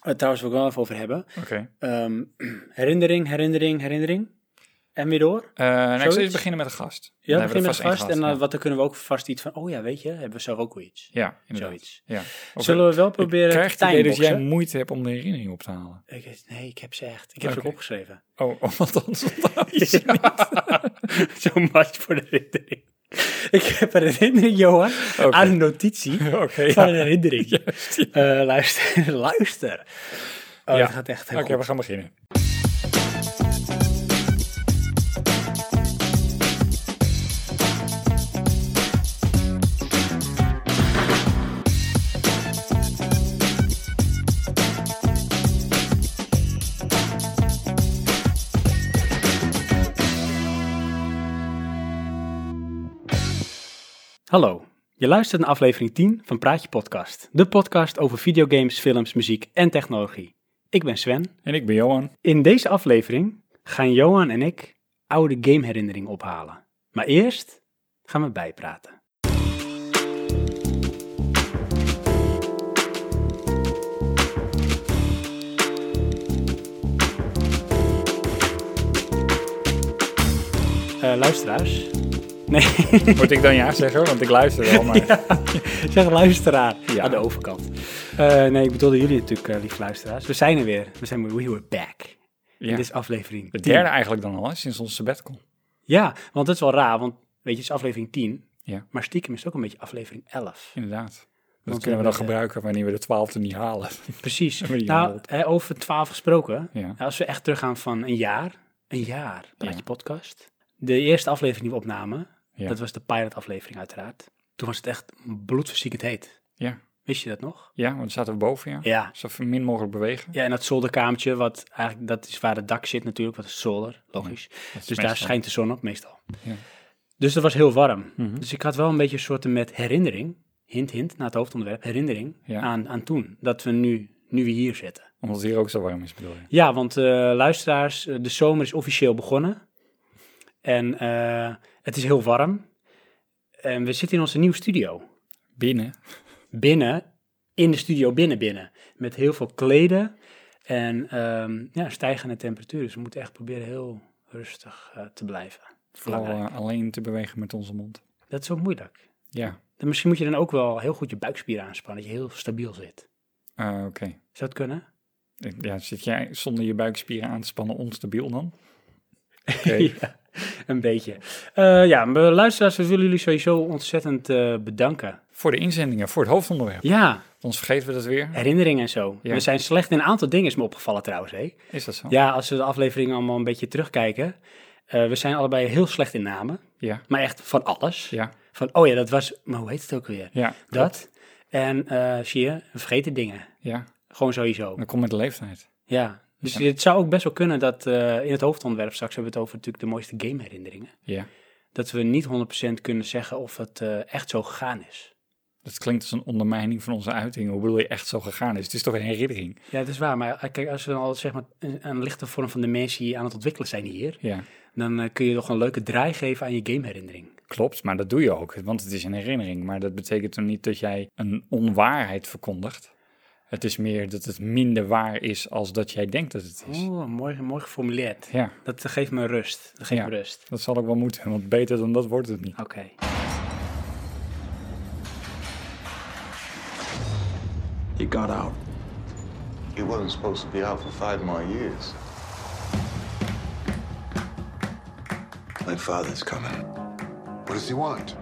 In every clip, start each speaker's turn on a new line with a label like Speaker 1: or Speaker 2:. Speaker 1: het Eh, trouwens wil ik wel even over hebben.
Speaker 2: Oké.
Speaker 1: Ehm, herinnering, herinnering, herinnering. En weer door.
Speaker 2: Eh, nou, ik zou
Speaker 1: Zoiets?
Speaker 2: eerst beginnen met een gast.
Speaker 1: Ja,
Speaker 2: Dan hebben we er
Speaker 1: beginnen met
Speaker 2: één
Speaker 1: vast. En
Speaker 2: gehad,
Speaker 1: dan, wat, dan kunnen we ook vast iets van, oh ja, weet je, hebben we zelf ook wel iets.
Speaker 2: ja. ja, inderdaad.
Speaker 1: Zoiets.
Speaker 2: Ja. Of-
Speaker 1: Zullen we wel
Speaker 2: Ik
Speaker 1: proberen
Speaker 2: krijg het
Speaker 1: te
Speaker 2: idee dat jij
Speaker 1: timeboxen?
Speaker 2: moeite hebt om de herinnering op te halen.
Speaker 1: Ik- nee, ik heb ze echt. Ik heb ze
Speaker 2: Oké.
Speaker 1: ook opgeschreven.
Speaker 2: Oh, oh want anders onthoud je
Speaker 1: Ja.
Speaker 2: ze niet.
Speaker 1: Zo much voor de herinnering. Ik heb een herinnering, Johan,
Speaker 2: Oké.
Speaker 1: aan een notitie
Speaker 2: Oké,
Speaker 1: van
Speaker 2: ja.
Speaker 1: een herinnering.
Speaker 2: Juist, ja.
Speaker 1: Eh, luister, luister. Oh,
Speaker 2: Ja.
Speaker 1: dat gaat echt heel
Speaker 2: Oké, we
Speaker 1: goed.
Speaker 2: gaan beginnen.
Speaker 1: Hallo, je luistert naar aflevering 10 van Praatje Podcast. De podcast over videogames, films, muziek en technologie. Ik ben Sven.
Speaker 2: En ik ben Johan.
Speaker 1: In deze aflevering gaan Johan en ik oude gameherinneringen ophalen. Maar eerst gaan we bijpraten. Eh, luisteraars. Nee,
Speaker 2: Moet ik dan ja zeggen? Want ik luister wel, maar...
Speaker 1: zeg luisteraar
Speaker 2: Ja.
Speaker 1: aan de overkant. Eh, nee, ik bedoelde jullie natuurlijk, eh lieve luisteraars. We zijn er weer. We zijn we were back.
Speaker 2: Ja.
Speaker 1: Dit is aflevering
Speaker 2: De
Speaker 1: 10.
Speaker 2: derde eigenlijk dan al, hè, sinds onze sabbatical.
Speaker 1: Ja, want dat is wel raar, want weet je, het is aflevering 10.
Speaker 2: Ja.
Speaker 1: Maar stiekem is het ook een beetje aflevering 11.
Speaker 2: Inderdaad. Dat
Speaker 1: Want
Speaker 2: kunnen we
Speaker 1: we
Speaker 2: dan
Speaker 1: hebben-
Speaker 2: gebruiken wanneer we de twaalfde niet halen.
Speaker 1: Precies.
Speaker 2: Hebben we die
Speaker 1: Nou,
Speaker 2: gehaald.
Speaker 1: hè, over 12 gesproken. eh,
Speaker 2: Ja.
Speaker 1: Als we echt teruggaan van een jaar, een jaar, praat je
Speaker 2: Ja.
Speaker 1: podcast. De eerste aflevering die we opnamen,
Speaker 2: Ja.
Speaker 1: dat was de pilot aflevering uiteraard. Toen was het echt bloedverziekend heet.
Speaker 2: Ja.
Speaker 1: Wist je dat nog?
Speaker 2: Ja, want dan zaten we boven, ja.
Speaker 1: Ja.
Speaker 2: Zo min mogelijk bewegen.
Speaker 1: Ja, en dat zolderkamertje, wat eigenlijk, dat is waar het dak zit natuurlijk, wat is zolder, logisch.
Speaker 2: Dat is
Speaker 1: Dus daar
Speaker 2: meestal-
Speaker 1: schijnt de zon op meestal.
Speaker 2: Ja.
Speaker 1: Dus dat was heel warm.
Speaker 2: Mhm.
Speaker 1: Dus ik had wel een beetje een soort met herinnering, hint hint, naar het hoofdonderwerp, herinnering
Speaker 2: Ja.
Speaker 1: aan, aan toen. Dat we nu, nu we hier zitten.
Speaker 2: Omdat het hier ook zo warm is, bedoel je.
Speaker 1: Ja, want eh, luisteraars, eh, de zomer is officieel begonnen. En eh, het is heel warm. En we zitten in onze nieuwe studio.
Speaker 2: Binnen.
Speaker 1: Binnen, in de studio binnen binnen. Met heel veel kleden en ehm, ja, stijgende temperaturen. Dus we moeten echt proberen heel rustig eh, te blijven.
Speaker 2: Vooral
Speaker 1: Belangrijk.
Speaker 2: eh, alleen te bewegen met onze mond.
Speaker 1: Dat is ook moeilijk.
Speaker 2: Ja.
Speaker 1: Dan misschien moet je dan ook wel heel goed je buikspieren aanspannen, dat je heel stabiel zit.
Speaker 2: Ah, Oké.
Speaker 1: Zou dat kunnen?
Speaker 2: Ik- Ja, zit jij zonder je buikspieren aan te spannen onstabiel dan? Oké.
Speaker 1: ja, een beetje. Eh, ja, maar luisteraars, we willen jullie sowieso ontzettend eh, bedanken.
Speaker 2: Voor de inzendingen, voor het hoofdonderwerp.
Speaker 1: Ja,
Speaker 2: Anders vergeten we dat weer.
Speaker 1: herinneringen en zo.
Speaker 2: Ja. Oh.
Speaker 1: We zijn slecht in een aantal dingen, is me opgevallen trouwens. Hè?
Speaker 2: Is dat zo?
Speaker 1: Ja, als we de afleveringen allemaal een beetje terugkijken. eh, we zijn allebei heel slecht in namen,
Speaker 2: Ja.
Speaker 1: maar echt van alles.
Speaker 2: Ja.
Speaker 1: Van, oh ja, dat was, maar hoe heet het ook weer?
Speaker 2: Ja.
Speaker 1: Dat. En eh, zie je, we vergeten dingen.
Speaker 2: Ja.
Speaker 1: Gewoon sowieso.
Speaker 2: Dat komt met de leeftijd.
Speaker 1: Ja, dus het zou ook best wel kunnen dat eh, in het hoofdonderwerp straks hebben we het over natuurlijk de mooiste gameherinneringen.
Speaker 2: Ja.
Speaker 1: Dat we niet 100% kunnen zeggen of het eh, echt zo gegaan is.
Speaker 2: Dat klinkt als een ondermijning van onze uiting. Hoe bedoel je echt zo gegaan is? Het is toch een herinnering?
Speaker 1: Ja, dat is waar. Maar eh, kijk, als we al zeg maar een, een lichte vorm van dementie aan het ontwikkelen zijn hier,
Speaker 2: Ja.
Speaker 1: dan eh, kun je toch een leuke draai geven aan je gameherinnering.
Speaker 2: Klopt, maar dat doe je ook, want het is een herinnering. Maar dat betekent toch niet dat jij een onwaarheid verkondigt? Het is meer dat het minder waar is als dat jij denkt dat het is.
Speaker 1: Oeh, mooi, mooi geformuleerd.
Speaker 2: Ja,
Speaker 1: Dat eh, geeft me rust. Dat geeft
Speaker 2: Ja.
Speaker 1: me rust.
Speaker 2: dat zal ook wel moeten, want beter dan dat wordt het niet.
Speaker 1: Oké.
Speaker 3: He got out.
Speaker 4: He wasn't supposed to be out for five more years.
Speaker 3: My father's coming.
Speaker 4: What does he want?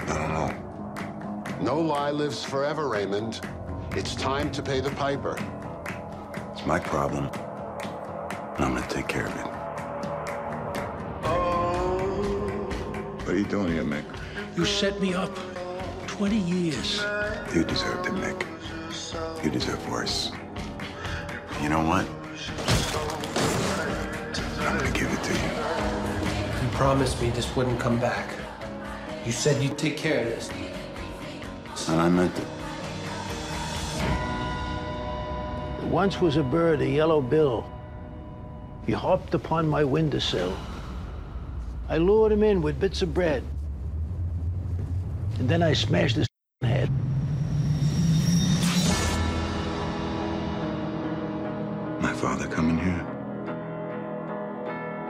Speaker 3: I don't know.
Speaker 4: No lie lives forever, Raymond. It's time to pay the piper.
Speaker 3: It's my problem. And I'm gonna take care of it.
Speaker 4: Oh. What are you doing here, Mick?
Speaker 5: You set me up 20 years.
Speaker 3: You deserved it, Nick. You deserve worse. You know what? I'm gonna give it to you.
Speaker 5: You promised me this wouldn't come back. You said you'd take care of this.
Speaker 3: And I meant it.
Speaker 6: There Once was a bird, a yellow bill. He hopped upon my windowsill. I lured him in with bits of bread. And then I smashed his head.
Speaker 3: father come in here?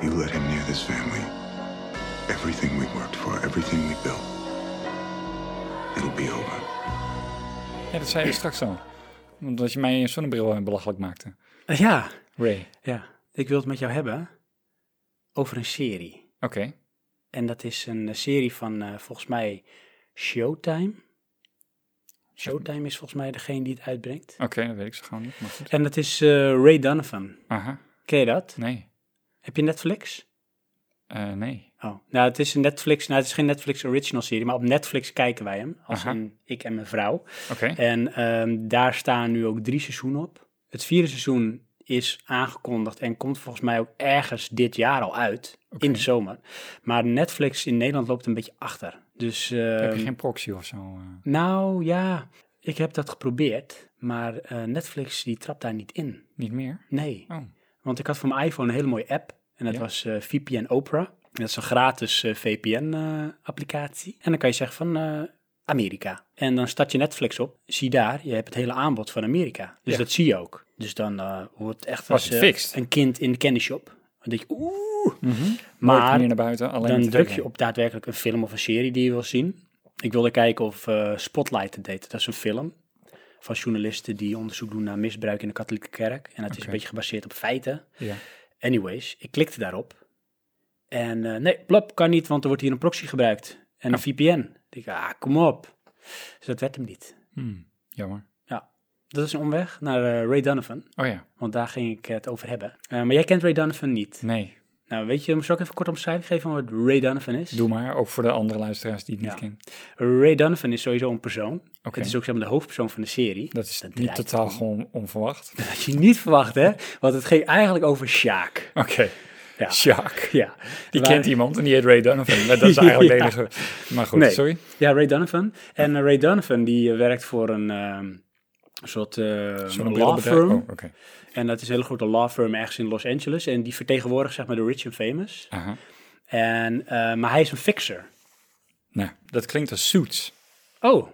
Speaker 3: You let him near this family. Everything we worked for, everything we built. It'll be over.
Speaker 2: Ja, dat zei je straks al. Omdat je mij een zonnebril eh, belachelijk maakte.
Speaker 1: Eh, Ja,
Speaker 2: Ray.
Speaker 1: ja. Ik wil het met jou hebben over een serie.
Speaker 2: Oké.
Speaker 1: En dat is een eh, serie van eh, volgens mij Showtime. Showtime is volgens mij degene die het uitbrengt.
Speaker 2: Oké, dat weet ik zo gewoon niet. Maar goed.
Speaker 1: En dat is eh, Ray Donovan.
Speaker 2: Aha.
Speaker 1: Ken je dat?
Speaker 2: Nee.
Speaker 1: Heb je Netflix?
Speaker 2: Eh, nee.
Speaker 1: Oh, nou het is een Netflix, nou het is geen Netflix original serie, maar op Netflix kijken wij hem, als
Speaker 2: Aha.
Speaker 1: in ik en mijn vrouw.
Speaker 2: Oké.
Speaker 1: En ehm, daar staan nu ook drie seizoenen op. Het vierde seizoen is aangekondigd en komt volgens mij ook ergens dit jaar al uit, in de zomer. Maar Netflix in Nederland loopt een beetje achter. Dus,
Speaker 2: Heb
Speaker 1: ehm,
Speaker 2: je geen proxy of zo? eh?
Speaker 1: nou ja, ik heb dat geprobeerd, maar eh, Netflix die trapt daar niet in.
Speaker 2: niet meer?
Speaker 1: Nee.
Speaker 2: Oh.
Speaker 1: Want ik had voor mijn iPhone een hele mooie app. En dat
Speaker 2: Ja.
Speaker 1: was eh, VPN Opera. En dat is een gratis eh, VPN-applicatie. eh, en dan kan je zeggen van eh, Amerika. En dan start je Netflix op. Zie daar, je hebt het hele aanbod van Amerika. Dus
Speaker 2: Ja.
Speaker 1: dat zie je ook. Dus dan eh, wordt het echt
Speaker 2: Was
Speaker 1: als
Speaker 2: het
Speaker 1: eh,
Speaker 2: fixed?
Speaker 1: een kind in de candy shop. Dan denk je, oeh.
Speaker 2: Mhm. Nooit
Speaker 1: Maar
Speaker 2: meer naar buiten, alleen
Speaker 1: dan
Speaker 2: op tv
Speaker 1: druk je
Speaker 2: kijken.
Speaker 1: op daadwerkelijk een film of een serie die je wil zien. Ik wilde kijken of eh, Spotlight het deed. Dat is een film van journalisten die onderzoek doen naar misbruik in de katholieke kerk. En dat is
Speaker 2: Oké.
Speaker 1: een beetje gebaseerd op feiten.
Speaker 2: Ja.
Speaker 1: Anyways, ik klikte daarop. En eh, nee, plop, kan niet, want er wordt hier een proxy gebruikt. En een VPN. Ik dacht, ah, kom op. Dus dat werd hem niet.
Speaker 2: Hmm, Jammer.
Speaker 1: Ja, dat is een omweg naar eh, Ray Donovan.
Speaker 2: Oh ja.
Speaker 1: Want daar ging ik het over hebben. Eh, maar jij kent Ray Donovan niet.
Speaker 2: Nee.
Speaker 1: Nou, weet je, zal ik even kort omschrijven geven wat Ray Donovan is?
Speaker 2: Doe maar. Ook voor de andere luisteraars die het niet
Speaker 1: Ja.
Speaker 2: kennen.
Speaker 1: Ray Donovan is sowieso een persoon.
Speaker 2: Oké.
Speaker 1: Het is ook zeg maar, de hoofdpersoon van de serie.
Speaker 2: Dat is niet
Speaker 1: draait-
Speaker 2: totaal gewoon onverwacht. Oké.
Speaker 1: Dat had je niet verwacht, hè? Want het ging eigenlijk over Sjaak. Ja.
Speaker 2: Sjaak.
Speaker 1: Ja.
Speaker 2: Die
Speaker 1: Waar-
Speaker 2: kent iemand en die heet Ray Donovan. Maar dat is eigenlijk de
Speaker 1: Ja.
Speaker 2: enige. Maar goed,
Speaker 1: Nee.
Speaker 2: sorry.
Speaker 1: Ja, Ray Donovan. En eh, Ray Donovan die eh, werkt voor een ehm, soort eh, law
Speaker 2: brillenbedrijf-
Speaker 1: firm.
Speaker 2: Oh, oké.
Speaker 1: En dat is een hele grote law firm ergens in Los Angeles. En die vertegenwoordigt zeg maar de rich and famous.
Speaker 2: Aha.
Speaker 1: En, eh, maar hij is een fixer.
Speaker 2: Nou, dat klinkt als Suits.
Speaker 1: Oh,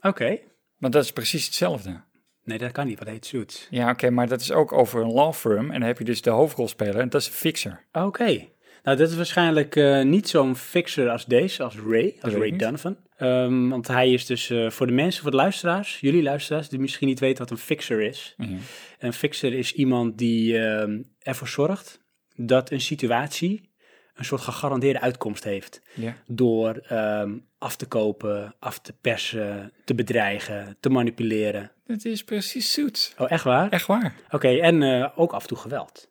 Speaker 1: oké.
Speaker 2: Maar dat is precies hetzelfde.
Speaker 1: Nee, dat kan niet, wat heet Suits.
Speaker 2: Ja, oké, maar dat is ook over een law firm. En dan heb je dus de hoofdrolspeler en dat is een fixer.
Speaker 1: Oké. Nou, dat is waarschijnlijk eh, niet zo'n fixer als deze, als Ray, als
Speaker 2: weet ik
Speaker 1: Ray
Speaker 2: niet.
Speaker 1: Donovan. Ehm, want hij is dus eh, voor de mensen, voor de luisteraars, jullie luisteraars, die misschien niet weten wat een fixer is.
Speaker 2: Mhm.
Speaker 1: Een fixer is iemand die ehm, ervoor zorgt dat een situatie een soort gegarandeerde uitkomst heeft.
Speaker 2: Ja.
Speaker 1: Door ehm, af te kopen, af te persen, te bedreigen, te manipuleren.
Speaker 2: Dat is precies Suits.
Speaker 1: Oh, echt waar?
Speaker 2: Echt waar.
Speaker 1: Oké, en eh, ook af en toe geweld.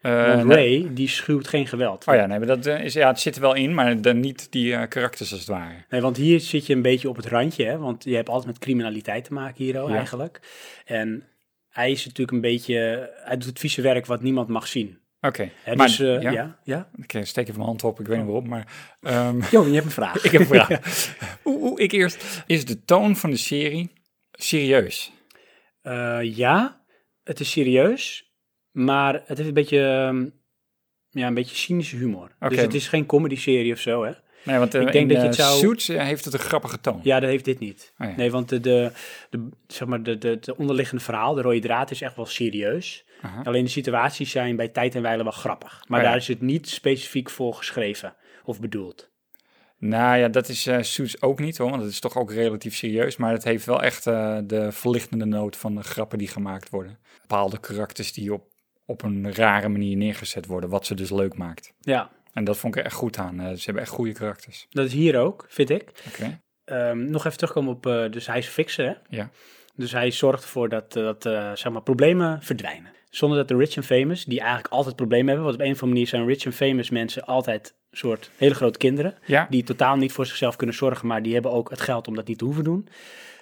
Speaker 2: Eh,
Speaker 1: Want
Speaker 2: nee.
Speaker 1: Ray, die schuwt geen geweld.
Speaker 2: Oh ja, nee, maar dat eh, is, ja, het zit er wel in, maar dan niet die eh, karakters als het ware.
Speaker 1: Nee, want hier zit je een beetje op het randje, hè? want je hebt altijd met criminaliteit te maken hier al
Speaker 2: Ja.
Speaker 1: eigenlijk. En hij is natuurlijk een beetje, hij doet het vieze werk wat niemand mag zien.
Speaker 2: Oké,
Speaker 1: Hè,
Speaker 2: maar
Speaker 1: dus eh,
Speaker 2: ja,
Speaker 1: ja. ja,
Speaker 2: ik eh, steek even mijn hand op, ik weet niet waarom, maar ehm,
Speaker 1: Jo, je hebt een vraag.
Speaker 2: ik heb een vraag. Oeh, oeh, ik eerst. Is de toon van de serie serieus?
Speaker 1: Eh, ja, het is serieus, maar het heeft een beetje, ehm, ja, een beetje cynische humor.
Speaker 2: Oké.
Speaker 1: Dus het is geen comedy-serie of zo, hè?
Speaker 2: Nee, want eh,
Speaker 1: Ik denk dat
Speaker 2: in
Speaker 1: je
Speaker 2: eh,
Speaker 1: het zou-
Speaker 2: Suits eh, heeft het een grappige toon.
Speaker 1: Ja, dat heeft dit niet.
Speaker 2: Oh ja.
Speaker 1: Nee, want de, de, de, zeg maar de, de, de onderliggende verhaal, de rode draad, is echt wel serieus. Alleen de situaties zijn bij tijd en wijle wel grappig. Maar
Speaker 2: Oh ja.
Speaker 1: daar is het niet specifiek voor geschreven of bedoeld.
Speaker 2: Nou ja, dat is eh Suits ook niet hoor, want het is toch ook relatief serieus. Maar het heeft wel echt eh, de verlichtende noot van de grappen die gemaakt worden. Bepaalde karakters die op, op een rare manier neergezet worden, wat ze dus leuk maakt.
Speaker 1: Ja,
Speaker 2: En dat vond ik er echt goed aan. Eh, ze hebben echt goede karakters.
Speaker 1: dat is hier ook, vind ik.
Speaker 2: Oké,
Speaker 1: Ehm, nog even terugkomen op, eh, dus hij is fixer, hè?
Speaker 2: ja.
Speaker 1: Dus hij zorgt ervoor dat, eh, dat eh, zeg maar, problemen verdwijnen. Zonder dat de rich and famous, die eigenlijk altijd problemen hebben, want op een of andere manier zijn rich and famous mensen altijd een soort hele grote kinderen.
Speaker 2: Ja.
Speaker 1: Die totaal niet voor zichzelf kunnen zorgen, maar die hebben ook het geld om dat niet te hoeven doen.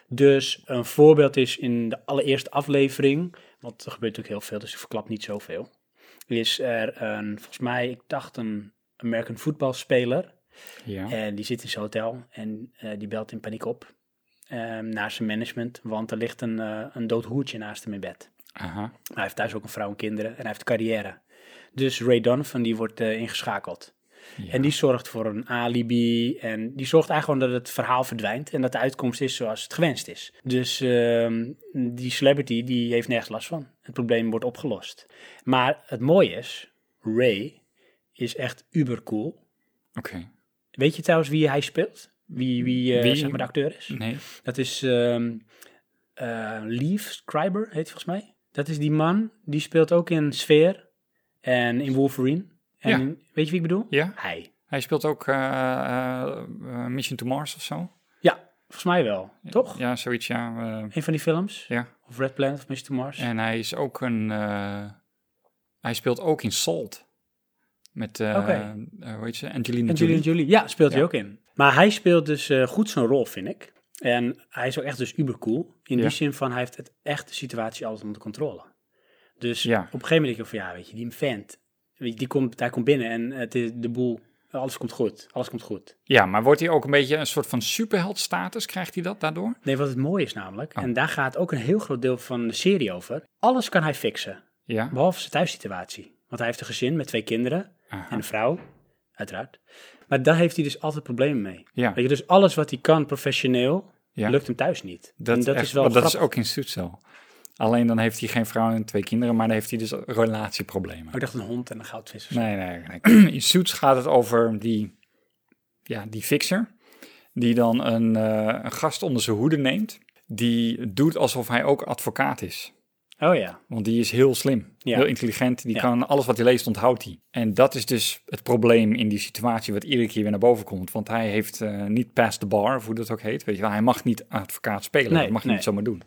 Speaker 1: Dus een voorbeeld is in de allereerste aflevering, want er gebeurt natuurlijk heel veel, dus ik verklap niet zoveel. Is er een, volgens mij, ik dacht een American voetbalspeler.
Speaker 2: ja.
Speaker 1: En die zit in zijn hotel en eh, die belt in paniek op ehm, naar zijn management, want er ligt een, eh, een dood hoertje naast hem in bed.
Speaker 2: Aha.
Speaker 1: Maar Hij heeft thuis ook een vrouw en kinderen en hij heeft een carrière. Dus Ray Donovan die wordt eh, ingeschakeld. En die zorgt voor een alibi. En die zorgt eigenlijk gewoon dat het verhaal verdwijnt. En dat de uitkomst is zoals het gewenst is. Dus ehm, die celebrity die heeft nergens last van. Het probleem wordt opgelost. Maar het mooie is, Ray is echt ubercool.
Speaker 2: Oké.
Speaker 1: Weet je trouwens wie hij speelt? Wie, wie, eh,
Speaker 2: Wie?
Speaker 1: Zeg maar de acteur is?
Speaker 2: Nee.
Speaker 1: Dat is ehm eh, Leaf Scriber, heet volgens mij. Dat is die man, die speelt ook in Sphere en in Wolverine. En
Speaker 2: Ja.
Speaker 1: weet je wie ik bedoel?
Speaker 2: Ja.
Speaker 1: Hij.
Speaker 2: Hij speelt ook eh, eh, eh, Mission to Mars of zo.
Speaker 1: Ja, volgens mij wel. Toch?
Speaker 2: Ja, zoiets, ja. eh,
Speaker 1: Een van die films.
Speaker 2: ja.
Speaker 1: Of Red Planet of Mr. Mars.
Speaker 2: En hij is ook een... eh, hij speelt ook in Salt. Met, eh,
Speaker 1: Oké.
Speaker 2: eh, hoe heet ze? Angelina
Speaker 1: en Julie
Speaker 2: Jolie.
Speaker 1: Julie. Ja, speelt hij
Speaker 2: Ja.
Speaker 1: ook in. Maar hij speelt dus eh, goed zijn rol, vind ik. En hij is ook echt dus ubercool. In
Speaker 2: Ja.
Speaker 1: die zin van, hij heeft het echt de situatie altijd onder controle. Dus
Speaker 2: Ja.
Speaker 1: op een gegeven moment denk ik van, ja, weet je, die vent, weet je, die komt, hij komt binnen en het is de boel, alles komt goed, alles komt goed.
Speaker 2: Ja, maar wordt hij ook een beetje een soort van superheldstatus? Krijgt hij dat daardoor?
Speaker 1: Nee, wat het mooie is namelijk, en daar gaat ook een heel groot deel van de serie over, alles kan hij fixen,
Speaker 2: Ja.
Speaker 1: behalve zijn thuissituatie. Want hij heeft een gezin met twee kinderen en een vrouw, uiteraard. Maar daar heeft hij dus altijd problemen mee.
Speaker 2: Ja.
Speaker 1: Weet je, dus alles wat hij kan professioneel,
Speaker 2: Ja.
Speaker 1: lukt hem thuis niet.
Speaker 2: Dat,
Speaker 1: en
Speaker 2: is,
Speaker 1: dat
Speaker 2: echt,
Speaker 1: is wel
Speaker 2: want dat is
Speaker 1: grappig.
Speaker 2: ook in Suits zo. Alleen dan heeft hij geen vrouw en twee kinderen, maar dan heeft hij dus relatieproblemen.
Speaker 1: Oh, ik dacht een hond en een goudvis. of zo.
Speaker 2: Nee, nee, nee. In Suits gaat het over die, ja, die fixer, die dan een, eh, een gast onder zijn hoede neemt, die doet alsof hij ook advocaat is.
Speaker 1: Oh ja,
Speaker 2: Want die is heel slim,
Speaker 1: Ja.
Speaker 2: heel intelligent. Die
Speaker 1: Ja.
Speaker 2: kan alles wat hij leest, onthoudt hij. En dat is dus het probleem in die situatie wat iedere keer weer naar boven komt. Want hij heeft eh, niet past the bar, of hoe dat ook heet. Weet je wel, hij mag niet advocaat spelen.
Speaker 1: Nee,
Speaker 2: dat mag je
Speaker 1: nee.
Speaker 2: niet zomaar doen.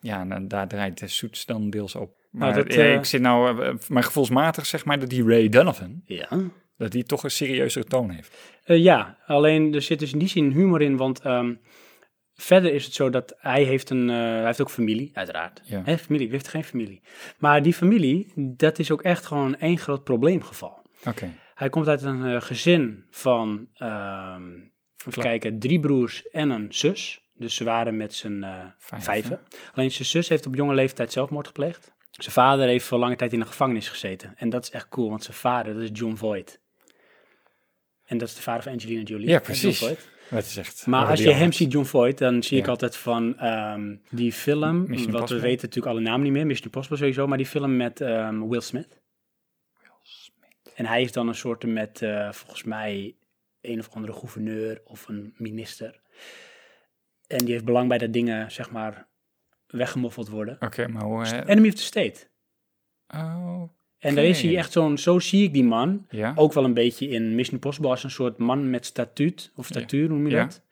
Speaker 2: Ja, en, eh, daar draait de Soets dan deels op. Maar
Speaker 1: Nou, dat,
Speaker 2: ja,
Speaker 1: eh,
Speaker 2: ik zit nou, eh, maar gevoelsmatig zeg maar dat die Ray Donovan,
Speaker 1: ja.
Speaker 2: dat die toch een serieuzere toon heeft.
Speaker 1: Eh, ja, alleen er zit dus in die zin humor in, want ehm, verder is het zo dat hij heeft een, eh, hij heeft ook familie, uiteraard.
Speaker 2: Ja.
Speaker 1: Hij heeft familie, wie heeft geen familie? Maar die familie, dat is ook echt gewoon één groot probleemgeval.
Speaker 2: Oké.
Speaker 1: Hij komt uit een eh, gezin van, ehm even kijken, drie broers en een zus. Dus ze waren met z'n eh,
Speaker 2: Vijf,
Speaker 1: vijven. Alleen zijn zus heeft op jonge leeftijd zelfmoord gepleegd. Zijn vader heeft voor lange tijd in de gevangenis gezeten. En dat is echt cool, want zijn vader, dat is John Voight. En dat is de vader van Angelina Jolie.
Speaker 2: Ja,
Speaker 1: John
Speaker 2: precies.
Speaker 1: Voight.
Speaker 2: Dat is echt.
Speaker 1: Maar als je
Speaker 2: rebel.
Speaker 1: hem ziet, John Voight, dan zie ik
Speaker 2: Ja.
Speaker 1: altijd van ehm, die film.
Speaker 2: Mission
Speaker 1: want we
Speaker 2: Impossible.
Speaker 1: weten natuurlijk alle namen niet meer. Mission Impossible sowieso. Maar die film met ehm, Will Smith. En hij is dan een soort met, eh, volgens mij, een of andere gouverneur of een minister. En die heeft belang bij dat dingen, zeg maar, weggemoffeld worden.
Speaker 2: Oké, maar hoe. eh,
Speaker 1: Enemy of the State.
Speaker 2: oh,
Speaker 1: En daar is hij
Speaker 2: Oké.
Speaker 1: echt zo'n, zo zie ik die man.
Speaker 2: Ja.
Speaker 1: Ook wel een beetje in Mission Impossible als een soort man met statuut, of statuur hoe noem je
Speaker 2: Ja.
Speaker 1: dat.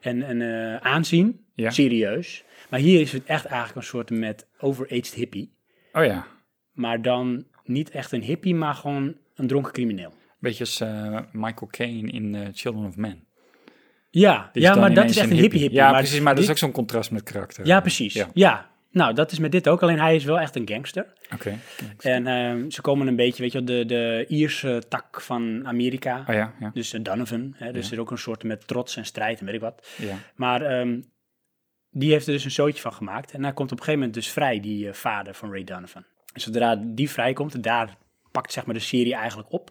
Speaker 1: En, en eh, aanzien,
Speaker 2: Ja.
Speaker 1: serieus. Maar hier is het echt eigenlijk een soort met overaged hippie.
Speaker 2: oh ja.
Speaker 1: Maar dan niet echt een hippie, maar gewoon een dronken crimineel.
Speaker 2: Beetje als eh, Michael Caine in eh, Children of Men.
Speaker 1: Ja,
Speaker 2: Die
Speaker 1: ja
Speaker 2: dan
Speaker 1: maar dat
Speaker 2: Dus ineens
Speaker 1: is echt
Speaker 2: een
Speaker 1: een hippie hippie.
Speaker 2: Ja, precies, maar dat
Speaker 1: dit-
Speaker 2: is ook zo'n contrast met karakter.
Speaker 1: Ja, precies. Ja.
Speaker 2: Ja,
Speaker 1: nou dat is met dit ook. Alleen hij is wel echt een gangster.
Speaker 2: oké.
Speaker 1: En ehm, ze komen een beetje, weet je wel, de, de Ierse tak van Amerika.
Speaker 2: Oh ja, ja.
Speaker 1: Dus eh, Donovan, hè, dus er is ook een soort met trots en strijd en weet ik wat.
Speaker 2: Ja.
Speaker 1: Maar ehm, die heeft er dus een zootje van gemaakt. En hij komt op een gegeven moment dus vrij, die eh, vader van Ray Donovan. En zodra die vrijkomt, daar pakt zeg maar de serie eigenlijk op.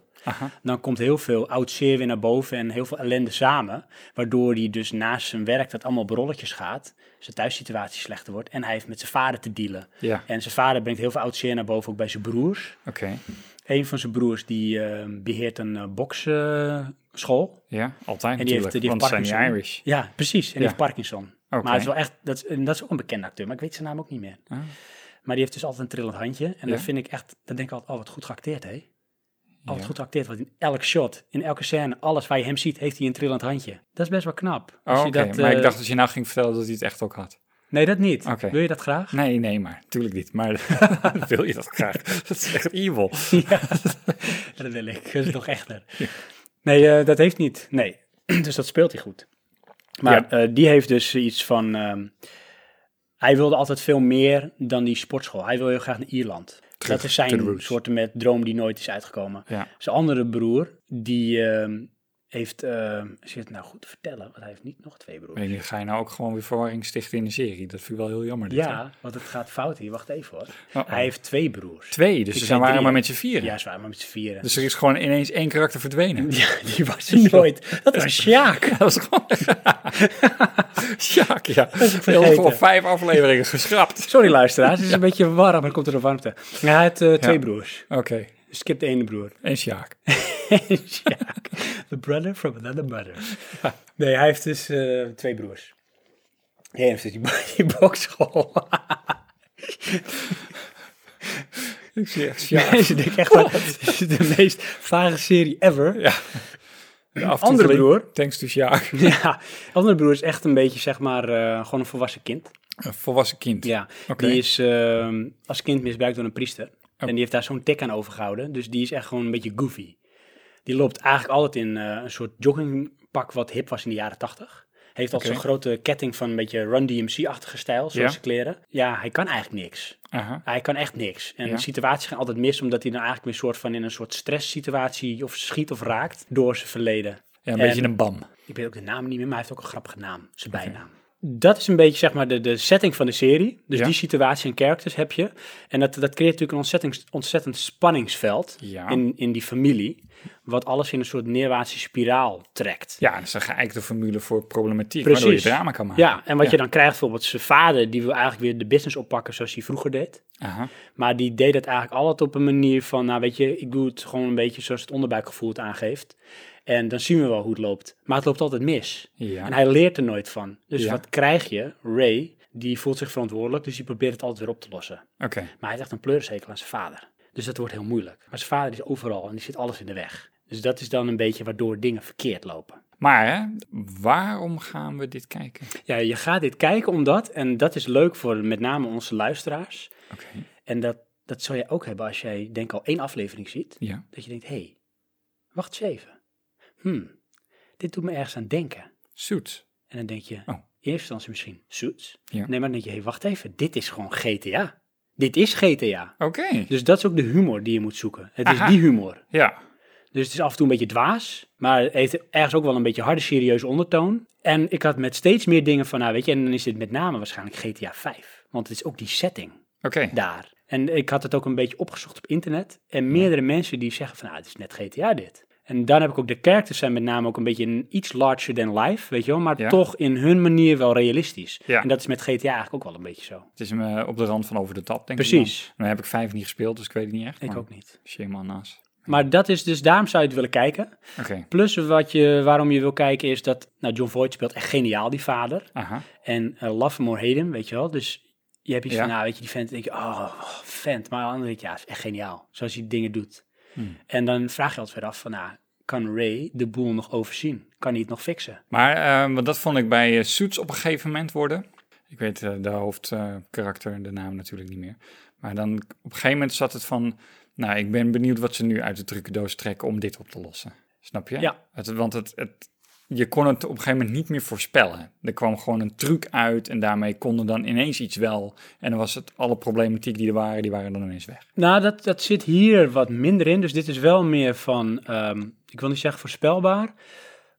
Speaker 1: Dan komt heel veel oud zeer weer naar boven en heel veel ellende samen. Waardoor hij dus naast zijn werk dat allemaal op rolletjes gaat. Zijn thuissituatie slechter wordt en hij heeft met zijn vader te dealen.
Speaker 2: Ja.
Speaker 1: En zijn vader brengt heel veel oud zeer naar boven, ook bij zijn broers.
Speaker 2: Oké,
Speaker 1: Een van zijn broers die eh, beheert een boksschool.
Speaker 2: ja, altijd
Speaker 1: En die heeft, die
Speaker 2: natuurlijk,
Speaker 1: heeft
Speaker 2: want zijn die
Speaker 1: Parkinson.
Speaker 2: Irish.
Speaker 1: Ja, precies. En die
Speaker 2: Ja.
Speaker 1: heeft Parkinson.
Speaker 2: Oké. Ah.
Speaker 1: Maar het is wel echt, dat is, en dat is ook een bekende acteur, maar ik weet zijn naam ook niet meer. Maar die heeft dus altijd een trillend handje. En
Speaker 2: Ja.
Speaker 1: dat vind ik echt, dan denk ik altijd, oh wat goed geacteerd hè. Altijd goed geacteerd, want in elk shot, in elke scène, alles waar je hem ziet, heeft hij een trillend handje. Dat is best wel knap.
Speaker 2: Oh,
Speaker 1: Als je
Speaker 2: oké,
Speaker 1: dat,
Speaker 2: maar ik
Speaker 1: eh,
Speaker 2: dacht dat je nou ging vertellen dat hij het echt ook had.
Speaker 1: Nee, dat niet.
Speaker 2: Oké.
Speaker 1: Wil je dat graag?
Speaker 2: Nee, nee, maar tuurlijk niet. Maar wil je dat graag? Dat is echt evil.
Speaker 1: ja, dat wil ik. Dat is nog echter. Nee, eh, dat heeft niet. Nee, dus dat speelt hij goed. Maar eh, die heeft dus iets van... ehm, hij wilde altijd veel meer dan die sportschool. Hij wil heel graag naar Ierland.
Speaker 2: Terug
Speaker 1: dat is
Speaker 2: to the
Speaker 1: zijn
Speaker 2: roots.
Speaker 1: soort met droom die nooit is uitgekomen.
Speaker 2: Ja.
Speaker 1: Zijn andere broer, die ehm, heeft, eh, als je het nou goed vertellen, want hij heeft niet nog twee broers.
Speaker 2: Weet niet, ga je nou ook gewoon weer verwarring stichten in de serie? Dat vind ik wel heel jammer. dit, hè?
Speaker 1: Ja, want het gaat fout hier. Wacht even hoor.
Speaker 2: Uh-oh.
Speaker 1: Hij heeft twee broers.
Speaker 2: Oh, Twee, dus
Speaker 1: Ik
Speaker 2: ze
Speaker 1: zei
Speaker 2: zijn waren
Speaker 1: drie,
Speaker 2: maar
Speaker 1: hè?
Speaker 2: met z'n vieren.
Speaker 1: Ja, ze waren maar met z'n vieren.
Speaker 2: Dus er is gewoon ineens één karakter verdwenen.
Speaker 1: Ja, die was er nooit. Dat was Sjaak.
Speaker 2: Dat was gewoon... Sjaak, ja. Heel
Speaker 1: vergeten.
Speaker 2: voor vijf afleveringen geschrapt.
Speaker 1: Sorry luisteraars, het is een beetje warm, maar het komt er een warmte. Ja, hij heeft eh, twee
Speaker 2: Ja.
Speaker 1: broers.
Speaker 2: Oké,
Speaker 1: Dus ik heb de ene broer.
Speaker 2: en Sjaak.
Speaker 1: Sjaak. The brother from another mother. Nee, hij heeft dus eh, twee broers. Jij heeft dus die, bo- die bokschool.
Speaker 2: Ik zie echt
Speaker 1: Ja.
Speaker 2: Sjaak.
Speaker 1: Mensen denken echt wel, dit is de meest vage serie ever. Ja.
Speaker 2: De aftiteling,
Speaker 1: Andere broer.
Speaker 2: Thanks to Sjaak.
Speaker 1: Andere broer is echt een beetje, zeg maar, eh, gewoon een volwassen kind.
Speaker 2: Een volwassen kind.
Speaker 1: Ja,
Speaker 2: Oké. Oh.
Speaker 1: die is ehm, als kind misbruikt door een priester. En die heeft daar zo'n tik aan overgehouden. Dus die is echt gewoon een beetje goofy. Die loopt eigenlijk altijd in eh, een soort joggingpak wat hip was in de jaren tachtig. Heeft altijd
Speaker 2: Oké.
Speaker 1: zo'n grote ketting van een beetje Run DMC-achtige stijl, zoals
Speaker 2: Ja.
Speaker 1: zijn kleren. Ja, hij kan eigenlijk niks.
Speaker 2: Aha.
Speaker 1: Hij kan echt niks. En
Speaker 2: Ja.
Speaker 1: situaties gaan altijd mis, omdat hij dan eigenlijk weer soort van in een soort stresssituatie of schiet of raakt door zijn verleden.
Speaker 2: Ja, een
Speaker 1: En-
Speaker 2: beetje een bam.
Speaker 1: ik weet ook de naam niet meer, maar hij heeft ook een grappige naam, zijn bijnaam. Dat is een beetje zeg maar de, de setting van de serie. Dus
Speaker 2: Ja.
Speaker 1: die situatie en characters heb je. En dat, dat creëert natuurlijk een ontzettend, ontzettend spanningsveld
Speaker 2: Ja.
Speaker 1: in, in die familie. Wat alles in een soort neerwaartse spiraal trekt.
Speaker 2: Ja, dat is een geëikte formule voor problematiek, waardoor je drama kan maken.
Speaker 1: Ja, en wat je dan krijgt bijvoorbeeld zijn vader, die wil eigenlijk weer de business oppakken zoals hij vroeger deed.
Speaker 2: Aha.
Speaker 1: Maar die deed het eigenlijk altijd op een manier van, nou weet je, ik doe het gewoon een beetje zoals het onderbuikgevoel het aangeeft. En dan zien we wel hoe het loopt. Maar het loopt altijd mis.
Speaker 2: Ja.
Speaker 1: En hij leert er nooit van. Dus
Speaker 2: Ja.
Speaker 1: wat krijg je? Ray, die voelt zich verantwoordelijk, dus die probeert het altijd weer op te lossen.
Speaker 2: Oké.
Speaker 1: Maar hij is echt een pleurishekel aan zijn vader. Dus dat wordt heel moeilijk. Maar zijn vader is overal en die zit alles in de weg. Dus dat is dan een beetje waardoor dingen verkeerd lopen.
Speaker 2: Maar hè, waarom gaan we dit kijken?
Speaker 1: Ja, je gaat dit kijken omdat, en dat is leuk voor met name onze luisteraars.
Speaker 2: Oké.
Speaker 1: En dat, dat zal jij ook hebben als jij denk ik al één aflevering ziet.
Speaker 2: Ja.
Speaker 1: Dat je denkt, hé, hey, wacht eens even. Hmm, dit doet me ergens aan denken.
Speaker 2: Suits.
Speaker 1: En dan denk je, in
Speaker 2: Oh.
Speaker 1: eerste instantie misschien Suits.
Speaker 2: Ja.
Speaker 1: Nee, maar dan denk je, hey, wacht even, dit is gewoon GTA. Dit is GTA.
Speaker 2: Oké.
Speaker 1: Dus dat is ook de humor die je moet zoeken. Het
Speaker 2: Aha.
Speaker 1: is die humor.
Speaker 2: Ja.
Speaker 1: Dus het is af en toe een beetje dwaas, maar het heeft ergens ook wel een beetje harde, serieuze ondertoon. En ik had met steeds meer dingen van, nou weet je, en dan is dit met name waarschijnlijk GTA 5. Want het is ook die setting
Speaker 2: Oké.
Speaker 1: daar. En ik had het ook een beetje opgezocht op internet. En meerdere mensen die zeggen van, nou, het is net GTA dit. En dan heb ik ook de characters zijn met name ook een beetje een, iets larger than life, weet je wel. Maar
Speaker 2: Ja.
Speaker 1: toch in hun manier wel realistisch.
Speaker 2: Ja.
Speaker 1: En dat is met GTA eigenlijk ook wel een beetje zo.
Speaker 2: Het is me op de rand van over de tap, denk ik.
Speaker 1: Precies.
Speaker 2: Dan. Dan heb ik vijf niet gespeeld, dus ik weet het niet echt.
Speaker 1: Ik
Speaker 2: maar
Speaker 1: ook niet.
Speaker 2: Shame on us.
Speaker 1: Maar dat is dus, daarom zou je het willen kijken.
Speaker 2: Oké.
Speaker 1: Plus wat je, waarom je wil kijken is dat, nou, John Voight speelt echt geniaal, die vader.
Speaker 2: Aha.
Speaker 1: En eh Love More Hate Him, weet je wel. Dus je hebt iets
Speaker 2: Ja.
Speaker 1: van, nou, weet je, die vent, denk je, oh, oh, vent. Maar aan de andere kant, ja, is echt geniaal. Zoals hij dingen doet. En dan vraag je altijd weer af van, nou, kan Ray de boel nog overzien? Kan hij het nog fixen?
Speaker 2: Maar eh, want dat vond ik bij eh, Suits op een gegeven moment worden. Ik weet eh, de hoofdkarakter en de naam natuurlijk niet meer. Maar dan op een gegeven moment zat het van... Nou, ik ben benieuwd wat ze nu uit de trucendoos trekken om dit op te lossen. Snap je?
Speaker 1: Ja.
Speaker 2: Het, want het, het, je kon het op een gegeven moment niet meer voorspellen. Er kwam gewoon een truc uit en daarmee konden dan ineens iets wel. En dan was het alle problematiek die er waren, die waren dan ineens weg.
Speaker 1: Nou, dat, dat zit hier wat minder in. Dus dit is wel meer van, ehm, ik wil niet zeggen voorspelbaar,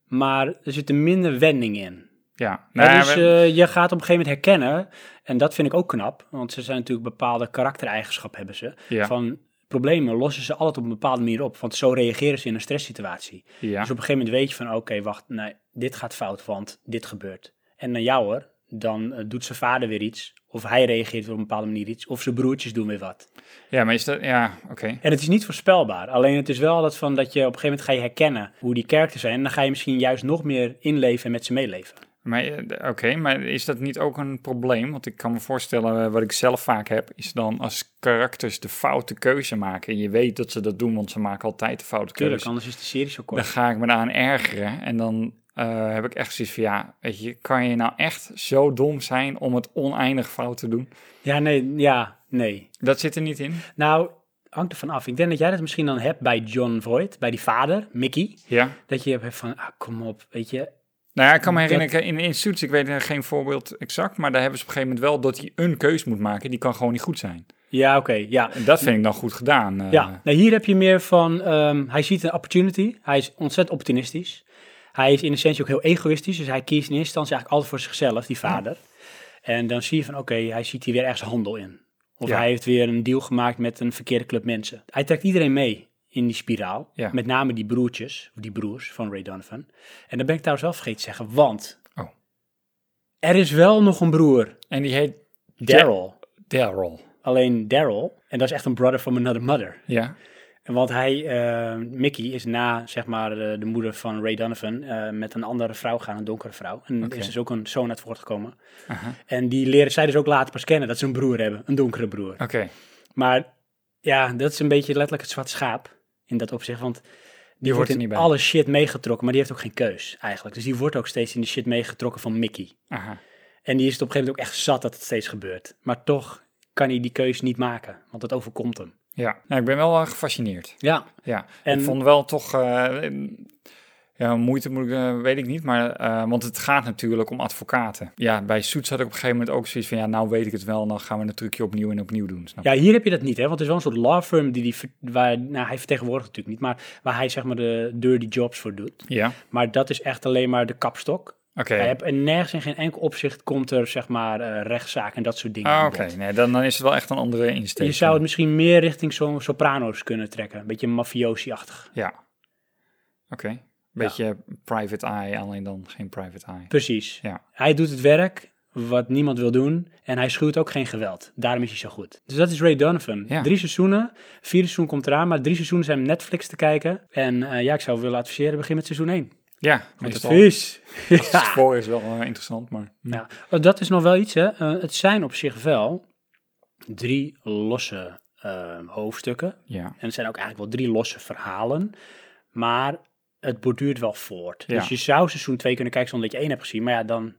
Speaker 1: maar er zit een minder wending in.
Speaker 2: Ja.
Speaker 1: Ja,
Speaker 2: Nou,
Speaker 1: dus
Speaker 2: we-
Speaker 1: eh, je gaat op een gegeven moment herkennen, en dat vind ik ook knap, want ze zijn natuurlijk bepaalde karaktereigenschappen hebben ze.
Speaker 2: Ja.
Speaker 1: Van problemen lossen ze altijd op een bepaalde manier op, want zo reageren ze in een stresssituatie.
Speaker 2: Ja.
Speaker 1: Dus op een gegeven moment weet je van, oké, wacht, nee, dit gaat fout, want dit gebeurt. En dan jou hoor, dan eh, doet zijn vader weer iets, of hij reageert weer op een bepaalde manier iets, of zijn broertjes doen weer wat.
Speaker 2: ja, maar is dat... Ja, oké.
Speaker 1: En het is niet voorspelbaar. Alleen het is wel dat van dat je op een gegeven moment ga je herkennen hoe die characters zijn. En dan ga je misschien juist nog meer inleven en met ze meeleven.
Speaker 2: Maar eh, d- oké, maar is dat niet ook een probleem? Want ik kan me voorstellen, eh, wat ik zelf vaak heb, is dan als karakters de foute keuze maken. En je weet dat ze dat doen, want ze maken altijd de foute
Speaker 1: Tuurlijk,
Speaker 2: keuze.
Speaker 1: anders is de serie zo kort.
Speaker 2: Dan ga ik me daaraan ergeren en dan eh, heb ik echt zoiets van, ja, weet je, kan je nou echt zo dom zijn om het oneindig fout te doen?
Speaker 1: Ja, nee, ja, nee.
Speaker 2: Dat zit er niet in.
Speaker 1: Nou, hangt ervan af. Ik denk dat jij dat misschien dan hebt bij John Voight, bij die vader, Mickey.
Speaker 2: Ja.
Speaker 1: Dat je hebt van, ah, kom op, weet je.
Speaker 2: Nou ja, ik kan me herinneren, in, in Suits, ik weet eh, geen voorbeeld exact, maar daar hebben ze op een gegeven moment wel dat hij een keus moet maken, die kan gewoon niet goed zijn.
Speaker 1: Ja, oké, ja.
Speaker 2: En dat vind ik dan goed gedaan. eh.
Speaker 1: Ja, nou, hier heb je meer van, ehm, hij ziet een opportunity. Hij is ontzettend opportunistisch. Hij is in essentie ook heel egoïstisch, dus hij kiest in eerste instantie eigenlijk altijd voor zichzelf, die vader. En dan zie je van, oké, hij ziet hier weer ergens handel in. Of
Speaker 2: Ja.
Speaker 1: hij heeft weer een deal gemaakt met een verkeerde club mensen. Hij trekt iedereen mee in die spiraal.
Speaker 2: Ja.
Speaker 1: Met name die broertjes, of die broers van Ray Donovan. En dat ben ik trouwens wel vergeten te zeggen, want
Speaker 2: Oh.
Speaker 1: er is wel nog een broer,
Speaker 2: En die heet
Speaker 1: Daryl.
Speaker 2: Daryl.
Speaker 1: Alleen Daryl, en dat is echt een brother from another mother.
Speaker 2: Ja.
Speaker 1: En Want hij, eh, Mickey, is na zeg maar eh, de moeder van Ray Donovan eh, met een andere vrouw gaan, een donkere vrouw. En er is dus ook een zoon uit voortgekomen. En die leren zij dus ook later pas kennen dat ze een broer hebben, een donkere broer.
Speaker 2: Oké.
Speaker 1: Maar ja, dat is een beetje letterlijk het zwarte schaap in dat opzicht. Want die,
Speaker 2: hoort
Speaker 1: wordt
Speaker 2: er
Speaker 1: in
Speaker 2: niet bij.
Speaker 1: alle shit meegetrokken, maar die heeft ook geen keus eigenlijk. Dus die wordt ook steeds in de shit meegetrokken van Mickey.
Speaker 2: Aha.
Speaker 1: En die is het op een gegeven moment ook echt zat dat het steeds gebeurt. Maar toch kan hij die keus niet maken, want dat overkomt hem.
Speaker 2: Ja. Nou, ik ben wel eh, gefascineerd.
Speaker 1: Ja,
Speaker 2: Ja,
Speaker 1: En-
Speaker 2: ik vond wel toch... eh, ja, moeite moet ik, eh, weet ik niet, maar, eh, want het gaat natuurlijk om advocaten. Ja, bij Soets had ik op een gegeven moment ook zoiets van... ja, nou weet ik het wel, dan gaan we het trucje opnieuw en opnieuw doen. Snap je?
Speaker 1: Ja, hier heb je dat niet, hè? Want het is wel een soort law firm die die, ver- waar, nou, hij vertegenwoordigt natuurlijk niet, maar waar hij zeg maar de dirty jobs voor doet.
Speaker 2: Ja, oké.
Speaker 1: Maar dat is echt alleen maar de kapstok. Hij hebt, en nergens in geen enkel opzicht komt er zeg maar eh, rechtszaak en dat soort dingen.
Speaker 2: Ah,
Speaker 1: aan
Speaker 2: oké.
Speaker 1: bod.
Speaker 2: Nee, dan, dan is het wel echt een andere insteek.
Speaker 1: Je zou het misschien meer richting zo'n soprano's kunnen trekken. Een beetje mafiosi-achtig.
Speaker 2: Ja. Oké. Beetje private eye, alleen dan geen private eye.
Speaker 1: Precies.
Speaker 2: Ja.
Speaker 1: Hij doet het werk wat niemand wil doen en hij schuwt ook geen geweld. Daarom is hij zo goed. Dus dat is Ray Donovan.
Speaker 2: Ja.
Speaker 1: Drie seizoenen, vierde seizoen komt eraan, maar drie seizoenen zijn op Netflix te kijken. En eh, ja, ik zou willen adviseren, begin met seizoen 1.
Speaker 2: Ja,
Speaker 1: Met
Speaker 2: meestal.
Speaker 1: vis.
Speaker 2: Het
Speaker 1: Ja.
Speaker 2: spoor is wel eh, interessant, maar...
Speaker 1: ja. Oh, Dat is nog wel iets, hè. Eh, het zijn op zich wel drie losse eh, hoofdstukken.
Speaker 2: Ja.
Speaker 1: En het zijn ook eigenlijk wel drie losse verhalen. Maar het borduurt wel voort.
Speaker 2: Ja.
Speaker 1: Dus je zou seizoen 2 kunnen kijken zonder dat je één hebt gezien. Maar ja, dan...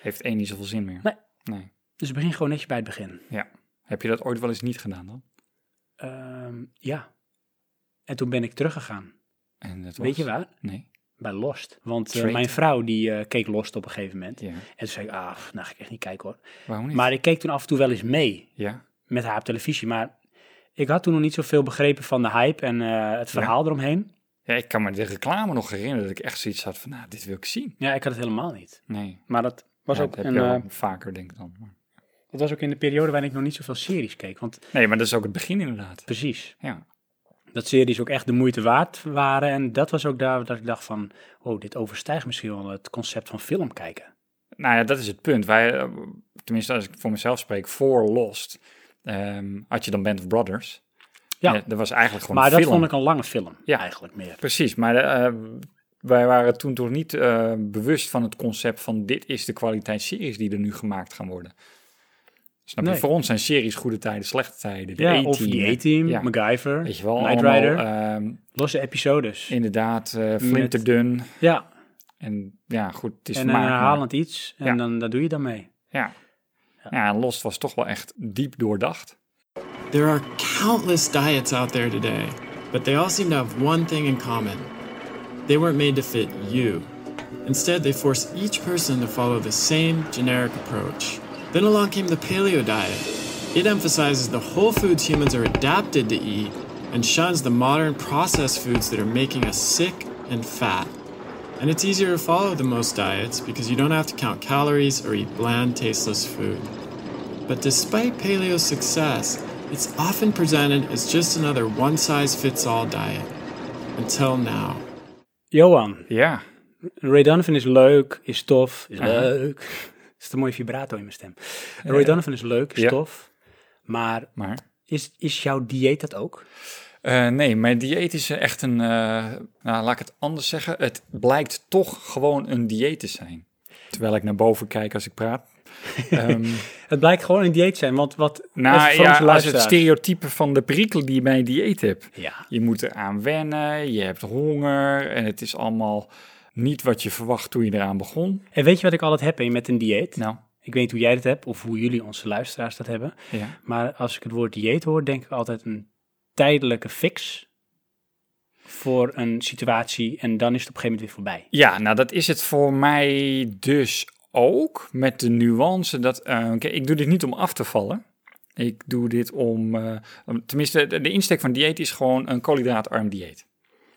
Speaker 2: Heeft één niet zoveel zin meer.
Speaker 1: Nee.
Speaker 2: Nee.
Speaker 1: Dus begin gewoon netjes bij het begin.
Speaker 2: Ja. Heb je dat ooit wel eens niet gedaan dan?
Speaker 1: Ehm, ja. En toen ben ik teruggegaan.
Speaker 2: En dat was...
Speaker 1: Weet je waar?
Speaker 2: Nee.
Speaker 1: Bij Lost. Want eh,
Speaker 2: Straight.
Speaker 1: mijn vrouw die eh, keek Lost op een gegeven moment.
Speaker 2: Ja.
Speaker 1: En toen zei ik, ah, pff, nou ga ik echt niet kijken hoor.
Speaker 2: Waarom niet?
Speaker 1: Maar ik keek toen af en toe wel eens mee.
Speaker 2: Ja.
Speaker 1: met haar op televisie. Maar ik had toen nog niet zoveel begrepen van de hype en eh, het verhaal eromheen.
Speaker 2: Ja, ik kan me de reclame nog herinneren dat ik echt zoiets had van, nou, dit wil ik zien.
Speaker 1: Ja, ik had het helemaal niet.
Speaker 2: Nee.
Speaker 1: Maar dat was,
Speaker 2: Ja,
Speaker 1: ook,
Speaker 2: dat heb
Speaker 1: een,
Speaker 2: je wel
Speaker 1: eh,
Speaker 2: vaker, denk ik dan. Maar-
Speaker 1: dat was ook in de periode waarin ik nog niet zoveel series keek. Want
Speaker 2: Nee, maar dat is ook het begin inderdaad.
Speaker 1: precies,
Speaker 2: Ja.
Speaker 1: dat series ook echt de moeite waard waren. En dat was ook daar dat ik dacht van, oh, dit overstijgt misschien wel het concept van film kijken.
Speaker 2: Nou ja, dat is het punt. Wij, eh, tenminste, als ik voor mezelf spreek, voor Lost ehm, had je dan Band of Brothers. Eh,
Speaker 1: Ja.
Speaker 2: dat was eigenlijk gewoon
Speaker 1: maar
Speaker 2: een
Speaker 1: dat
Speaker 2: film.
Speaker 1: vond ik een lange film,
Speaker 2: Ja.
Speaker 1: eigenlijk meer.
Speaker 2: Precies, maar eh, wij waren toen toch niet eh, bewust van het concept van dit is de kwaliteit series die er nu gemaakt gaan worden. Snap
Speaker 1: Nee.
Speaker 2: je? Voor ons zijn series goede tijden, slechte tijden. De
Speaker 1: Ja,
Speaker 2: A-team,
Speaker 1: of die A-Team,
Speaker 2: Ja.
Speaker 1: MacGyver,
Speaker 2: Weet je wel,
Speaker 1: Knight
Speaker 2: allemaal,
Speaker 1: Rider,
Speaker 2: ehm,
Speaker 1: losse episodes.
Speaker 2: inderdaad, eh flinterdun.
Speaker 1: ja,
Speaker 2: En ja, goed, het is
Speaker 1: en eh, een
Speaker 2: vermaak, maar-
Speaker 1: herhalend iets. En
Speaker 2: Ja.
Speaker 1: dan, dat doe je dan mee.
Speaker 2: Ja. ja, en Lost was toch wel echt diep doordacht.
Speaker 7: There are countless diets out there today, but they all seem to have one thing in common. They weren't made to fit you. Instead, they force each person to follow the same generic approach. Then along came the paleo diet. It emphasizes the whole foods humans are adapted to eat and shuns the modern processed foods that are making us sick and fat. And it's easier to follow than most diets because you don't have to count calories or eat bland, tasteless food. But despite paleo's success, it's often presented as just another one size fits all diet. Until now.
Speaker 1: Johan,
Speaker 2: Ja,
Speaker 1: Ray Donovan is leuk, is tof, is leuk. Er zit een mooie vibrato in mijn stem. Ray Donovan is leuk, is
Speaker 2: Ja.
Speaker 1: tof. Maar
Speaker 2: maar...
Speaker 1: is, is jouw dieet dat ook?
Speaker 2: Eh, nee, mijn dieet is echt een... eh, nou, laat ik het anders zeggen. Het blijkt toch gewoon een dieet te zijn. Terwijl ik naar boven kijk als ik praat. Ehm,
Speaker 1: Het blijkt gewoon een dieet te zijn, want wat... even
Speaker 2: nou
Speaker 1: voor
Speaker 2: ja,
Speaker 1: onze
Speaker 2: als het
Speaker 1: luisteraars.
Speaker 2: stereotype van de prikkel die je bij een dieet hebt.
Speaker 1: Ja.
Speaker 2: Je moet eraan wennen, je hebt honger en het is allemaal niet wat je verwacht toen je eraan begon.
Speaker 1: En weet je wat ik altijd heb hè, met een dieet?
Speaker 2: Nou,
Speaker 1: Ik weet niet hoe jij dat hebt of hoe jullie onze luisteraars dat hebben.
Speaker 2: ja.
Speaker 1: Maar als ik het woord dieet hoor, denk ik altijd een tijdelijke fix voor een situatie. En dan is het op een gegeven moment weer voorbij.
Speaker 2: Ja, nou dat is het voor mij dus ook. Met de nuance dat. eh kijk, ik doe dit niet om af te vallen. Ik doe dit om. eh, om- tenminste, de, de insteek van dieet is gewoon een koolhydraatarm dieet.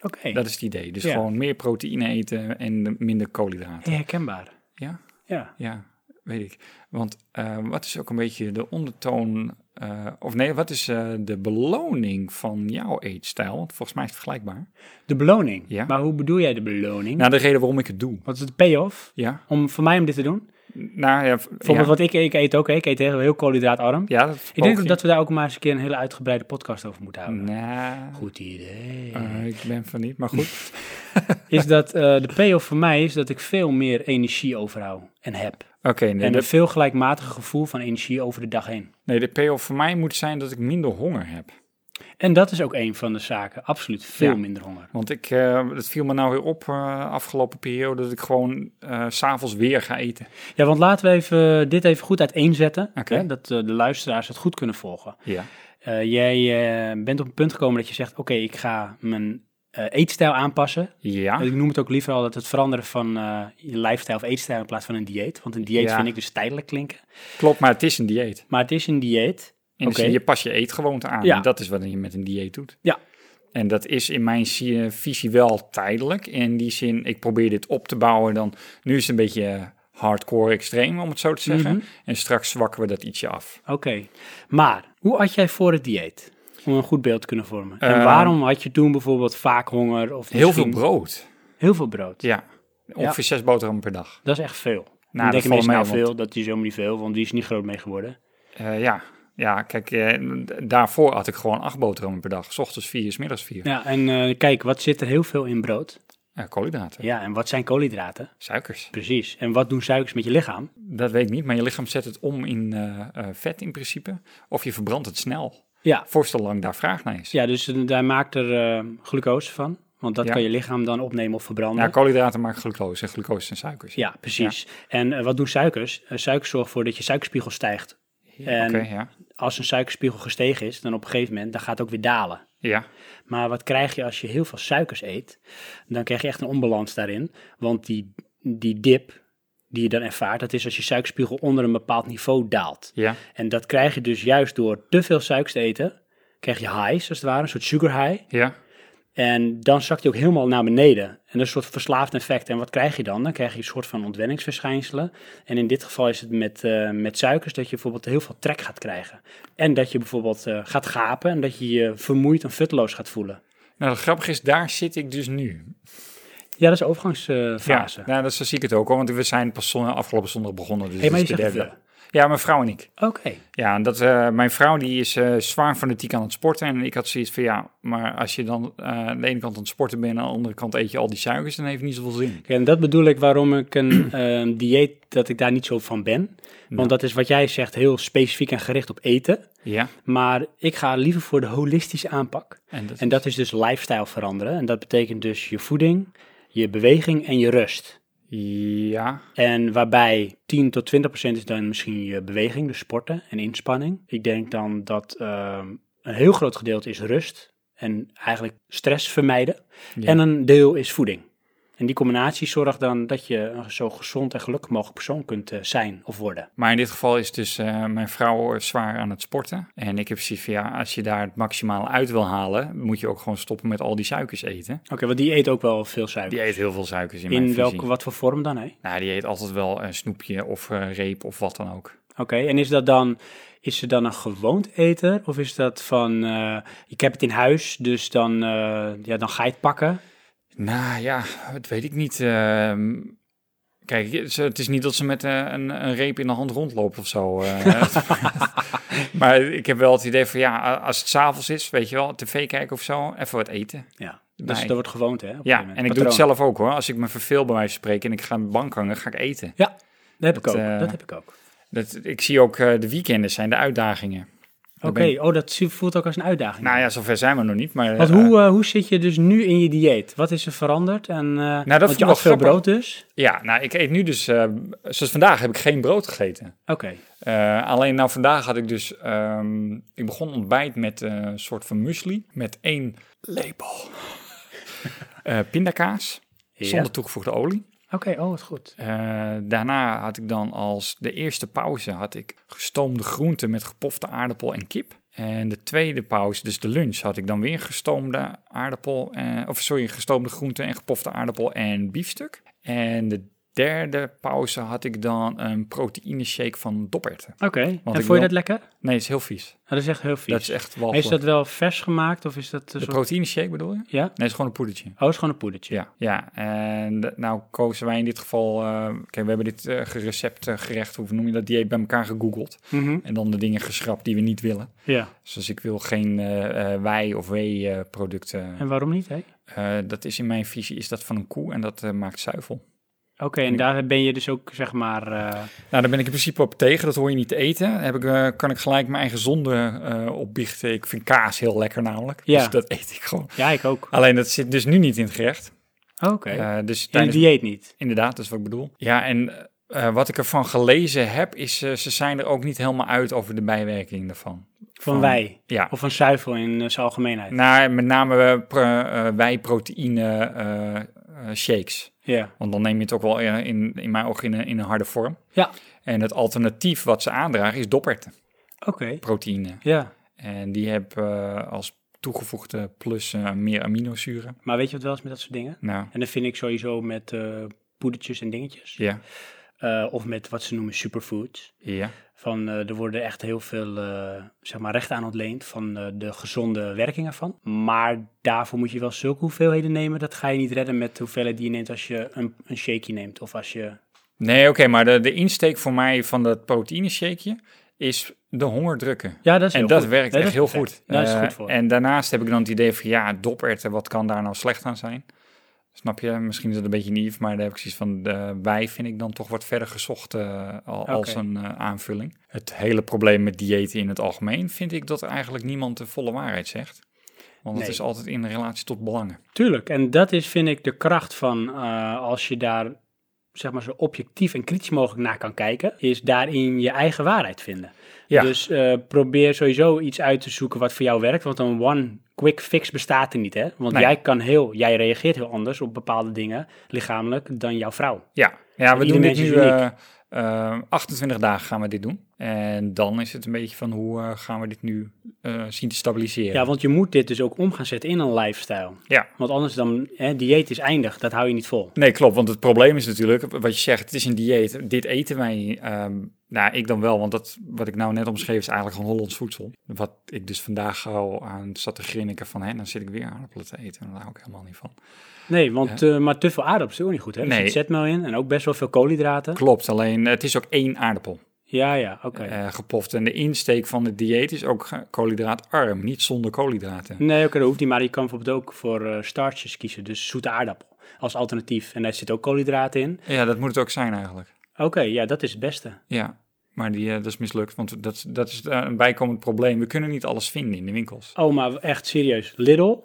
Speaker 1: Oké, Oké.
Speaker 2: Dat is het idee. Dus
Speaker 1: Ja.
Speaker 2: gewoon meer proteïne eten en minder koolhydraten.
Speaker 1: Herkenbaar.
Speaker 2: Ja,
Speaker 1: Ja.
Speaker 2: ja, weet ik. Want eh, wat is ook een beetje de ondertoon, eh, of nee, wat is eh, de beloning van jouw eetstijl? Want Volgens mij is het vergelijkbaar.
Speaker 1: De beloning.
Speaker 2: Ja.
Speaker 1: Maar hoe bedoel jij de beloning?
Speaker 2: Nou, de reden waarom ik het doe.
Speaker 1: Wat is de payoff?
Speaker 2: Ja,
Speaker 1: Om, voor mij om dit te doen?
Speaker 2: nou ja. v-
Speaker 1: Bijvoorbeeld
Speaker 2: ja.
Speaker 1: wat ik, ik eet ook, hè. ik eet heel, heel koolhydraatarm.
Speaker 2: Ja, dat
Speaker 1: ik denk
Speaker 2: poog
Speaker 1: ook
Speaker 2: je.
Speaker 1: dat we daar ook maar eens een keer een hele uitgebreide podcast over moeten houden.
Speaker 2: Nou,
Speaker 1: Goed idee.
Speaker 2: eh, ik ben van niet, maar goed.
Speaker 1: Is dat eh, de payoff voor mij is dat ik veel meer energie overhoud en heb.
Speaker 2: Oké, nee,
Speaker 1: en een
Speaker 2: de,
Speaker 1: veel gelijkmatiger gevoel van energie over de dag heen.
Speaker 2: nee, de payoff voor mij moet zijn dat ik minder honger heb.
Speaker 1: En dat is ook een van de zaken. Absoluut veel
Speaker 2: Ja.
Speaker 1: minder honger.
Speaker 2: Want ik, eh het viel me nou weer op eh, afgelopen periode dat ik gewoon eh, s s'avonds weer ga eten.
Speaker 1: Ja, want laten we even, eh, dit even goed uiteenzetten.
Speaker 2: Oké.
Speaker 1: Hè, dat eh, de luisteraars het goed kunnen volgen.
Speaker 2: Ja.
Speaker 1: Eh, jij eh, bent op een punt gekomen dat je zegt: Oké, ik ga mijn eh, eetstijl aanpassen.
Speaker 2: Ja.
Speaker 1: Ik noem het ook liever al dat het veranderen van eh, je lifestyle of eetstijl in plaats van een dieet. Want een dieet
Speaker 2: Ja.
Speaker 1: vind ik dus tijdelijk klinken.
Speaker 2: Klopt, maar het is een dieet.
Speaker 1: Maar het is een dieet.
Speaker 2: In de
Speaker 1: Oké.
Speaker 2: zin, je pas je eetgewoonte aan.
Speaker 1: Ja.
Speaker 2: En dat is wat je met een dieet doet.
Speaker 1: Ja.
Speaker 2: En dat is in mijn zie- eh, visie wel tijdelijk. In die zin, ik probeer dit op te bouwen. Dan, nu is het een beetje eh, hardcore extreem, om het zo te zeggen. En straks zwakken we dat ietsje af.
Speaker 1: Oké. Maar hoe had jij voor het dieet? Om een goed beeld te kunnen vormen. en
Speaker 2: Eh,
Speaker 1: waarom had je toen bijvoorbeeld vaak honger? Of
Speaker 2: Heel veel
Speaker 1: misschien-
Speaker 2: brood.
Speaker 1: Heel veel brood.
Speaker 2: Ja. Ongeveer zes boterhammen per dag.
Speaker 1: Dat is echt veel.
Speaker 2: dat
Speaker 1: Nou, denk je
Speaker 2: valt
Speaker 1: meestal
Speaker 2: mee,
Speaker 1: nou
Speaker 2: want-
Speaker 1: veel, dat is helemaal niet veel, want die is niet groot mee geworden.
Speaker 2: Eh, ja. Ja, kijk, eh, d- daarvoor had ik gewoon acht boterhammen per dag. S ochtends vier, s middags vier.
Speaker 1: Ja, en eh, kijk, wat zit er heel veel in brood?
Speaker 2: Eh, koolhydraten,
Speaker 1: Ja, en wat zijn koolhydraten?
Speaker 2: suikers.
Speaker 1: Precies. En wat doen suikers met je lichaam?
Speaker 2: Dat weet ik niet, maar je lichaam zet het om in eh, eh, vet in principe. Of je verbrandt het snel.
Speaker 1: Ja,
Speaker 2: voorstel lang daar vraag naar is.
Speaker 1: ja dus eh, daar maakt er eh, glucose van, want dat
Speaker 2: Ja.
Speaker 1: kan je lichaam dan opnemen of verbranden.
Speaker 2: Ja, koolhydraten maken glucose en glucose zijn suikers.
Speaker 1: Ja, precies. En eh, wat doen suikers? Eh, suikers zorgen ervoor dat je suikerspiegel stijgt. En
Speaker 2: Oké, ja.
Speaker 1: als een suikerspiegel gestegen is, dan op een gegeven moment, dan gaat het ook weer dalen.
Speaker 2: Ja.
Speaker 1: Maar wat krijg je als je heel veel suikers eet? Dan krijg je echt een onbalans daarin. Want die, die dip die je dan ervaart, dat is als je suikerspiegel onder een bepaald niveau daalt.
Speaker 2: Ja.
Speaker 1: En dat krijg je dus juist door te veel suikers te eten, krijg je highs als het ware, een soort sugar high.
Speaker 2: Ja.
Speaker 1: En dan zakt hij ook helemaal naar beneden. En dat is een soort verslaafd effect. En wat krijg je dan? Dan krijg je een soort van ontwenningsverschijnselen. En in dit geval is het met, eh, met suikers dat je bijvoorbeeld heel veel trek gaat krijgen. En dat je bijvoorbeeld eh, gaat gapen en dat je je vermoeid en futloos gaat voelen.
Speaker 2: Nou, het grappige is, daar zit ik dus nu.
Speaker 1: Ja, dat is de overgangsfase.
Speaker 2: Ja, nou, dat, zo zie ik het ook al, want we zijn pas zon- afgelopen zondag begonnen. Dus
Speaker 1: Hey, maar
Speaker 2: dit
Speaker 1: je
Speaker 2: is de
Speaker 1: zegt
Speaker 2: derde. Ja, mijn vrouw en ik.
Speaker 1: Oké.
Speaker 2: Ja, en dat, eh, mijn vrouw die is eh, zwaar fanatiek aan het sporten. En ik had zoiets van, ja, maar als je dan eh, aan de ene kant aan het sporten bent... en aan de andere kant eet je al die suikers, dan heeft het niet zoveel zin.
Speaker 1: Oké, En dat bedoel ik waarom ik een eh, dieet, dat ik daar niet zo van ben. Want dat is wat jij zegt, heel specifiek en gericht op eten.
Speaker 2: Ja,
Speaker 1: Maar ik ga liever voor de holistische aanpak.
Speaker 2: en dat,
Speaker 1: En dat is dus lifestyle veranderen. En dat betekent dus je voeding, je beweging en je rust.
Speaker 2: Ja,
Speaker 1: En waarbij 10 tot 20 procent is dan misschien je beweging, dus sporten en inspanning. Ik denk dan dat ehm, een heel groot gedeelte is rust en eigenlijk stress vermijden. En een deel is voeding. En die combinatie zorgt dan dat je een zo gezond en gelukkig mogelijk persoon kunt eh, zijn of worden.
Speaker 2: Maar in dit geval is dus eh, mijn vrouw zwaar aan het sporten. En ik heb zoiets van, ja, als je daar het maximaal uit wil halen, moet je ook gewoon stoppen met al die suikers eten.
Speaker 1: Oké, want die eet ook wel veel suiker.
Speaker 2: Die eet heel veel suikers in, mijn
Speaker 1: In
Speaker 2: visie.
Speaker 1: welke, wat voor vorm dan, hè?
Speaker 2: Nou, die eet altijd wel een snoepje of eh, reep of wat dan ook.
Speaker 1: Oké, en is dat dan, is ze dan een gewoond eter? Of is dat van, eh, ik heb het in huis, dus dan, eh, ja, dan ga je het pakken?
Speaker 2: Nou ja, dat weet ik niet. Ehm, kijk, ze- het is niet dat ze met eh, een, een reep in de hand rondloopt of zo. eh. maar ik heb wel het idee van, ja, als het s'avonds is, weet je wel, tv kijken of zo, even wat eten.
Speaker 1: Ja.
Speaker 2: Nee.
Speaker 1: Dus dat wordt gewoond, hè? op een
Speaker 2: Ja,
Speaker 1: gegeven
Speaker 2: en ik
Speaker 1: moment.
Speaker 2: doe het
Speaker 1: Patroon.
Speaker 2: zelf ook hoor. Als ik me verveel bij wijze van spreken en ik ga aan de bank hangen, ga ik eten.
Speaker 1: Ja, dat heb ik
Speaker 2: Het,
Speaker 1: ook.
Speaker 2: eh,
Speaker 1: dat heb ik ook.
Speaker 2: Dat, ik zie ook eh, de weekenden zijn de uitdagingen.
Speaker 1: Oké,
Speaker 2: ben
Speaker 1: oh, dat zie- voelt ook als een uitdaging.
Speaker 2: Nou ja, zover zijn we nog niet. Maar,
Speaker 1: want
Speaker 2: eh,
Speaker 1: hoe, eh, hoe zit je dus nu in je dieet? Wat is er veranderd? En, eh,
Speaker 2: Nou, dat
Speaker 1: want
Speaker 2: vond
Speaker 1: je
Speaker 2: ik
Speaker 1: had
Speaker 2: wel
Speaker 1: veel
Speaker 2: grappig.
Speaker 1: brood dus?
Speaker 2: ja, nou ik eet nu dus, eh, zoals vandaag heb ik geen brood gegeten.
Speaker 1: Oké,
Speaker 2: Eh, alleen nou vandaag had ik dus, ehm, ik begon ontbijt met eh, een soort van muesli. Met één lepel eh, pindakaas,
Speaker 1: Ja.
Speaker 2: zonder toegevoegde olie.
Speaker 1: Oké, oh, wat goed.
Speaker 2: Eh, daarna had ik dan als de eerste pauze had ik gestoomde groenten met gepofte aardappel en kip. En de tweede pauze, dus de lunch, had ik dan weer gestoomde aardappel, eh, of sorry, gestoomde groenten en gepofte aardappel en biefstuk. En de derde pauze had ik dan een proteïne shake van doperten.
Speaker 1: Oké, en
Speaker 2: ik
Speaker 1: vond je
Speaker 2: wil-
Speaker 1: dat lekker? Nou,
Speaker 2: Nee, het is heel vies.
Speaker 1: dat is echt heel vies.
Speaker 2: Dat is
Speaker 1: Maar
Speaker 2: echt
Speaker 1: Is dat
Speaker 2: walgelijk.
Speaker 1: wel vers gemaakt of is dat een
Speaker 2: De
Speaker 1: soort...
Speaker 2: proteïne shake bedoel je?
Speaker 1: Ja?
Speaker 2: Nee, het is gewoon een poedertje.
Speaker 1: Oh, het is gewoon een poedertje.
Speaker 2: Ja, ja. En d- nou kozen wij in dit geval... eh, Oké, we hebben dit eh gerecept, eh, gerecht, hoe noem je dat, dieet bij elkaar gegoogeld.
Speaker 1: Mhm.
Speaker 2: En dan de dingen geschrapt die we niet willen.
Speaker 1: Ja.
Speaker 2: Dus als ik wil geen eh, eh, wij of wee eh, producten.
Speaker 1: En waarom niet, hè?
Speaker 2: Eh, dat is in mijn visie is dat van een koe en dat eh, maakt zuivel.
Speaker 1: Oké, en daar ben je dus ook, zeg maar... eh,
Speaker 2: Nou, daar ben ik in principe op tegen. Dat hoor je niet te eten. Heb ik, eh, kan ik gelijk mijn eigen zonde eh, opbiechten. Ik vind kaas heel lekker namelijk.
Speaker 1: Ja.
Speaker 2: Dus dat eet ik gewoon.
Speaker 1: Ja, ik ook.
Speaker 2: Alleen dat zit dus nu niet in het gerecht.
Speaker 1: Oké.
Speaker 2: Eh, dus
Speaker 1: In het
Speaker 2: tijdens-
Speaker 1: dieet niet.
Speaker 2: Inderdaad, dat is wat ik bedoel. Ja, en eh, wat ik ervan gelezen heb, is eh, ze zijn er ook niet helemaal uit over de bijwerking daarvan.
Speaker 1: Van, wij.
Speaker 2: Ja.
Speaker 1: Of van zuivel in eh, zijn algemeenheid.
Speaker 2: Nou, met name eh, pro- eh, wij-proteïne eh, eh, shakes.
Speaker 1: Ja.
Speaker 2: Want dan neem je het ook wel eh, in, in mijn ogen in, een- in een harde vorm.
Speaker 1: Ja.
Speaker 2: En het alternatief wat ze aandragen is dopperten,
Speaker 1: Oké.
Speaker 2: proteïne.
Speaker 1: Ja.
Speaker 2: En die heb eh, als toegevoegde plus eh, meer aminozuren.
Speaker 1: Maar weet je wat wel is met dat soort dingen?
Speaker 2: Nou,
Speaker 1: En dat vind ik sowieso met eh, poedertjes en dingetjes.
Speaker 2: ja,
Speaker 1: Eh, of met wat ze noemen superfoods.
Speaker 2: ja,
Speaker 1: Van, eh, er worden echt heel veel eh, zeg maar rechten aan ontleend van eh, de gezonde werkingen van. Maar daarvoor moet je wel zulke hoeveelheden nemen. Dat ga je niet redden met de hoeveelheid die je neemt als je een, een shakeje neemt. Of als je...
Speaker 2: Nee, oké, maar de, de insteek voor mij van dat proteïne shakeje is de honger drukken.
Speaker 1: Ja, dat is
Speaker 2: en
Speaker 1: heel
Speaker 2: dat
Speaker 1: goed.
Speaker 2: werkt
Speaker 1: Nee,
Speaker 2: echt
Speaker 1: dat is
Speaker 2: heel
Speaker 1: perfect.
Speaker 2: goed.
Speaker 1: Daar is het
Speaker 2: Eh,
Speaker 1: goed voor.
Speaker 2: En daarnaast heb ik dan het idee van, ja, doperten, wat kan daar nou slecht aan zijn? Snap je? Misschien is dat een beetje naïef, maar daar heb ik zoiets van, de wij vind ik dan toch wat verder gezocht eh, al- als
Speaker 1: Oké.
Speaker 2: een eh, aanvulling. Het hele probleem met diëten in het algemeen vind ik dat eigenlijk niemand de volle waarheid zegt. Want het
Speaker 1: Nee.
Speaker 2: is altijd in relatie tot belangen.
Speaker 1: Tuurlijk, en dat is vind ik de kracht van eh, als je daar zeg maar zo objectief en kritisch mogelijk naar kan kijken, is daarin je eigen waarheid vinden.
Speaker 2: Ja.
Speaker 1: Dus eh, probeer sowieso iets uit te zoeken wat voor jou werkt, want een one quick fix bestaat er niet, hè? Want
Speaker 2: Nee.
Speaker 1: jij kan heel, jij reageert heel anders op bepaalde dingen lichamelijk dan jouw vrouw.
Speaker 2: Ja, ja we
Speaker 1: ieder
Speaker 2: doen dit
Speaker 1: mens is
Speaker 2: nu
Speaker 1: uniek.
Speaker 2: eh, eh, 28 dagen gaan we dit doen. En dan is het een beetje van hoe eh, gaan we dit nu eh, zien te stabiliseren.
Speaker 1: Ja, want je moet dit dus ook om gaan zetten in een lifestyle.
Speaker 2: Ja.
Speaker 1: Want anders dan, hè, dieet is eindig, dat hou je niet vol.
Speaker 2: Nee, klopt. Want het probleem is natuurlijk, wat je zegt, het is een dieet. Dit eten wij, ehm, nou ik dan wel, want dat, wat ik nou net omschreef is eigenlijk gewoon Hollands voedsel. Wat ik dus vandaag al aan zat te grinniken van, hè, dan zit ik weer aardappelen te eten. En daar hou ik helemaal niet van.
Speaker 1: Nee, want eh, maar te veel aardappels is ook niet goed, hè? Dus Er
Speaker 2: Nee.
Speaker 1: zit zetmeel in en ook best wel veel koolhydraten.
Speaker 2: Klopt, alleen het is ook één aardappel
Speaker 1: Ja, ja, oké.
Speaker 2: eh, gepoft. En de insteek van het dieet is ook eh, koolhydraatarm, niet zonder koolhydraten.
Speaker 1: Nee, oké, dat hoeft niet. Maar je kan bijvoorbeeld ook voor eh, starches kiezen. Dus zoete aardappel als alternatief. En daar zit ook koolhydraten in.
Speaker 2: Ja, dat moet het ook zijn eigenlijk.
Speaker 1: Oké, ja, dat is het beste.
Speaker 2: Ja, maar die, eh, dat is mislukt, want dat, is- dat is eh, een bijkomend probleem. We kunnen niet alles vinden in de winkels.
Speaker 1: Oh, maar echt serieus. Lidl,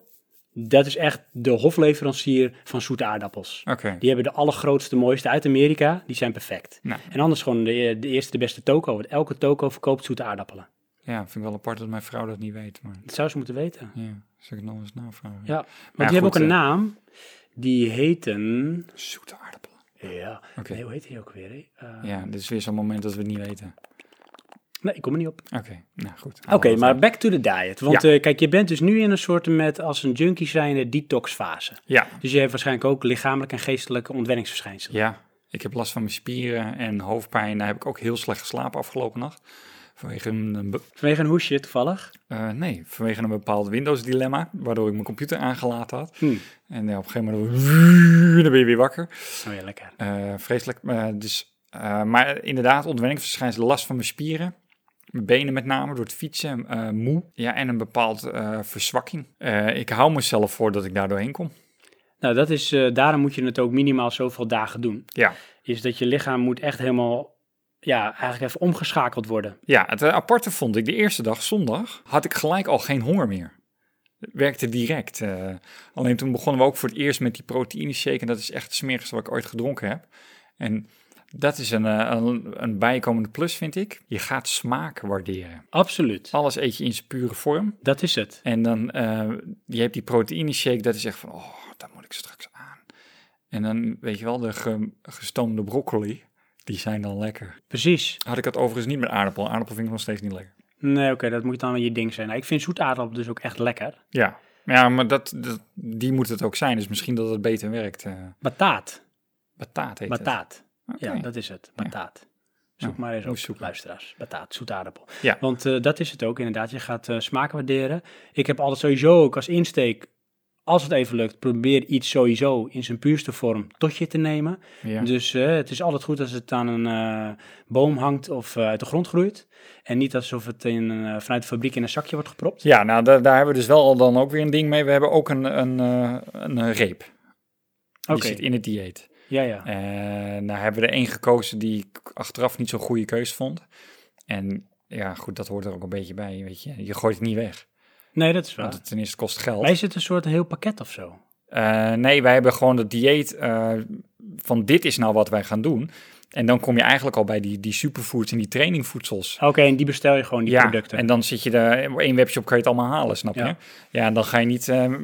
Speaker 1: dat is echt de hofleverancier van zoete aardappels.
Speaker 2: Oké,
Speaker 1: Die hebben de allergrootste, mooiste uit Amerika. Die zijn perfect.
Speaker 2: Nou.
Speaker 1: En anders gewoon de, de eerste, de beste toko. Want elke toko verkoopt zoete aardappelen.
Speaker 2: ja, vind ik wel apart dat mijn vrouw dat niet weet, maar
Speaker 1: Dat zou ze moeten weten.
Speaker 2: ja, zal ik het nog eens navragen.
Speaker 1: Ja, want die
Speaker 2: Maar
Speaker 1: hebben ook
Speaker 2: goed,
Speaker 1: een
Speaker 2: eh,
Speaker 1: naam. Die heten...
Speaker 2: Zoete aardappelen.
Speaker 1: Ja,
Speaker 2: Oké.
Speaker 1: nee, hoe heet die ook weer? hè? Eh,
Speaker 2: Ja, dit is weer zo'n moment dat we het niet weten.
Speaker 1: nee, ik kom er niet op.
Speaker 2: Oké, nou goed.
Speaker 1: Oké, maar back to the diet. Want
Speaker 2: Ja.
Speaker 1: eh, kijk, je bent dus nu in een soort met als een junkie zijnde detoxfase.
Speaker 2: Ja,
Speaker 1: Dus je hebt waarschijnlijk ook lichamelijk en geestelijke ontwenningsverschijnselen.
Speaker 2: ja, ik heb last van mijn spieren en hoofdpijn. Daar heb ik ook heel slecht geslapen afgelopen nacht. Vanwege een, een be-
Speaker 1: Vanwege een hoesje toevallig.
Speaker 2: eh, nee, vanwege een bepaald Windows-dilemma, waardoor ik mijn computer aangelaten had.
Speaker 1: Hm.
Speaker 2: En ja, op een gegeven moment dan ben je weer wakker.
Speaker 1: Oh ja, lekker.
Speaker 2: Eh, vreselijk. Eh, dus, eh, maar inderdaad, ontwenningsverschijnselen, last van mijn spieren. Mijn benen met name, door het fietsen, eh, moe. Ja, en een bepaald eh, verzwakking. Eh, ik hou mezelf voor dat ik daar doorheen kom.
Speaker 1: Nou, dat is, eh, daarom moet je het ook minimaal zoveel dagen doen.
Speaker 2: Ja,
Speaker 1: Is dat je lichaam moet echt helemaal, ja, eigenlijk even omgeschakeld worden.
Speaker 2: ja het eh, aparte vond ik, de eerste dag, zondag, had ik gelijk al geen honger meer. Het werkte direct. eh. alleen toen begonnen we ook voor het eerst met die proteïne shake. En dat is echt het smerigste wat ik ooit gedronken heb. En dat is een, eh, een, een bijkomende plus, vind ik. Je gaat smaak waarderen.
Speaker 1: Absoluut.
Speaker 2: Alles eet je in zijn pure vorm.
Speaker 1: Dat is het.
Speaker 2: En dan, eh, je hebt die proteïne shake, dat is echt van, oh, dat moet ik straks aan. En dan, weet je wel, de ge- gestoomde broccoli, die zijn dan lekker.
Speaker 1: Precies.
Speaker 2: Had ik dat overigens niet met aardappel. Aardappel vind ik nog steeds niet lekker.
Speaker 1: Nee, oké, dat moet dan wel je ding zijn. Nou, ik vind zoete aardappel dus ook echt lekker.
Speaker 2: Ja, ja maar dat, dat, die moet het ook zijn. Dus misschien dat het beter werkt. eh
Speaker 1: Bataat.
Speaker 2: bataat heet het.
Speaker 1: Bataat.
Speaker 2: Oké.
Speaker 1: Ja, dat is het. Bataat. Zoek
Speaker 2: Ja,
Speaker 1: maar eens
Speaker 2: moet
Speaker 1: op,
Speaker 2: zoeken.
Speaker 1: luisteraars. Bataat, zoete aardappel.
Speaker 2: Ja.
Speaker 1: Want eh, dat is het ook, inderdaad. Je gaat eh smaken waarderen. Ik heb altijd sowieso ook als insteek, als het even lukt, probeer iets sowieso in zijn puurste vorm tot je te nemen.
Speaker 2: Ja.
Speaker 1: Dus eh, het is altijd goed als het aan een eh, boom hangt of eh, uit de grond groeit. En niet alsof het in, een, eh, vanuit de fabriek in een zakje wordt gepropt.
Speaker 2: Ja, nou daar, daar hebben we dus wel dan ook weer een ding mee. We hebben ook een, een, eh, een reep. Die
Speaker 1: Oké.
Speaker 2: zit in het dieet.
Speaker 1: Ja, ja.
Speaker 2: En nou hebben we er één gekozen die ik achteraf niet zo'n goede keus vond. En ja, goed, dat hoort er ook een beetje bij. Weet je, je gooit het niet weg.
Speaker 1: Nee, dat is waar.
Speaker 2: Want het ten eerste kost het geld.
Speaker 1: Wij zitten een soort heel pakket of zo.
Speaker 2: Eh, nee, wij hebben gewoon het dieet eh, van dit is nou wat wij gaan doen. En dan kom je eigenlijk al bij die, die superfoods en die trainingvoedsels.
Speaker 1: Oké, en die bestel je gewoon, die producten.
Speaker 2: en dan zit je er, op één webshop kan je het allemaal halen, snap
Speaker 1: Ja.
Speaker 2: je? Ja, en dan ga je niet eh, eh,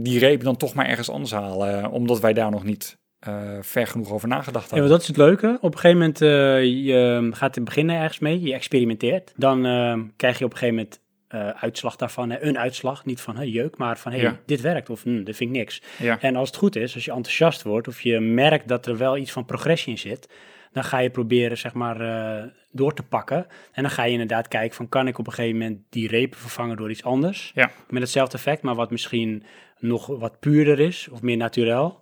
Speaker 2: die reep dan toch maar ergens anders halen, eh, omdat wij daar nog niet eh, ver genoeg over nagedacht
Speaker 1: Ja,
Speaker 2: hebben.
Speaker 1: want dat is het leuke. Op een gegeven moment eh, je gaat in het begin ergens mee, je experimenteert. Dan eh, krijg je op een gegeven moment eh, uitslag daarvan. hè. Een uitslag, niet van hey, jeuk, maar van hey,
Speaker 2: Ja.
Speaker 1: dit werkt of hm, dit vind ik niks.
Speaker 2: Ja.
Speaker 1: En als het goed is, als je enthousiast wordt of je merkt dat er wel iets van progressie in zit, dan ga je proberen zeg maar eh, door te pakken. En dan ga je inderdaad kijken van kan ik op een gegeven moment die repen vervangen door iets anders.
Speaker 2: Ja.
Speaker 1: Met hetzelfde effect, maar wat misschien nog wat puurder is of meer natuurlijk.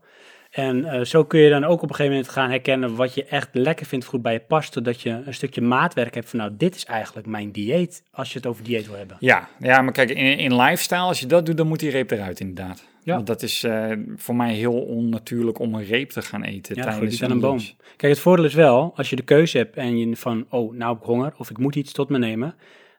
Speaker 1: En eh, zo kun je dan ook op een gegeven moment gaan herkennen wat je echt lekker vindt, goed bij je past, zodat je een stukje maatwerk hebt van nou, dit is eigenlijk mijn dieet, als je het over dieet wil hebben.
Speaker 2: Ja, ja, maar kijk, in, in lifestyle, als je dat doet, dan moet die reep eruit inderdaad.
Speaker 1: Ja.
Speaker 2: Want dat is eh, voor mij heel onnatuurlijk om een reep te gaan eten
Speaker 1: Ja, goed,
Speaker 2: tijdens
Speaker 1: niet aan een boom.
Speaker 2: lunch.
Speaker 1: Kijk, het voordeel is wel, als je de keuze hebt en je van, oh, nou heb ik honger of ik moet iets tot me nemen,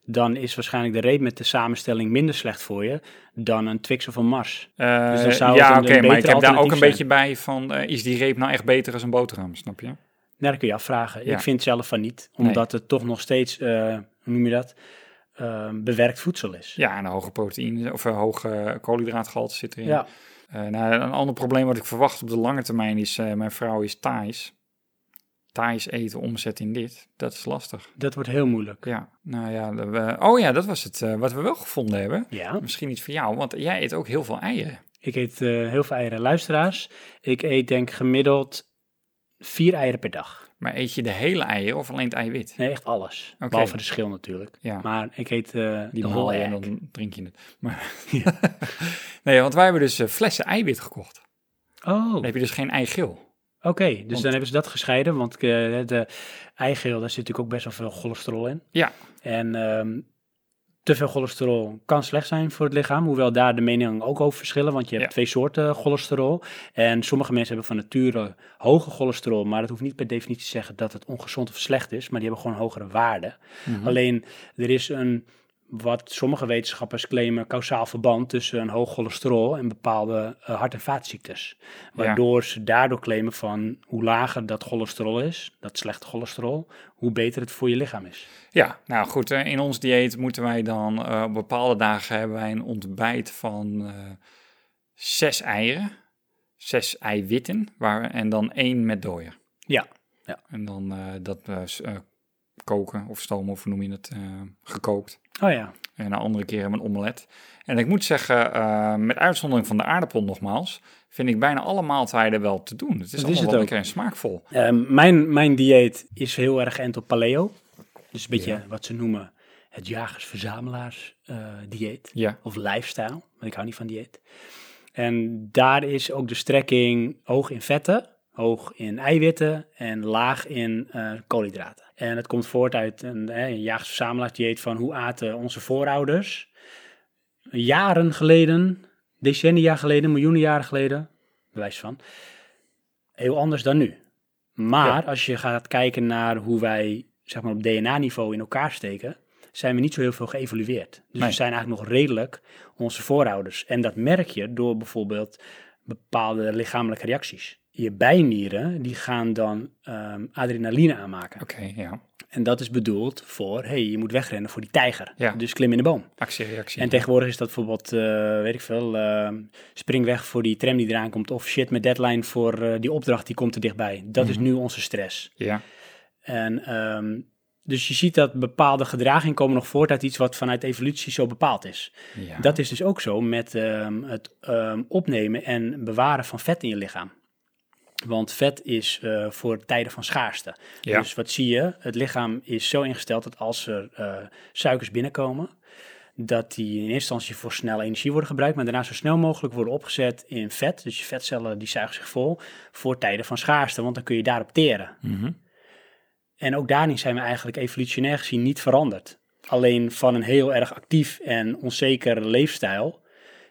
Speaker 1: dan is waarschijnlijk de reep met de samenstelling minder slecht voor je dan een Twix of een Mars.
Speaker 2: Eh,
Speaker 1: Dus dan zou het
Speaker 2: ja,
Speaker 1: een-
Speaker 2: oké,
Speaker 1: een
Speaker 2: maar ik
Speaker 1: beter
Speaker 2: heb daar ook een
Speaker 1: alternatief zijn.
Speaker 2: beetje bij van, eh, is die reep nou echt beter als een boterham, snap je?
Speaker 1: Nou, dat kun je afvragen.
Speaker 2: Ja.
Speaker 1: Ik vind zelf van niet,
Speaker 2: Nee.
Speaker 1: omdat het toch nog steeds, eh, hoe noem je dat, eh, bewerkt voedsel is.
Speaker 2: Ja, en een hoge proteïne of een hoge koolhydraatgehalte zit erin.
Speaker 1: Ja.
Speaker 2: Eh, nou, een ander probleem wat ik verwacht op de lange termijn is, eh, mijn vrouw is Thais. Thais eten omzet in dit, dat is lastig.
Speaker 1: dat wordt heel moeilijk.
Speaker 2: Ja, nou ja, dat we- oh ja, dat was het eh, wat we wel gevonden hebben.
Speaker 1: Ja.
Speaker 2: Misschien iets voor jou, want jij eet ook heel veel eieren.
Speaker 1: Ik eet eh, heel veel eieren. Luisteraars, ik eet denk gemiddeld vier eieren per dag.
Speaker 2: Maar eet je de hele eieren of alleen het eiwit?
Speaker 1: Nee, echt alles.
Speaker 2: Oké.
Speaker 1: Behalve de schil natuurlijk.
Speaker 2: Ja.
Speaker 1: Maar ik eet eh
Speaker 2: Die
Speaker 1: de
Speaker 2: maal
Speaker 1: whole
Speaker 2: je en
Speaker 1: egg.
Speaker 2: dan drink je het. Maar, nee, want wij hebben dus eh, flessen eiwit gekocht.
Speaker 1: Oh,
Speaker 2: Dan heb je dus geen eigeel.
Speaker 1: oké. Dus dan hebben ze dat gescheiden, want eh, de eigeel, daar zit natuurlijk ook best wel veel cholesterol in.
Speaker 2: Ja,
Speaker 1: En ehm, te veel cholesterol kan slecht zijn voor het lichaam, hoewel daar de meningen ook over verschillen, want je hebt
Speaker 2: Ja.
Speaker 1: twee soorten cholesterol. En sommige mensen hebben van nature hoge cholesterol, maar dat hoeft niet per definitie te zeggen dat het ongezond of slecht is, maar die hebben gewoon hogere waarden. Alleen er is een, wat sommige wetenschappers claimen, kausaal verband tussen een hoog cholesterol en bepaalde eh, hart- en vaatziektes. Waardoor ze daardoor claimen van hoe lager dat cholesterol is, dat slechte cholesterol, hoe beter het voor je lichaam is.
Speaker 2: Ja, nou goed, eh, in ons dieet moeten wij dan eh, op bepaalde dagen hebben wij een ontbijt van eh, zes eieren, zes eiwitten waar, en dan één met dooier.
Speaker 1: Ja,
Speaker 2: En dan eh, dat eh, s- eh, koken of stomen of hoe noem je het, eh, gekookt.
Speaker 1: Oh ja,
Speaker 2: En een andere keer hebben we een omelet. En ik moet zeggen, eh, met uitzondering van de aardappel nogmaals, vind ik bijna alle maaltijden wel te doen. Het is allemaal
Speaker 1: het
Speaker 2: wel
Speaker 1: ook.
Speaker 2: lekker en smaakvol.
Speaker 1: Eh, mijn, mijn dieet is heel erg end op paleo. Dus een beetje wat ze noemen het jagers-verzamelaars eh, dieet.
Speaker 2: Ja.
Speaker 1: Of lifestyle, want ik hou niet van dieet. En daar is ook de strekking hoog in vetten, hoog in eiwitten en laag in eh, koolhydraten. En dat komt voort uit een, hè, een jagers-verzamelaars dieet van hoe aten onze voorouders jaren geleden, decennia geleden, miljoenen jaren geleden, bewijs van, heel anders dan nu. Maar als je gaat kijken naar hoe wij zeg maar, op DNA-niveau in elkaar steken, zijn we niet zo heel veel geëvolueerd. Dus
Speaker 2: Nee.
Speaker 1: we zijn eigenlijk nog redelijk onze voorouders. En dat merk je door bijvoorbeeld bepaalde lichamelijke reacties. je bijnieren, die gaan dan ehm, adrenaline aanmaken.
Speaker 2: Oké, ja.
Speaker 1: En dat is bedoeld voor, hé, hey, je moet wegrennen voor die tijger.
Speaker 2: Ja.
Speaker 1: Dus klim in de boom.
Speaker 2: Actie, reactie.
Speaker 1: En tegenwoordig is dat bijvoorbeeld, eh, weet ik veel, eh, spring weg voor die tram die eraan komt. Of shit, mijn deadline voor eh, die opdracht, die komt er dichtbij. Dat is nu onze stress.
Speaker 2: Ja,
Speaker 1: En ehm, dus je ziet dat bepaalde gedragingen komen nog voort uit iets wat vanuit evolutie zo bepaald is.
Speaker 2: ja.
Speaker 1: Dat is dus ook zo met ehm, het ehm, opnemen en bewaren van vet in je lichaam. Want vet is eh, voor tijden van schaarste.
Speaker 2: Ja.
Speaker 1: Dus wat zie je? Het lichaam is zo ingesteld dat als er eh, suikers binnenkomen, dat die in eerste instantie voor snelle energie worden gebruikt, maar daarna zo snel mogelijk worden opgezet in vet. Dus je vetcellen die zuigen zich vol voor tijden van schaarste, want dan kun je daarop teren. En ook daarin zijn we eigenlijk evolutionair gezien niet veranderd. Alleen van een heel erg actief en onzeker leefstijl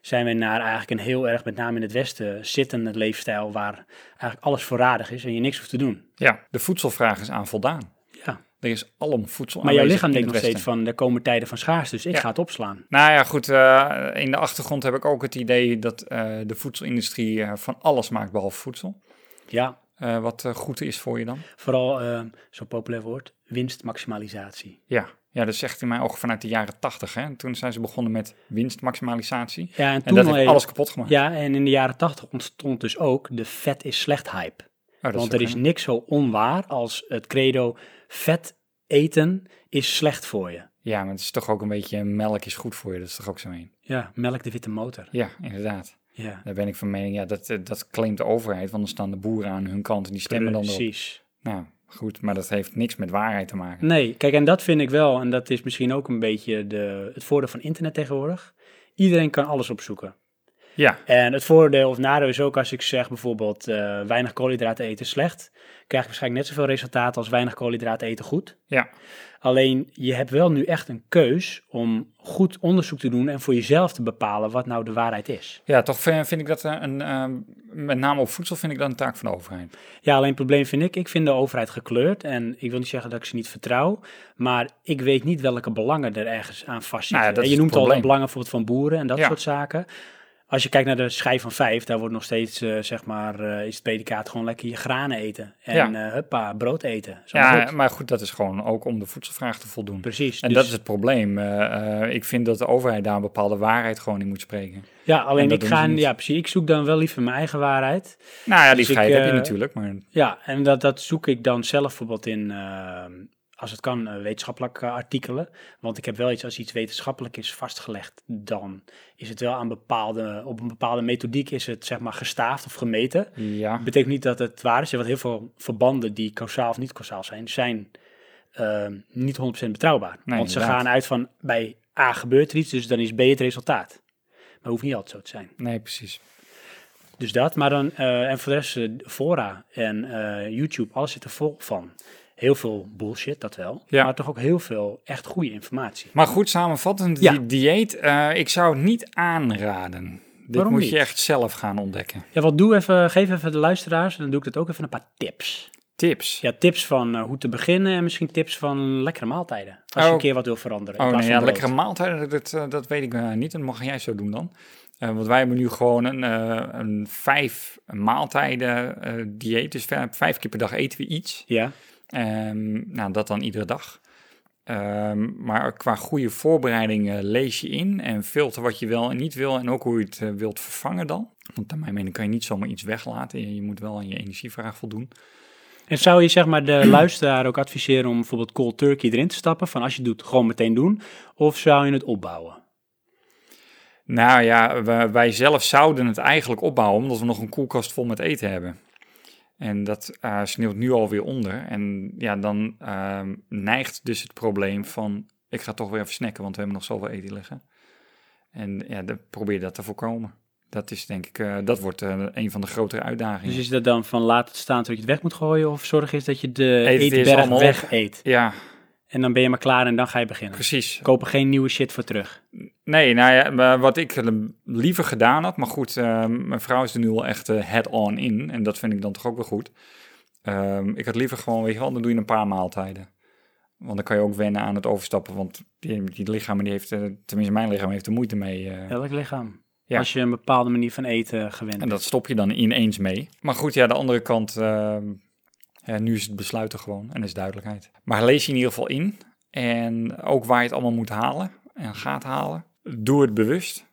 Speaker 1: zijn we naar eigenlijk een heel erg, met name in het Westen, zittende leefstijl waar eigenlijk alles voorradig is en je niks hoeft te doen.
Speaker 2: ja, de voedselvraag is aan voldaan.
Speaker 1: Ja.
Speaker 2: Er is alom voedsel
Speaker 1: Maar jouw
Speaker 2: aanwezig
Speaker 1: lichaam
Speaker 2: in
Speaker 1: denkt nog
Speaker 2: het
Speaker 1: steeds
Speaker 2: Westen.
Speaker 1: van, er komen tijden van schaarste, dus ik
Speaker 2: Ja.
Speaker 1: ga het opslaan.
Speaker 2: Nou ja, goed, eh, in de achtergrond heb ik ook het idee dat eh, de voedselindustrie eh, van alles maakt behalve voedsel.
Speaker 1: Ja,
Speaker 2: Eh, wat eh, goed is voor je dan?
Speaker 1: vooral eh, zo'n populair woord, winstmaximalisatie.
Speaker 2: Ja. Ja, dat zegt in mijn ogen vanuit de jaren tachtig. Toen zijn ze begonnen met winstmaximalisatie.
Speaker 1: Ja, en
Speaker 2: en
Speaker 1: toen
Speaker 2: dat
Speaker 1: al
Speaker 2: heeft
Speaker 1: even-
Speaker 2: alles kapot gemaakt.
Speaker 1: Ja, en in de jaren tachtig ontstond dus ook de vet is slecht hype.
Speaker 2: Oh, dat
Speaker 1: Want
Speaker 2: ook
Speaker 1: er is
Speaker 2: een-
Speaker 1: niks zo onwaar als het credo vet eten is slecht voor je.
Speaker 2: Ja, maar het is toch ook een beetje melk is goed voor je. Dat is toch ook zo een?
Speaker 1: Ja, melk de witte motor.
Speaker 2: Ja, inderdaad.
Speaker 1: Ja,
Speaker 2: Daar ben ik van mening. Ja, dat, eh, dat claimt de overheid. Want dan staan de boeren aan hun kant en die stemmen dan erop.
Speaker 1: precies.
Speaker 2: Nou, goed. Maar dat heeft niks met waarheid te maken.
Speaker 1: Nee, kijk, en dat vind ik wel, en dat is misschien ook een beetje de, het voordeel van internet tegenwoordig. Iedereen kan alles opzoeken.
Speaker 2: Ja,
Speaker 1: En het voordeel of nadeel is ook als ik zeg bijvoorbeeld eh, weinig koolhydraten eten slecht, krijg ik waarschijnlijk net zoveel resultaat als weinig koolhydraten eten goed.
Speaker 2: ja.
Speaker 1: Alleen je hebt wel nu echt een keus om goed onderzoek te doen en voor jezelf te bepalen wat nou de waarheid is.
Speaker 2: Ja, toch vind vind ik dat eh, een, ehm, met name op voedsel vind ik dat een taak van de overheid.
Speaker 1: Ja, alleen het probleem vind ik, ik vind de overheid gekleurd. En ik wil niet zeggen dat ik ze niet vertrouw. Maar ik weet niet welke belangen er ergens aan vastzitten.
Speaker 2: Nou ja, dat
Speaker 1: En
Speaker 2: is
Speaker 1: je
Speaker 2: het
Speaker 1: noemt al de
Speaker 2: probleem.
Speaker 1: belangen bijvoorbeeld van boeren en dat
Speaker 2: Ja.
Speaker 1: soort zaken. Als je kijkt naar de schijf van vijf, daar wordt nog steeds, eh, zeg maar, eh, is het predicaat gewoon lekker je granen eten. En
Speaker 2: Ja.
Speaker 1: eh, huppa, brood eten. Is allemaal
Speaker 2: Ja,
Speaker 1: goed.
Speaker 2: maar goed, dat is gewoon ook om de voedselvraag te voldoen.
Speaker 1: Precies,
Speaker 2: En
Speaker 1: dus-
Speaker 2: dat is het probleem. Eh, eh, ik vind dat de overheid daar een bepaalde waarheid gewoon in moet spreken.
Speaker 1: ja,
Speaker 2: en
Speaker 1: alleen
Speaker 2: dat
Speaker 1: ik
Speaker 2: doen
Speaker 1: ga,
Speaker 2: ze niet.
Speaker 1: ja, precies, ik zoek dan wel liever mijn eigen waarheid.
Speaker 2: Nou ja, die
Speaker 1: Dus ik,
Speaker 2: vrijheid heb je
Speaker 1: eh,
Speaker 2: natuurlijk, maar
Speaker 1: Ja, en dat, dat zoek ik dan zelf bijvoorbeeld in, eh, als het kan, eh, wetenschappelijke artikelen. Want ik heb wel iets, als iets wetenschappelijk is vastgelegd, dan is het wel aan bepaalde, op een bepaalde methodiek is het zeg maar gestaafd of gemeten.
Speaker 2: ja.
Speaker 1: Betekent niet dat het waar is, want heel veel verbanden die kausaal of niet kausaal zijn, zijn eh, niet 100% betrouwbaar. want ze
Speaker 2: inderdaad.
Speaker 1: gaan uit van, bij A gebeurt er iets, dus dan is B het resultaat. Maar hoeft niet altijd zo te zijn.
Speaker 2: Nee, precies.
Speaker 1: Dus dat, maar dan, eh, en voor de rest, eh, fora en eh, YouTube, alles zit er vol van. Heel veel bullshit, dat wel.
Speaker 2: Ja.
Speaker 1: Maar toch ook heel veel echt goede informatie.
Speaker 2: Maar goed, samenvattend,
Speaker 1: Ja.
Speaker 2: die dieet, eh, ik zou het niet aanraden. Dit
Speaker 1: Waarom
Speaker 2: moet
Speaker 1: niet?
Speaker 2: je echt zelf gaan ontdekken.
Speaker 1: Ja, wat doe even, geef even de luisteraars, en dan doe ik dat ook even een paar tips.
Speaker 2: Tips.
Speaker 1: Ja, tips van eh, hoe te beginnen en misschien tips van lekkere maaltijden. Als je
Speaker 2: Oh.
Speaker 1: een keer wat wil veranderen. in
Speaker 2: Oh
Speaker 1: plaats
Speaker 2: nee, ja,
Speaker 1: van brood.
Speaker 2: lekkere maaltijden, dat, eh, dat weet ik eh, niet. Dat mag jij zo doen dan. Eh, want wij hebben nu gewoon een, eh, een vijf maaltijden eh, dieet. Dus vijf, vijf keer per dag eten we iets.
Speaker 1: Ja,
Speaker 2: Ehm, nou, dat dan iedere dag. Ehm, maar qua goede voorbereiding eh, lees je in en filter wat je wel en niet wil. En ook hoe je het eh, wilt vervangen dan. Want naar mijn mening kan je niet zomaar iets weglaten. Je, je moet wel aan je energievraag voldoen.
Speaker 1: En zou je zeg maar de luisteraar ook adviseren om bijvoorbeeld cold turkey erin te stappen? Van als je het doet, gewoon meteen doen. Of zou je het opbouwen?
Speaker 2: Nou ja, we- wij zelf zouden het eigenlijk opbouwen omdat we nog een koelkast vol met eten hebben. En dat eh, sneeuwt nu alweer onder. En ja, dan ehm, neigt dus het probleem van... ik ga toch weer even snacken, want we hebben nog zoveel eten liggen. En ja, dan probeer dat te voorkomen. Dat is denk ik, eh, dat wordt eh, een van de grotere uitdagingen.
Speaker 1: Dus is dat dan van laat het staan tot je het weg moet gooien? Of zorg eens dat je de
Speaker 2: Eet het eerst
Speaker 1: eetberg
Speaker 2: allemaal op.
Speaker 1: weg eet?
Speaker 2: Ja,
Speaker 1: En dan ben je maar klaar en dan ga je beginnen.
Speaker 2: precies.
Speaker 1: Kopen geen nieuwe shit voor terug.
Speaker 2: Nee, nou ja, maar wat ik li- liever gedaan had, maar goed, eh, mijn vrouw is er nu al echt eh, head-on in en dat vind ik dan toch ook wel goed. Ehm, ik had liever gewoon, weet je wel, dan doe je een paar maaltijden. Want dan kan je ook wennen aan het overstappen, want die, die lichaam, die heeft, eh, tenminste mijn lichaam, heeft er moeite mee. eh.
Speaker 1: Elk lichaam.
Speaker 2: Ja.
Speaker 1: Als je een bepaalde manier van eten gewend
Speaker 2: En
Speaker 1: bent.
Speaker 2: dat stop je dan ineens mee. Maar goed, ja, de andere kant, eh, eh, nu is het besluiten gewoon en is duidelijkheid. Maar lees je in ieder geval in en ook waar je het allemaal moet halen en gaat halen. Doe het bewust.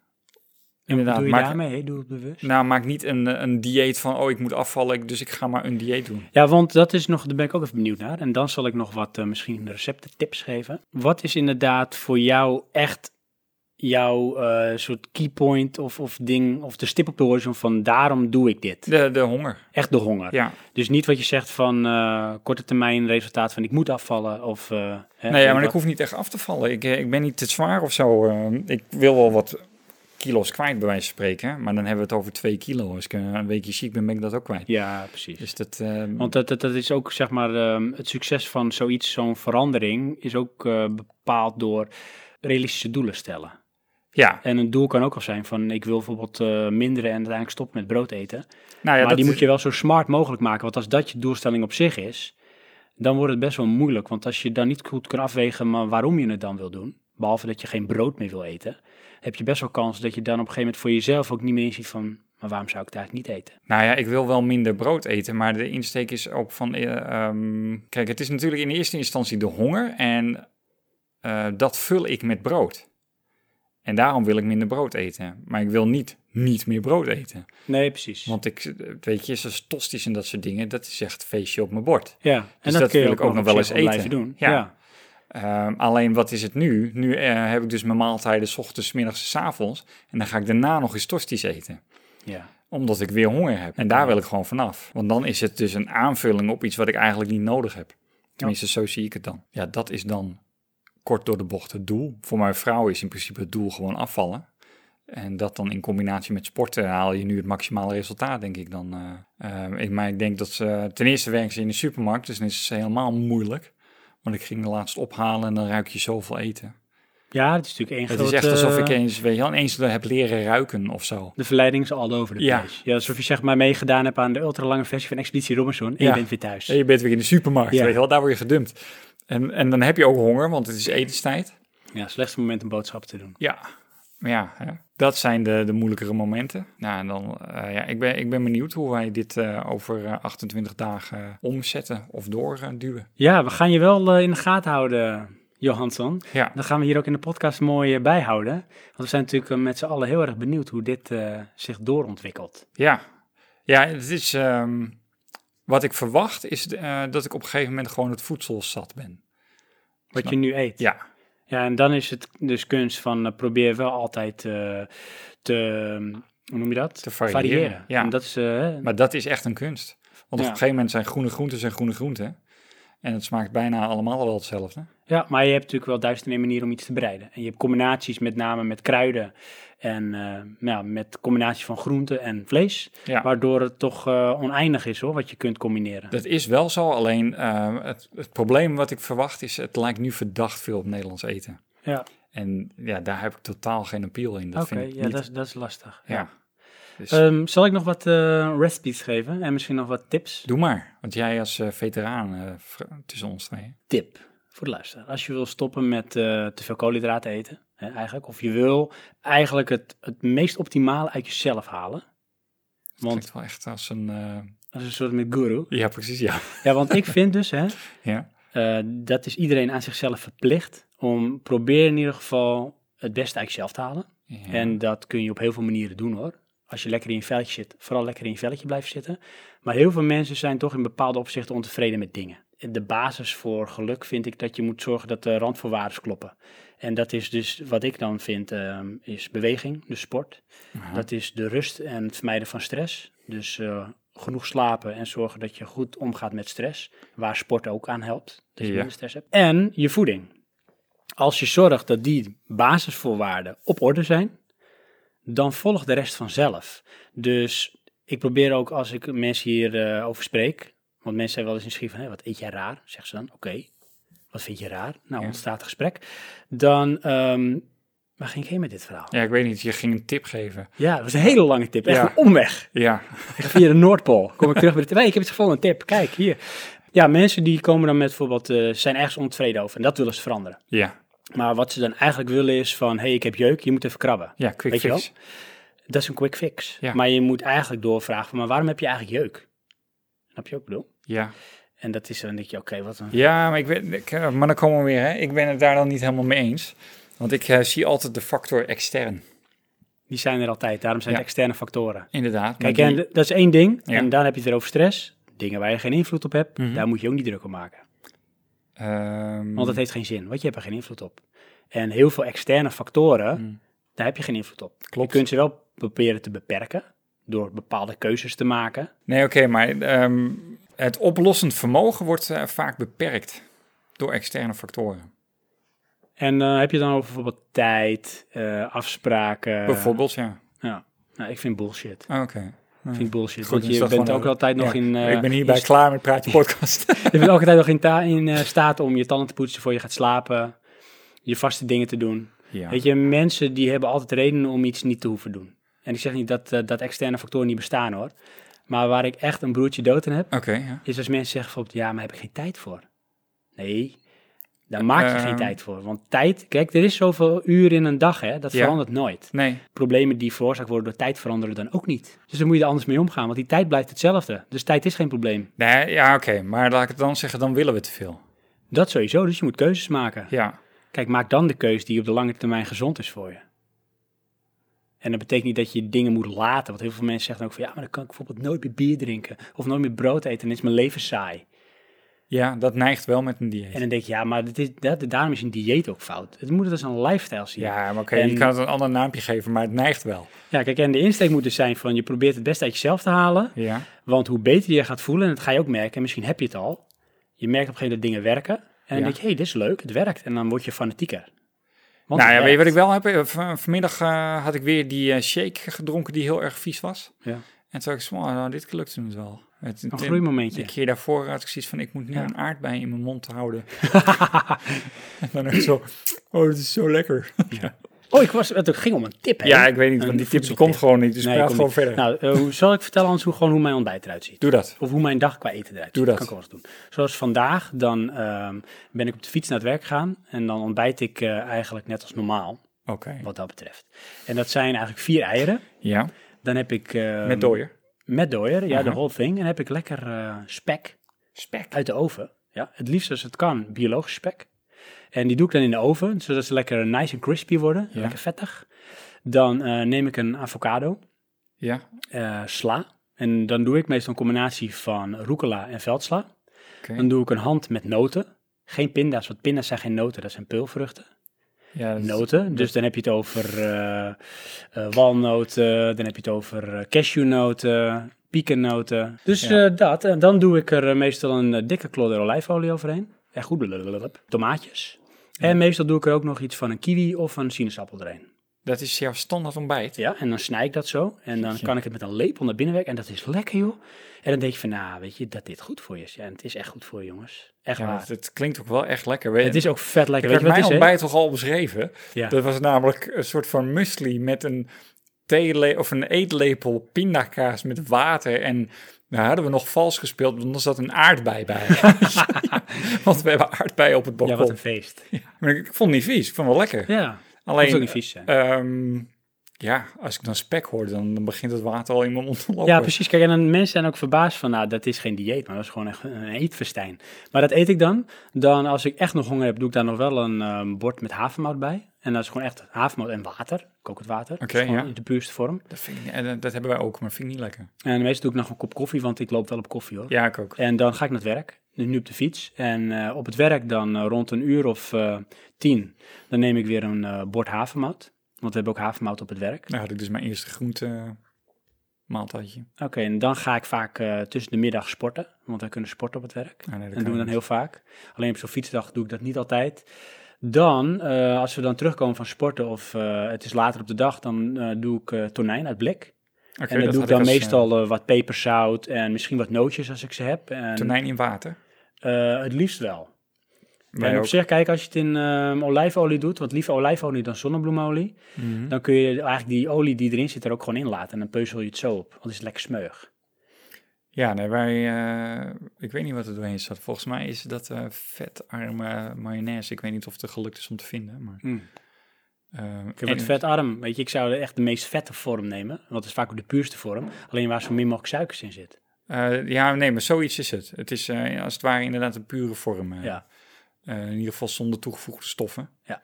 Speaker 1: En wat doe je
Speaker 2: maak,
Speaker 1: daarmee? Hè? Doe het bewust.
Speaker 2: Nou, maak niet een, eh, een dieet van, oh, ik moet afvallen, ik- dus ik ga maar een dieet doen.
Speaker 1: Ja, want dat is nog, daar ben ik ook even benieuwd naar. En dan zal ik nog wat eh, misschien recepten, tips geven. Wat is inderdaad voor jou echt jouw eh, soort keypoint of, of ding, of de stip op de horizon van daarom doe ik dit?
Speaker 2: De, de honger,
Speaker 1: Echt de honger.
Speaker 2: ja.
Speaker 1: Dus niet wat je zegt van eh, korte termijn resultaat van ik moet afvallen of... eh, hè,
Speaker 2: Nee, ja, maar
Speaker 1: wat.
Speaker 2: ik hoef niet echt af te vallen. Ik, eh, ik ben niet te zwaar of zo. eh, ik wil wel wat kilo's kwijt, bij wijze van spreken. Maar dan hebben we het over twee kilo. Als ik eh, een weekje ziek ben, ben ik dat ook kwijt.
Speaker 1: Ja, precies.
Speaker 2: Dus dat... eh,
Speaker 1: Want dat, dat, dat is ook, zeg maar, ehm, het succes van zoiets, zo'n verandering, is ook eh, bepaald door realistische doelen stellen.
Speaker 2: ja,
Speaker 1: En een doel kan ook al zijn van ik wil bijvoorbeeld eh, minderen en uiteindelijk stoppen met brood eten.
Speaker 2: nou
Speaker 1: maar
Speaker 2: ja, dat
Speaker 1: die
Speaker 2: is-
Speaker 1: moet je wel zo smart mogelijk maken. Want als dat je doelstelling op zich is, dan wordt het best wel moeilijk. Want als je dan niet goed kan afwegen maar waarom je het dan wil doen, behalve dat je geen brood meer wil eten, heb je best wel kans dat je dan op een gegeven moment voor jezelf ook niet meer inziet van, maar waarom zou ik het eigenlijk niet eten?
Speaker 2: Nou ja, ik wil wel minder brood eten, maar de insteek is ook van... eh, ehm, kijk, het is natuurlijk in eerste instantie de honger en eh, dat vul ik met brood. En daarom wil ik minder brood eten. Maar ik wil niet niet meer brood eten.
Speaker 1: Nee, precies.
Speaker 2: Want ik, eh, weet je, zoals tosties en dat soort dingen, dat is echt feestje op mijn bord. Dus
Speaker 1: ja, en
Speaker 2: dat
Speaker 1: kun je
Speaker 2: wil ik ook nog wel
Speaker 1: op
Speaker 2: eens
Speaker 1: zich
Speaker 2: eten.
Speaker 1: blijven doen.
Speaker 2: Ja.
Speaker 1: Ja.
Speaker 2: Ehm, alleen wat is het nu? Nu eh, heb ik dus mijn maaltijden 's ochtends, 's middags en 's avonds. En dan ga ik daarna nog eens tosties eten.
Speaker 1: Ja.
Speaker 2: Omdat ik weer honger heb. En daar wil ik gewoon vanaf. Want dan is het dus een aanvulling op iets wat ik eigenlijk niet nodig heb. Tenminste, zo zie ik het dan. Ja, dat is dan kort door de bocht het doel. Voor mijn vrouw is in principe het doel gewoon afvallen. En dat dan in combinatie met sporten haal je nu het maximale resultaat, denk ik dan. eh. Ehm, ik, maar ik denk dat ze... Ten eerste werken ze in de supermarkt, dus dan is het helemaal moeilijk. Want ik ging de laatst ophalen en dan ruik je zoveel eten.
Speaker 1: ja, het is natuurlijk één
Speaker 2: Het
Speaker 1: grote...
Speaker 2: is echt alsof ik eens, weet je wel, ineens heb leren ruiken of zo.
Speaker 1: De verleiding is al over de
Speaker 2: Ja.
Speaker 1: place. Ja, alsof je zeg maar meegedaan hebt aan de ultralange versie van Expeditie Robinson en
Speaker 2: Ja.
Speaker 1: je bent weer thuis.
Speaker 2: En je bent weer in de supermarkt,
Speaker 1: Ja.
Speaker 2: weet je wel, daar word je gedumpt. En, en dan heb je ook honger, want het is etenstijd.
Speaker 1: Ja, slechtste moment om boodschappen te doen.
Speaker 2: Ja, maar ja, hè. dat zijn de, de moeilijkere momenten. Nou, en dan, eh, ja, ik ben, ik ben benieuwd hoe wij dit eh, over eh, 28 dagen omzetten of doorduwen.
Speaker 1: Ja, we gaan je wel eh, in de gaten houden, Johansson.
Speaker 2: Ja.
Speaker 1: Dat gaan we hier ook in de podcast mooi eh, bijhouden. Want we zijn natuurlijk eh, met z'n allen heel erg benieuwd hoe dit eh, zich doorontwikkelt.
Speaker 2: ja, ja, het is, ehm, wat ik verwacht is eh, dat ik op een gegeven moment gewoon het voedsel zat ben.
Speaker 1: Wat je nu eet.
Speaker 2: Ja,
Speaker 1: Ja, en dan is het dus kunst van eh, probeer wel altijd eh, te, ehm, hoe noem je dat?
Speaker 2: Te variëren, ja.
Speaker 1: En dat is, eh,
Speaker 2: maar dat is echt een kunst. Want
Speaker 1: Ja.
Speaker 2: op een gegeven moment zijn groene groenten zijn groene groenten. En het smaakt bijna allemaal wel hetzelfde.
Speaker 1: Ja, maar je hebt natuurlijk wel duizend en een manieren om iets te bereiden. En je hebt combinaties met name met kruiden en eh, nou, ja, met combinatie van groenten en vlees.
Speaker 2: Ja.
Speaker 1: Waardoor het toch eh, oneindig is hoor, wat je kunt combineren.
Speaker 2: Dat is wel zo, alleen eh, het, het probleem wat ik verwacht is, het lijkt nu verdacht veel op Nederlands eten.
Speaker 1: Ja,
Speaker 2: En ja, daar heb ik totaal geen appeal in. Dat
Speaker 1: oké.
Speaker 2: vind ik
Speaker 1: Ja,
Speaker 2: niet.
Speaker 1: dat is, dat is lastig.
Speaker 2: ja. Dus
Speaker 1: Ehm, zal ik nog wat eh, recipes geven en misschien nog wat tips?
Speaker 2: doe maar, want jij als eh, veteraan eh, vr- tussen ons twee.
Speaker 1: tip voor de luisteraar. Als je wil stoppen met eh, te veel koolhydraten eten, hè, eigenlijk, of je wil eigenlijk het, het meest optimale uit jezelf halen.
Speaker 2: Want
Speaker 1: Want
Speaker 2: wel echt als een. eh,
Speaker 1: dat is een soort met guru.
Speaker 2: ja, precies, ja.
Speaker 1: Ja, want ik vind dus, hè,
Speaker 2: ja.
Speaker 1: Eh, dat is iedereen aan zichzelf verplicht om probeer in ieder geval het beste uit jezelf te halen.
Speaker 2: Ja.
Speaker 1: En dat kun je op heel veel manieren doen hoor. Als je lekker in je velletje zit, vooral lekker in je velletje blijft zitten. Maar heel veel mensen zijn toch in bepaalde opzichten ontevreden met dingen. De basis voor geluk vind ik dat je moet zorgen dat de randvoorwaarden kloppen. En dat is dus wat ik dan vind, ehm, is beweging, dus sport. Dat is de rust en het vermijden van stress. Dus eh, genoeg slapen en zorgen dat je goed omgaat met stress. Waar sport ook aan helpt, dat je
Speaker 2: Ja.
Speaker 1: minder stress hebt. En je voeding. Als je zorgt dat die basisvoorwaarden op orde zijn, dan volgt de rest vanzelf. Dus ik probeer ook als ik mensen hierover over spreek, want mensen zijn wel eens nieuwsgierig van, hé, wat eet jij raar? Zeggen ze dan, oké, wat vind je raar? Nou, ontstaat een gesprek. Dan, ehm waar ging ik heen met dit verhaal? Ja,
Speaker 2: ja, ik weet niet, je ging een tip geven.
Speaker 1: dat was een hele lange tip, echt
Speaker 2: Ja.
Speaker 1: een omweg.
Speaker 2: Ja,
Speaker 1: Echt via de Noordpool. Kom ik terug bij de Nee, ik heb het gevonden, een tip. Kijk, hier. Ja, mensen die komen dan met bijvoorbeeld, eh, zijn ergens ontevreden over en dat willen ze veranderen.
Speaker 2: ja,
Speaker 1: Maar wat ze dan eigenlijk willen is van, hé, hey, ik heb jeuk, je moet even krabben.
Speaker 2: ja, quick
Speaker 1: Weet je
Speaker 2: fix.
Speaker 1: Dat is een quick fix.
Speaker 2: Ja.
Speaker 1: Maar je moet eigenlijk doorvragen, van, maar waarom heb je eigenlijk jeuk? Snap je ook, bedoel?
Speaker 2: Ja.
Speaker 1: En dat is dan denk je, oké, wat een...
Speaker 2: Ja, maar, ik ben, ik, eh, maar dan komen we weer. Hè. Ik ben het daar dan niet helemaal mee eens. Want ik eh, zie altijd de factor extern.
Speaker 1: Die zijn er altijd, daarom zijn
Speaker 2: Ja.
Speaker 1: het externe factoren.
Speaker 2: Inderdaad. maar
Speaker 1: Kijk, en
Speaker 2: die-
Speaker 1: d- dat is één ding.
Speaker 2: Ja. Mhm.
Speaker 1: En dan heb je het weer over stress. Dingen waar je geen invloed op hebt, daar moet je ook niet druk op maken.
Speaker 2: ehm,
Speaker 1: Want dat heeft geen zin, want je hebt er geen invloed op. En heel veel externe factoren, daar heb je geen invloed op.
Speaker 2: Mhm. Klopt.
Speaker 1: Je kunt ze wel proberen te beperken door bepaalde keuzes te maken.
Speaker 2: Nee, oké, maar ehm, het oplossend vermogen wordt eh, vaak beperkt door externe factoren.
Speaker 1: En eh, heb je het dan over bijvoorbeeld tijd, eh, afspraken.
Speaker 2: Bijvoorbeeld, ja.
Speaker 1: Ja. Nou, ik vind bullshit.
Speaker 2: Ah, Oké.
Speaker 1: Ik vind bullshit.
Speaker 2: Goed,
Speaker 1: want
Speaker 2: dan is
Speaker 1: je
Speaker 2: dus dat
Speaker 1: bent
Speaker 2: gewoon
Speaker 1: ook
Speaker 2: een-
Speaker 1: altijd nog
Speaker 2: ja,
Speaker 1: in. eh,
Speaker 2: ik ben hierbij
Speaker 1: in-
Speaker 2: klaar met Praatje Podcast.
Speaker 1: Je bent ook altijd nog in, ta- in eh, staat om je tanden te poetsen voor je gaat slapen. Je vaste dingen te doen.
Speaker 2: ja.
Speaker 1: Weet je, mensen die hebben altijd redenen om iets niet te hoeven doen. En ik zeg niet dat, eh, dat externe factoren niet bestaan hoor. Maar waar ik echt een broertje dood in heb,
Speaker 2: Oké, ja.
Speaker 1: is als mensen zeggen bijvoorbeeld, ja, maar heb ik geen tijd voor. Nee, daar maak je
Speaker 2: Ehm.
Speaker 1: geen tijd voor. Want tijd, kijk, er is zoveel uren in een dag, hè, dat
Speaker 2: Ja.
Speaker 1: verandert nooit.
Speaker 2: Nee,
Speaker 1: Problemen die veroorzaakt worden door tijd veranderen dan ook niet. Dus dan moet je er anders mee omgaan, want die tijd blijft hetzelfde. Dus tijd is geen probleem.
Speaker 2: nee ja, oké. Maar laat ik het dan zeggen, dan willen we te veel.
Speaker 1: Dat sowieso, dus je moet keuzes maken.
Speaker 2: Ja.
Speaker 1: Kijk, maak dan de keus die op de lange termijn gezond is voor je. En dat betekent niet dat je dingen moet laten. Want heel veel mensen zeggen ook van ja, maar dan kan ik bijvoorbeeld nooit meer bier drinken. Of nooit meer brood eten. Dan is mijn leven saai.
Speaker 2: ja, dat neigt wel met een dieet.
Speaker 1: En dan denk je ja, maar dit is, dat, daarom is een dieet ook fout. Het moet het als een lifestyle zien.
Speaker 2: ja, maar oké,
Speaker 1: En-
Speaker 2: je kan het een ander naampje geven, maar het neigt wel.
Speaker 1: ja, kijk, en de insteek moet dus zijn van je probeert het beste uit jezelf te halen.
Speaker 2: Ja.
Speaker 1: Want hoe beter je gaat voelen, en dat ga je ook merken, en misschien heb je het al. Je merkt op een gegeven moment dat dingen werken. En dan
Speaker 2: Ja.
Speaker 1: denk je, hé, dit is leuk, het werkt. En dan word je fanatieker. Want
Speaker 2: Nou
Speaker 1: het
Speaker 2: ja, weet je wat ik
Speaker 1: werkt.
Speaker 2: wel heb? Eh, van- vanmiddag eh, had ik weer die eh, shake gedronken die heel erg vies was.
Speaker 1: Ja.
Speaker 2: En toen dacht ik, zo, oh, nou, dit lukt toen wel. Het, een
Speaker 1: groeimomentje.
Speaker 2: De keer daarvoor had ik zoiets van, ik moet nu een aardbei in mijn mond houden. en dan ook zo, oh, dit is zo lekker. Ja,
Speaker 1: Oh, ik was, het ging om een tip. hè?
Speaker 2: ik weet niet,
Speaker 1: Een
Speaker 2: want die tip die
Speaker 1: voedseltip.
Speaker 2: komt gewoon niet. Dus
Speaker 1: Nee,
Speaker 2: praat
Speaker 1: kom
Speaker 2: gewoon
Speaker 1: niet.
Speaker 2: verder.
Speaker 1: Nou, eh, hoe- zal ik vertellen anders hoe, gewoon hoe mijn ontbijt eruit ziet?
Speaker 2: Doe dat.
Speaker 1: Of hoe mijn dag qua eten eruit
Speaker 2: Doe
Speaker 1: ziet.
Speaker 2: dat.
Speaker 1: Kan ik wel eens doen. Zoals vandaag, dan ehm, ben ik op de fiets naar het werk gegaan. En dan ontbijt ik eh, eigenlijk net als normaal,
Speaker 2: Oké.
Speaker 1: wat dat betreft. En dat zijn eigenlijk vier eieren.
Speaker 2: Ja,
Speaker 1: Dan heb ik... ehm,
Speaker 2: met dooier.
Speaker 1: Met dooier, ja, de
Speaker 2: Aha.
Speaker 1: whole thing. En dan heb ik lekker eh, spek
Speaker 2: Spek.
Speaker 1: uit de oven. Ja, het liefst als het kan, biologisch spek. En die doe ik dan in de oven, zodat ze lekker nice en crispy worden.
Speaker 2: Ja.
Speaker 1: Lekker vettig. Dan eh, neem ik een avocado.
Speaker 2: Ja,
Speaker 1: eh, sla. En dan doe ik meestal een combinatie van rucola en veldsla.
Speaker 2: oké.
Speaker 1: Dan doe ik een hand met noten. Geen pinda's, want pinda's zijn geen noten, dat zijn peulvruchten.
Speaker 2: Ja, dat is-
Speaker 1: Noten, dus dan heb je het over eh, eh, walnoten, dan heb je het over eh, cashewnoten, piekennoten. Dus
Speaker 2: Ja.
Speaker 1: eh, dat, en dan doe ik er eh, meestal een eh, dikke klodder olijfolie overheen. En goed, blablabla. tomaatjes. En meestal doe ik er ook nog iets van een kiwi of een sinaasappel erheen.
Speaker 2: dat is jouw standaard ontbijt.
Speaker 1: Ja, en dan snij ik dat zo. En dan kan ik het met een lepel naar binnen werken. En dat is lekker, joh. En dan denk je van, nou, weet je, dat dit goed voor je is. Ja, en het is echt goed voor je, jongens. Echt
Speaker 2: Ja,
Speaker 1: waar.
Speaker 2: het, het klinkt ook wel echt lekker. Weet
Speaker 1: Het is ook vet
Speaker 2: Ik
Speaker 1: lekker. Weet
Speaker 2: heb
Speaker 1: je wat het
Speaker 2: mijn
Speaker 1: is, hè?
Speaker 2: ontbijt toch al beschreven.
Speaker 1: Ja.
Speaker 2: Dat was namelijk een soort van muesli met een theele of een eetlepel pindakaas met water en nou hadden we nog vals gespeeld, want er zat een aardbei bij. Ja, want we hebben aardbei op het
Speaker 1: Ja,
Speaker 2: balkon.
Speaker 1: wat een feest. Ja,
Speaker 2: Maar ik, ik vond het niet vies, ik vond het wel lekker.
Speaker 1: Alleen,
Speaker 2: Alleen,
Speaker 1: moet ook niet vies zijn.
Speaker 2: ehm, ja, als ik dan spek hoor, dan, dan begint het water al in mijn mond te lopen.
Speaker 1: ja, precies. Kijk, en
Speaker 2: eh,
Speaker 1: dan mensen zijn ook verbaasd van, nou, dat is geen dieet, maar dat is gewoon echt een eetfestijn. Maar dat eet ik dan. Dan, als ik echt nog honger heb, doe ik daar nog wel een ehm, bord met havermout bij. En dat is gewoon echt havermout en water, kokend water. Dat is
Speaker 2: Oké,
Speaker 1: gewoon
Speaker 2: ja.
Speaker 1: De puurste vorm.
Speaker 2: Dat, vind ik niet- en eh, dat- dat hebben wij ook, maar vind ik niet lekker.
Speaker 1: En meestal doe ik nog een kop koffie, want ik loop wel op koffie, hoor.
Speaker 2: Ja, ik ook.
Speaker 1: En dan ga ik naar het werk. Dus nu op de fiets. En eh, op het werk dan eh, rond een uur of eh, tien. Dan neem ik weer een eh, bord havermout. Want we hebben ook havermout op het werk.
Speaker 2: Nou had ik dus mijn eerste groente eh, maaltijdje.
Speaker 1: Oké, en dan ga ik vaak eh, tussen de middag sporten. Want wij kunnen sporten op het werk.
Speaker 2: Ah, nee, dat
Speaker 1: en
Speaker 2: kan
Speaker 1: doen we dan
Speaker 2: niet.
Speaker 1: heel vaak. Alleen op zo'n fietsdag doe ik dat niet altijd. Dan, eh, als we dan terugkomen van sporten of eh, het is later op de dag, dan eh, doe ik eh, tonijn uit blik.
Speaker 2: Oké,
Speaker 1: en dat, doe ik
Speaker 2: had
Speaker 1: dan
Speaker 2: als, eh,
Speaker 1: meestal eh, wat peperzout en misschien wat nootjes als ik ze heb. En,
Speaker 2: tonijn in water.
Speaker 1: eh, het liefst wel.
Speaker 2: Wij
Speaker 1: en op
Speaker 2: ook.
Speaker 1: zich, kijk, als je het in ehm, olijfolie doet, want liever olijfolie dan zonnebloemolie,
Speaker 2: Mhm.
Speaker 1: dan kun je eigenlijk die olie die erin zit er ook gewoon in laten. En dan peuzel je het zo op, want het is lekker smeug.
Speaker 2: Ja, nee, wij, eh, ik weet niet wat er doorheen zat. Volgens mij is dat eh, vetarme mayonaise. Ik weet niet of het er gelukt is om te vinden. Maar Ehm,
Speaker 1: Hmm. Ik word
Speaker 2: en-
Speaker 1: vetarm. Weet je, ik zou echt de meest vette vorm nemen. Want dat is vaak ook de puurste vorm. Alleen waar zo min mogelijk suikers in zit.
Speaker 2: eh, ja, nee, maar zoiets is het. Het is eh, als het ware inderdaad een pure vorm. eh.
Speaker 1: Ja.
Speaker 2: Eh, in ieder geval zonder toegevoegde stoffen.
Speaker 1: Ja.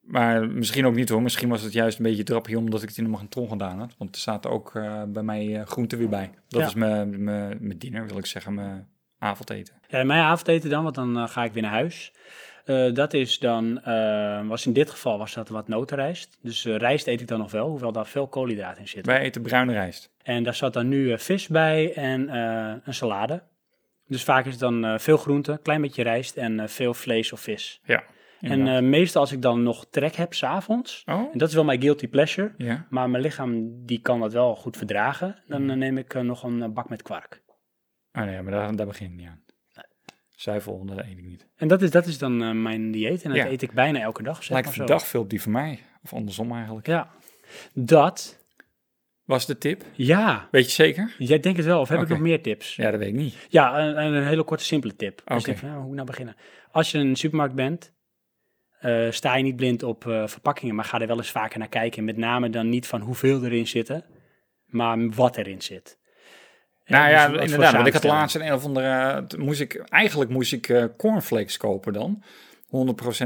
Speaker 2: Maar misschien ook niet hoor. Misschien was het juist een beetje drappie omdat ik het in de magnetron gedaan had. Want er staat ook eh, bij mij eh, groente weer bij. Dat
Speaker 1: Ja.
Speaker 2: is mijn, mijn, mijn dinner, wil ik zeggen. Mijn avondeten.
Speaker 1: Ja, mijn avondeten dan, want dan eh, ga ik weer naar huis. Eh, dat is dan, eh, was in dit geval was dat wat notenrijst. Dus eh, rijst eet ik dan nog wel, hoewel daar veel koolhydraten in zitten.
Speaker 2: Wij eten bruine rijst.
Speaker 1: En daar zat dan nu eh, vis bij en eh, een salade. Dus vaak is het dan eh, veel groente, klein beetje rijst en eh, veel vlees of vis.
Speaker 2: Ja.
Speaker 1: En
Speaker 2: inderdaad.
Speaker 1: eh, meestal als ik dan nog trek heb s'avonds,
Speaker 2: Oh.
Speaker 1: en dat is wel mijn guilty pleasure,
Speaker 2: ja.
Speaker 1: maar mijn lichaam die kan dat wel goed verdragen, dan
Speaker 2: Mhm.
Speaker 1: eh, neem ik eh, nog een eh, bak met kwark.
Speaker 2: Ah nee, maar daar, daar begin ik niet aan. Zuivel, dat eet ik niet.
Speaker 1: En dat is, dat is dan eh, mijn dieet en dat
Speaker 2: Ja.
Speaker 1: eet ik bijna elke dag. Zeg
Speaker 2: Lijkt
Speaker 1: maar zo.
Speaker 2: vandaag veel op die van mij. Of andersom eigenlijk.
Speaker 1: Ja, dat,
Speaker 2: Was de tip?
Speaker 1: ja.
Speaker 2: Weet je zeker?
Speaker 1: Jij denkt het wel, of heb
Speaker 2: Oké.
Speaker 1: ik nog meer tips? Ja,
Speaker 2: Ja, dat weet ik niet.
Speaker 1: een, een hele korte, simpele tip. Dus ik
Speaker 2: Oké.
Speaker 1: denk van, ja, hoe nou beginnen? Als je in een supermarkt bent, eh, sta je niet blind op eh, verpakkingen, maar ga er wel eens vaker naar kijken. Met name dan niet van hoeveel erin zitten, maar wat erin zit.
Speaker 2: nou
Speaker 1: dus
Speaker 2: ja,
Speaker 1: wat voor
Speaker 2: inderdaad. Want ik had
Speaker 1: samenstelling.
Speaker 2: laatst een of andere... eh, t- Moest ik, eigenlijk moest ik eh, cornflakes kopen dan. 100%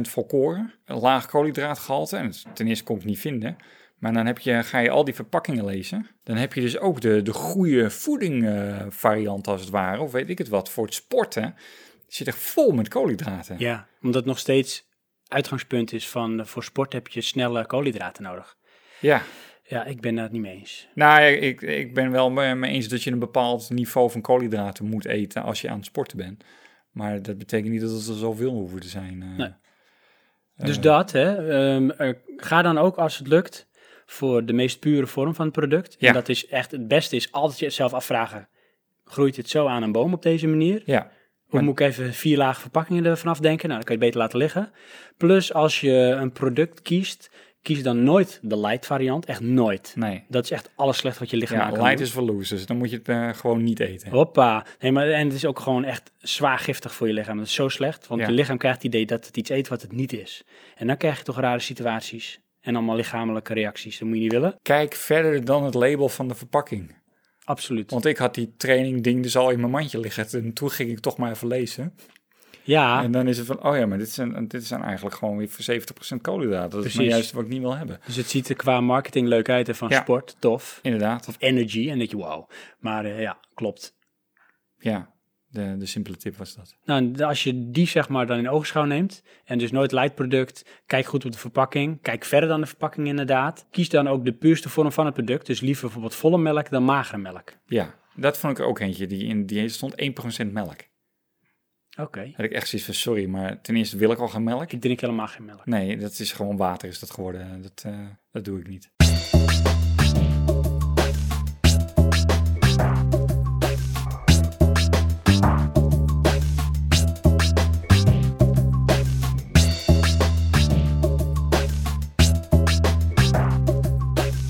Speaker 2: volkoren. Een laag koolhydraatgehalte. En het- ten eerste kon ik het niet vinden. Maar dan heb je, ga je al die verpakkingen lezen. Dan heb je dus ook de, de goede voeding eh, variant als het ware. Of weet ik het wat. Voor het sporten zit er vol met koolhydraten.
Speaker 1: Ja, omdat het nog steeds uitgangspunt is van eh, voor sport heb je snelle koolhydraten nodig.
Speaker 2: ja.
Speaker 1: Ja, ik ben daar niet mee eens.
Speaker 2: Nou, ja, ik, ik ben wel me me eens dat je een bepaald niveau van koolhydraten moet eten als je aan het sporten bent. Maar dat betekent niet dat het er zoveel hoeven te zijn. eh.
Speaker 1: Nee. Dus dat, hè, ehm, er- ga dan ook als het lukt voor de meest pure vorm van het product.
Speaker 2: Ja.
Speaker 1: En dat is echt het beste, is altijd jezelf afvragen, groeit het zo aan een boom op deze manier?
Speaker 2: Ja,
Speaker 1: Of moet ik even vier lagen verpakkingen ervan afdenken? Nou, dan kan je het beter laten liggen. Plus, als je een product kiest, kies dan nooit de light variant, echt nooit.
Speaker 2: nee.
Speaker 1: Dat is echt alles slecht wat je lichaam
Speaker 2: Ja,
Speaker 1: aan kan
Speaker 2: light
Speaker 1: doen.
Speaker 2: is voor losers. Dan moet je het eh, gewoon niet eten.
Speaker 1: Hoppa. Nee, maar, en het is ook gewoon echt zwaar giftig voor je lichaam. Dat is zo slecht, want
Speaker 2: Ja.
Speaker 1: je lichaam krijgt het idee dat het iets eet wat het niet is. En dan krijg je toch rare situaties en allemaal lichamelijke reacties. Dat moet je niet willen.
Speaker 2: Kijk verder dan het label van de verpakking.
Speaker 1: Absoluut.
Speaker 2: Want ik had die training ding dus al in mijn mandje liggen. En toen ging ik toch maar even lezen.
Speaker 1: ja,
Speaker 2: En dan is het van, oh ja, maar dit zijn, dit zijn eigenlijk gewoon weer voor 70% koolhydraten. Dat is maar
Speaker 1: Precies.
Speaker 2: juist wat ik niet wil hebben.
Speaker 1: dus het ziet er qua marketing leuk uit en van
Speaker 2: Ja.
Speaker 1: sport, tof.
Speaker 2: Inderdaad.
Speaker 1: Energy en dat je wauw. Maar eh, ja, klopt.
Speaker 2: Ja, de, de simpele tip was dat.
Speaker 1: Nou, en als je die zeg maar dan in oogschouw neemt en dus nooit light product, kijk goed op de verpakking, kijk verder dan de verpakking inderdaad. Kies dan ook de puurste vorm van het product, dus liever bijvoorbeeld volle melk dan magere melk.
Speaker 2: Ja, dat vond ik ook eentje. Die in die stond 1% melk.
Speaker 1: Oké.
Speaker 2: Had ik echt zoiets van, sorry, maar ten eerste wil ik al geen melk.
Speaker 1: Ik drink helemaal geen melk.
Speaker 2: Nee, dat is gewoon water is dat geworden. Dat, eh, dat doe ik niet.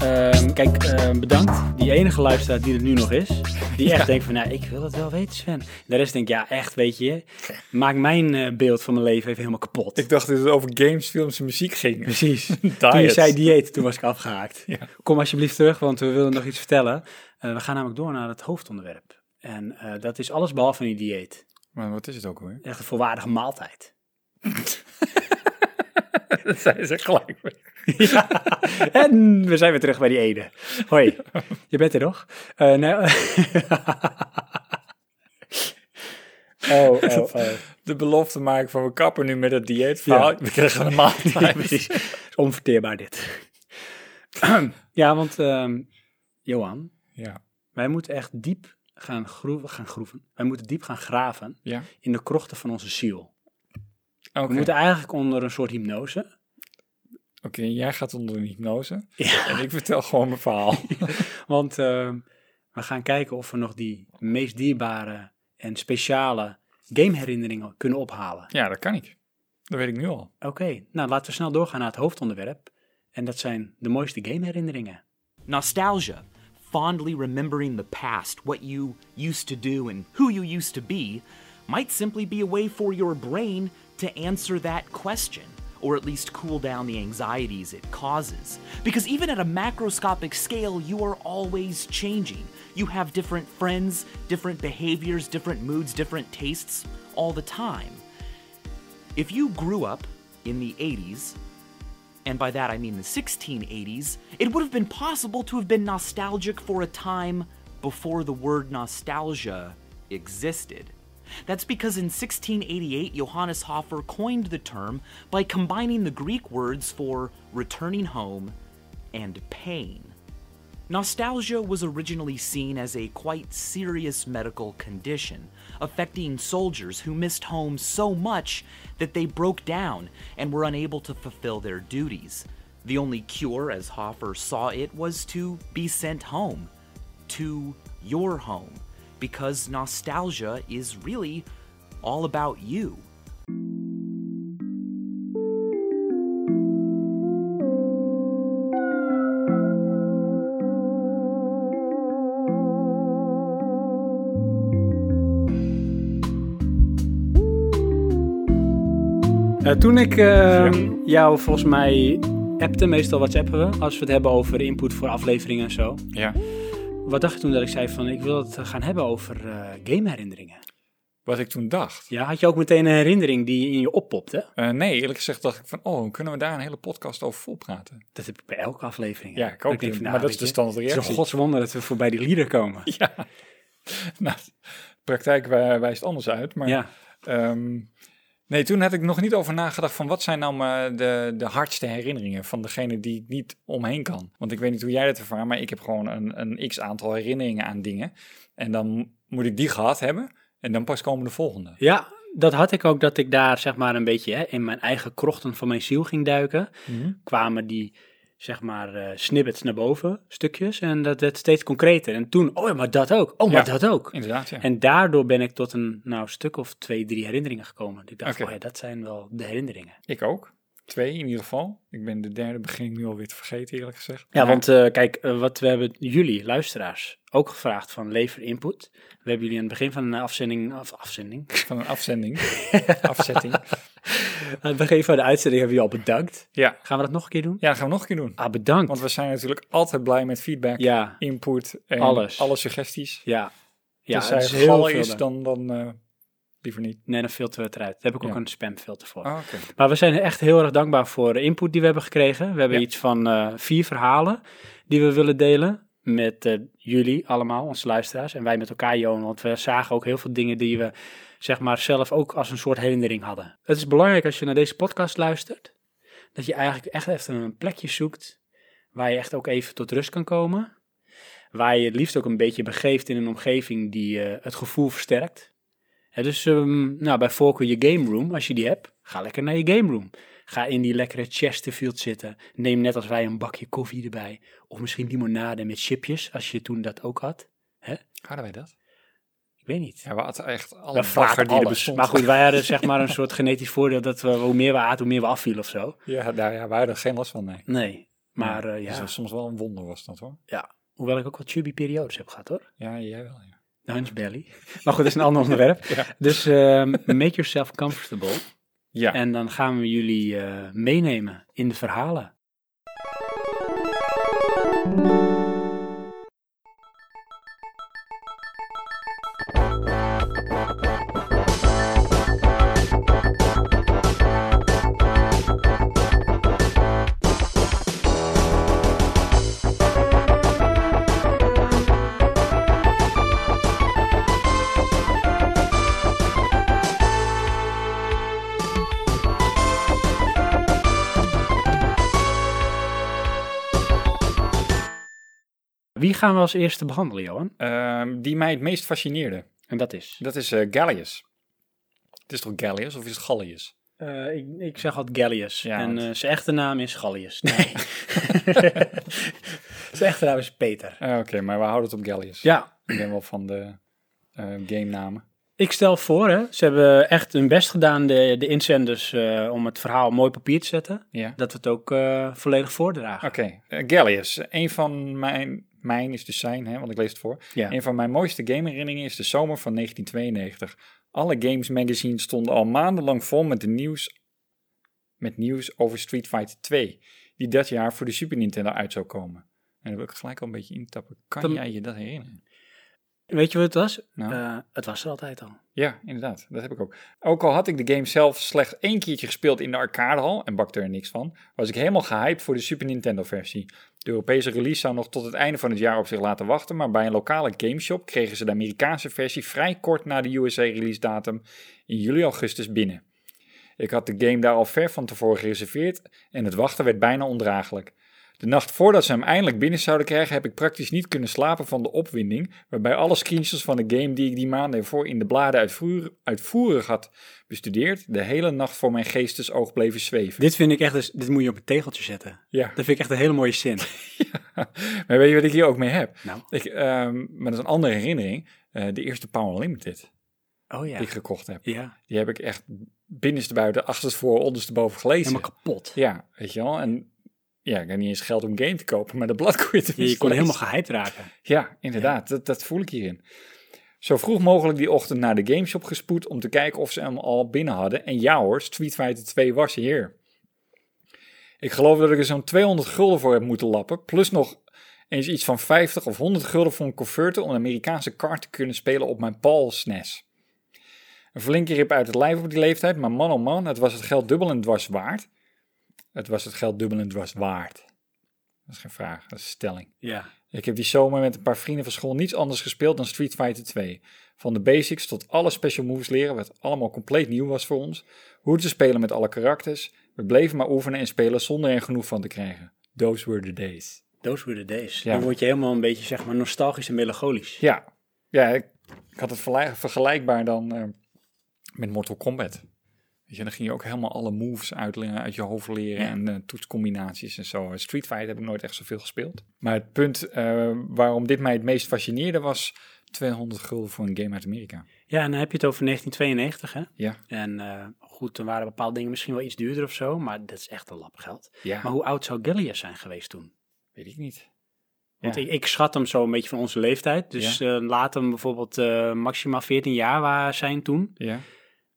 Speaker 1: Ehm, kijk, ehm, bedankt. Die enige luisteraar die er nu nog is. Die echt denkt van, nou, ik wil het wel weten, Sven. De rest denkt, ja, echt, weet je. Maak mijn eh, beeld van mijn leven even helemaal kapot.
Speaker 2: Ik dacht dat het over games, films en muziek ging.
Speaker 1: Precies. toen je
Speaker 2: Diets.
Speaker 1: zei dieet, toen was ik afgehaakt. Kom alsjeblieft terug, want we willen nog iets vertellen. Eh, we gaan namelijk door naar het hoofdonderwerp. En eh, dat is alles behalve een dieet.
Speaker 2: Maar wat is het ook hoor?
Speaker 1: Echt een volwaardige maaltijd.
Speaker 2: Dat zijn ze gelijk weer.
Speaker 1: En we zijn weer terug bij die Ede. Hoi, je bent er nog? Eh, nee. oh, oh, oh.
Speaker 2: De belofte maken van we kappen nu met het dieetverhaal.
Speaker 1: Ja.
Speaker 2: We krijgen een maand
Speaker 1: Ja, precies. Het is onverteerbaar dit. ja, want ehm, Johan,
Speaker 2: Ja.
Speaker 1: wij moeten echt diep gaan, groeven, gaan groeven. Wij moeten diep gaan graven
Speaker 2: Ja,
Speaker 1: in de krochten van onze ziel.
Speaker 2: oké.
Speaker 1: We moeten eigenlijk onder een soort hypnose.
Speaker 2: Oké, jij gaat onder een hypnose. En ik vertel gewoon mijn verhaal.
Speaker 1: Want ehm, we gaan kijken of we nog die meest dierbare en speciale gameherinneringen kunnen ophalen.
Speaker 2: ja, dat kan ik. Dat weet ik nu al.
Speaker 1: Oké, nou laten we snel doorgaan naar het hoofdonderwerp. En dat zijn de mooiste gameherinneringen.
Speaker 8: Nostalgia, fondly remembering the past, what you used to do and who you used to be, might simply be a way for your brain to answer that question or at least cool down the anxieties it causes. Because even at a macroscopic scale, you are always changing. You have different friends, different behaviors, different moods, different tastes all the time. If you grew up in the 80s, and by that I mean the 1680s, it would have been possible to have been nostalgic for a time before the word nostalgia existed. That's because in 1688, Johannes Hofer coined the term by combining the Greek words for returning home and pain. Nostalgia was originally seen as a quite serious medical condition, affecting soldiers who missed home so much that they broke down and were unable to fulfill their duties. The only cure, as Hoffer saw it, was to be sent home. To your home. Because nostalgia is really all about you.
Speaker 1: Eh, toen ik ehm, jou volgens mij appte, meestal whatsappen we, als we het hebben over input voor afleveringen en zo.
Speaker 2: Ja.
Speaker 1: Wat dacht je toen dat ik zei van, ik wil het eh, gaan hebben over eh, gameherinneringen?
Speaker 2: Wat ik toen dacht.
Speaker 1: Ja, had je ook meteen een herinnering die in je oppopte?
Speaker 2: Eh, nee, eerlijk gezegd dacht ik van, oh, kunnen we daar een hele podcast over vol praten?
Speaker 1: Dat heb ik bij elke aflevering.
Speaker 2: Ja, ik ook,
Speaker 1: denk nou,
Speaker 2: maar dat
Speaker 1: weet
Speaker 2: is de
Speaker 1: je,
Speaker 2: standaardreactie.
Speaker 1: Het is een godswonder dat we voorbij die lieder komen. Ja.
Speaker 2: nou, praktijk wij- wijst anders uit, maar... Ehm, nee, toen had ik nog niet over nagedacht van wat zijn nou mijn- de, de hardste herinneringen van degene die ik niet omheen kan. Want ik weet niet hoe jij dat ervaart, maar ik heb gewoon een, een x aantal herinneringen aan dingen. En dan moet ik die gehad hebben en dan pas komen de volgende.
Speaker 1: Ja, dat had ik ook, dat ik daar zeg maar een beetje hè, in mijn eigen krochten van mijn ziel ging duiken.
Speaker 2: Mhm.
Speaker 1: Kwamen die zeg maar eh, snippets naar boven, stukjes, en dat werd steeds concreter. En toen, oh ja, maar dat ook, oh maar
Speaker 2: Ja,
Speaker 1: dat ook.
Speaker 2: Inderdaad, ja.
Speaker 1: En daardoor ben ik tot een nou, stuk of twee, drie herinneringen gekomen. Ik dacht,
Speaker 2: Oké.
Speaker 1: oh ja, dat zijn wel de herinneringen.
Speaker 2: Ik ook. Twee in ieder geval. Ik ben de derde begin ik nu alweer te vergeten, eerlijk gezegd.
Speaker 1: Ja,
Speaker 2: Maar-
Speaker 1: want eh, kijk, eh, wat we hebben jullie, luisteraars, ook gevraagd van lever input. We hebben jullie aan het begin van een afzending, of afzending,
Speaker 2: Van een afzending. Afzetting.
Speaker 1: aan het begin van de uitzending hebben jullie al bedankt.
Speaker 2: Ja.
Speaker 1: Gaan we dat nog een keer doen?
Speaker 2: ja, gaan we nog een keer doen.
Speaker 1: Ah, bedankt.
Speaker 2: Want we zijn natuurlijk altijd blij met feedback,
Speaker 1: Ja,
Speaker 2: input en
Speaker 1: Alles.
Speaker 2: alle suggesties.
Speaker 1: ja. Ja,
Speaker 2: Ja,
Speaker 1: het
Speaker 2: als
Speaker 1: is
Speaker 2: zij
Speaker 1: heel
Speaker 2: gevallen
Speaker 1: veel
Speaker 2: is,
Speaker 1: dan-
Speaker 2: dan, dan eh, liever niet.
Speaker 1: Nee, dan filteren we het eruit. Daar heb ik ook
Speaker 2: Ja.
Speaker 1: een spamfilter voor.
Speaker 2: Ah, oké.
Speaker 1: Maar we zijn echt heel erg dankbaar voor de input die we hebben gekregen. We hebben
Speaker 2: Ja.
Speaker 1: iets van eh, vier verhalen die we willen delen met eh, jullie allemaal, onze luisteraars. En wij met elkaar, Johan, want we zagen ook heel veel dingen die we zeg maar zelf ook als een soort herinnering hadden. Het is belangrijk als je naar deze podcast luistert, dat je eigenlijk echt even een plekje zoekt waar je echt ook even tot rust kan komen. Waar je het liefst ook een beetje begeeft in een omgeving die eh, het gevoel versterkt. Hè, dus ehm, nou, bij voorkeur je game room, als je die hebt, ga lekker naar je game room. Ga in die lekkere Chesterfield zitten. Neem net als wij een bakje koffie erbij. Of misschien limonade met chipjes, als je toen dat ook had.
Speaker 2: Hadden wij dat?
Speaker 1: Ik weet niet.
Speaker 2: Ja, we hadden echt alle
Speaker 1: we
Speaker 2: bagger
Speaker 1: vragen
Speaker 2: die er
Speaker 1: alles.
Speaker 2: bestond.
Speaker 1: Maar goed, wij hadden
Speaker 2: dus-
Speaker 1: zeg maar een soort genetisch voordeel dat we, hoe meer we aten, hoe meer we afvielen of zo.
Speaker 2: Ja, daar, ja, wij hadden geen last van, nee.
Speaker 1: Nee, maar eh,
Speaker 2: Dus
Speaker 1: ja,
Speaker 2: dat was soms wel een wonder was dat, hoor.
Speaker 1: ja. Hoewel ik ook wat chubby periodes heb gehad hoor.
Speaker 2: Ja, jij wel, ja.
Speaker 1: Hans belly. Maar goed, dat is een ander onderwerp. Dus ehm, make yourself comfortable.
Speaker 2: Ja,
Speaker 1: En dan gaan we jullie eh, meenemen in de verhalen. Wie gaan we als eerste behandelen, Johan? Eh,
Speaker 2: Ehm, die mij het meest fascineerde,
Speaker 1: En dat is?
Speaker 2: dat is eh, Gallius. Het is toch Gallius of is het Gallius?
Speaker 1: Eh, ik, ik zeg altijd Gallius.
Speaker 2: Ja,
Speaker 1: en
Speaker 2: want-
Speaker 1: eh, zijn echte naam is Gallius. Nee. zijn echte naam is Peter.
Speaker 2: Eh, Oké, maar we houden het op Gallius.
Speaker 1: Ja,
Speaker 2: Ik ben wel van de eh, game namen.
Speaker 1: ik stel voor, hè, ze hebben echt hun best gedaan, de, de inzenders, eh, om het verhaal op mooi papier te zetten.
Speaker 2: Ja.
Speaker 1: Dat we het ook eh, volledig voordragen.
Speaker 2: Oké, eh, Gallius. Een van mijn, mijn is dus zijn, hè, want ik lees het voor.
Speaker 1: Ja.
Speaker 2: Een van mijn mooiste gameherinneringen is de zomer van 1992. Alle games magazines stonden al maandenlang vol met de nieuws met nieuws over Street Fighter 2, die dat jaar voor de Super Nintendo uit zou komen. En daar wil ik gelijk al een beetje intappen. Kan
Speaker 1: Dan-
Speaker 2: jij je dat herinneren?
Speaker 1: Weet je wat het was?
Speaker 2: Nou.
Speaker 1: Eh, het was er altijd al.
Speaker 2: Ja, inderdaad. Dat heb ik ook. Ook al had ik de game zelf slechts één keertje gespeeld in de arcadehal en bakte er niks van, was ik helemaal gehyped voor de Super Nintendo versie. De Europese release zou nog tot het einde van het jaar op zich laten wachten, maar bij een lokale gameshop kregen ze de Amerikaanse versie vrij kort na de USA release datum in juli-augustus binnen. Ik had de game daar al ver van tevoren gereserveerd en het wachten werd bijna ondraaglijk. De nacht voordat ze hem eindelijk binnen zouden krijgen, heb ik praktisch niet kunnen slapen van de opwinding, waarbij alle screenshots van de game die ik die maanden ervoor in de bladen uitvoer- uitvoerig had bestudeerd, de hele nacht voor mijn geestesoog bleven zweven.
Speaker 1: Dit vind ik echt, dus, dit moet je op een tegeltje zetten.
Speaker 2: Ja.
Speaker 1: Dat vind ik echt een hele mooie zin.
Speaker 2: Maar weet je wat ik hier ook mee heb?
Speaker 1: Nou.
Speaker 2: Ik, ehm, maar dat is een andere herinnering. Eh, de eerste Power Limited
Speaker 1: Oh ja.
Speaker 2: die ik gekocht heb.
Speaker 1: Ja,
Speaker 2: Die heb ik echt binnenstebuiten, achterstevoor, ondersteboven gelezen.
Speaker 1: helemaal kapot.
Speaker 2: Ja, weet je wel. En ja, ik had niet eens geld om een game te kopen, maar dat blad kon je
Speaker 1: Je, je
Speaker 2: tenminste
Speaker 1: kon
Speaker 2: lezen.
Speaker 1: helemaal gehyped raken.
Speaker 2: Ja, inderdaad. Dat, dat voel ik hierin. Zo vroeg mogelijk die ochtend naar de gameshop gespoed om te kijken of ze hem al binnen hadden. En ja hoor, Street Fighter 2 was hier. Ik geloof dat ik er zo'n 200 gulden voor heb moeten lappen. Plus nog eens iets van 50 of 100 gulden voor een converter om een Amerikaanse kaart te kunnen spelen op mijn Paul's NES. E Een flinke rip uit het lijf op die leeftijd, maar man oh man, het was het geld dubbel en dwars waard. Het was het geld dubbel en dwars waard. Dat is geen vraag, dat is een stelling.
Speaker 1: Ja.
Speaker 2: Ik heb die zomer met een paar vrienden van school niets anders gespeeld dan Street Fighter 2. Van de basics tot alle special moves leren, wat allemaal compleet nieuw was voor ons. Hoe te spelen met alle karakters. We bleven maar oefenen en spelen zonder er genoeg van te krijgen. Those were the days.
Speaker 1: Those were the days.
Speaker 2: Ja.
Speaker 1: Dan word je helemaal een beetje zeg maar nostalgisch en melancholisch.
Speaker 2: Ja, ja ik, ik had het verla- vergelijkbaar dan eh, met Mortal Kombat. Weet je, dan ging je ook helemaal alle moves uit, uit je hoofd leren en eh, toetscombinaties en zo. Street Fighter heb ik nooit echt zoveel gespeeld. Maar het punt eh, waarom dit mij het meest fascineerde was 200 gulden voor een game uit Amerika.
Speaker 1: Ja, en dan heb je het over 1992, hè?
Speaker 2: Ja,
Speaker 1: En eh, goed, toen waren bepaalde dingen misschien wel iets duurder of zo, maar dat is echt een lap geld.
Speaker 2: Ja.
Speaker 1: Maar hoe oud zou Gillias zijn geweest toen?
Speaker 2: weet ik niet.
Speaker 1: Want
Speaker 2: Ja.
Speaker 1: ik, ik schat hem zo een beetje van onze leeftijd. Dus eh laat hem bijvoorbeeld eh, maximaal 14 jaar waar zijn toen.
Speaker 2: Ja,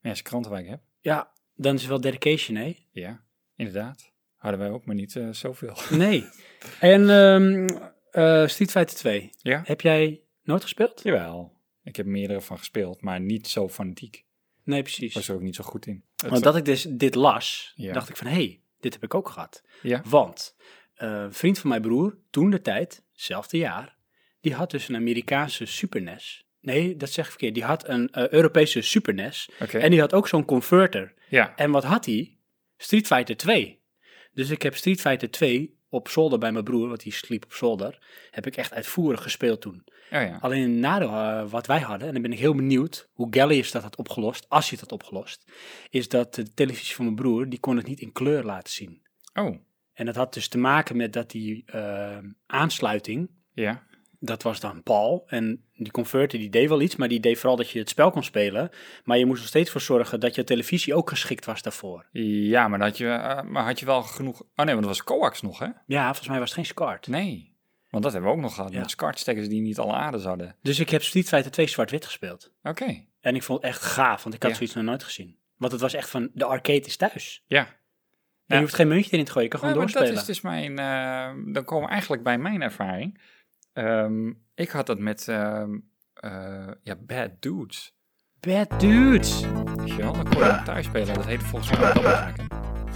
Speaker 2: ja als je krantenwijk hebt.
Speaker 1: Ja, dan is het wel dedication, hè?
Speaker 2: Ja, inderdaad. Hadden wij ook, maar niet eh, zoveel.
Speaker 1: Nee. en ehm eh, Street Fighter 2,
Speaker 2: Ja,
Speaker 1: heb jij nooit gespeeld?
Speaker 2: jawel. Ik heb meerdere van gespeeld, maar niet zo fanatiek.
Speaker 1: Nee, precies.
Speaker 2: was er ook niet zo goed in. Het-
Speaker 1: Want dat ik dus dit las,
Speaker 2: Ja.
Speaker 1: dacht ik van, hé, hey, dit heb ik ook gehad.
Speaker 2: Ja.
Speaker 1: Want eh, een vriend van mijn broer, toen de tijd, hetzelfde jaar, die had dus een Amerikaanse Super NES. Nee, dat zeg ik verkeerd. Die had een eh, Europese Super NES.
Speaker 2: Oké.
Speaker 1: En die had ook zo'n converter.
Speaker 2: Ja,
Speaker 1: En wat had hij? Street Fighter 2. Dus ik heb Street Fighter 2 op zolder bij mijn broer, want die sliep op zolder, heb ik echt uitvoerig gespeeld toen.
Speaker 2: oh ja.
Speaker 1: Alleen een nadeel eh, wat wij hadden, en dan ben ik heel benieuwd hoe Gallius dat had opgelost, als hij dat had opgelost, is dat de televisie van mijn broer, die kon het niet in kleur laten zien.
Speaker 2: Oh,
Speaker 1: En dat had dus te maken met dat die eh, aansluiting,
Speaker 2: ja.
Speaker 1: dat was dan Paul, en die converter die deed wel iets, maar die deed vooral dat je het spel kon spelen, maar je moest er steeds voor zorgen dat je televisie ook geschikt was daarvoor.
Speaker 2: Ja, maar, dan had je, eh, maar had je wel genoeg... Oh nee, want dat was coax nog, hè?
Speaker 1: Ja, volgens mij was het geen SCART.
Speaker 2: Nee. Want dat hebben we ook nog gehad,
Speaker 1: Ja.
Speaker 2: met skartstekkers die niet alle aardes hadden.
Speaker 1: Dus ik heb Street Fighter 2 zwart-wit gespeeld.
Speaker 2: Oké,
Speaker 1: En ik vond het echt gaaf, want ik had
Speaker 2: Ja.
Speaker 1: zoiets nog nooit gezien. Want het was echt van, de arcade is thuis.
Speaker 2: ja.
Speaker 1: En je hoeft geen muntje erin te gooien, je kan gewoon
Speaker 2: Ja, maar
Speaker 1: doorspelen.
Speaker 2: dat is dus mijn... eh, dan komen we eigenlijk bij mijn ervaring. Ehm, ik had dat met ehm, eh, ja, Bad Dudes.
Speaker 1: Bad dudes.
Speaker 2: Weet je wel, dan kon je dat thuis spelen. Dat heette volgens mij dobbelhaken.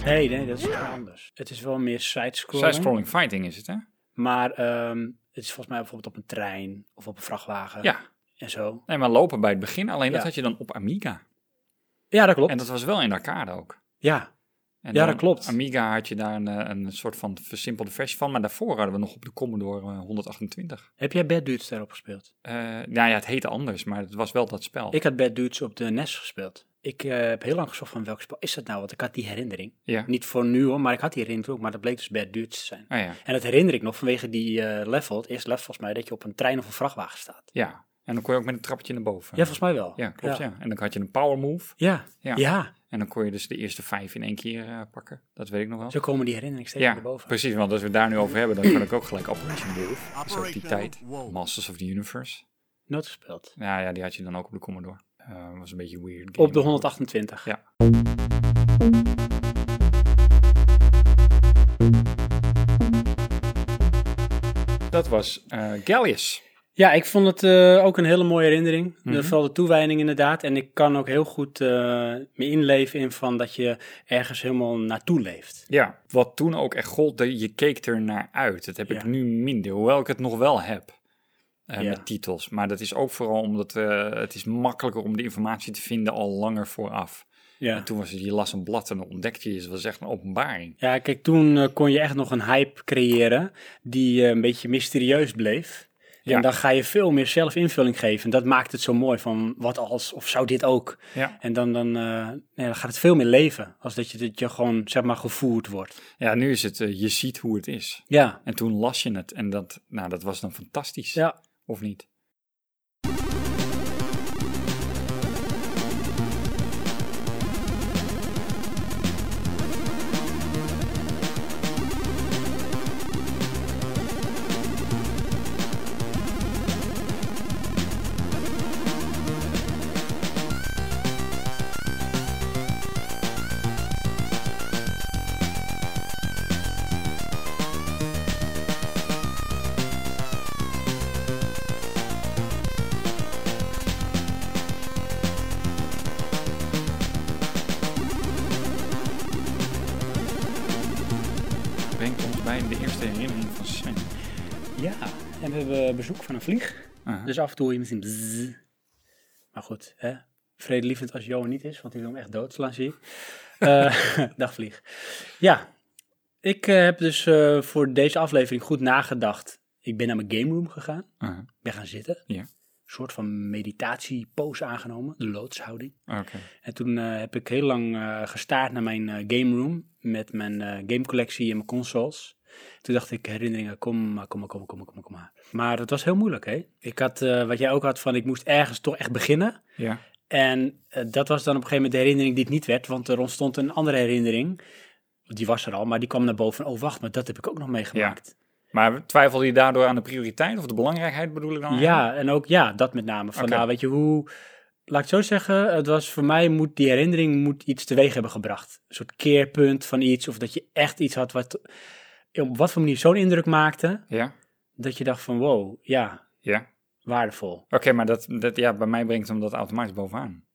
Speaker 1: Nee, nee, dat is wel anders. Het is wel meer sidescrolling.
Speaker 2: dus- Side-scrolling fighting is het, hè?
Speaker 1: Maar ehm, het is volgens mij bijvoorbeeld op een trein of op een vrachtwagen.
Speaker 2: Ja.
Speaker 1: En zo.
Speaker 2: Nee, maar lopen bij het begin. Alleen dat
Speaker 1: Ja.
Speaker 2: had je dan op Amiga.
Speaker 1: Ja, dat klopt.
Speaker 2: En dat was wel in de arcade ook.
Speaker 1: Ja.
Speaker 2: En
Speaker 1: Ja,
Speaker 2: dan
Speaker 1: dat klopt.
Speaker 2: Amiga had je daar een, eh, een soort van versimpelde versie van, maar daarvoor hadden we nog op de Commodore eh, 128.
Speaker 1: Heb jij Bad Dudes daarop gespeeld?
Speaker 2: Eh nou ja, het heette anders, maar het was wel dat spel.
Speaker 1: Ik had Bad Dudes op de NES gespeeld. Ik eh, heb heel lang gezocht van welk spel is dat nou, want ik had die herinnering.
Speaker 2: Ja.
Speaker 1: Niet voor nu hoor, maar ik had die herinnering ook, maar dat bleek dus Bad Dudes te zijn.
Speaker 2: Ah ja.
Speaker 1: En dat herinner ik nog vanwege die eh, level, het eerste level volgens mij, dat je op een trein of een vrachtwagen staat.
Speaker 2: Ja, en dan kon je ook met een trappetje naar boven.
Speaker 1: Ja, volgens mij wel.
Speaker 2: Ja, klopt, ja. En dan had je een power move.
Speaker 1: Ja.
Speaker 2: Ja.
Speaker 1: Ja. ja.
Speaker 2: En dan kon je dus de eerste vijf in één keer eh, pakken. Dat weet ik nog wel.
Speaker 1: Zo komen die herinneringen steeds
Speaker 2: Ja,
Speaker 1: naar boven.
Speaker 2: precies. Want als we het daar nu over hebben, dan kan ik ook gelijk Operation Wolf. Dat is ook die tijd. Masters of the Universe.
Speaker 1: Nooit gespeeld.
Speaker 2: Nou ja, die had je dan ook op de Commodore. Eh was een beetje een weird game.
Speaker 1: Op de 128.
Speaker 2: Ja. Dat was eh, Gallius.
Speaker 1: Ja, ik vond het eh, ook een hele mooie herinnering.
Speaker 2: Mhm.
Speaker 1: Eh, vooral de toewijding inderdaad. En ik kan ook heel goed eh, me inleven in van dat je ergens helemaal naartoe leeft.
Speaker 2: Ja, wat toen ook echt gold, dat je keek er naar uit. Dat heb ik
Speaker 1: Ja.
Speaker 2: nu minder, hoewel ik het nog wel heb eh,
Speaker 1: Ja.
Speaker 2: met titels. Maar dat is ook vooral omdat eh, het is makkelijker om de informatie te vinden al langer vooraf.
Speaker 1: Ja,
Speaker 2: En toen was het, je las een blad en dan ontdekte je, het Het was echt een openbaring.
Speaker 1: ja kijk, toen eh, kon je echt nog een hype creëren die eh, een beetje mysterieus bleef.
Speaker 2: Ja.
Speaker 1: En dan ga je veel meer zelf invulling geven. En dat maakt het zo mooi van wat als of zou dit ook.
Speaker 2: Ja.
Speaker 1: En dan, dan, eh, nee, dan gaat het veel meer leven als dat je, dat je gewoon zeg maar gevoerd wordt.
Speaker 2: Ja, nu is het, eh, je ziet hoe het is.
Speaker 1: Ja,
Speaker 2: En toen las je het en dat, nou, dat was dan fantastisch.
Speaker 1: ja.
Speaker 2: Of niet? Brengt ons bij de eerste herinnering van Sven.
Speaker 1: Ja, en we hebben bezoek van een vlieg.
Speaker 2: Aha.
Speaker 1: Dus af en toe hoor je misschien bzzz. Maar goed, hè? vredelievend als Johan niet is, want die wil hem echt doodslaan, zie ik. Eh, dag vlieg. Ja, ik eh, heb dus eh, voor deze aflevering goed nagedacht. Ik ben naar mijn game room gegaan.
Speaker 2: Aha.
Speaker 1: Ik ben gaan zitten.
Speaker 2: Ja.
Speaker 1: Een soort van meditatiepose aangenomen, de loodshouding.
Speaker 2: Oké.
Speaker 1: En toen eh, heb ik heel lang eh, gestaard naar mijn eh, game room met mijn eh, gamecollectie en mijn consoles. Toen dacht ik, herinneringen, kom maar, kom maar, kom maar, kom maar, kom maar. Kom maar. maar het was heel moeilijk, hè? Ik had, eh, wat jij ook had, van ik moest ergens toch echt beginnen.
Speaker 2: Ja.
Speaker 1: En eh, dat was dan op een gegeven moment de herinnering die het niet werd, want er ontstond een andere herinnering. Die was er al, maar die kwam naar boven. Oh, wacht, maar dat heb ik ook nog meegemaakt.
Speaker 2: Maar twijfelde je daardoor aan de prioriteit of de belangrijkheid bedoel ik dan?
Speaker 1: Ja,
Speaker 2: eigenlijk?
Speaker 1: en ook ja, dat met name. Van,
Speaker 2: Oké.
Speaker 1: nou, weet je, hoe... Laat ik het zo zeggen, het was voor mij moet die herinnering moet iets teweeg hebben gebracht. Een soort keerpunt van iets, of dat je echt iets had wat op wat voor manier zo'n indruk maakte,
Speaker 2: Ja.
Speaker 1: dat je dacht van wow, ja,
Speaker 2: Ja.
Speaker 1: waardevol.
Speaker 2: Oké, maar dat, dat, ja, bij mij brengt hem dat automatisch bovenaan.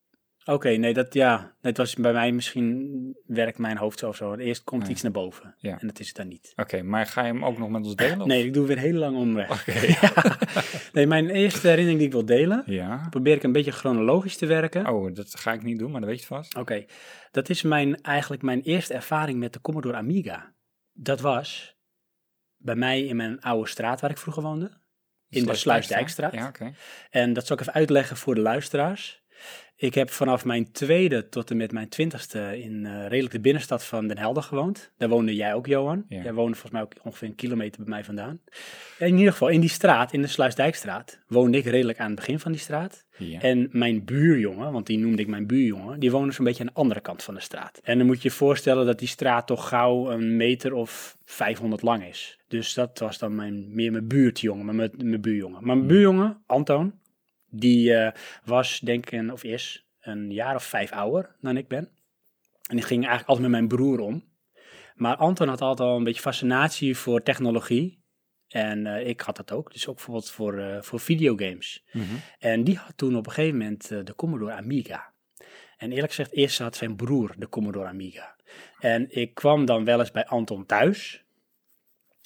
Speaker 1: Oké, nee, dat ja, het was bij mij misschien werkt mijn hoofd zo of zo. Eerst komt iets naar boven
Speaker 2: Ja.
Speaker 1: en dat is het dan niet.
Speaker 2: Oké, maar ga je hem ook nog met ons delen? of-
Speaker 1: Nee, ik doe weer heel lang omweg.
Speaker 2: Oké.
Speaker 1: Ja. Nee, mijn eerste herinnering die ik wil delen,
Speaker 2: Ja.
Speaker 1: probeer ik een beetje chronologisch te werken.
Speaker 2: Oh, dat ga ik niet doen, maar dat weet je vast.
Speaker 1: Oké, dat is mijn, eigenlijk mijn eerste ervaring met de Commodore Amiga. Dat was bij mij in mijn oude straat waar ik vroeger woonde. In de Sluisdijkstraat.
Speaker 2: Ja, oké.
Speaker 1: En dat zal ik even uitleggen voor de luisteraars. Ik heb vanaf mijn tweede tot en met mijn twintigste in eh, redelijk de binnenstad van Den Helder gewoond. Daar woonde jij ook, Johan.
Speaker 2: Ja.
Speaker 1: Jij woonde volgens mij ook ongeveer een kilometer bij mij vandaan. En in ieder geval, in die straat, in de Sluisdijkstraat, woonde ik redelijk aan het begin van die straat.
Speaker 2: Ja.
Speaker 1: En mijn buurjongen, want die noemde ik mijn buurjongen, die woonde zo'n beetje aan de andere kant van de straat. En dan moet je je voorstellen dat die straat toch gauw een meter of 500 lang is. Dus dat was dan mijn, meer mijn buurtjongen, maar mijn, mijn buurjongen. Maar mijn buurjongen, Antoon, die eh, was, denk ik, een- of is een jaar of vijf ouder dan ik ben. En die ging eigenlijk altijd met mijn broer om. Maar Anton had altijd al een beetje fascinatie voor technologie. En eh, ik had dat ook. Dus ook bijvoorbeeld voor, eh, voor videogames. En die had toen op een gegeven moment eh, de Commodore Amiga. En eerlijk gezegd, eerst had zijn broer de Commodore Amiga. En ik kwam dan wel eens bij Anton thuis.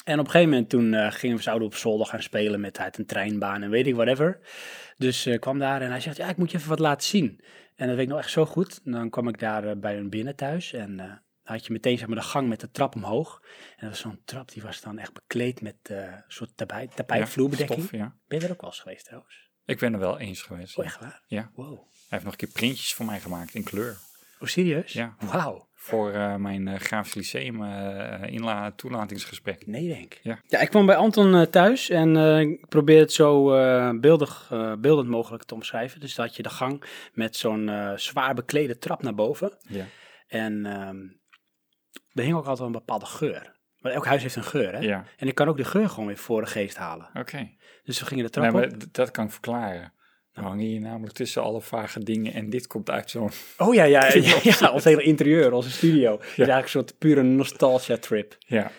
Speaker 1: En op een gegeven moment toen eh, gingen we zouden op zolder gaan spelen met uit een treinbaan en weet ik whatever. Dus eh, ik kwam daar en hij zegt, ja, ik moet je even wat laten zien. En dat weet ik nog echt zo goed. En dan kwam ik daar eh, bij hun binnen thuis en eh, dan had je meteen zeg maar, de gang met de trap omhoog. En dat was zo'n trap, die was dan echt bekleed met eh, een soort tapijt,
Speaker 2: Ja,
Speaker 1: tapijtvloerbedekking.
Speaker 2: stof, ja.
Speaker 1: Ben je er ook wel eens geweest trouwens?
Speaker 2: Ik ben er wel eens geweest.
Speaker 1: Oh,
Speaker 2: ja.
Speaker 1: echt waar?
Speaker 2: Ja.
Speaker 1: Wow.
Speaker 2: Hij heeft nog een keer printjes voor mij gemaakt in kleur.
Speaker 1: Oh, serieus?
Speaker 2: Ja.
Speaker 1: Wauw.
Speaker 2: Voor eh, mijn eh, Graafs Lyceum eh, inla- toelatingsgesprek.
Speaker 1: Nee, denk ik.
Speaker 2: Ja.
Speaker 1: ik kwam bij Anton eh, thuis en eh, ik probeer het zo eh, beeldig, eh, beeldend mogelijk te omschrijven. Dus dat had je de gang met zo'n eh, zwaar beklede trap naar boven.
Speaker 2: Ja.
Speaker 1: En ehm er hing ook altijd wel een bepaalde geur. Maar elk huis heeft een geur, hè?
Speaker 2: Ja.
Speaker 1: En ik kan ook de geur gewoon weer voor de geest halen.
Speaker 2: Oké.
Speaker 1: Dus we gingen de trap
Speaker 2: Nee, maar
Speaker 1: op.
Speaker 2: d- dat kan ik verklaren. Dan hang je hier namelijk tussen alle vage dingen en dit komt uit zo'n...
Speaker 1: Oh ja, ja, ja, ja, ons hele interieur, onze studio. Het is eigenlijk een soort pure nostalgia trip.
Speaker 2: Ja.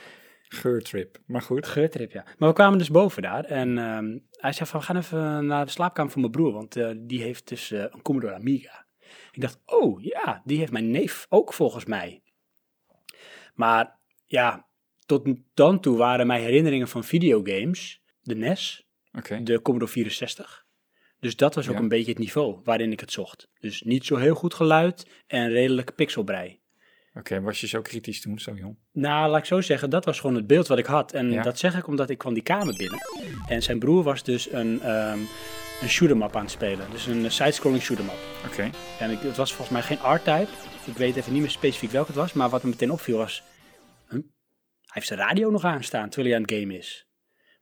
Speaker 2: Geurtrip. Maar goed.
Speaker 1: Geurtrip, ja. Maar we kwamen dus boven daar en ehm, hij zei van, we gaan even naar de slaapkamer van mijn broer, want eh, die heeft dus eh, een Commodore Amiga. Ik dacht, oh ja, die heeft mijn neef ook volgens mij. Maar ja, tot dan toe waren mijn herinneringen van videogames de NES,
Speaker 2: Oké.
Speaker 1: de Commodore 64. Dus dat was ook
Speaker 2: Ja.
Speaker 1: een beetje het niveau waarin ik het zocht. Dus niet zo heel goed geluid en redelijk pixelbrei.
Speaker 2: Oké, was je zo kritisch toen, zo jong?
Speaker 1: Nou, laat ik zo zeggen, dat was gewoon het beeld wat ik had. En
Speaker 2: Ja.
Speaker 1: dat zeg ik omdat ik kwam die kamer binnen. En zijn broer was dus een, ehm een shoot'em up aan het spelen. Dus een eh, side-scrolling shoot'em up.
Speaker 2: Oké.
Speaker 1: En ik, het was volgens mij geen R-type. Ik weet even niet meer specifiek welke het was. Maar wat me meteen opviel was... huh? Hij heeft zijn radio nog aanstaan terwijl hij aan het game is.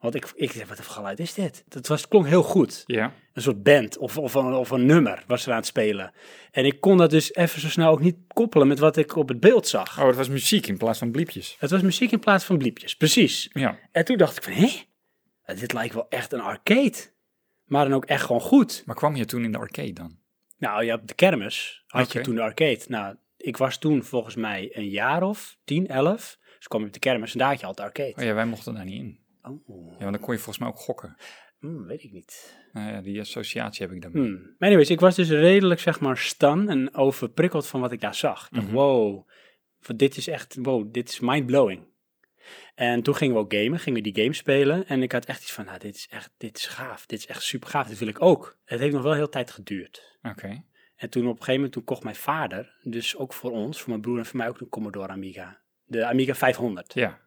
Speaker 1: Want ik, ik dacht, wat voor geluid is dit? Het, was, het klonk heel goed.
Speaker 2: Ja.
Speaker 1: Een soort band of, of, een, of een nummer was er aan het spelen. En ik kon dat dus even zo snel ook niet koppelen met wat ik op het beeld zag.
Speaker 2: Oh, het was muziek in plaats van bliepjes.
Speaker 1: Het was muziek in plaats van bliepjes, precies.
Speaker 2: Ja.
Speaker 1: En toen dacht ik van, hé, dit lijkt wel echt een arcade. Maar dan ook echt gewoon goed.
Speaker 2: Maar kwam je toen in de arcade dan?
Speaker 1: Nou ja, op de kermis had je
Speaker 2: Oké.
Speaker 1: toen de arcade. Nou, ik was toen volgens mij een jaar of 10, 11. Dus kwam je op de kermis en daar had je al de arcade.
Speaker 2: Oh ja, wij mochten daar niet in.
Speaker 1: Oh,
Speaker 2: Ja, want dan kon je volgens mij ook gokken.
Speaker 1: hmm, weet ik niet.
Speaker 2: Nou ja, die associatie heb ik daarmee.
Speaker 1: Hmm. Maar anyways, ik was dus redelijk zeg maar stan en overprikkeld van wat ik daar zag. Ik dacht, wow, van dit is echt, wow, dit is mindblowing. En toen gingen we ook gamen, gingen we die game spelen. En ik had echt iets van, nou, dit is echt, dit is gaaf. Dit is echt super gaaf, dit wil ik ook. Het heeft nog wel heel tijd geduurd.
Speaker 2: Oké.
Speaker 1: En toen op een gegeven moment, toen kocht mijn vader, dus ook voor ons, voor mijn broer en voor mij ook een Commodore Amiga. De Amiga 500.
Speaker 2: Ja.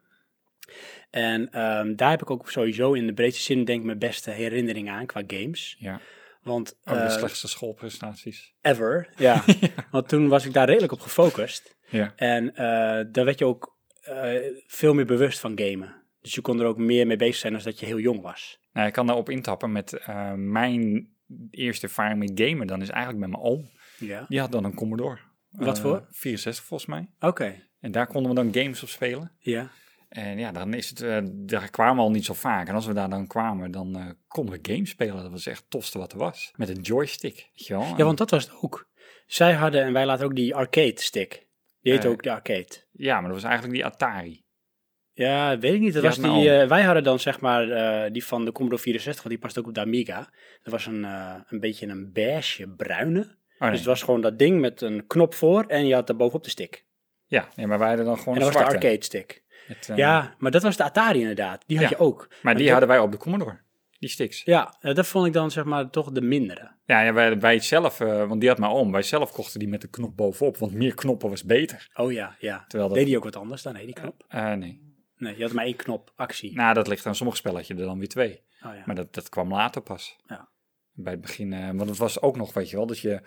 Speaker 1: En ehm, daar heb ik ook sowieso in de breedste zin, denk ik, mijn beste herinneringen aan qua games.
Speaker 2: Ja.
Speaker 1: Want
Speaker 2: Oh, de
Speaker 1: eh,
Speaker 2: slechtste schoolprestaties.
Speaker 1: ever. Ja. Want toen was ik daar redelijk op gefocust.
Speaker 2: Ja.
Speaker 1: En eh dan werd je ook eh, veel meer bewust van gamen. Dus je kon er ook meer mee bezig zijn als dat je heel jong was.
Speaker 2: Nou, ik kan daarop intappen met eh, mijn eerste ervaring met gamen. Dan is eigenlijk met mijn oom.
Speaker 1: Ja.
Speaker 2: Die had dan een Commodore.
Speaker 1: Wat
Speaker 2: Eh,
Speaker 1: voor?
Speaker 2: 64 volgens mij.
Speaker 1: Oké.
Speaker 2: En daar konden we dan games op spelen.
Speaker 1: Ja.
Speaker 2: En ja, dan is het, eh, daar kwamen we al niet zo vaak. En als we daar dan kwamen, dan eh, konden we games spelen. Dat was echt het tofste wat er was. Met een joystick, weet je wel.
Speaker 1: Ja, want dat was het ook. Zij hadden en wij laten ook die arcade stick. Die heet
Speaker 2: Eh.
Speaker 1: ook de arcade.
Speaker 2: Ja, maar dat was eigenlijk die Atari.
Speaker 1: Ja, weet ik niet. Dat
Speaker 2: Ja,
Speaker 1: was die,
Speaker 2: nou.
Speaker 1: eh, wij hadden dan zeg maar eh, die van de Commodore 64, want die past ook op de Amiga. Dat was een, eh, een beetje een beige bruine.
Speaker 2: Oh, nee.
Speaker 1: Dus het was gewoon dat ding met een knop voor en je had daar bovenop de stick.
Speaker 2: ja, nee, maar wij hadden dan gewoon
Speaker 1: En
Speaker 2: een
Speaker 1: dat was de
Speaker 2: zwarte.
Speaker 1: arcade stick.
Speaker 2: Met, eh,
Speaker 1: Ja, maar dat was de Atari inderdaad. Die had
Speaker 2: Ja,
Speaker 1: je ook.
Speaker 2: Maar die
Speaker 1: dat-
Speaker 2: hadden wij op de Commodore, die sticks.
Speaker 1: Ja, eh, dat vond ik dan zeg maar toch de mindere.
Speaker 2: Ja, ja wij, wij zelf, eh, want die had maar om. Wij zelf kochten die met de knop bovenop, want meer knoppen was beter.
Speaker 1: Oh ja, ja.
Speaker 2: Terwijl dat-
Speaker 1: Deed die ook wat anders dan, hé, die knop?
Speaker 2: Eh, nee.
Speaker 1: Nee, je had maar één knop, actie.
Speaker 2: Nou, dat ligt aan sommige spelletje er dan weer twee.
Speaker 1: Oh ja.
Speaker 2: Maar dat, dat kwam later pas.
Speaker 1: Ja.
Speaker 2: Bij het begin, eh, want het was ook nog, weet je wel, dat je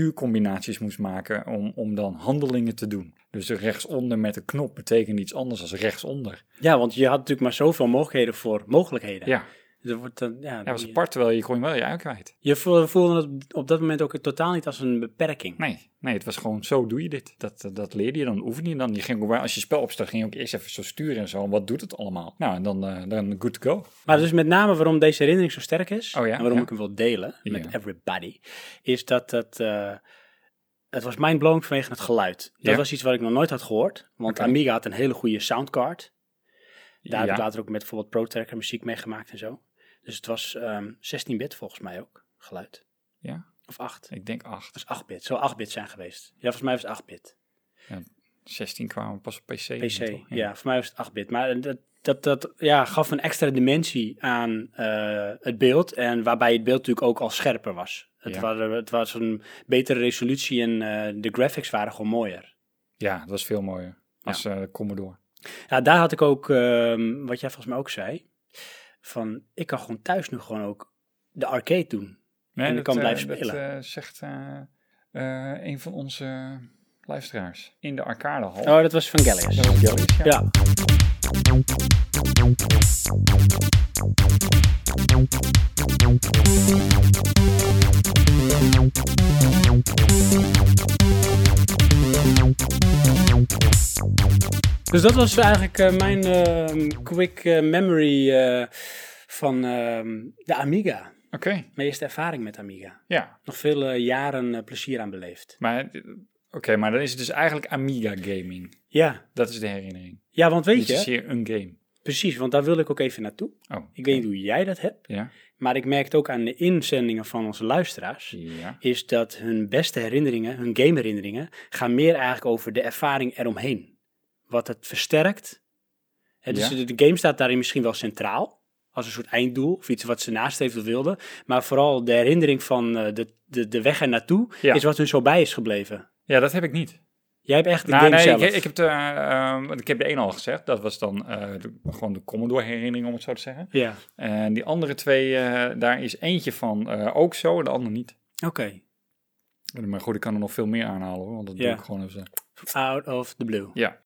Speaker 2: stuurcombinaties moest maken om, om dan handelingen te doen. Dus rechtsonder met een knop betekent iets anders dan rechtsonder.
Speaker 1: ja, want je had natuurlijk maar zoveel mogelijkheden voor mogelijkheden.
Speaker 2: Ja,
Speaker 1: Er wordt dan, ja,
Speaker 2: dat was
Speaker 1: je-
Speaker 2: apart, terwijl je kon je wel je ui kwijt.
Speaker 1: Je voel- voelde het op dat moment ook totaal niet als een beperking.
Speaker 2: Nee, nee, het was gewoon zo doe je dit. Dat, dat, dat leerde je dan, oefende je dan. Je ging, ook wel- als je spel opstart, ging je ook eerst even zo sturen en zo. En wat doet het allemaal? Nou, en dan, eh, dan good to go.
Speaker 1: Maar dus met name waarom deze herinnering zo sterk is,
Speaker 2: Oh ja,
Speaker 1: en waarom
Speaker 2: ja.
Speaker 1: ik hem wil delen met
Speaker 2: Ja.
Speaker 1: everybody, is dat het, eh, het was mindblowing vanwege het geluid. Dat
Speaker 2: Ja.
Speaker 1: was iets wat ik nog nooit had gehoord, want
Speaker 2: Oké.
Speaker 1: Amiga had een hele goede soundcard. Daar heb ik
Speaker 2: Ja.
Speaker 1: later ook met bijvoorbeeld ProTracker muziek mee gemaakt en zo. Dus het was ehm, 16-bit volgens mij ook, geluid.
Speaker 2: Ja,
Speaker 1: Of 8.
Speaker 2: ik denk acht.
Speaker 1: Dat is 8-bit, zou 8-bit zijn geweest. Ja, volgens mij was het 8-bit.
Speaker 2: 16 kwamen we pas op PC.
Speaker 1: PC, ja.
Speaker 2: toch?
Speaker 1: voor mij was het 8-bit. Maar dat, dat, dat ja, gaf een extra dimensie aan eh, het beeld. En waarbij het beeld natuurlijk ook al scherper was. Het,
Speaker 2: Ja.
Speaker 1: waren, het was een betere resolutie en eh, de graphics waren gewoon mooier.
Speaker 2: Ja, dat was veel mooier. Als eh Commodore.
Speaker 1: Ja, daar had ik ook, ehm, wat jij volgens mij ook zei, van ik kan gewoon thuis nu gewoon ook de arcade doen.
Speaker 2: Nee,
Speaker 1: En je kan
Speaker 2: eh,
Speaker 1: blijven spelen.
Speaker 2: Dat eh, zegt eh, eh, een van onze luisteraars in de arcadehal.
Speaker 1: Oh, dat was van Gallius. Ja. Dus Dus dat was eigenlijk eh, mijn ehm, quick eh, memory eh, van ehm, de Amiga.
Speaker 2: Oké,
Speaker 1: Mijn eerste ervaring met Amiga.
Speaker 2: ja.
Speaker 1: Nog veel eh, jaren eh, plezier aan beleefd.
Speaker 2: Maar eh, oké, maar dan is het dus eigenlijk Amiga gaming.
Speaker 1: Ja,
Speaker 2: Dat is de herinnering.
Speaker 1: ja want weet
Speaker 2: Dit is
Speaker 1: je,
Speaker 2: hier een game.
Speaker 1: precies, want daar wil ik ook even naartoe.
Speaker 2: Oh,
Speaker 1: Ik weet niet hoe jij dat hebt,
Speaker 2: ja.
Speaker 1: maar ik merk het ook aan de inzendingen van onze luisteraars.
Speaker 2: Ja.
Speaker 1: Is dat hun beste herinneringen, hun gameherinneringen, gaan meer eigenlijk over de ervaring eromheen. Wat het versterkt. Hè, dus
Speaker 2: Ja.
Speaker 1: de- de game staat daarin misschien wel centraal. Als een soort einddoel of iets wat ze nastreefden wilden. Maar vooral de herinnering van eh, de, de, de weg ernaartoe
Speaker 2: Ja.
Speaker 1: is wat hun zo bij is gebleven.
Speaker 2: Ja, dat heb ik niet.
Speaker 1: Jij hebt echt de
Speaker 2: Nou,
Speaker 1: game
Speaker 2: nee,
Speaker 1: zelf.
Speaker 2: ik, ik, heb de, eh, ehm, want ik heb de ene al gezegd. Dat was dan eh, de- gewoon de Commodore-herinnering, om het zo te zeggen.
Speaker 1: Ja,
Speaker 2: En die andere twee, eh, daar is eentje van eh, ook zo, de ander niet.
Speaker 1: oké.
Speaker 2: Maar goed, ik kan er nog veel meer aanhalen, hoor, want dat
Speaker 1: Ja.
Speaker 2: doe ik gewoon even. zo.
Speaker 1: Out of the blue.
Speaker 2: Ja.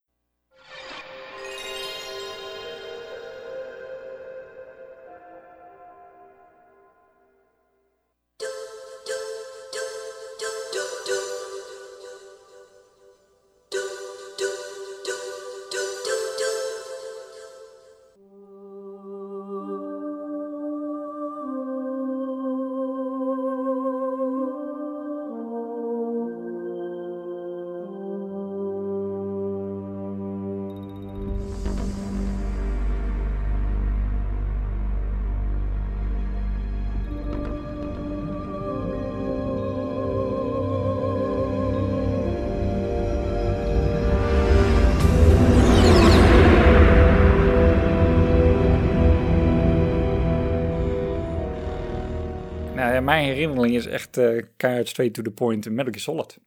Speaker 2: Nou, ja, mijn herinnering is echt eh keihard straight to the point Metal Gear Solid.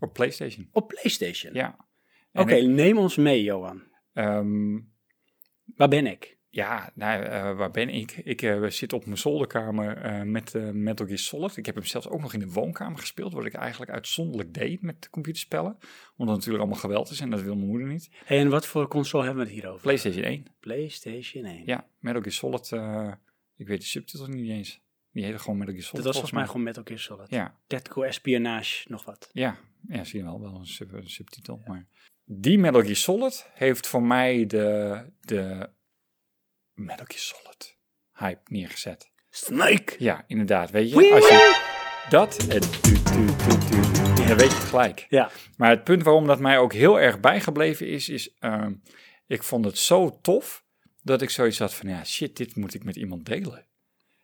Speaker 2: Op PlayStation,
Speaker 1: Op PlayStation.
Speaker 2: ja.
Speaker 1: Oké, neem ons mee, Johan.
Speaker 2: Ehm,
Speaker 1: Waar ben ik?
Speaker 2: ja, nou, eh, waar ben ik? Ik eh, zit op mijn zolderkamer eh, met eh, Metal Gear Solid. Ik heb hem zelfs ook nog in de woonkamer gespeeld, wat ik eigenlijk uitzonderlijk deed met computerspellen. Omdat het natuurlijk allemaal geweld is en dat wil mijn moeder niet.
Speaker 1: Hey, en wat voor console hebben we het hier over?
Speaker 2: PlayStation 1.
Speaker 1: PlayStation 1.
Speaker 2: Ja, Metal Gear Solid. eh, ik weet de subtitel niet eens. Die heette gewoon Metal Gear
Speaker 1: dat
Speaker 2: Solid.
Speaker 1: was volgens mij gewoon Metal Gear Solid.
Speaker 2: Ja,
Speaker 1: Tactical espionage, nog wat.
Speaker 2: ja, ja, zie je wel, wel een, sub- een subtitel. Maar die Metal Gear Solid heeft voor mij de, de Metal Gear Solid hype neergezet.
Speaker 1: Snake!
Speaker 2: Ja, inderdaad. Weet je, als je dat... eh, en tu- tu- tu- tu- Dan weet je het gelijk.
Speaker 1: Ja,
Speaker 2: Maar het punt waarom dat mij ook heel erg bijgebleven is, is ehm, ik vond het zo tof dat ik zoiets had van, ja shit, dit moet ik met iemand delen.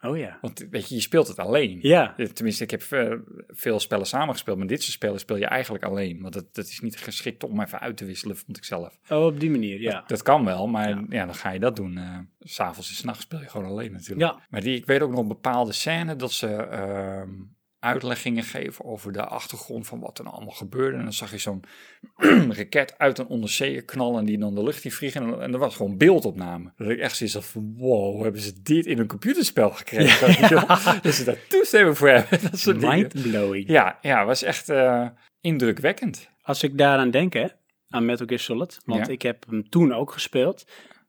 Speaker 1: oh ja.
Speaker 2: Want weet je, je speelt het alleen.
Speaker 1: Ja.
Speaker 2: Eh, Tenminste, ik heb eh, veel spellen samengespeeld, maar dit soort spellen speel je eigenlijk alleen. Want dat, dat is niet geschikt om even uit te wisselen, vond ik zelf.
Speaker 1: Oh, op die manier, ja.
Speaker 2: Dat kan wel, maar ja. dan ga je dat doen. eh, s S'avonds en s'nachts speel je gewoon alleen natuurlijk.
Speaker 1: Ja.
Speaker 2: Maar die, ik weet ook nog een bepaalde scène dat ze ehm, uitleggingen geven over de achtergrond van wat er nou allemaal gebeurde. En dan zag je zo'n raket uit een onderzeeër knallen en die dan de lucht in vliegen. En, en er was gewoon beeldopname. Dat ik echt zoiets had van, wow, hebben ze dit in een computerspel gekregen? Weet je wel? Dat ze daar toestemming voor hebben. Dat soort dingen.
Speaker 1: Mindblowing.
Speaker 2: Ja, ja, was echt eh, indrukwekkend.
Speaker 1: Als ik daaraan denk, hè, aan Metal Gear Solid, want
Speaker 2: Ja.
Speaker 1: ik heb hem toen ook gespeeld,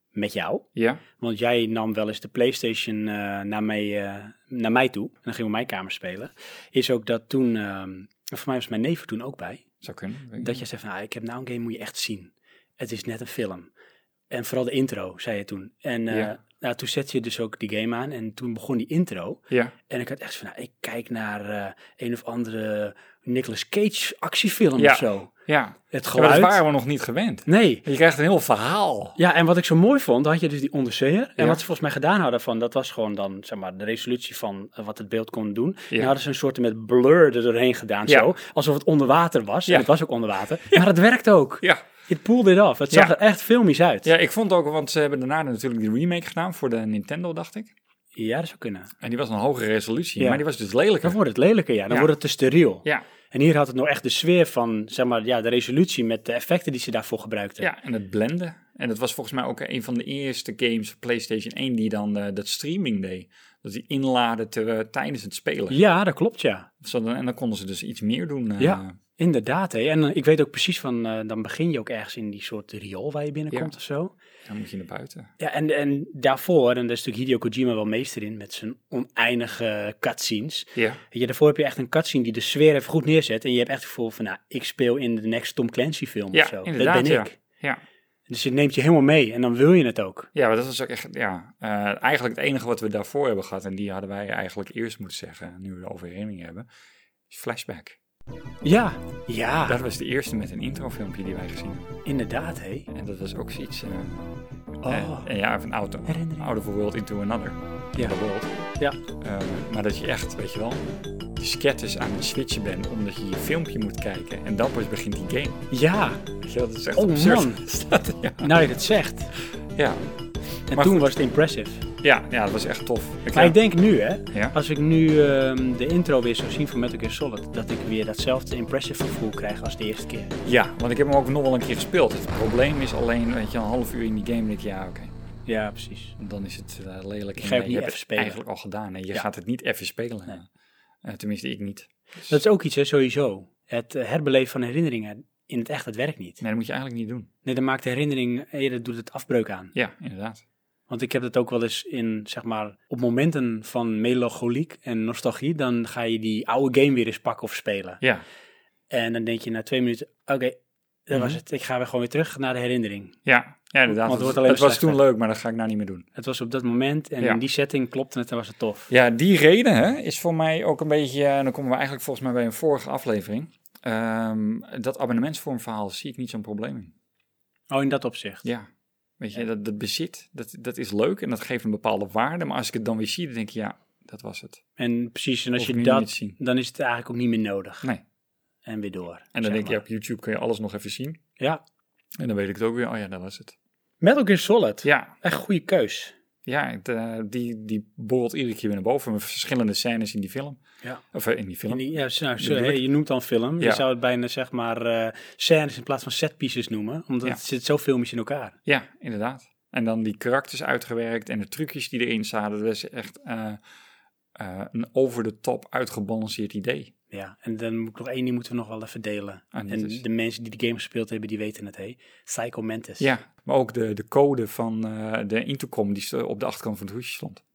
Speaker 1: met jou.
Speaker 2: Ja,
Speaker 1: Want jij nam wel eens de PlayStation eh, naar, mij, eh, naar mij toe. En dan gingen we op mijn kamer spelen. Is ook dat toen, ehm, voor mij was mijn neef er toen ook bij.
Speaker 2: zou kunnen. Weet ik
Speaker 1: Dat je zegt van, ah, ik heb nou een game, moet je echt zien. Het is net een film. En vooral de intro, zei je toen. En eh,
Speaker 2: Ja.
Speaker 1: nou, toen zette je dus ook die game aan en toen begon die intro.
Speaker 2: niet. Ja.
Speaker 1: En ik had echt van, nou, ik kijk naar eh, een of andere Nicolas Cage actiefilm
Speaker 2: Ja.
Speaker 1: of zo.
Speaker 2: Ja,
Speaker 1: Het
Speaker 2: Ja, maar
Speaker 1: geluid.
Speaker 2: dat waren we nog niet gewend.
Speaker 1: Nee.
Speaker 2: Je krijgt een heel verhaal.
Speaker 1: Ja, en wat ik zo mooi vond, had je dus die onderzeeër. En
Speaker 2: Ja.
Speaker 1: wat ze volgens mij gedaan hadden van, dat was gewoon dan, zeg maar, de resolutie van eh, wat het beeld kon doen. En
Speaker 2: Ja.
Speaker 1: hadden ze een soort met blur er doorheen gedaan,
Speaker 2: Ja.
Speaker 1: zo. Alsof het onder water was.
Speaker 2: Ja.
Speaker 1: En het was ook onder water. Maar het werkt ook.
Speaker 2: Ja.
Speaker 1: It pulled it off. Het zag
Speaker 2: Ja.
Speaker 1: er echt filmisch uit.
Speaker 2: ja, ik vond ook, want ze hebben daarna natuurlijk die remake gedaan voor de Nintendo, dacht ik.
Speaker 1: Ja, dat zou kunnen.
Speaker 2: En die was een hogere resolutie,
Speaker 1: Ja.
Speaker 2: maar die was dus
Speaker 1: Dan
Speaker 2: lelijker.
Speaker 1: wordt het lelijker, ja. Dan
Speaker 2: Ja.
Speaker 1: wordt het te steriel.
Speaker 2: Ja,
Speaker 1: En hier had het nog echt de sfeer van, zeg maar, ja, de resolutie met de effecten die ze daarvoor gebruikten.
Speaker 2: ja, en het blenden. En dat was volgens mij ook een van de eerste games van PlayStation 1 die dan eh, dat streaming deed. Dat die inladen te, eh, tijdens het spelen.
Speaker 1: Ja, dat klopt, ja.
Speaker 2: Zodat- en dan konden ze dus iets meer doen. eh,
Speaker 1: Ja. Inderdaad, hè. En eh, ik weet ook precies van, eh, dan begin je ook ergens in die soort riool waar je binnenkomt
Speaker 2: Ja.
Speaker 1: of zo.
Speaker 2: Dan moet je naar buiten.
Speaker 1: Ja, en, en daarvoor, en daar is natuurlijk Hideo Kojima wel meester in met zijn oneindige cutscenes.
Speaker 2: Ja.
Speaker 1: Weet je, daarvoor heb je echt een cutscene die de sfeer even goed neerzet. En je hebt echt het gevoel van, nou, ik speel in de next Tom Clancy film of
Speaker 2: Ja,
Speaker 1: zo.
Speaker 2: inderdaad.
Speaker 1: dat ben
Speaker 2: ja.
Speaker 1: ik.
Speaker 2: Ja.
Speaker 1: Dus het neemt je helemaal mee en dan wil je het ook.
Speaker 2: Ja, maar dat was ook echt, ja, eh, eigenlijk het enige wat we daarvoor hebben gehad, en die hadden wij eigenlijk eerst moeten zeggen, nu we de overherinnering hebben, is flashback. Ja,
Speaker 1: Ja,
Speaker 2: dat was de eerste met een introfilmpje die wij gezien hebben.
Speaker 1: inderdaad, hé.
Speaker 2: En dat was ook zoiets. eh,
Speaker 1: Oh,
Speaker 2: eh, ja, van auto.
Speaker 1: Herinnering.
Speaker 2: Out of a world into another.
Speaker 1: Ja.
Speaker 2: The world.
Speaker 1: ja.
Speaker 2: Eh, maar dat je echt, weet je wel, de sketters aan het switchen bent omdat je je filmpje moet kijken. En dan pas begint die game.
Speaker 1: Ja,
Speaker 2: Weet je wel, dat is echt
Speaker 1: Oh,
Speaker 2: absurd.
Speaker 1: man.
Speaker 2: Is dat, ja.
Speaker 1: nou je dat zegt.
Speaker 2: Ja.
Speaker 1: En
Speaker 2: Maar
Speaker 1: toen
Speaker 2: goed.
Speaker 1: was het impressive.
Speaker 2: Ja, ja, dat was echt tof. Ik,
Speaker 1: Maar ik denk nu, hè,
Speaker 2: Ja.
Speaker 1: als ik nu ehm, de intro weer zou zien van Metal Gear Solid, dat ik weer datzelfde impressive gevoel krijg als de eerste keer.
Speaker 2: Ja, want ik heb hem ook nog wel een keer gespeeld. Het probleem is alleen, weet je, een half uur in die game. denk ik, ja, oké.
Speaker 1: Ja, precies.
Speaker 2: Dan is het eh, lelijk.
Speaker 1: ga ook
Speaker 2: En, eh,
Speaker 1: niet
Speaker 2: je hebt
Speaker 1: even
Speaker 2: het
Speaker 1: spelen.
Speaker 2: eigenlijk al gedaan. Hè? Je gaat het niet even spelen.
Speaker 1: Nee.
Speaker 2: Eh, tenminste, ik niet.
Speaker 1: Dat is ook iets, hè, sowieso. Het eh, herbeleven van herinneringen in het echt, dat werkt niet.
Speaker 2: Nee, dat moet je eigenlijk niet doen.
Speaker 1: Nee, dat maakt de herinnering eh, eerder doet het afbreuk aan.
Speaker 2: Ja, inderdaad.
Speaker 1: Want ik heb dat ook wel eens in, zeg maar, op momenten van melancholiek en nostalgie, dan ga je die oude game weer eens pakken of spelen.
Speaker 2: Ja,
Speaker 1: En dan denk je na twee minuten, oké,
Speaker 2: Mhm.
Speaker 1: dat was het. Ik ga weer gewoon weer terug naar de herinnering.
Speaker 2: ja, ja inderdaad.
Speaker 1: Want het wordt
Speaker 2: het
Speaker 1: alleen
Speaker 2: het was
Speaker 1: slechter.
Speaker 2: toen leuk, maar dat ga ik nou niet meer doen.
Speaker 1: Het was op dat moment en
Speaker 2: Ja.
Speaker 1: in die setting klopte het en was het tof.
Speaker 2: Ja, die reden hè, is voor mij ook een beetje, eh, en dan komen we eigenlijk volgens mij bij een vorige aflevering. Ehm, dat abonnementsvormverhaal zie ik niet zo'n probleem in.
Speaker 1: Oh, in dat opzicht.
Speaker 2: Ja, weet je, dat, dat bezit, dat, dat is leuk en dat geeft een bepaalde waarde. Maar als ik het dan weer zie, dan denk je, ja, dat was het.
Speaker 1: En precies, en als
Speaker 2: Of
Speaker 1: je
Speaker 2: nu niet
Speaker 1: dat,
Speaker 2: zien.
Speaker 1: dan is het eigenlijk ook niet meer nodig.
Speaker 2: Nee.
Speaker 1: En weer door.
Speaker 2: En dan denk je, op YouTube kun je alles nog even zien.
Speaker 1: Ja.
Speaker 2: En dan weet ik het ook weer, oh ja, dat was het.
Speaker 1: Metal Gear Solid.
Speaker 2: Ja,
Speaker 1: Echt goede keus.
Speaker 2: ja het, eh, die, die borrelt iedere keer weer naar boven. Met verschillende scènes in die film.
Speaker 1: Ja.
Speaker 2: Of eh, in die film.
Speaker 1: In die- ja, nou, zo-
Speaker 2: bedoel ik.
Speaker 1: je noemt dan film. Je
Speaker 2: Ja.
Speaker 1: zou het bijna zeg maar eh scènes in plaats van setpieces noemen. Omdat
Speaker 2: Ja.
Speaker 1: het zit zo filmisch in elkaar.
Speaker 2: Ja, inderdaad. En dan die karakters uitgewerkt en de trucjes die erin zaten. Dat is echt eh, eh, een over-de-top uitgebalanceerd idee.
Speaker 1: Ja. En dan moet ik nog één, die moeten we nog wel even delen.
Speaker 2: Ah, dat
Speaker 1: en
Speaker 2: is-
Speaker 1: de mensen die de game gespeeld hebben, die weten het. Hey. Psycho Mantis.
Speaker 2: Ja, maar ook de, de code van eh, de intercom die ze op de achterkant van het hoesje stond.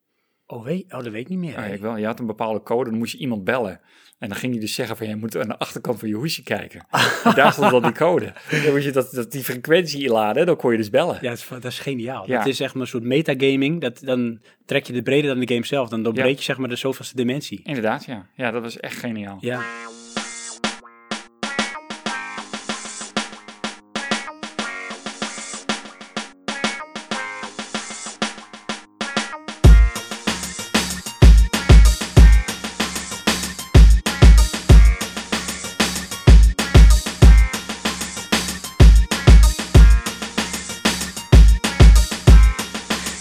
Speaker 1: Oh, weet, oh, dat weet ik niet meer.
Speaker 2: Ah,
Speaker 1: hey.
Speaker 2: ik wel. Je had een bepaalde code, dan moest je iemand bellen. En dan ging hij dus zeggen van, je moet aan de achterkant van je hoesje kijken. En daar stond dan die code. Dan moest je dat, dat die frequentie inladen, dan kon je dus bellen.
Speaker 1: Ja, dat is, dat is geniaal.
Speaker 2: Ja.
Speaker 1: Het is echt maar een soort metagaming. Dat, dan trek je het breder dan de game zelf. Dan doorbreek je zeg maar de zoveelste dimensie.
Speaker 2: Inderdaad, ja. Ja, dat was echt geniaal.
Speaker 1: Ja.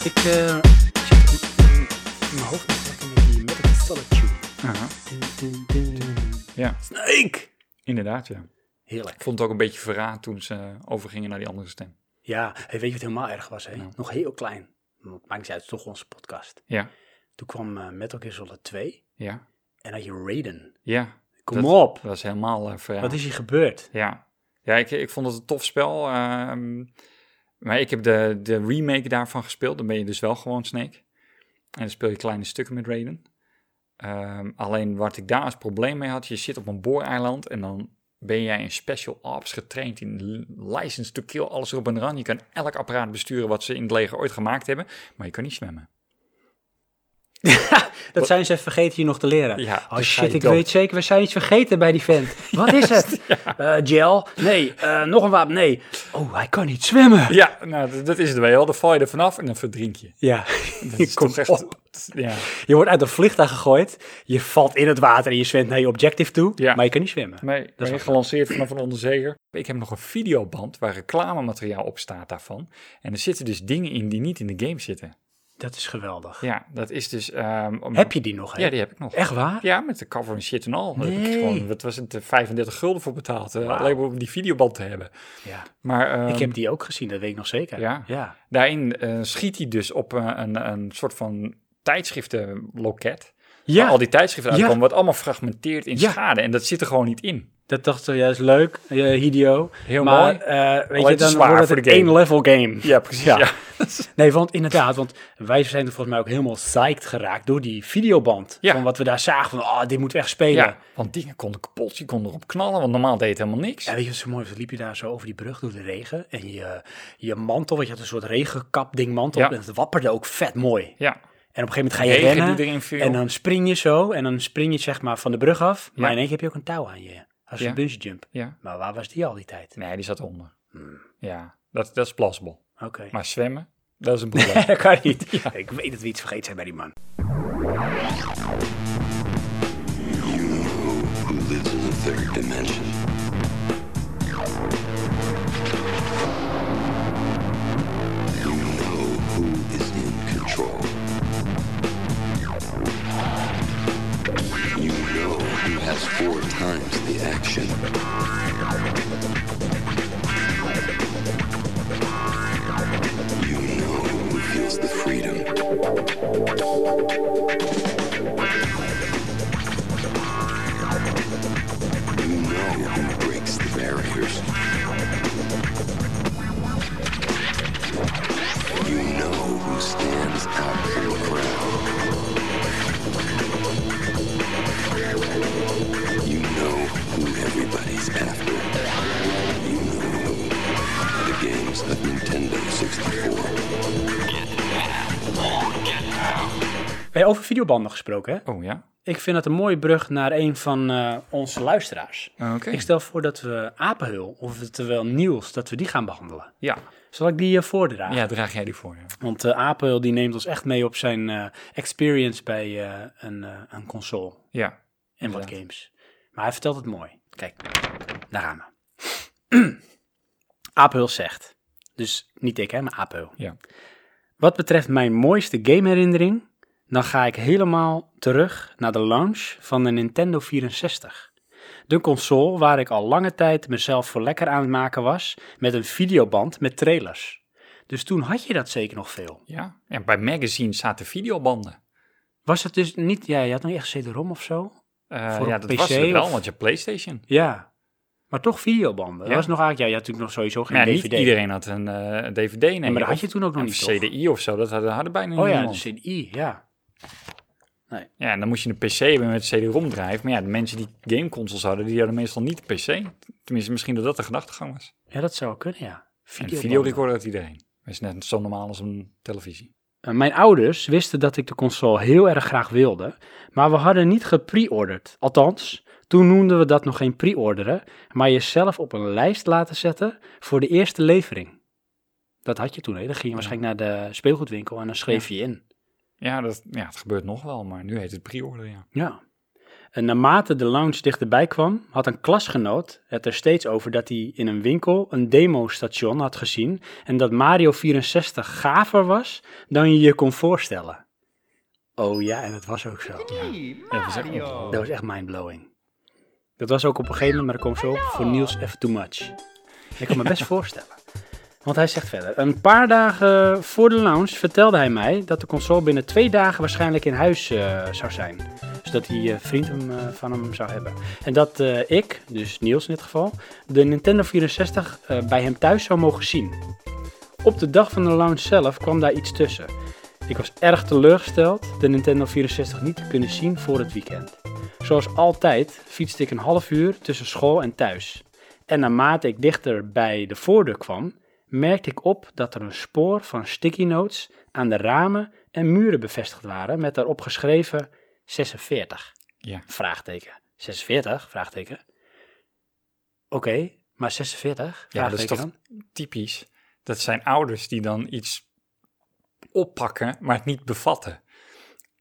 Speaker 1: Ik eh, zit in in mijn hoofd nog lekker met die Metal Gear Solid tune.
Speaker 2: Aha. Ja,
Speaker 1: Snake!
Speaker 2: inderdaad, ja. Ik
Speaker 1: Heerlijk.
Speaker 2: vond het ook een beetje verraad toen ze overgingen naar die andere stem.
Speaker 1: Ja, hey, weet je wat helemaal erg was? Hè?
Speaker 2: Nou.
Speaker 1: Nog heel klein. Maakt niet uit, het is toch onze podcast.
Speaker 2: Ja,
Speaker 1: Toen kwam eh, Metal Gear Solid 2
Speaker 2: ja,
Speaker 1: en had je Raiden.
Speaker 2: ja.
Speaker 1: Kom
Speaker 2: Dat-
Speaker 1: op!
Speaker 2: Dat was helemaal eh, verraad.
Speaker 1: Wat is hier gebeurd?
Speaker 2: Ja, ja ik, ik vond het een tof spel. ehm, maar ik heb de, de remake daarvan gespeeld. Dan ben je dus wel gewoon Snake. En dan speel je kleine stukken met Raiden. Ehm, alleen wat ik daar als probleem mee had, je zit op een booreiland en dan ben jij in special ops getraind in l- license to kill, alles erop en eraan. Je kan elk apparaat besturen wat ze in het leger ooit gemaakt hebben, maar je kan niet zwemmen.
Speaker 1: Dat zijn ze even vergeten hier nog te leren.
Speaker 2: Ja,
Speaker 1: oh
Speaker 2: dus ga
Speaker 1: shit,
Speaker 2: je
Speaker 1: ik
Speaker 2: dood.
Speaker 1: weet zeker, we zijn iets vergeten bij die vent. Wat is het? Eh, gel? Nee. Eh, nog een wapen? Nee. Oh, hij kan niet zwemmen.
Speaker 2: Ja, nou, d- dat is het wel. Dan val je er vanaf en dan verdrink je.
Speaker 1: Ja,
Speaker 2: Dat
Speaker 1: je
Speaker 2: is
Speaker 1: komt
Speaker 2: toch echt...
Speaker 1: op.
Speaker 2: Ja,
Speaker 1: Je wordt uit een vliegtuig gegooid. Je valt in het water en je zwemt naar je objective toe.
Speaker 2: Ja.
Speaker 1: Maar je kan niet zwemmen.
Speaker 2: Nee, dat
Speaker 1: wel
Speaker 2: is gelanceerd vanaf een onderzeeër. Ik heb nog een videoband waar reclamemateriaal op staat daarvan. En er zitten dus dingen in die niet in de game zitten.
Speaker 1: Dat is geweldig.
Speaker 2: Ja, dat is dus... ehm, om-
Speaker 1: Heb je die nog? hè?
Speaker 2: Ja, die heb ik nog.
Speaker 1: Echt waar?
Speaker 2: Ja, met de cover en shit en al. Daar heb ik
Speaker 1: Nee.
Speaker 2: gewoon, wat was het, eh, 35 gulden voor betaald. eh, Alleen maar om die videoband te hebben.
Speaker 1: Ja.
Speaker 2: Maar ehm,
Speaker 1: Ik heb die ook gezien, dat weet ik nog zeker.
Speaker 2: Ja.
Speaker 1: ja.
Speaker 2: daarin eh, schiet hij dus op eh, een, een soort van tijdschriftenloket.
Speaker 1: Ja.
Speaker 2: Waar al die tijdschriften
Speaker 1: Ja.
Speaker 2: uitkomen, wat allemaal fragmenteerd in
Speaker 1: Ja.
Speaker 2: schade. En dat zit er gewoon niet in.
Speaker 1: Dat dacht ik, ja, is leuk, ja, Hideo.
Speaker 2: Heel
Speaker 1: maar,
Speaker 2: mooi.
Speaker 1: eh, weet
Speaker 2: Alleen
Speaker 1: je,
Speaker 2: te
Speaker 1: dan
Speaker 2: zwaar
Speaker 1: wordt
Speaker 2: voor
Speaker 1: het
Speaker 2: de
Speaker 1: een
Speaker 2: game.
Speaker 1: één level game.
Speaker 2: Ja, precies.
Speaker 1: Ja.
Speaker 2: ja.
Speaker 1: Nee, want inderdaad, want wij zijn er volgens mij ook helemaal psyched geraakt door die videoband.
Speaker 2: Ja.
Speaker 1: Van wat we daar zagen, van oh, dit moet we echt spelen.
Speaker 2: Ja, want dingen konden kapot, je kon erop knallen, want normaal deed het helemaal niks.
Speaker 1: Ja, weet je wat zo mooi was? Liep je daar zo over die brug door de regen en je, je mantel, want je had een soort regenkap ding mantel,
Speaker 2: Ja.
Speaker 1: en het wapperde ook vet mooi.
Speaker 2: Ja,
Speaker 1: En op een gegeven moment ga je
Speaker 2: Regen die
Speaker 1: rennen
Speaker 2: erin viel.
Speaker 1: en dan spring je zo en dan spring je zeg maar van de brug af, maar
Speaker 2: Ja.
Speaker 1: in één keer heb je ook een touw aan je Dat is
Speaker 2: Ja.
Speaker 1: een bungee jump.
Speaker 2: Ja.
Speaker 1: Maar waar was die al die tijd?
Speaker 2: Nee, die zat onder.
Speaker 1: Hmm.
Speaker 2: Ja, dat, dat is plausible.
Speaker 1: Oké.
Speaker 2: Maar zwemmen, dat is een probleem.
Speaker 1: Dat kan niet. Ik weet dat we iets vergeten zijn bij die man.
Speaker 9: You know who, who lives in the third dimension? You know who is in control. You know who has four times the action. You know who feels the freedom. You know who breaks the barriers. You know who stands out from the crowd. You know who everybody's after. You know who. The games of Nintendo 64.
Speaker 1: Hey, over videobanden gesproken, hè?
Speaker 2: Oh ja?
Speaker 1: Ik vind dat een mooie brug naar een van eh, onze luisteraars.
Speaker 2: Oké.
Speaker 1: Ik stel voor dat we Apenhul, of terwijl Niels, dat we die gaan behandelen.
Speaker 2: Ja.
Speaker 1: Zal ik die eh, voordragen?
Speaker 2: ja, draag jij die voor. Ja.
Speaker 1: Want eh Apenhul die neemt ons echt mee op zijn eh, experience bij eh, een, eh, een console
Speaker 2: ja.
Speaker 1: en wat games. Maar hij vertelt het mooi. Kijk, daar gaan we. Apenhul zegt, dus niet ik hè, maar Apenhul.
Speaker 2: Ja.
Speaker 1: Wat betreft mijn mooiste gameherinnering, dan ga ik helemaal terug naar de launch van de Nintendo 64. De console waar ik al lange tijd mezelf voor lekker aan het maken was met een videoband met trailers. Dus toen had je dat zeker nog veel.
Speaker 2: Ja. En bij magazines zaten videobanden.
Speaker 1: Was het dus niet, ja, je had nog echt CD-ROM of zo?
Speaker 2: Eh,
Speaker 1: Voor
Speaker 2: ja,
Speaker 1: op
Speaker 2: dat
Speaker 1: PC
Speaker 2: was het wel,
Speaker 1: of-
Speaker 2: want je PlayStation.
Speaker 1: Ja, maar toch videobanden.
Speaker 2: Ja.
Speaker 1: Dat was nog eigenlijk, ja, je had natuurlijk nog sowieso geen
Speaker 2: Maar ja,
Speaker 1: DVD.
Speaker 2: niet iedereen had een eh, DVD. Nee,
Speaker 1: maar dat
Speaker 2: of
Speaker 1: had je toen ook nog
Speaker 2: een
Speaker 1: niet, toch?
Speaker 2: CDI of zo, dat hadden, hadden bijna
Speaker 1: Oh ja,
Speaker 2: niemand.
Speaker 1: de CDI, ja.
Speaker 2: Ja, en dan moest je een PC hebben met CD-ROM drive. Maar ja, de mensen die gameconsoles hadden, die hadden meestal niet de PC. Tenminste, misschien dat dat de gedachtegang was.
Speaker 1: Ja, dat zou kunnen, ja.
Speaker 2: En
Speaker 1: Videobanden.
Speaker 2: de videorecorder had iedereen. Dat is net zo normaal als een televisie.
Speaker 1: Uh, Mijn ouders wisten dat ik de console heel erg graag wilde, maar we hadden niet gepreorderd. Althans, toen noemden we dat nog geen pre-orderen, maar jezelf op een lijst laten zetten voor de eerste levering. Dat had je toen, hè? Dan ging je waarschijnlijk naar de speelgoedwinkel en dan schreef je in.
Speaker 2: Ja, dat, ja, het gebeurt nog wel, maar nu heet het pre-order, ja.
Speaker 1: Ja. En naarmate de lounge dichterbij kwam, had een klasgenoot het er steeds over dat hij in een winkel een demostation had gezien en dat Mario 64 gaver was dan je je kon voorstellen. Oh ja, en dat was ook zo.
Speaker 2: Ja, we zeggen ook-
Speaker 1: Dat was echt mindblowing. Dat was ook op een gegeven moment, maar daar komen we zo op, voor Niels even too much. Ik kan me best voorstellen. Want hij zegt verder, een paar dagen voor de launch vertelde hij mij dat de console binnen twee dagen waarschijnlijk in huis eh, zou zijn. Zodat die eh, vriend hem, eh, van hem zou hebben. En dat eh, ik, dus Niels in dit geval, de Nintendo 64 eh, bij hem thuis zou mogen zien. Op de dag van de launch zelf kwam daar iets tussen. Ik was erg teleurgesteld de Nintendo 64 niet te kunnen zien voor het weekend. Zoals altijd fietste ik een half uur tussen school en thuis. En naarmate ik dichter bij de voordeur kwam, merkte ik op dat er een spoor van sticky notes aan de ramen en muren bevestigd waren met daarop geschreven 46.
Speaker 2: Ja.
Speaker 1: Vraagteken. 46? Vraagteken. Oké, maar 46?
Speaker 2: ja, dat is
Speaker 1: Vraagteken
Speaker 2: toch
Speaker 1: dan?
Speaker 2: typisch. Dat zijn ouders die dan iets oppakken, maar het niet bevatten.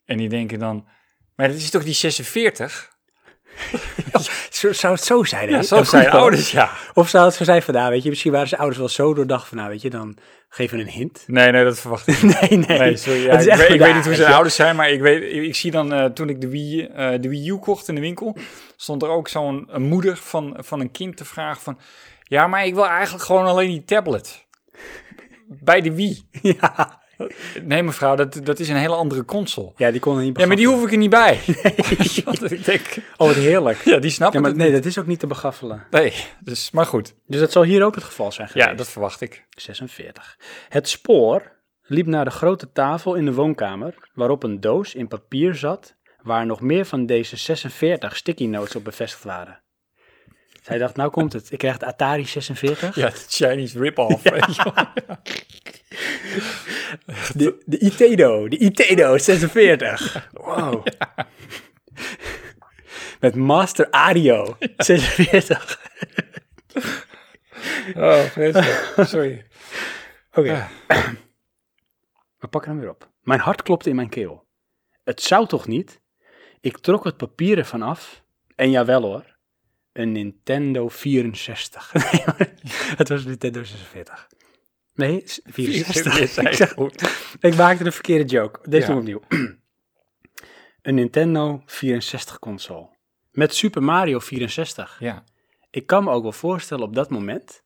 Speaker 2: En die denken dan, maar dat is toch die 46?
Speaker 1: Zo, zou het zo zijn, hè?
Speaker 2: Ja, zo
Speaker 1: Dat
Speaker 2: zijn
Speaker 1: klopt wel.
Speaker 2: ouders, ja.
Speaker 1: Of zou het zo zijn van, nou, weet je, misschien waren zijn ouders wel zo doordacht van, nou, weet je, dan geven we een hint.
Speaker 2: Nee, nee, dat verwacht ik niet.
Speaker 1: Nee, nee.
Speaker 2: Nee, sorry. Ja,
Speaker 1: Het is
Speaker 2: ik,
Speaker 1: echt
Speaker 2: weet, ik
Speaker 1: vandaag,
Speaker 2: weet niet hoe
Speaker 1: weet
Speaker 2: zijn
Speaker 1: je.
Speaker 2: ouders zijn, maar ik, weet, ik zie dan eh, toen ik de Wii, eh, de Wii U kocht in de winkel, stond er ook zo'n een moeder van, van een kind te vragen van, ja, maar ik wil eigenlijk gewoon alleen die tablet. Bij de Wii.
Speaker 1: Ja,
Speaker 2: Nee, mevrouw, dat, dat is een hele andere console.
Speaker 1: ja die kon er niet
Speaker 2: Ja, maar die
Speaker 1: begaffelen.
Speaker 2: hoef ik er niet bij. Want ik denk,
Speaker 1: Oh, wat heerlijk.
Speaker 2: ja, die snapt
Speaker 1: Ja, maar
Speaker 2: het.
Speaker 1: nee, dat is ook niet te begaffelen.
Speaker 2: Nee, dus, maar goed.
Speaker 1: Dus dat zal hier ook het geval zijn geweest.
Speaker 2: Ja, dat verwacht ik.
Speaker 1: 46. Het spoor liep naar de grote tafel in de woonkamer, waarop een doos in papier zat, waar nog meer van deze 46 sticky notes op bevestigd waren. Zij dacht, nou komt het. Ik krijg de Atari 46.
Speaker 2: Ja, de Chinese rip-off. weet je wel.
Speaker 1: De, de Itedo, de Itedo 46. Wow. met Master Ario 46.
Speaker 2: Oh, vreselijk. Sorry.
Speaker 1: Oké. We pakken hem weer op. Mijn hart klopte in mijn keel. Het zou toch niet? Ik trok het papier ervan af. En jawel hoor. Een Nintendo 64. Nee, hoor, het was een Nintendo 46. Nee, s- 64. Ik, zeg, ik maakte de verkeerde joke. Deze
Speaker 2: Ja.
Speaker 1: doen we opnieuw. een Nintendo 64 console. Met Super Mario 64
Speaker 2: Ja.
Speaker 1: ik kan me ook wel voorstellen op dat moment.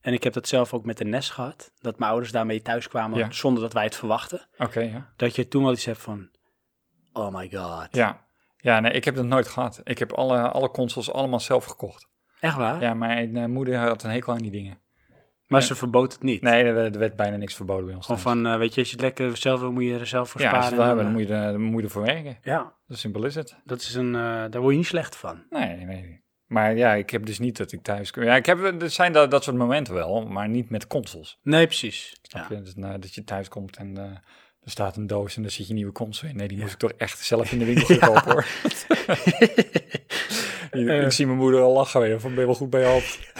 Speaker 1: En ik heb dat zelf ook met de NES gehad. Dat mijn ouders daarmee thuis kwamen
Speaker 2: Ja.
Speaker 1: zonder dat wij het verwachten.
Speaker 2: Oké, ja.
Speaker 1: Dat je toen wel iets hebt van... Oh my god.
Speaker 2: Ja. Ja, nee, ik heb dat nooit gehad. Ik heb alle, alle consoles allemaal zelf gekocht.
Speaker 1: Echt waar?
Speaker 2: Ja, mijn eh, moeder had een hekel aan die dingen.
Speaker 1: Maar ze verbood het niet.
Speaker 2: Nee, er werd, er werd bijna niks verboden bij ons.
Speaker 1: Gewoon
Speaker 2: thuis.
Speaker 1: van, eh, weet je, als je het lekker zelf wil, moet je er zelf voor
Speaker 2: ja,
Speaker 1: sparen.
Speaker 2: als je het wil
Speaker 1: en
Speaker 2: hebben, dan
Speaker 1: dan,
Speaker 2: moet je, er, dan moet je ervoor werken.
Speaker 1: eh, Ja,
Speaker 2: Zo simpel is het.
Speaker 1: dat is een, eh, daar word je niet slecht van.
Speaker 2: Nee, nee, nee. Maar ja, ik heb dus niet dat ik thuis... Ja, ik heb, er zijn dat, dat soort momenten wel, maar niet met consoles.
Speaker 1: Nee, precies.
Speaker 2: Snap
Speaker 1: Ja.
Speaker 2: je? Dus, nou, dat je thuis komt en eh, er staat een doos en dan zit je nieuwe console in. Nee, die moest ik toch echt zelf in de winkel gaan kopen, hoor. ik zie mijn moeder al lachen weer, van ben je wel goed bij je hoofd?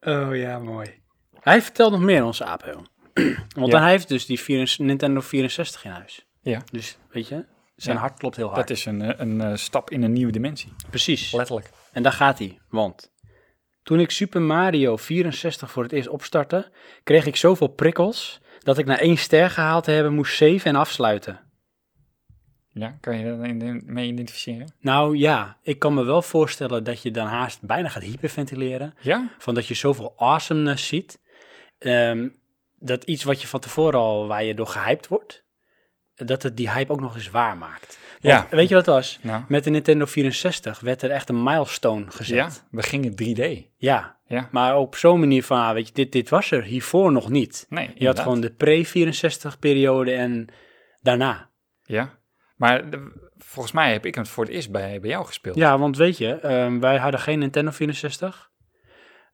Speaker 1: Oh ja, mooi. Hij vertelt nog meer, onze aapheul. Want
Speaker 2: Ja.
Speaker 1: hij heeft dus die 64 Nintendo 64 in huis.
Speaker 2: Ja,
Speaker 1: Dus, weet je, zijn
Speaker 2: Ja.
Speaker 1: hart klopt heel hard.
Speaker 2: dat is een, eh, een eh, stap in een nieuwe dimensie.
Speaker 1: Precies.
Speaker 2: Letterlijk.
Speaker 1: En daar gaat hij, want toen ik Super Mario 64 voor het eerst opstartte, kreeg ik zoveel prikkels dat ik na één ster gehaald te hebben moest save en afsluiten.
Speaker 2: Ja, kan je daar in- in- mee identificeren?
Speaker 1: Nou ja, ik kan me wel voorstellen dat je dan haast bijna gaat hyperventileren,
Speaker 2: Ja?
Speaker 1: van dat je zoveel awesomeness ziet, ehm, dat iets wat je van tevoren al, waar je door gehyped wordt, dat het die hype ook nog eens waar maakt.
Speaker 2: Ja.
Speaker 1: Weet je wat het was?
Speaker 2: Nou.
Speaker 1: Met de Nintendo 64 werd er echt een milestone
Speaker 2: Ja,
Speaker 1: gezet.
Speaker 2: we gingen 3D.
Speaker 1: ja.
Speaker 2: Ja.
Speaker 1: Maar op zo'n manier van, ah, weet je, dit, dit was er hiervoor nog niet.
Speaker 2: Nee,
Speaker 1: je had
Speaker 2: inderdaad.
Speaker 1: gewoon de pre-64-periode en daarna.
Speaker 2: Ja. Maar de- volgens mij heb ik het voor het eerst bij, bij jou gespeeld.
Speaker 1: Ja, want weet je, ehm, wij hadden geen Nintendo 64.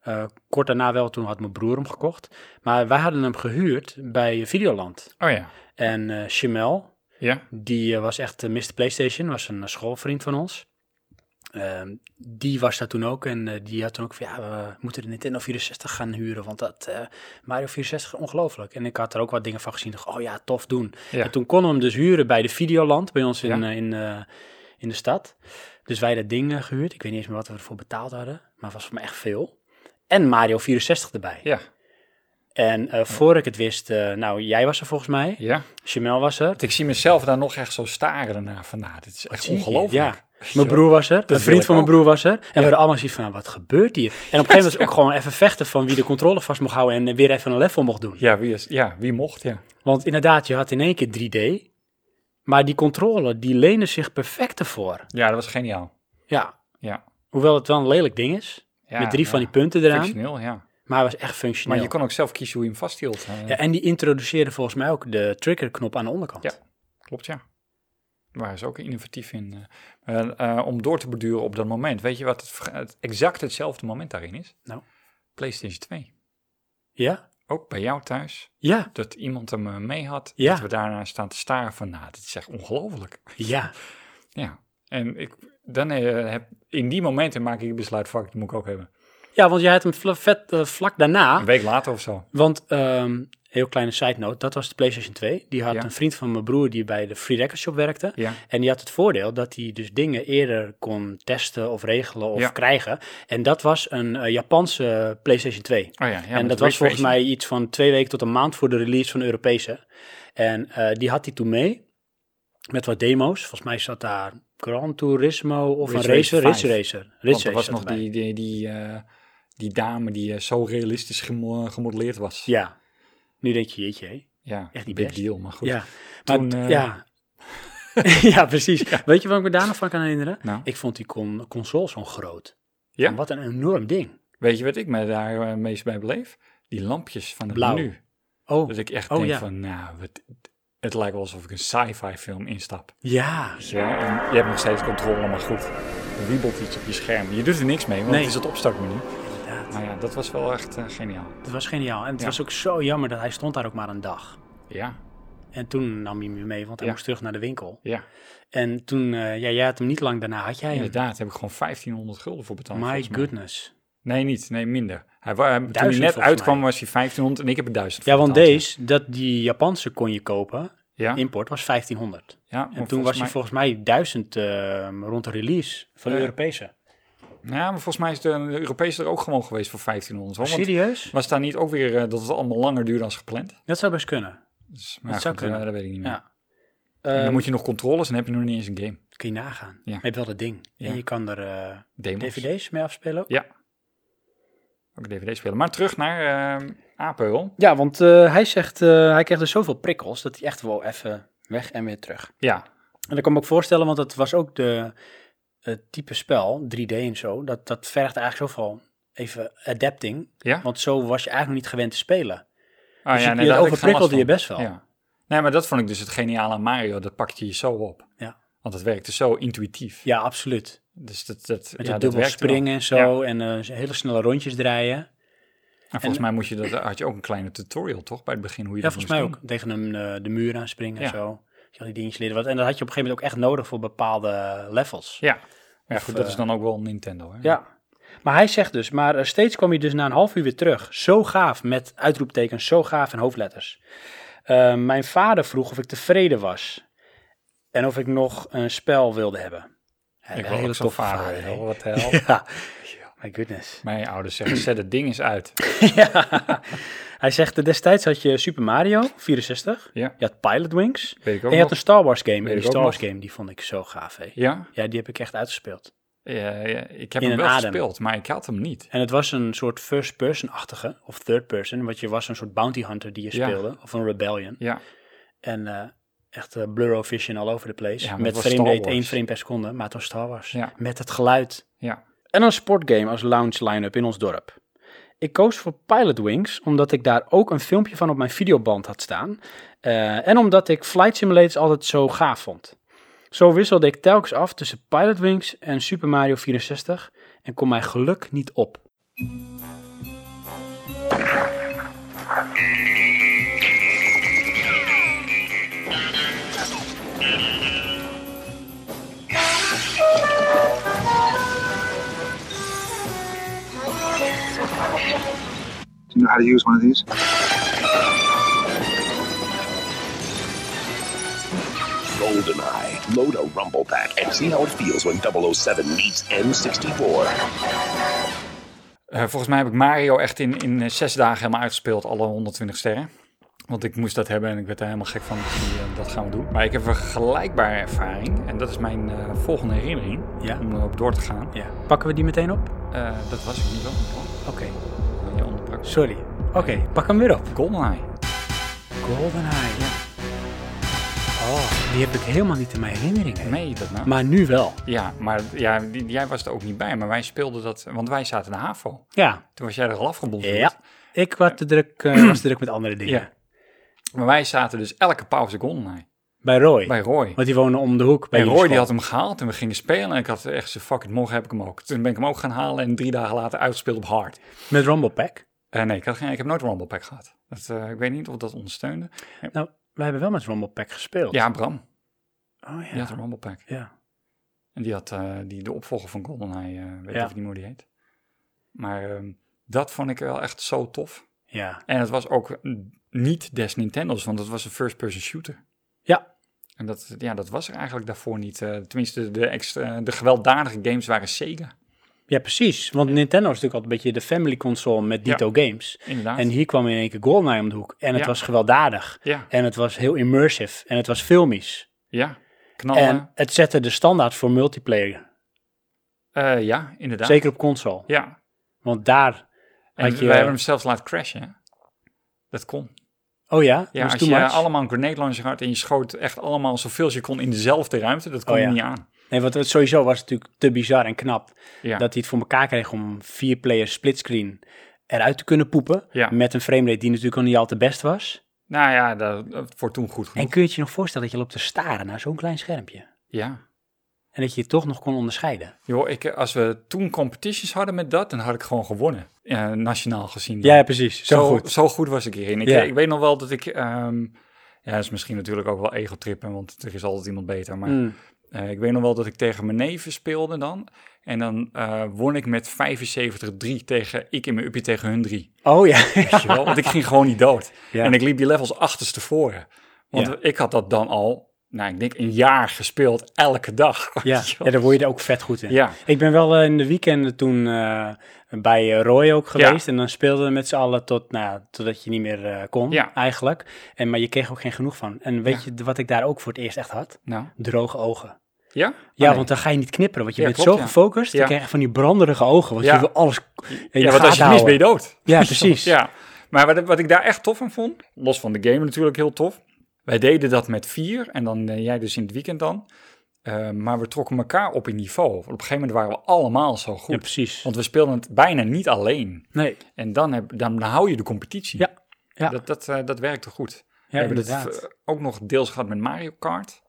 Speaker 1: Eh, kort daarna wel, toen had mijn broer hem gekocht. Maar wij hadden hem gehuurd bij Videoland.
Speaker 2: Oh ja.
Speaker 1: En eh Chimel,
Speaker 2: Ja.
Speaker 1: Die eh, was echt eh, Mr. PlayStation, was een eh, schoolvriend van ons. Ehm, die was daar toen ook en eh, die had toen ook van ja, we moeten de Nintendo 64 gaan huren, want dat eh, Mario 64 is ongelooflijk. En ik had er ook wat dingen van gezien, dacht, oh ja, tof doen.
Speaker 2: Ja.
Speaker 1: En toen konden we hem dus huren bij de Videoland, bij ons in,
Speaker 2: Ja.
Speaker 1: eh, in, eh, in de stad. Dus wij dat ding eh, gehuurd, ik weet niet eens meer wat we ervoor betaald hadden, maar het was voor mij echt veel. En Mario 64 erbij.
Speaker 2: Ja.
Speaker 1: En eh, voor ik het wist, eh, nou, jij was er volgens mij,
Speaker 2: Ja.
Speaker 1: Jamel was er.
Speaker 2: Want ik zie mezelf daar nog echt zo staren daarna van, nou, dit is echt ongelooflijk.
Speaker 1: Ja. Mijn broer was er, een
Speaker 2: wil
Speaker 1: vriend
Speaker 2: ik
Speaker 1: van mijn
Speaker 2: ook.
Speaker 1: broer was er. En we hadden allemaal zoiets van, wat gebeurt hier? En op een gegeven moment was het ook gewoon even vechten van wie de controle vast mocht houden en weer even een level mocht doen.
Speaker 2: Ja, wie, is, ja, wie mocht, ja.
Speaker 1: Want inderdaad, je had in één keer 3D, maar die controle, die lenen zich perfect ervoor.
Speaker 2: Ja, dat was geniaal.
Speaker 1: Ja,
Speaker 2: Ja.
Speaker 1: hoewel het wel een lelijk ding is,
Speaker 2: Ja,
Speaker 1: met drie van
Speaker 2: ja.
Speaker 1: die punten eraan,
Speaker 2: Functioneel, ja.
Speaker 1: maar het was echt
Speaker 2: Maar
Speaker 1: functioneel.
Speaker 2: je kon ook zelf kiezen hoe je hem vasthield. eh,
Speaker 1: ja, en die introduceerde volgens mij ook de triggerknop aan de onderkant.
Speaker 2: Ja. Klopt, ja. Waar ze ook innovatief in. eh, eh, eh, om door te beduren op dat moment. Weet je wat het, ver- het exact hetzelfde moment daarin is?
Speaker 1: Nou.
Speaker 2: PlayStation 2.
Speaker 1: Ja?
Speaker 2: Ook bij jou thuis.
Speaker 1: Ja,
Speaker 2: Dat iemand hem eh, mee had.
Speaker 1: Ja.
Speaker 2: Dat we daarna staan te staren van, nou, dit is echt ongelooflijk.
Speaker 1: ja.
Speaker 2: Ja. En ik, dan eh, heb, in die momenten maak ik het besluit, fuck, dat moet ik ook hebben.
Speaker 1: Ja, want jij had hem vla- vet, eh, vlak daarna.
Speaker 2: Een week later of zo.
Speaker 1: Want, ehm, heel kleine side note, dat was de PlayStation 2. Die had
Speaker 2: Ja.
Speaker 1: een vriend van mijn broer die bij de Free Record Shop werkte.
Speaker 2: Ja.
Speaker 1: En die had het voordeel dat hij dus dingen eerder kon testen of regelen of
Speaker 2: Ja.
Speaker 1: krijgen. En dat was een eh, Japanse PlayStation 2.
Speaker 2: Oh ja, ja,
Speaker 1: en
Speaker 2: met
Speaker 1: dat was volgens
Speaker 2: reservation.
Speaker 1: mij iets van twee weken tot een maand voor de release van de Europese. En eh, die had hij toen mee met wat demo's. Volgens mij zat daar Gran Turismo of
Speaker 2: Ridge
Speaker 1: een racer.
Speaker 2: Racer
Speaker 1: Ridge
Speaker 2: 5.
Speaker 1: Racer.
Speaker 2: Want
Speaker 1: Ridge
Speaker 2: er was
Speaker 1: Racer
Speaker 2: nog
Speaker 1: erbij.
Speaker 2: die, die, die, eh, die dame die eh, zo realistisch gemo- gemodelleerd was.
Speaker 1: Ja. Nu denk je, jeetje hé.
Speaker 2: Ja,
Speaker 1: Echt niet
Speaker 2: big
Speaker 1: best.
Speaker 2: deal, maar goed.
Speaker 1: Ja,
Speaker 2: Toen,
Speaker 1: maar,
Speaker 2: eh,
Speaker 1: t- ja. ja, precies. Weet je wat ik me daar nog van kan herinneren?
Speaker 2: Nou.
Speaker 1: Ik vond die con- console zo groot.
Speaker 2: Ja.
Speaker 1: En Wat een enorm ding.
Speaker 2: Weet je wat ik me daar eh, meest bij beleef? Die lampjes van het
Speaker 1: Blauw.
Speaker 2: menu.
Speaker 1: Oh,
Speaker 2: Dat ik echt
Speaker 1: Oh,
Speaker 2: denk
Speaker 1: ja.
Speaker 2: van, nou, het, het lijkt wel alsof ik een sci-fi film instap.
Speaker 1: ja.
Speaker 2: Weet je wel? En je hebt nog steeds controle, maar goed. Er wiebelt iets op je scherm. Je doet er niks mee, want
Speaker 1: Nee.
Speaker 2: het is het opstartmenu.
Speaker 1: Inderdaad.
Speaker 2: Maar ja, dat was wel echt eh, geniaal.
Speaker 1: Het was geniaal. En het
Speaker 2: Ja.
Speaker 1: was ook zo jammer dat hij stond daar ook maar een dag.
Speaker 2: Ja.
Speaker 1: En En toen nam hij me mee, want hij
Speaker 2: Ja.
Speaker 1: moest terug naar de winkel.
Speaker 2: Ja,
Speaker 1: En toen, eh, ja, jij had hem niet lang daarna, had jij hem.
Speaker 2: inderdaad. Heb ik gewoon 1500 gulden voor betaald.
Speaker 1: My
Speaker 2: volgens mij.
Speaker 1: goodness.
Speaker 2: Nee, niet. Nee, minder. Hij, wa- hij- toen hij
Speaker 1: Duizend
Speaker 2: net
Speaker 1: volgens
Speaker 2: uitkwam
Speaker 1: mij.
Speaker 2: was hij 1500 en ik heb er 1000 voor
Speaker 1: Ja, want
Speaker 2: betaald,
Speaker 1: deze, dat die Japanse kon je kopen,
Speaker 2: Ja, ja,
Speaker 1: import, was 1500.
Speaker 2: ja, maar
Speaker 1: En toen
Speaker 2: volgens
Speaker 1: was hij
Speaker 2: mij-
Speaker 1: volgens mij 1000 eh, rond de release van de
Speaker 2: Ja. Oh,
Speaker 1: Europese.
Speaker 2: Ja, maar volgens mij is de, de Europese er ook gewoon geweest voor 1500. Hoor. Want
Speaker 1: Serieus?
Speaker 2: was daar niet ook weer eh, dat het allemaal langer duurde dan gepland?
Speaker 1: Dat zou best kunnen.
Speaker 2: Dus, maar
Speaker 1: Dat zou
Speaker 2: goed,
Speaker 1: kunnen.
Speaker 2: eh, dat weet ik niet meer.
Speaker 1: Ja.
Speaker 2: En dan
Speaker 1: Ehm,
Speaker 2: moet je nog controles en heb je nog niet eens een game.
Speaker 1: kun je nagaan.
Speaker 2: Ja.
Speaker 1: Je hebt wel dat ding.
Speaker 2: Ja.
Speaker 1: En je kan er eh,
Speaker 2: Demos.
Speaker 1: dvd's mee afspelen ook.
Speaker 2: Ja. Ook een DVD spelen. Maar terug naar uh, Apeul.
Speaker 1: Ja, want eh, hij zegt, eh, hij kreeg er zoveel prikkels dat hij echt wel even weg en weer terug.
Speaker 2: Ja.
Speaker 1: En dat kan ik me ook voorstellen, want dat was ook de, het type spel, 3D en zo, dat, dat vergt eigenlijk zoveel even adapting.
Speaker 2: Ja?
Speaker 1: Want zo was je eigenlijk nog niet gewend te spelen.
Speaker 2: Ah,
Speaker 1: Dus je-
Speaker 2: nee,
Speaker 1: je
Speaker 2: daar had ik geen
Speaker 1: overprikkelde
Speaker 2: last van.
Speaker 1: je best wel.
Speaker 2: Ja. Nee, maar dat vond ik dus het geniale aan Mario. Dat pakte je zo op.
Speaker 1: Ja.
Speaker 2: Want dat werkte zo intuïtief.
Speaker 1: Ja, absoluut.
Speaker 2: Dus dat, dat,
Speaker 1: Met
Speaker 2: ja,
Speaker 1: het
Speaker 2: dat
Speaker 1: dubbel
Speaker 2: werkte wel.
Speaker 1: springen en
Speaker 2: Ja.
Speaker 1: zo en eh, hele snelle rondjes draaien.
Speaker 2: En volgens mij moest je dat, had je ook een kleine tutorial, toch? Bij het begin hoe je
Speaker 1: Ja,
Speaker 2: dat
Speaker 1: volgens mij
Speaker 2: moest
Speaker 1: ook. Tegen een, eh, de muur aanspringen
Speaker 2: Ja.
Speaker 1: en zo. Ja, die dingetjes leren wat. En dat had je op een gegeven moment ook echt nodig voor bepaalde eh, levels.
Speaker 2: doen. Ja. Ja,
Speaker 1: Of,
Speaker 2: goed, dat
Speaker 1: eh,
Speaker 2: is dan ook wel Nintendo, hè?
Speaker 1: Ja. Maar hij zegt dus, maar eh, steeds kwam hij dus na een half uur weer terug. Zo gaaf, met uitroeptekens, zo gaaf en hoofdletters. Eh, mijn vader vroeg of ik tevreden was. En of ik nog een spel wilde hebben. Hij
Speaker 2: Ik
Speaker 1: had
Speaker 2: wil
Speaker 1: een
Speaker 2: ook zo'n vader,
Speaker 1: hè?
Speaker 2: joh, wat de hel.
Speaker 1: Ja, Oh my goodness.
Speaker 2: Mijn ouders zeggen, zet het ding eens uit.
Speaker 1: ja. Hij zegt, eh, destijds had je Super Mario 64.
Speaker 2: Ja.
Speaker 1: Je had Pilot Wings.
Speaker 2: Weet ik ook
Speaker 1: En je had
Speaker 2: nog.
Speaker 1: een Star Wars game. En
Speaker 2: Weet
Speaker 1: die
Speaker 2: ik ook
Speaker 1: Star Wars
Speaker 2: nog.
Speaker 1: game, die vond ik zo gaaf, hè.
Speaker 2: Ja?
Speaker 1: Ja, die heb ik echt uitgespeeld.
Speaker 2: Eh, Ja, ja, ik heb
Speaker 1: In
Speaker 2: hem
Speaker 1: een
Speaker 2: wel
Speaker 1: adem.
Speaker 2: gespeeld, maar ik had hem niet.
Speaker 1: En het was een soort first-person-achtige, of third-person, want je was een soort bounty hunter die je
Speaker 2: Ja.
Speaker 1: speelde, of een rebellion.
Speaker 2: Ja,
Speaker 1: En eh, echt eh blur of vision all over the place.
Speaker 2: Ja, maar het
Speaker 1: Met
Speaker 2: was
Speaker 1: frame
Speaker 2: Star
Speaker 1: rate één
Speaker 2: Wars.
Speaker 1: frame per seconde, maar het was Star Wars.
Speaker 2: Ja.
Speaker 1: Met het geluid.
Speaker 2: ja.
Speaker 1: En een sportgame als lounge line-up in ons dorp. Ik koos voor Pilot Wings, omdat ik daar ook een filmpje van op mijn videoband had staan. eh, en omdat ik Flight Simulators altijd zo gaaf vond. Zo wisselde ik telkens af tussen Pilot Wings en Super Mario 64 en kon mijn geluk niet op.
Speaker 10: Do you know how to use one of these?
Speaker 9: GoldenEye. Load a rumble pack and see how it feels when 007 meets M64.
Speaker 2: Eh, volgens mij heb ik Mario echt in, in eh, zes dagen helemaal uitgespeeld, alle 120 sterren. Want ik moest dat hebben en ik werd daar helemaal gek van. Dus die, eh, dat gaan we doen. Maar ik heb een vergelijkbare ervaring. En dat is mijn eh, volgende herinnering.
Speaker 1: Ja.
Speaker 2: Om erop door te gaan.
Speaker 1: Ja. Pakken we die meteen op?
Speaker 2: Eh, dat was ik niet wel.
Speaker 1: Oké,
Speaker 2: Je onderbrak.
Speaker 1: sorry. Oké, pak hem weer op.
Speaker 2: GoldenEye.
Speaker 1: GoldenEye. Oh, die heb ik helemaal niet in mijn herinnering. hè.
Speaker 2: Nee, dat nou.
Speaker 1: Maar nu wel.
Speaker 2: Ja, maar ja, die- jij was er ook niet bij. Maar wij speelden dat, want wij zaten in de HAVO.
Speaker 1: Ja.
Speaker 2: Toen was jij er al afgebonjourd.
Speaker 1: Ja. Ik was te druk, eh, was te druk met andere dingen.
Speaker 2: Ja. Maar wij zaten dus elke pauze GoldenEye.
Speaker 1: Bij Roy.
Speaker 2: Bij Roy.
Speaker 1: Want die woonde om de hoek bij
Speaker 2: en
Speaker 1: jullie
Speaker 2: Roy die had
Speaker 1: school.
Speaker 2: hem gehaald en we gingen spelen. En ik had echt zo, fuck it, morgen heb ik hem ook. Toen ben ik hem ook gaan halen en drie dagen later uitgespeeld op hard.
Speaker 1: Met Rumble Pack.
Speaker 2: Eh, nee, ik, had geen, ik heb nooit Rumble Pack gehad. Dat, eh, ik weet niet of dat ondersteunde.
Speaker 1: Nou, wij hebben wel met Rumble Pack gespeeld.
Speaker 2: Ja, Bram,
Speaker 1: Oh ja.
Speaker 2: die had een Rumble Pack.
Speaker 1: Ja.
Speaker 2: En die had eh, die, de opvolger van GoldenEye, eh weet
Speaker 1: Ja.
Speaker 2: even niet hoe die heet. Maar ehm, dat vond ik wel echt zo tof.
Speaker 1: Ja.
Speaker 2: En het was ook mm, niet des Nintendo's, want het was een first-person shooter.
Speaker 1: Ja.
Speaker 2: En dat, ja, dat was er eigenlijk daarvoor niet. eh, tenminste, de, de, extra, de gewelddadige games waren Sega.
Speaker 1: Ja, precies. Want Nintendo is natuurlijk altijd een beetje de family console met
Speaker 2: Ja.
Speaker 1: dito games.
Speaker 2: Inderdaad.
Speaker 1: En hier kwam in één keer GoldenEye om de hoek. En het
Speaker 2: Ja.
Speaker 1: was gewelddadig.
Speaker 2: Ja,
Speaker 1: En het was heel immersive. En het was filmisch.
Speaker 2: Nou, ja. Knallen.
Speaker 1: En het zette de standaard voor multiplayer.
Speaker 2: Eh, ja, inderdaad.
Speaker 1: Zeker op console.
Speaker 2: Ja.
Speaker 1: Want daar
Speaker 2: En
Speaker 1: had je...
Speaker 2: wij hebben hem zelfs laten crashen. hè? Dat kon.
Speaker 1: Oh ja?
Speaker 2: Ja,
Speaker 1: was
Speaker 2: als
Speaker 1: too
Speaker 2: je
Speaker 1: much?
Speaker 2: allemaal een grenade launcher had en je schoot echt allemaal zoveel als je kon in dezelfde ruimte, dat kon
Speaker 1: Oh,
Speaker 2: je
Speaker 1: ja.
Speaker 2: niet aan.
Speaker 1: Nee, want het sowieso was het natuurlijk te bizar en knap
Speaker 2: Ja.
Speaker 1: dat hij het voor elkaar kreeg om vier players splitscreen eruit te kunnen poepen.
Speaker 2: Ja.
Speaker 1: Met een framerate die natuurlijk al niet al te best was.
Speaker 2: Nou ja, dat, dat voor toen goed genoeg.
Speaker 1: En kun je het je nog voorstellen dat je loopt te staren naar zo'n klein schermpje?
Speaker 2: Ja.
Speaker 1: En dat je het toch nog kon onderscheiden.
Speaker 2: Joh, ik, eh, als we toen competitions hadden met dat, dan had ik gewoon gewonnen. Eh, nationaal gezien.
Speaker 1: Ja, precies. Zo, goed.
Speaker 2: Zo goed was ik hierin. Ik,
Speaker 1: Ja.
Speaker 2: ik weet nog wel dat ik... ehm, Ja, dat is misschien natuurlijk ook wel egotrippen, want er is altijd iemand beter. Maar
Speaker 1: Mm.
Speaker 2: eh, ik weet nog wel dat ik tegen mijn neven speelde dan. En dan eh, won ik met 75-3 tegen ik in mijn uppie tegen hun drie.
Speaker 1: Oh ja.
Speaker 2: Weet je wel? Want ik ging gewoon niet dood.
Speaker 1: Ja.
Speaker 2: En ik liep die levels achterstevoren. Want
Speaker 1: Ja.
Speaker 2: ik had dat dan al, nou ik denk een jaar gespeeld, elke dag.
Speaker 1: Ja,
Speaker 2: Weet je wel?
Speaker 1: ja, daar word je er ook vet goed in.
Speaker 2: Ja.
Speaker 1: Ik ben wel eh, in de weekenden toen eh, bij eh, Roy ook geweest. En dan speelden we met z'n allen tot, nou, totdat je niet meer eh, kon
Speaker 2: Ja.
Speaker 1: eigenlijk. En, maar je kreeg ook geen genoeg van. En weet je wat ik daar ook voor het eerst echt had?
Speaker 2: Nou,
Speaker 1: Droge ogen.
Speaker 2: ja?
Speaker 1: Ja,
Speaker 2: Oh, nee.
Speaker 1: want dan ga je niet knipperen, want je
Speaker 2: Ja,
Speaker 1: bent
Speaker 2: klopt,
Speaker 1: zo
Speaker 2: ja.
Speaker 1: gefocust.
Speaker 2: Ja.
Speaker 1: Je krijgt van die branderige ogen, want
Speaker 2: Ja.
Speaker 1: je wil alles in
Speaker 2: ja, want als je het mist ben je dood.
Speaker 1: Ja, precies.
Speaker 2: Ja, maar wat, wat ik daar echt tof aan vond, los van de game natuurlijk heel tof. Wij deden dat met vier en dan eh, jij dus in het weekend dan. Eh, maar we trokken elkaar op in niveau. Op een gegeven moment waren we allemaal zo goed.
Speaker 1: Ja, precies.
Speaker 2: Want we speelden het bijna niet alleen.
Speaker 1: Nee,
Speaker 2: En dan, heb, dan hou je de competitie.
Speaker 1: Ja, ja.
Speaker 2: Dat, dat, eh, dat werkte goed.
Speaker 1: ja,
Speaker 2: we hebben het
Speaker 1: inderdaad.
Speaker 2: eh, ook nog deels gehad met Mario Kart.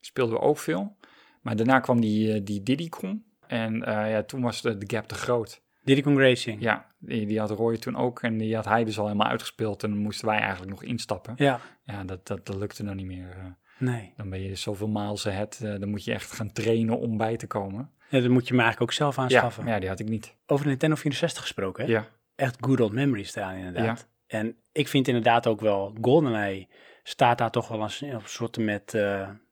Speaker 2: Speelden we ook veel. Maar daarna kwam die, eh, die Diddy Kong. En eh, ja, toen was de, de gap te groot.
Speaker 1: Diddy Kong Racing. Ja.
Speaker 2: Ja, die, die had Roy toen ook en die had hij dus al helemaal uitgespeeld. En dan moesten wij eigenlijk nog instappen. Ja, dat, dat, dat lukte nou niet meer. eh.
Speaker 1: nee.
Speaker 2: Dan ben je zoveel miles ahead, eh, dan moet je echt gaan trainen om bij te komen.
Speaker 1: Ja, dat moet je me eigenlijk ook zelf
Speaker 2: Ja,
Speaker 1: aanschaffen.
Speaker 2: ja, die had ik niet.
Speaker 1: Over Nintendo 64 gesproken, hè?
Speaker 2: Ja,
Speaker 1: echt good old memories staan inderdaad. En ik vind inderdaad ook wel, GoldenEye staat daar toch wel als een soort met, eh,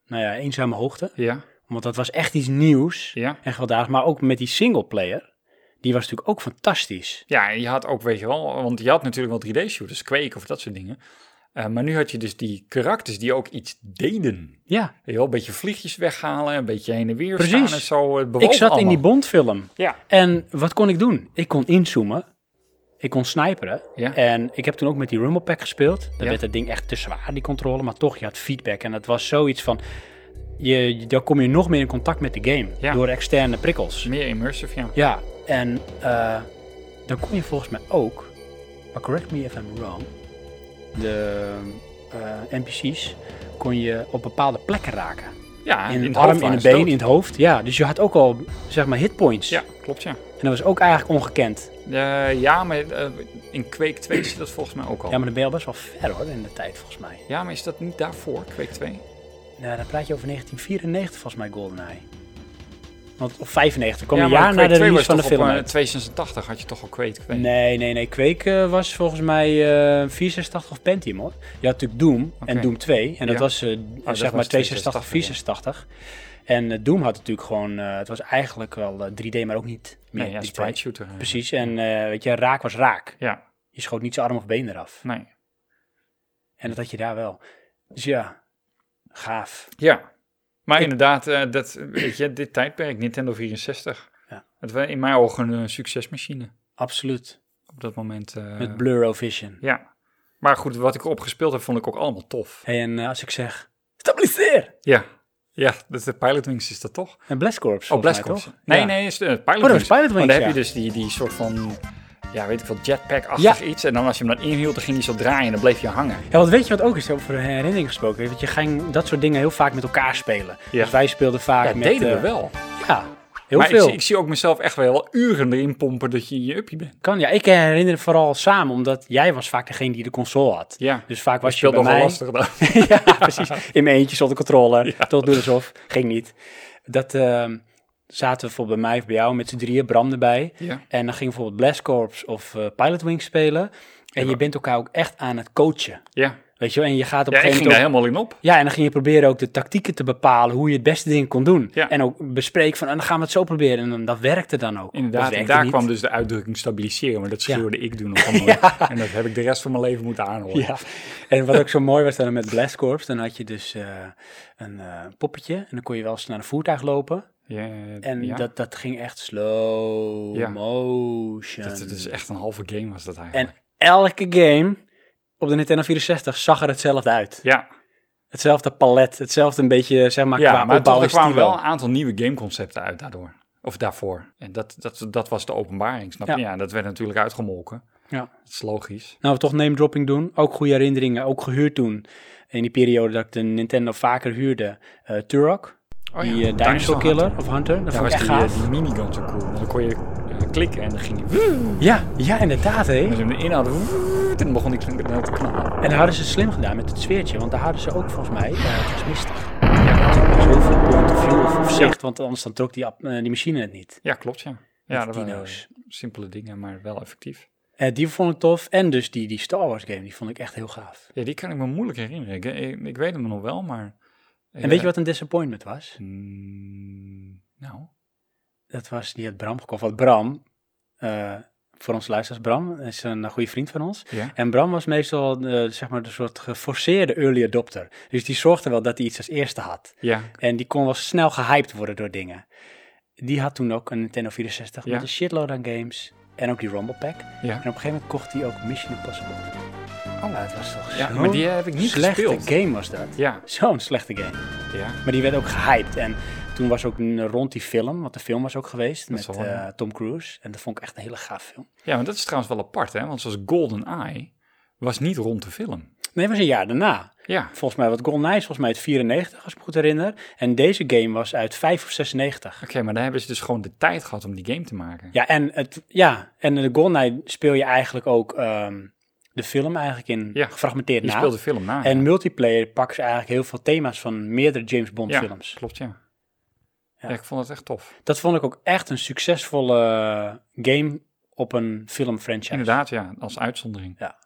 Speaker 1: nou ja, eenzame hoogte.
Speaker 2: ja,
Speaker 1: Want dat was echt iets nieuws
Speaker 2: ja.
Speaker 1: en gewelddadig. Maar ook met die singleplayer, die was natuurlijk ook fantastisch.
Speaker 2: Ja, en je had ook, weet je wel, want je had natuurlijk wel 3D-shooters, Quake of dat soort dingen. Eh, maar nu had je dus die karakters die ook iets deden. Weet
Speaker 1: Ja,
Speaker 2: je wel, een beetje vliegjes weghalen, een beetje heen en weer
Speaker 1: Precies.
Speaker 2: staan en zo. Het bewoog
Speaker 1: ik zat in
Speaker 2: allemaal.
Speaker 1: die Bondfilm.
Speaker 2: Ja.
Speaker 1: En wat kon ik doen? Ik kon inzoomen. Ik kon sniperen.
Speaker 2: Ja.
Speaker 1: En ik heb toen ook met die Rumble Pack gespeeld. Dan
Speaker 2: Ja.
Speaker 1: werd dat ding echt te zwaar, die controle. Maar toch, je had feedback. En dat was zoiets van... Je, je- dan kom je nog meer in contact met de game.
Speaker 2: Ja.
Speaker 1: Door externe prikkels.
Speaker 2: Meer immersive, ja.
Speaker 1: Ja, en eh, dan kom je volgens mij ook... Maar correct me if I'm wrong. De eh, NPC's kon je op bepaalde plekken raken.
Speaker 2: Ja,
Speaker 1: In,
Speaker 2: Ah, het
Speaker 1: de
Speaker 2: hoofd
Speaker 1: arm, in
Speaker 2: waren
Speaker 1: het
Speaker 2: ze
Speaker 1: been,
Speaker 2: dood.
Speaker 1: in het hoofd. Ja, dus je had ook al, zeg maar, hitpoints.
Speaker 2: Ja, klopt, ja.
Speaker 1: En dat was ook eigenlijk ongekend.
Speaker 2: Eh, ja, maar eh, in Quake 2 zit dat volgens mij ook al.
Speaker 1: Ja, maar dan ben je al best wel ver hoor, in de tijd volgens mij.
Speaker 2: is dat niet daarvoor, Quake 2?
Speaker 1: Nou, dan praat je over 1994 volgens mij GoldenEye. Want, of 95, kwam
Speaker 2: ja,
Speaker 1: een
Speaker 2: maar
Speaker 1: jaar na
Speaker 2: Quake
Speaker 1: de
Speaker 2: 2
Speaker 1: release van
Speaker 2: was
Speaker 1: de
Speaker 2: toch
Speaker 1: film.
Speaker 2: Op, eh,
Speaker 1: uit.
Speaker 2: 286 had je toch al Quake 2?
Speaker 1: Nee, nee, nee. Quake eh, was volgens mij eh 64 of Pentium hoor. Je had natuurlijk Doom
Speaker 2: Oké.
Speaker 1: en Doom 2. En dat
Speaker 2: Ja. Oh,
Speaker 1: was eh,
Speaker 2: was
Speaker 1: zeg maar
Speaker 2: 286,
Speaker 1: 62, 64. En eh, Doom had natuurlijk gewoon, eh, het was eigenlijk wel eh, 3D, maar ook niet meer.
Speaker 2: Nee, ja,
Speaker 1: die
Speaker 2: sprite
Speaker 1: twee.
Speaker 2: shooter. eh.
Speaker 1: Precies, en eh, weet je, raak was raak.
Speaker 2: Ja,
Speaker 1: Je schoot niet zijn arm of been eraf.
Speaker 2: nee.
Speaker 1: En dat had je daar wel. Dus ja, gaaf.
Speaker 2: Ja, maar inderdaad, eh, dat, weet je, dit tijdperk, Nintendo 64.
Speaker 1: Ja.
Speaker 2: Het was in mijn ogen een eh, succesmachine
Speaker 1: Absoluut.
Speaker 2: op dat moment. eh,
Speaker 1: Met Blur Vision.
Speaker 2: ja, maar goed, wat ik erop gespeeld heb, vond ik ook allemaal tof.
Speaker 1: Hey, en eh, als ik zeg, stabiliseer!
Speaker 2: Ja, ja dat, de Pilot Wings is dat toch?
Speaker 1: En Blast Corps.
Speaker 2: Oh,
Speaker 1: volgens
Speaker 2: Blast
Speaker 1: mij,
Speaker 2: Corps.
Speaker 1: toch?
Speaker 2: Nee,
Speaker 1: Ja. Oh,
Speaker 2: nee, is, eh, Pilot Wings.
Speaker 1: dat was Pilot
Speaker 2: Want
Speaker 1: Wings,
Speaker 2: dan heb je
Speaker 1: ja.
Speaker 2: dus die, die soort van, ja, weet ik wel, jetpack-achtig iets. En dan als je hem dan inhield, dan ging hij zo draaien en dan bleef je hangen.
Speaker 1: Ja, want weet je wat ook is over herinnering gesproken? Want je ging dat soort dingen heel vaak met elkaar spelen.
Speaker 2: Ja.
Speaker 1: Dus wij speelden vaak
Speaker 2: Ja,
Speaker 1: met...
Speaker 2: deden we
Speaker 1: eh,
Speaker 2: wel.
Speaker 1: Ja, heel
Speaker 2: maar Ik,
Speaker 1: veel.
Speaker 2: zie- ik zie ook mezelf echt wel uren erin pompen dat je in je uppie bent.
Speaker 1: Kan, ja. Ik herinner het vooral samen, omdat jij was vaak degene die de console had.
Speaker 2: Ja.
Speaker 1: Dus vaak was je
Speaker 2: speelt
Speaker 1: bij
Speaker 2: nog wel
Speaker 1: mij...
Speaker 2: lastig dan.
Speaker 1: ja, precies. In mijn eentje zonder controle. Tot doe alsof. Ging niet. Dat ehm, zaten we voor bij mij of bij jou met z'n drieën, Bram erbij.
Speaker 2: Ja.
Speaker 1: En dan ging bijvoorbeeld Blast Corps of eh, Pilot Wings spelen. En je bent elkaar ook echt aan het coachen.
Speaker 2: Ja,
Speaker 1: Weet je wel? En je gaat op
Speaker 2: ja
Speaker 1: een
Speaker 2: ik ging
Speaker 1: gegeven
Speaker 2: daar
Speaker 1: moment... ook-
Speaker 2: helemaal in op.
Speaker 1: Ja, en dan ging je proberen ook de tactieken te bepalen hoe je het beste ding kon doen.
Speaker 2: Ja.
Speaker 1: En ook bespreken van, en dan gaan we het zo proberen. En dan- dat werkte dan ook. Dat
Speaker 2: Inderdaad, en
Speaker 1: werkte
Speaker 2: daar
Speaker 1: niet.
Speaker 2: kwam dus de uitdrukking stabiliseren, maar dat
Speaker 1: Ja.
Speaker 2: schreeuwde ik doen. Op andere- En dat heb ik de rest van mijn leven moeten aanhoren.
Speaker 1: Ja, en wat ook zo mooi was dan met Blast Corps, dan had je dus eh, een eh, poppetje en dan kon je wel eens naar een voertuig lopen.
Speaker 2: Ja,
Speaker 1: En
Speaker 2: ja.
Speaker 1: dat, dat ging echt slow
Speaker 2: Ja.
Speaker 1: motion.
Speaker 2: Dat, dat is echt een halve game was dat eigenlijk.
Speaker 1: En elke game op de Nintendo 64 zag er hetzelfde uit.
Speaker 2: ja,
Speaker 1: Hetzelfde palet, hetzelfde een beetje, zeg maar,
Speaker 2: ja
Speaker 1: qua
Speaker 2: maar
Speaker 1: opbouw
Speaker 2: toch, er
Speaker 1: en
Speaker 2: kwamen
Speaker 1: stilo.
Speaker 2: wel een aantal nieuwe gameconcepten uit daardoor. Of daarvoor. En dat, dat, dat was de openbaring, snap je?
Speaker 1: Ja.
Speaker 2: Ja. dat werd natuurlijk uitgemolken.
Speaker 1: Ja.
Speaker 2: Dat is logisch.
Speaker 1: Nou, we toch name dropping doen. Ook goede herinneringen, ook gehuurd toen. In die periode dat ik de Nintendo vaker huurde. eh Turok,
Speaker 2: Oh,
Speaker 1: die eh, Dinosaur Killer of Hunter. Dat
Speaker 2: Ja,
Speaker 1: vond
Speaker 2: was
Speaker 1: ik echt
Speaker 2: die,
Speaker 1: gaaf.
Speaker 2: eh, die minigun zo cool. Want Dan kon je eh, klikken en dan ging je...
Speaker 1: Ja, ja, inderdaad, hè.
Speaker 2: Als je hem erin had... En dan begon die klinker te knallen.
Speaker 1: En daar hadden ze slim gedaan met het sfeertje, want daar hadden ze ook volgens mij, eh, het was mistig. Ja, natuurlijk was heel veel planten viel of, of zicht, want anders dan trok die, ap- eh, die machine het niet.
Speaker 2: Ja, klopt, ja. Ja, dat waren
Speaker 1: dino's.
Speaker 2: simpele dingen, maar wel effectief.
Speaker 1: Eh, die vond ik tof. En dus die, die Star Wars game, die vond ik echt heel gaaf.
Speaker 2: Ja, die kan ik me moeilijk herinneren. Ik, eh, ik, ik weet hem nog wel, maar... eh,
Speaker 1: En weet je wat een disappointment was?
Speaker 2: Nou,
Speaker 1: Dat was, die had Bram gekocht. Want Bram, eh, voor ons luisteraars, Bram is een eh, goede vriend van ons.
Speaker 2: ja.
Speaker 1: En Bram was meestal eh, zeg maar de soort geforceerde early adopter. Dus die zorgde wel dat hij iets als eerste had.
Speaker 2: Ja,
Speaker 1: En die kon wel snel gehyped worden door dingen. Die had toen ook een Nintendo 64
Speaker 2: Ja.
Speaker 1: met een shitload aan games. En ook die Rumble Pack. En op
Speaker 2: ja.
Speaker 1: een gegeven moment kocht hij ook Mission Impossible. Oh, het was toch
Speaker 2: Ja,
Speaker 1: zo'n
Speaker 2: maar die heb ik niet
Speaker 1: slechte
Speaker 2: gespeeld.
Speaker 1: game was dat.
Speaker 2: Ja,
Speaker 1: Zo'n slechte game.
Speaker 2: ja.
Speaker 1: Maar die werd ook gehyped. En toen was ook een- rond die film, want de film was ook geweest met
Speaker 2: zal wel,
Speaker 1: eh,
Speaker 2: ja.
Speaker 1: Tom Cruise. En dat vond ik echt een hele gaaf film.
Speaker 2: Ja, maar dat is trouwens wel apart, hè. Want zoals GoldenEye was niet rond de film.
Speaker 1: Nee, het was een jaar daarna.
Speaker 2: Ja,
Speaker 1: Volgens mij, wat GoldenEye is volgens mij uit 94, als ik me goed herinner. En deze game was uit 5 of 96.
Speaker 2: oké, maar daar hebben ze dus gewoon de tijd gehad om die game te maken.
Speaker 1: Ja, en, het, ja, en de GoldenEye speel je eigenlijk ook ehm, de film eigenlijk in
Speaker 2: Ja,
Speaker 1: gefragmenteerd
Speaker 2: Je
Speaker 1: na.
Speaker 2: speelde film na.
Speaker 1: En
Speaker 2: ja.
Speaker 1: multiplayer pakken ze eigenlijk heel veel thema's van meerdere James Bond
Speaker 2: ja,
Speaker 1: films.
Speaker 2: klopt, ja.
Speaker 1: Ja.
Speaker 2: ja. ik vond het echt tof.
Speaker 1: Dat vond ik ook echt een succesvolle game op een filmfranchise.
Speaker 2: Inderdaad, ja, als uitzondering.
Speaker 1: Ja.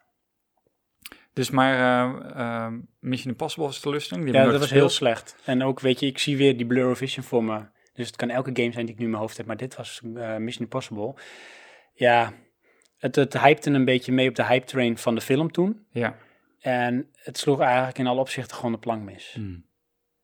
Speaker 2: Dus maar eh, eh, Mission Impossible was teleurstelling. Die
Speaker 1: Ja,
Speaker 2: heb ik
Speaker 1: dat was
Speaker 2: nooit
Speaker 1: heel
Speaker 2: gespeeld.
Speaker 1: slecht. En ook, weet je, ik zie weer die Blur Vision voor me. Dus het kan elke game zijn die ik nu in mijn hoofd heb. Maar dit was eh, Mission Impossible. Ja, het, het hypte een beetje mee op de hype train van de film toen.
Speaker 2: Ja.
Speaker 1: En het sloeg eigenlijk in alle opzichten gewoon de plank mis.
Speaker 2: Hmm.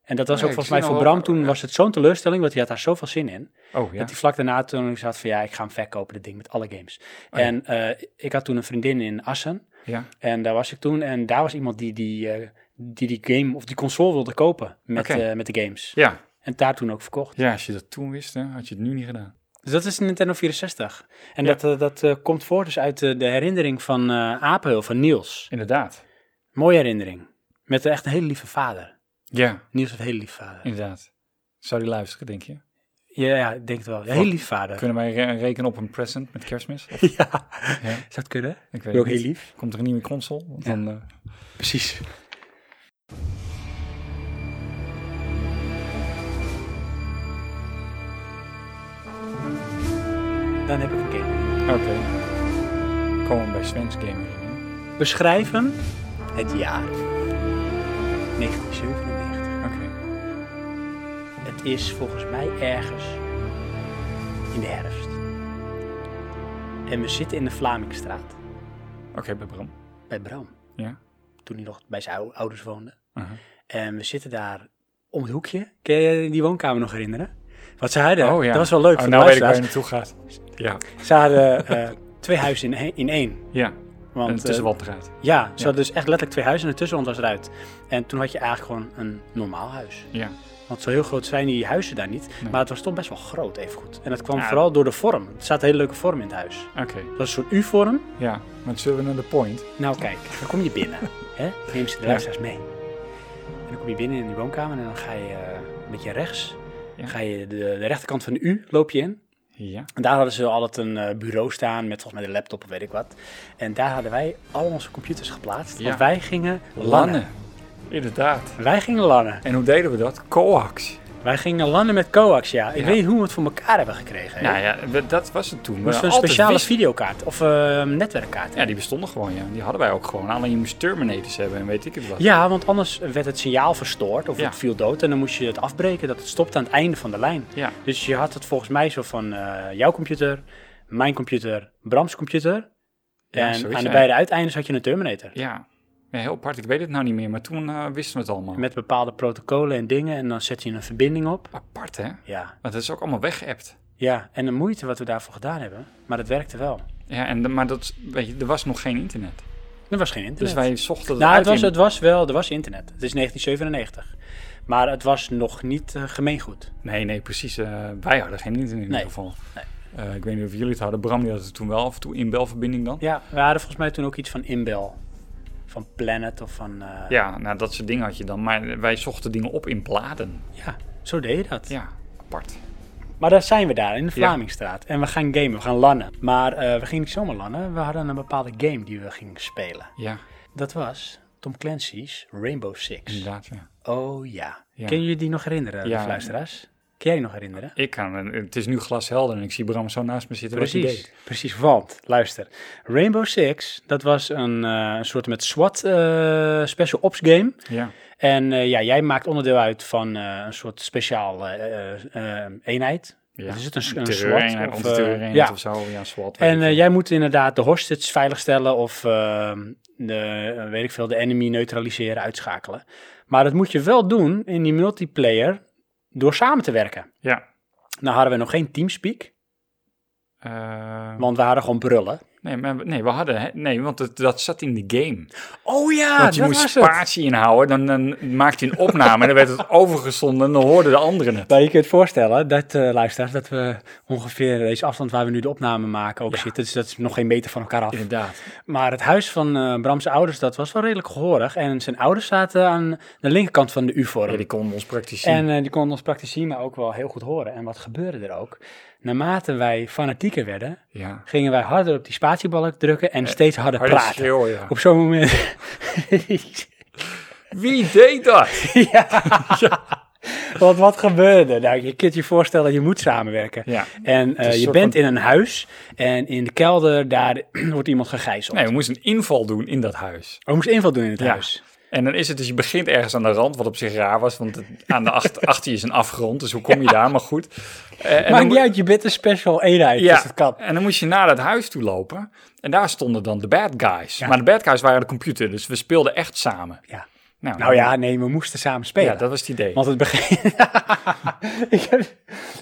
Speaker 1: En dat was
Speaker 2: Nee,
Speaker 1: ook volgens
Speaker 2: ik zie
Speaker 1: mij voor
Speaker 2: nou wel-
Speaker 1: Bram toen was het zo'n teleurstelling, want hij had daar zoveel zin in.
Speaker 2: Oh ja.
Speaker 1: Dat hij vlak daarna toen zat van ja, ik ga hem verkopen, dit ding met alle games. En eh, ik had toen een vriendin in Assen
Speaker 2: ja.
Speaker 1: en daar was ik toen. En daar was iemand die die, eh, die, die game of die console wilde kopen met,
Speaker 2: Oké.
Speaker 1: eh, met de games.
Speaker 2: Ja.
Speaker 1: En daar toen ook verkocht.
Speaker 2: ja, als je dat toen wist, hè, had je het nu niet gedaan.
Speaker 1: Dus dat is de Nintendo 64. En
Speaker 2: Ja.
Speaker 1: dat, eh, dat eh, komt voort dus uit eh, de herinnering van eh Apel, van Niels.
Speaker 2: Inderdaad.
Speaker 1: Mooie herinnering. Met echt een hele lieve vader.
Speaker 2: Ja,
Speaker 1: Niels heeft een hele lieve vader.
Speaker 2: inderdaad. Zou die luisteren, denk je?
Speaker 1: Ja, ja, ik denk het wel. Ja, heel lief vader.
Speaker 2: Kunnen wij re- rekenen op een present met kerstmis? Of,
Speaker 1: Ja.
Speaker 2: Ja.
Speaker 1: Zou het kunnen?
Speaker 2: ik weet
Speaker 1: Ook
Speaker 2: het
Speaker 1: heel
Speaker 2: niet.
Speaker 1: lief.
Speaker 2: Komt er een nieuwe console? Want Dan, eh,
Speaker 1: Precies. Dan heb ik een game.
Speaker 2: Oké. Komen we bij Sven's Gamer. in, hè?
Speaker 1: Beschrijven het jaar 1997.
Speaker 2: Oké.
Speaker 1: Het is volgens mij ergens in de herfst. En we zitten in de Vlamingstraat
Speaker 2: Oké, bij Bram.
Speaker 1: bij Bram,
Speaker 2: Ja.
Speaker 1: toen hij nog bij zijn ou- ouders woonde.
Speaker 2: Aha.
Speaker 1: En we zitten daar om het hoekje. Kun je die woonkamer nog herinneren? Wat ze hadden,
Speaker 2: Oh ja.
Speaker 1: dat was wel leuk
Speaker 2: Oh,
Speaker 1: voor
Speaker 2: nou
Speaker 1: de
Speaker 2: weet ik waar je
Speaker 1: luisteraars.
Speaker 2: naartoe gaat. Ja.
Speaker 1: Ze hadden eh, twee huizen in, in één.
Speaker 2: Ja.
Speaker 1: Want,
Speaker 2: en het is
Speaker 1: eh,
Speaker 2: wat eruit.
Speaker 1: Ja, ze hadden dus echt letterlijk twee huizen en ertussen was eruit. En toen had je eigenlijk gewoon een normaal huis.
Speaker 2: Ja.
Speaker 1: Want zo heel groot zijn die huizen daar niet.
Speaker 2: Nee.
Speaker 1: Maar het was toch best wel groot, even goed. En dat kwam
Speaker 2: Ja.
Speaker 1: vooral door de vorm. Er staat een hele leuke vorm in het huis.
Speaker 2: Oké.
Speaker 1: Dat was een soort U-vorm.
Speaker 2: Ja. Maar zullen we naar de point?
Speaker 1: Nou kijk, dan kom je binnen. hè? Neem ze de
Speaker 2: Ja.
Speaker 1: luisteraars mee. En dan kom je binnen in die woonkamer en dan ga je eh, met je rechts.
Speaker 2: Ja.
Speaker 1: Ga je de, de rechterkant van de U loop je in.
Speaker 2: Ja.
Speaker 1: En daar hadden ze altijd een eh, bureau staan met volgens mij de laptop of weet ik wat. En daar hadden wij al onze computers geplaatst.
Speaker 2: Ja.
Speaker 1: Want wij gingen lannen.
Speaker 2: Lannen. Inderdaad.
Speaker 1: Wij gingen lannen.
Speaker 2: En hoe deden we dat? Coax.
Speaker 1: Wij gingen lannen met coax, ja. Ik
Speaker 2: Ja.
Speaker 1: weet niet hoe we het voor elkaar hebben gekregen. hè.
Speaker 2: Nou ja, we- dat was het toen. We
Speaker 1: Moesten we een
Speaker 2: hadden
Speaker 1: speciale
Speaker 2: altijd wifi.
Speaker 1: videokaart of eh, netwerkkaart
Speaker 2: Ja, die bestonden gewoon, ja. Die hadden wij ook gewoon. Alleen je moest Terminators hebben en weet ik het wat.
Speaker 1: Ja, want anders werd het signaal verstoord of
Speaker 2: Ja.
Speaker 1: het viel dood. En dan moest je het afbreken dat het stopte aan het einde van de lijn.
Speaker 2: Ja.
Speaker 1: Dus je had het volgens mij zo van eh, jouw computer, mijn computer, Brams computer.
Speaker 2: Ja,
Speaker 1: en
Speaker 2: zoiets,
Speaker 1: aan de
Speaker 2: ja.
Speaker 1: beide uiteindes had je een Terminator.
Speaker 2: Ja. Ja, heel apart. Ik weet het nou niet meer, maar toen eh, wisten we het allemaal.
Speaker 1: Met bepaalde protocollen en dingen. En dan zet je een verbinding op.
Speaker 2: Apart, hè?
Speaker 1: Ja.
Speaker 2: Want het is ook allemaal weggeëpt.
Speaker 1: ja, en de moeite wat we daarvoor gedaan hebben. Maar dat werkte wel.
Speaker 2: Ja, en, de- maar dat, weet je, er was nog geen internet.
Speaker 1: Er was geen internet.
Speaker 2: Dus wij zochten
Speaker 1: Nou,
Speaker 2: uit
Speaker 1: het was,
Speaker 2: in-
Speaker 1: het was wel, er was internet. Het is 1997. Maar het was nog niet eh, gemeengoed.
Speaker 2: Nee, nee, precies. eh, wij hadden geen internet in ieder
Speaker 1: Nee.
Speaker 2: geval.
Speaker 1: Nee.
Speaker 2: Eh, ik weet niet of jullie het hadden. Bram die had het toen wel af en toe inbelverbinding dan.
Speaker 1: Ja, we hadden volgens mij toen ook iets van Inbel. Van Planet of van... eh,
Speaker 2: Ja, nou dat soort dingen had je dan. Maar wij zochten dingen op in bladen.
Speaker 1: ja, zo deed je dat.
Speaker 2: Ja, apart.
Speaker 1: Maar daar zijn we daar, in de Vlamingstraat. En we gaan gamen, we gaan lannen. Maar eh, we gingen niet zomaar lannen, we hadden een bepaalde game die we gingen spelen.
Speaker 2: Ja,
Speaker 1: Dat was Tom Clancy's Rainbow Six.
Speaker 2: inderdaad. Ja.
Speaker 1: Oh ja.
Speaker 2: Ja.
Speaker 1: Kun je die nog herinneren,
Speaker 2: Ja.
Speaker 1: de luisteraars? Kun jij die nog herinneren?
Speaker 2: Ik kan, het is nu glashelder en ik zie Bram zo naast me zitten. wat hij
Speaker 1: Precies,
Speaker 2: deed.
Speaker 1: precies. Want, luister, Rainbow Six, dat was een, eh, een soort met SWAT eh, special ops game.
Speaker 2: Ja.
Speaker 1: En eh, ja, jij maakt onderdeel uit van eh, een soort speciaal eh, eh, eh, eenheid.
Speaker 2: ja.
Speaker 1: Wat Is het een, een
Speaker 2: terreureenheid
Speaker 1: SWAT?
Speaker 2: of,
Speaker 1: Of, eh,
Speaker 2: terreureenheid
Speaker 1: ja.
Speaker 2: of zo. Ja, SWAT. weet
Speaker 1: En
Speaker 2: ik
Speaker 1: eh,
Speaker 2: veel.
Speaker 1: jij moet inderdaad de hostages veiligstellen of eh, de, eh, weet ik veel, de enemy neutraliseren, uitschakelen. Maar dat moet je wel doen in die multiplayer door samen te werken.
Speaker 2: ja.
Speaker 1: Nou hadden we nog geen teamspeak,
Speaker 2: Eh,
Speaker 1: want we hadden gewoon brullen.
Speaker 2: nee, maar, we- nee, we hadden, hè- nee, want het, dat zat in de game.
Speaker 1: Oh ja,
Speaker 2: want je
Speaker 1: dat
Speaker 2: moest
Speaker 1: was het.
Speaker 2: spatie inhouden, dan, dan maakte je een opname en dan werd het overgezonden en dan hoorden de anderen het.
Speaker 1: Nou, je kunt voorstellen dat, eh luisteraars, dat we ongeveer deze afstand waar we nu de opname maken ook zitten. Dus dat is nog geen meter van elkaar af.
Speaker 2: Inderdaad.
Speaker 1: Maar het huis van eh Brams ouders, dat was wel redelijk gehoorig. En zijn ouders zaten aan de linkerkant van de
Speaker 2: Ja,
Speaker 1: U-vorm.
Speaker 2: die konden ons praktisch zien.
Speaker 1: En eh, die konden ons praktisch zien, maar ook wel heel goed horen. En wat gebeurde er ook? Naarmate wij fanatieker werden,
Speaker 2: ja. Eh,
Speaker 1: gingen wij harder op die spatiebalk drukken en steeds harder,
Speaker 2: harder
Speaker 1: praten.
Speaker 2: schreeuwen, ja.
Speaker 1: Op zo'n moment...
Speaker 2: Wie deed dat?
Speaker 1: Want wat gebeurde? er? Nou, je kunt je voorstellen, je moet samenwerken.
Speaker 2: Ja.
Speaker 1: En eh,
Speaker 2: een
Speaker 1: je
Speaker 2: soort
Speaker 1: bent
Speaker 2: van-
Speaker 1: in een huis en in de kelder, daar wordt iemand gegijzeld.
Speaker 2: Nee, we moesten een inval doen in dat huis.
Speaker 1: Oh, we moesten inval doen in het
Speaker 2: Ja.
Speaker 1: huis.
Speaker 2: En dan is het dus, je begint ergens aan de rand, wat op zich raar was, want het- aan de achter, achter je is een afgrond, dus hoe kom je daar? Maar goed. Eh, en dan
Speaker 1: Maakt
Speaker 2: moet-
Speaker 1: niet uit, je bent een special eenheid,
Speaker 2: Ja,
Speaker 1: dus dat kan.
Speaker 2: en dan moest je naar dat huis toe lopen. En daar stonden dan de bad guys. Maar de bad guys waren de computer, dus we speelden echt samen.
Speaker 1: Ja.
Speaker 2: Nou,
Speaker 1: Nou ja, nee, we moesten samen spelen.
Speaker 2: ja, dat was het idee.
Speaker 1: Want het begin. ik, heb,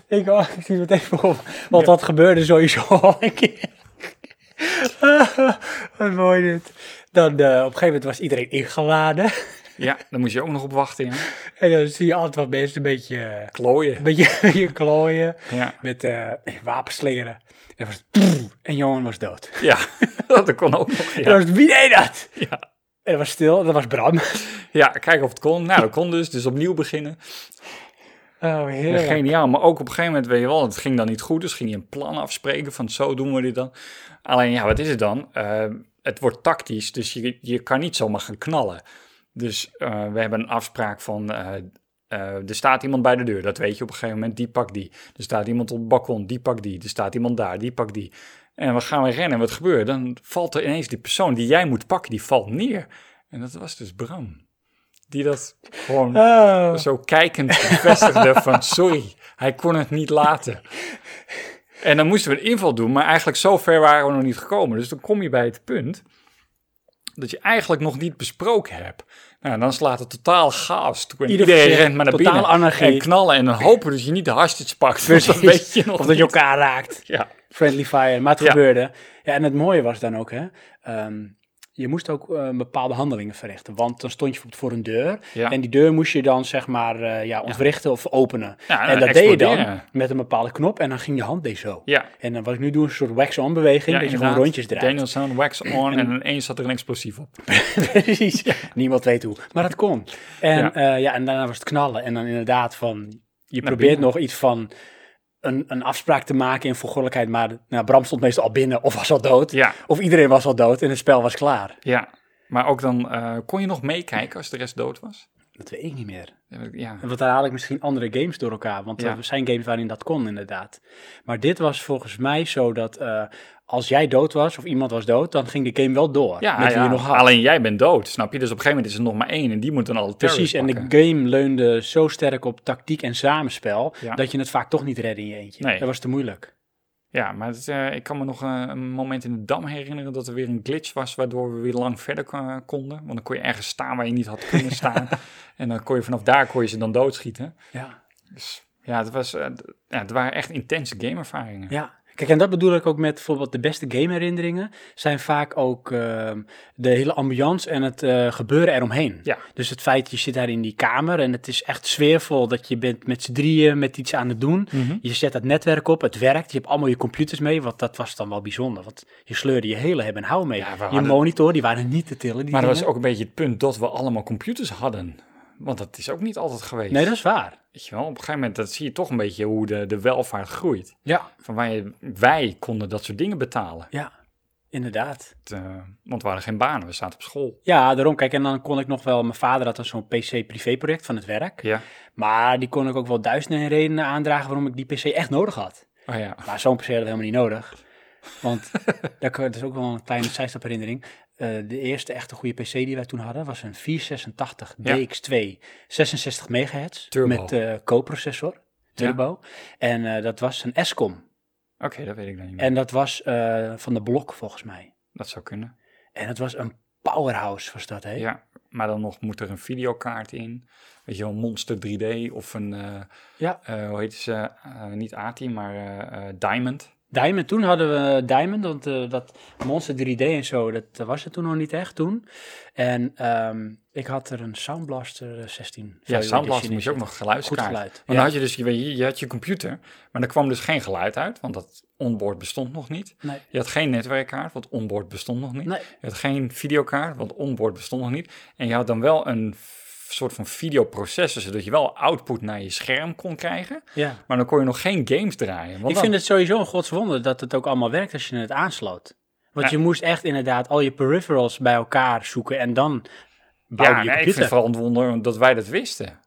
Speaker 1: ik, oh, ik zie het meteen voor me. Want dat gebeurde sowieso al een keer. Ah, Wat mooi dit. Dan eh, op een gegeven moment was iedereen ingeladen.
Speaker 2: Ja, daar moest je ook nog op wachten. Ja.
Speaker 1: En dan zie je altijd wat mensen een beetje, eh,
Speaker 2: Klooien.
Speaker 1: een beetje, een beetje klooien.
Speaker 2: Ja.
Speaker 1: Met eh wapensleren. En, was, het en Johan was dood.
Speaker 2: Ja, dat kon ook nog.
Speaker 1: En dan
Speaker 2: Ja.
Speaker 1: was het, wie deed dat?
Speaker 2: Ja.
Speaker 1: En dat was stil. En dat was Bram.
Speaker 2: ja, kijken of het kon. Nou, dat kon dus. Dus opnieuw beginnen.
Speaker 1: Oh,
Speaker 2: Ja,
Speaker 1: heerlijk.
Speaker 2: Geniaal, maar ook op een gegeven moment, weet je wel, het ging dan niet goed. Dus ging je een plan afspreken van zo doen we dit dan. Alleen ja, wat is het dan? Eh, het wordt tactisch, dus je, je kan niet zomaar gaan knallen. Dus eh, we hebben een afspraak van, eh, eh, er staat iemand bij de deur, dat weet je op een gegeven moment, die pakt die. Er staat iemand op het balkon, die pakt die. Er staat iemand daar, die pakt die. En we gaan weer rennen, wat gebeurt? er? Dan valt er ineens die persoon die jij moet pakken, die valt neer. En dat was dus Bram. Die dat gewoon
Speaker 1: Oh.
Speaker 2: zo kijkend bevestigde van sorry, hij kon het niet laten. En dan moesten we een inval doen, maar eigenlijk zo ver waren we nog niet gekomen. Dus dan kom je bij het punt dat je eigenlijk nog niet besproken hebt. Nou, en dan slaat het totaal chaos toe. En
Speaker 1: Ieder
Speaker 2: iedereen
Speaker 1: verzet,
Speaker 2: rent maar naar
Speaker 1: totale
Speaker 2: binnen
Speaker 1: anarchie.
Speaker 2: en knallen. En dan hopen dat je niet de hashtags pakt. want
Speaker 1: Precies.
Speaker 2: Dat weet je nog
Speaker 1: of dat je
Speaker 2: niet.
Speaker 1: elkaar raakt.
Speaker 2: Ja,
Speaker 1: Friendly fire, maar het
Speaker 2: Ja.
Speaker 1: gebeurde. Ja, en het mooie was dan ook, hè, ehm, je moest ook eh, bepaalde handelingen verrichten. Want dan stond je bijvoorbeeld voor een deur.
Speaker 2: Ja.
Speaker 1: En die deur moest je dan, zeg maar, eh, ja, ontwrichten of openen.
Speaker 2: Ja, nou,
Speaker 1: en
Speaker 2: en
Speaker 1: dat deed je dan
Speaker 2: exploderen.
Speaker 1: met een bepaalde knop. En dan ging je hand deze zo.
Speaker 2: Ja.
Speaker 1: En dan, wat ik nu doe, is een soort wax-on beweging. dat je gewoon rondjes draait.
Speaker 2: Daniel Sound, wax on en ineens zat er een explosief op.
Speaker 1: Precies. Niemand weet hoe. Maar dat kon. En,
Speaker 2: Ja.
Speaker 1: eh, ja, en daarna was het knallen. En dan inderdaad van... Je probeert
Speaker 2: binnen.
Speaker 1: nog iets van een, een afspraak te maken in volgordelijkheid. Maar nou, Bram stond meestal al binnen of was al dood.
Speaker 2: Ja.
Speaker 1: Of iedereen was al dood en het spel was klaar.
Speaker 2: Ja, maar ook dan eh, kon je nog meekijken als de rest dood was.
Speaker 1: Dat weet ik niet meer.
Speaker 2: Ja,
Speaker 1: Want daar haal ik misschien andere games door elkaar. Want eh,
Speaker 2: Ja.
Speaker 1: er zijn games waarin dat kon inderdaad. Maar dit was volgens mij zo dat... eh, als jij dood was of iemand was dood, dan ging de game wel door.
Speaker 2: Ja, ah,
Speaker 1: met wie
Speaker 2: ja,
Speaker 1: je nog had.
Speaker 2: alleen jij bent dood, snap je? Dus op een gegeven moment is er nog maar één en die moet dan al
Speaker 1: Precies, en de game leunde zo sterk op tactiek en samenspel...
Speaker 2: Ja.
Speaker 1: dat je het vaak toch niet redde in je eentje.
Speaker 2: Nee.
Speaker 1: Dat was te moeilijk.
Speaker 2: Ja, maar het, eh, ik kan me nog eh, een moment in de Dam herinneren dat er weer een glitch was... waardoor we weer lang verder ko- eh, konden. Want dan kon je ergens staan waar je niet had kunnen staan. En dan kon je vanaf daar kon je ze dan doodschieten.
Speaker 1: Ja.
Speaker 2: Dus ja, het, was, eh, d- ja, het waren echt intense gameervaringen.
Speaker 1: ja. Kijk, en dat bedoel ik ook met bijvoorbeeld de beste gameherinneringen... zijn vaak ook ehm, de hele ambiance en het eh, gebeuren eromheen.
Speaker 2: Ja.
Speaker 1: Dus het feit, je zit daar in die kamer en het is echt sfeervol... dat je bent met z'n drieën met iets aan het doen.
Speaker 2: Mhm.
Speaker 1: Je zet dat netwerk op, het werkt. Je hebt allemaal je computers mee, want dat was dan wel bijzonder. Want je sleurde je hele hebben en hou mee.
Speaker 2: Ja, we
Speaker 1: je
Speaker 2: hadden-
Speaker 1: monitor, die waren niet te tillen. Die
Speaker 2: Maar dat
Speaker 1: dingen.
Speaker 2: was ook een beetje het punt dat we allemaal computers hadden. Want dat is ook niet altijd geweest.
Speaker 1: Nee, dat is waar.
Speaker 2: Weet je wel, op een gegeven moment dat zie je toch een beetje hoe de, de welvaart groeit.
Speaker 1: Ja.
Speaker 2: Van waar je- wij konden dat soort dingen betalen.
Speaker 1: Ja, inderdaad.
Speaker 2: Het, eh, want we hadden geen banen, we zaten op school.
Speaker 1: Ja, daarom. Kijk, en dan kon ik nog wel... Mijn vader had dan zo'n PC-privéproject van het werk.
Speaker 2: Ja.
Speaker 1: Maar die kon ik ook wel duizenden redenen aandragen waarom ik die PC echt nodig had.
Speaker 2: Oh ja.
Speaker 1: Maar zo'n PC had ik helemaal niet nodig. Want daar, kan- dat is ook wel een kleine zijstapherinnering. herinnering. de eerste echte goede PC die wij toen hadden was een 486
Speaker 2: Ja.
Speaker 1: DX2, 66 megahertz
Speaker 2: Turbo.
Speaker 1: met eh co-processor, turbo. En eh, dat was een SCOM.
Speaker 2: Oké, dat weet ik dan niet meer.
Speaker 1: En dat was eh, van de blok volgens mij.
Speaker 2: Dat zou kunnen.
Speaker 1: En dat was een powerhouse was dat, hè?
Speaker 2: Ja, maar dan nog moet er een videokaart in. Weet je wel, Monster 3D of een, eh,
Speaker 1: Ja.
Speaker 2: eh, hoe heet ze, Eh, niet A-team, maar eh, eh, Diamond.
Speaker 1: Diamond, toen hadden we Diamond, want eh, dat Monster 3D en zo, dat eh, was het toen nog niet echt toen. En ehm, ik had er een Soundblaster eh, 16.
Speaker 2: Ja,
Speaker 1: value
Speaker 2: Soundblaster
Speaker 1: edition
Speaker 2: moest je ook
Speaker 1: in
Speaker 2: nog
Speaker 1: zitten.
Speaker 2: geluidskaart.
Speaker 1: Goed geluid.
Speaker 2: Want dan
Speaker 1: ja.
Speaker 2: had je dus, je, weet, je- je had je computer, maar er kwam dus geen geluid uit, want dat onboard bestond nog niet.
Speaker 1: Nee.
Speaker 2: Je had geen netwerkkaart, want onboard bestond nog niet.
Speaker 1: Nee.
Speaker 2: Je had geen videokaart, want onboard bestond nog niet. En je had dan wel een f- soort van videoprocessor, zodat je wel output naar je scherm kon krijgen.
Speaker 1: Ja.
Speaker 2: Maar dan kon je nog geen games draaien. Want
Speaker 1: Ik
Speaker 2: dan-
Speaker 1: vind het sowieso een godswonder dat het ook allemaal werkt als je het aansloot. Want je moest echt inderdaad al je peripherals bij elkaar zoeken en dan bouw je
Speaker 2: Ja,
Speaker 1: je
Speaker 2: nee, ik vind
Speaker 1: computer.
Speaker 2: het vooral een wonder dat wij dat wisten.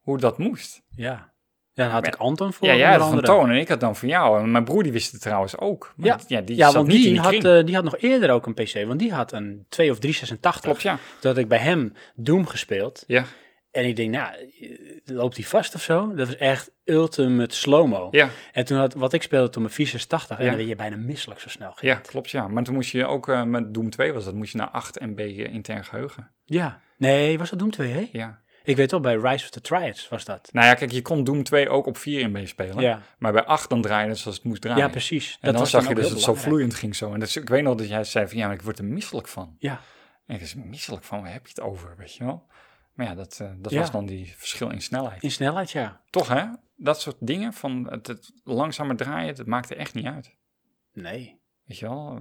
Speaker 2: Hoe dat moest.
Speaker 1: Ja. ja, dan had ik Anton voor
Speaker 2: Ja, jij
Speaker 1: onder
Speaker 2: had van
Speaker 1: andere.
Speaker 2: Toon en ik had dan van jou. En mijn broer die wist het trouwens ook. Maar
Speaker 1: Ja,
Speaker 2: die- ja, die
Speaker 1: ja
Speaker 2: zat
Speaker 1: want
Speaker 2: niet
Speaker 1: die,
Speaker 2: in die
Speaker 1: had,
Speaker 2: kring.
Speaker 1: eh, die had nog eerder ook een PC, want die had een 2 of 386.
Speaker 2: Klopt, ja.
Speaker 1: Toen had ik bij hem Doom gespeeld.
Speaker 2: ja.
Speaker 1: En ik denk, nou, eh, loopt hij vast of zo? Dat was echt ultimate slow-mo.
Speaker 2: Ja.
Speaker 1: En toen had, wat ik speelde toen mijn 486, en
Speaker 2: Ja.
Speaker 1: dan werd je bijna misselijk zo snel.
Speaker 2: Ja, klopt ja. Maar toen moest je ook, eh, met Doom 2 was dat, moest je naar 8 MB intern geheugen.
Speaker 1: Ja. Nee, was dat Doom 2, hè?
Speaker 2: Ja.
Speaker 1: Ik weet wel, bij Rise of the Triads was dat.
Speaker 2: Nou ja, kijk, je kon Doom 2 ook op 4 MB spelen.
Speaker 1: Ja.
Speaker 2: Maar bij 8 dan draaide het zoals het moest draaien.
Speaker 1: Ja, precies.
Speaker 2: En dan
Speaker 1: was
Speaker 2: zag
Speaker 1: dan
Speaker 2: je
Speaker 1: ook
Speaker 2: dus dat
Speaker 1: heel
Speaker 2: het
Speaker 1: belangrijk.
Speaker 2: zo vloeiend ging zo. En dat is- ik weet nog dat jij zei van, ja, maar ik word er misselijk van.
Speaker 1: Ja.
Speaker 2: En ik was misselijk van, waar heb je het over, weet je wel? Maar ja, dat, eh, dat
Speaker 1: Ja.
Speaker 2: was dan die verschil in snelheid.
Speaker 1: In snelheid, ja.
Speaker 2: Toch hè? Dat soort dingen van het, het langzamer draaien, dat maakte echt niet uit.
Speaker 1: Nee.
Speaker 2: Weet je wel?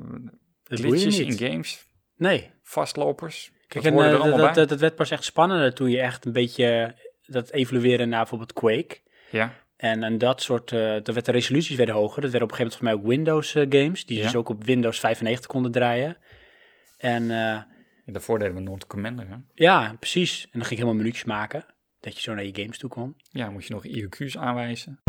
Speaker 1: Dat doe je
Speaker 2: Glitches
Speaker 1: niet.
Speaker 2: in games,
Speaker 1: Nee.
Speaker 2: vastlopers.
Speaker 1: Kijk, en,
Speaker 2: dat hoorde
Speaker 1: eh,
Speaker 2: er
Speaker 1: dat,
Speaker 2: allemaal
Speaker 1: dat,
Speaker 2: bij.
Speaker 1: dat werd pas echt spannender toen je echt een beetje eh, dat evolueren naar bijvoorbeeld Quake.
Speaker 2: ja.
Speaker 1: En, en dat soort, eh dan werd de resoluties werden hoger. Dat werden op een gegeven moment voor mij ook Windows eh, games, die
Speaker 2: Ja.
Speaker 1: dus ook op Windows 95 konden draaien. En eh,
Speaker 2: Ja, Daarvoor deden we Noord Commander hè?
Speaker 1: ja, precies. En dan ging ik helemaal minuutjes maken, dat je zo naar je games toe kwam.
Speaker 2: Ja, moet je nog IOQ's aanwijzen.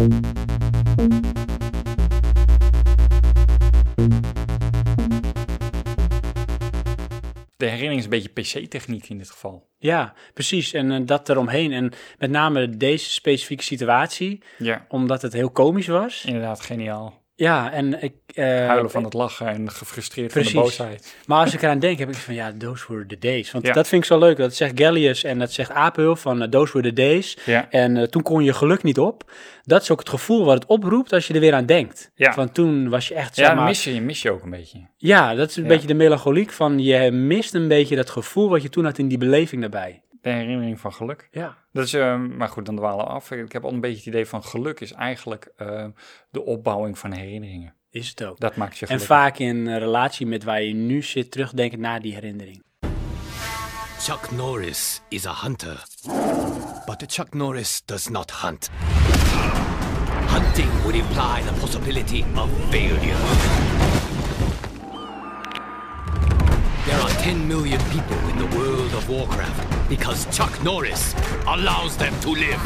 Speaker 2: De herinnering is een beetje PC-techniek in dit geval.
Speaker 1: Ja, precies. En eh, dat eromheen. En met name deze specifieke situatie,
Speaker 2: Ja.
Speaker 1: omdat het heel komisch was.
Speaker 2: Inderdaad, geniaal.
Speaker 1: Ja, en ik... eh,
Speaker 2: Huilen van het lachen en gefrustreerd van
Speaker 1: Precies.
Speaker 2: de boosheid.
Speaker 1: Maar als ik eraan denk, heb ik van ja, those were the days. Want
Speaker 2: Ja.
Speaker 1: dat vind ik zo leuk. Dat zegt Gallius en dat zegt Apel van eh, those were the days.
Speaker 2: Ja.
Speaker 1: En eh, toen kon je geluk niet op. Dat is ook het gevoel wat het oproept als je er weer aan denkt.
Speaker 2: Ja.
Speaker 1: Van toen was je echt, zeg
Speaker 2: Ja, dan
Speaker 1: maar...
Speaker 2: mis je, je mis je ook een beetje.
Speaker 1: Ja, dat is een
Speaker 2: Ja.
Speaker 1: beetje de melancholiek van je mist een beetje dat gevoel wat je toen had in die beleving daarbij.
Speaker 2: De herinnering van geluk.
Speaker 1: Ja.
Speaker 2: Dat is, eh, maar goed, dan dwalen we af. Ik heb al een beetje het idee van geluk is eigenlijk eh, de opbouwing van herinneringen.
Speaker 1: Is het ook.
Speaker 2: Dat maakt je
Speaker 1: en
Speaker 2: gelukkig.
Speaker 1: vaak in eh, relatie met waar je nu zit, terugdenken naar die herinnering.
Speaker 5: Chuck Norris is a hunter. But Chuck Norris does not hunt. Hunting would imply the possibility of failure. There are 10 million people in the world of Warcraft because Chuck Norris allows them to live.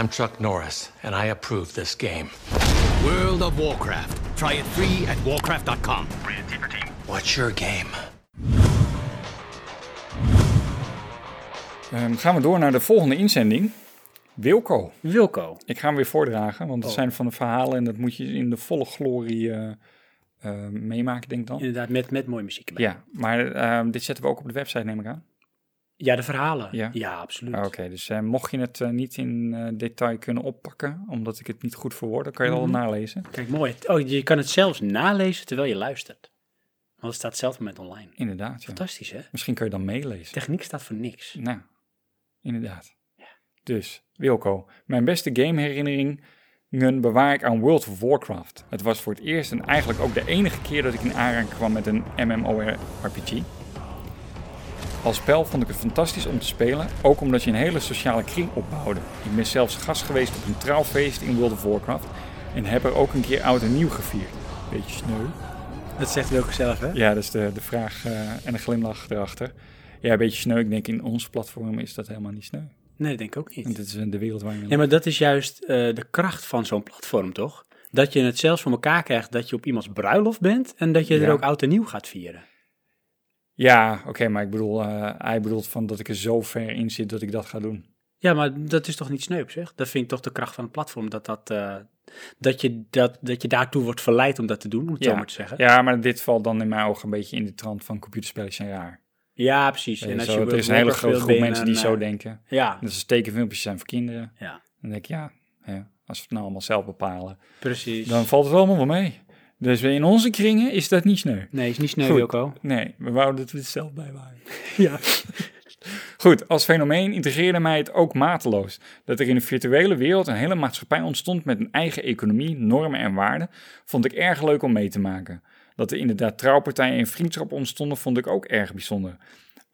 Speaker 5: I'm Chuck Norris, and I approve this game. World of Warcraft. Try it free at warcraft.com. What's your game?
Speaker 2: Ehm, gaan we door naar de volgende inzending. Wilco.
Speaker 1: Wilco.
Speaker 2: Ik ga hem weer voordragen, want het zijn van de verhalen en dat moet je in de volle glorie eh, eh, meemaken, denk ik dan.
Speaker 1: Inderdaad, met, met mooie muziek erbij.
Speaker 2: Ja, maar ehm, dit zetten we ook op de website, neem ik aan.
Speaker 1: Ja, de verhalen.
Speaker 2: Ja.
Speaker 1: absoluut.
Speaker 2: Ah, Oké, dus eh, mocht je het eh, niet in eh, detail kunnen oppakken, omdat ik het niet goed verwoord, dan kan je het al nalezen.
Speaker 1: Kijk, mooi. Oh, je kan het zelfs nalezen terwijl je luistert. Want het staat zelf moment online.
Speaker 2: Inderdaad, ja.
Speaker 1: Fantastisch, hè?
Speaker 2: Misschien kun je dan meelezen.
Speaker 1: Techniek staat voor niks.
Speaker 2: Nou, inderdaad. Dus, Wilco, mijn beste gameherinneringen bewaar ik aan World of Warcraft. Het was voor het eerst en eigenlijk ook de enige keer dat ik in aanraking kwam met een MMORPG. Als spel vond ik het fantastisch om te spelen, ook omdat je een hele sociale kring opbouwde. Ik ben zelfs gast geweest op een trouwfeest in World of Warcraft en heb er ook een keer oud en nieuw gevierd. Beetje sneu.
Speaker 1: Dat zegt Wilco zelf, hè?
Speaker 2: Ja, dat is de, de vraag eh, en een glimlach erachter. Ja, een beetje sneu. Ik denk in ons platform is dat helemaal niet sneu.
Speaker 1: Nee, dat denk ik ook
Speaker 2: Want
Speaker 1: niet.
Speaker 2: dit is eh, de wereld waar je in
Speaker 1: Ja, maar dat is juist eh, de kracht van zo'n platform, toch? Dat je het zelfs voor elkaar krijgt dat je op iemands bruiloft bent en dat je
Speaker 2: Ja.
Speaker 1: er ook oud en nieuw gaat vieren.
Speaker 2: Ja, oké, maar ik bedoel, eh, hij bedoelt van dat ik er zo ver in zit dat ik dat ga doen.
Speaker 1: Ja, maar dat is toch niet sneup, zeg? Dat vind ik toch de kracht van het platform, dat, dat, eh, dat, je, dat, dat je daartoe wordt verleid om dat te doen, om het zo maar te zeggen.
Speaker 2: ja, maar dit valt dan in mijn ogen een beetje in de trant van computerspelletjes zijn raar.
Speaker 1: Ja, precies.
Speaker 2: Weet je, zo,
Speaker 1: World
Speaker 2: er is
Speaker 1: of
Speaker 2: een hele
Speaker 1: Warcraft
Speaker 2: grote
Speaker 1: speelt,
Speaker 2: groep
Speaker 1: ben je
Speaker 2: mensen die
Speaker 1: een,
Speaker 2: zo
Speaker 1: eh,
Speaker 2: denken.
Speaker 1: Ja,
Speaker 2: Dat is tekenfilmpjes zijn voor kinderen.
Speaker 1: ja,
Speaker 2: Dan denk ik, ja, hè, als we het nou allemaal zelf bepalen,
Speaker 1: precies.
Speaker 2: dan valt het allemaal wel mee. Dus in onze kringen is dat niet sneu.
Speaker 1: Nee, is niet sneu,
Speaker 2: Goed.
Speaker 1: Wilco.
Speaker 2: Nee, we wouden dat we het zelf bij waren.
Speaker 1: Ja.
Speaker 2: Goed, als fenomeen integreerde mij het ook mateloos. Dat er in de virtuele wereld een hele maatschappij ontstond met een eigen economie, normen en waarden, vond ik erg leuk om mee te maken. Dat er inderdaad trouwpartijen en vriendschap ontstonden, vond ik ook erg bijzonder.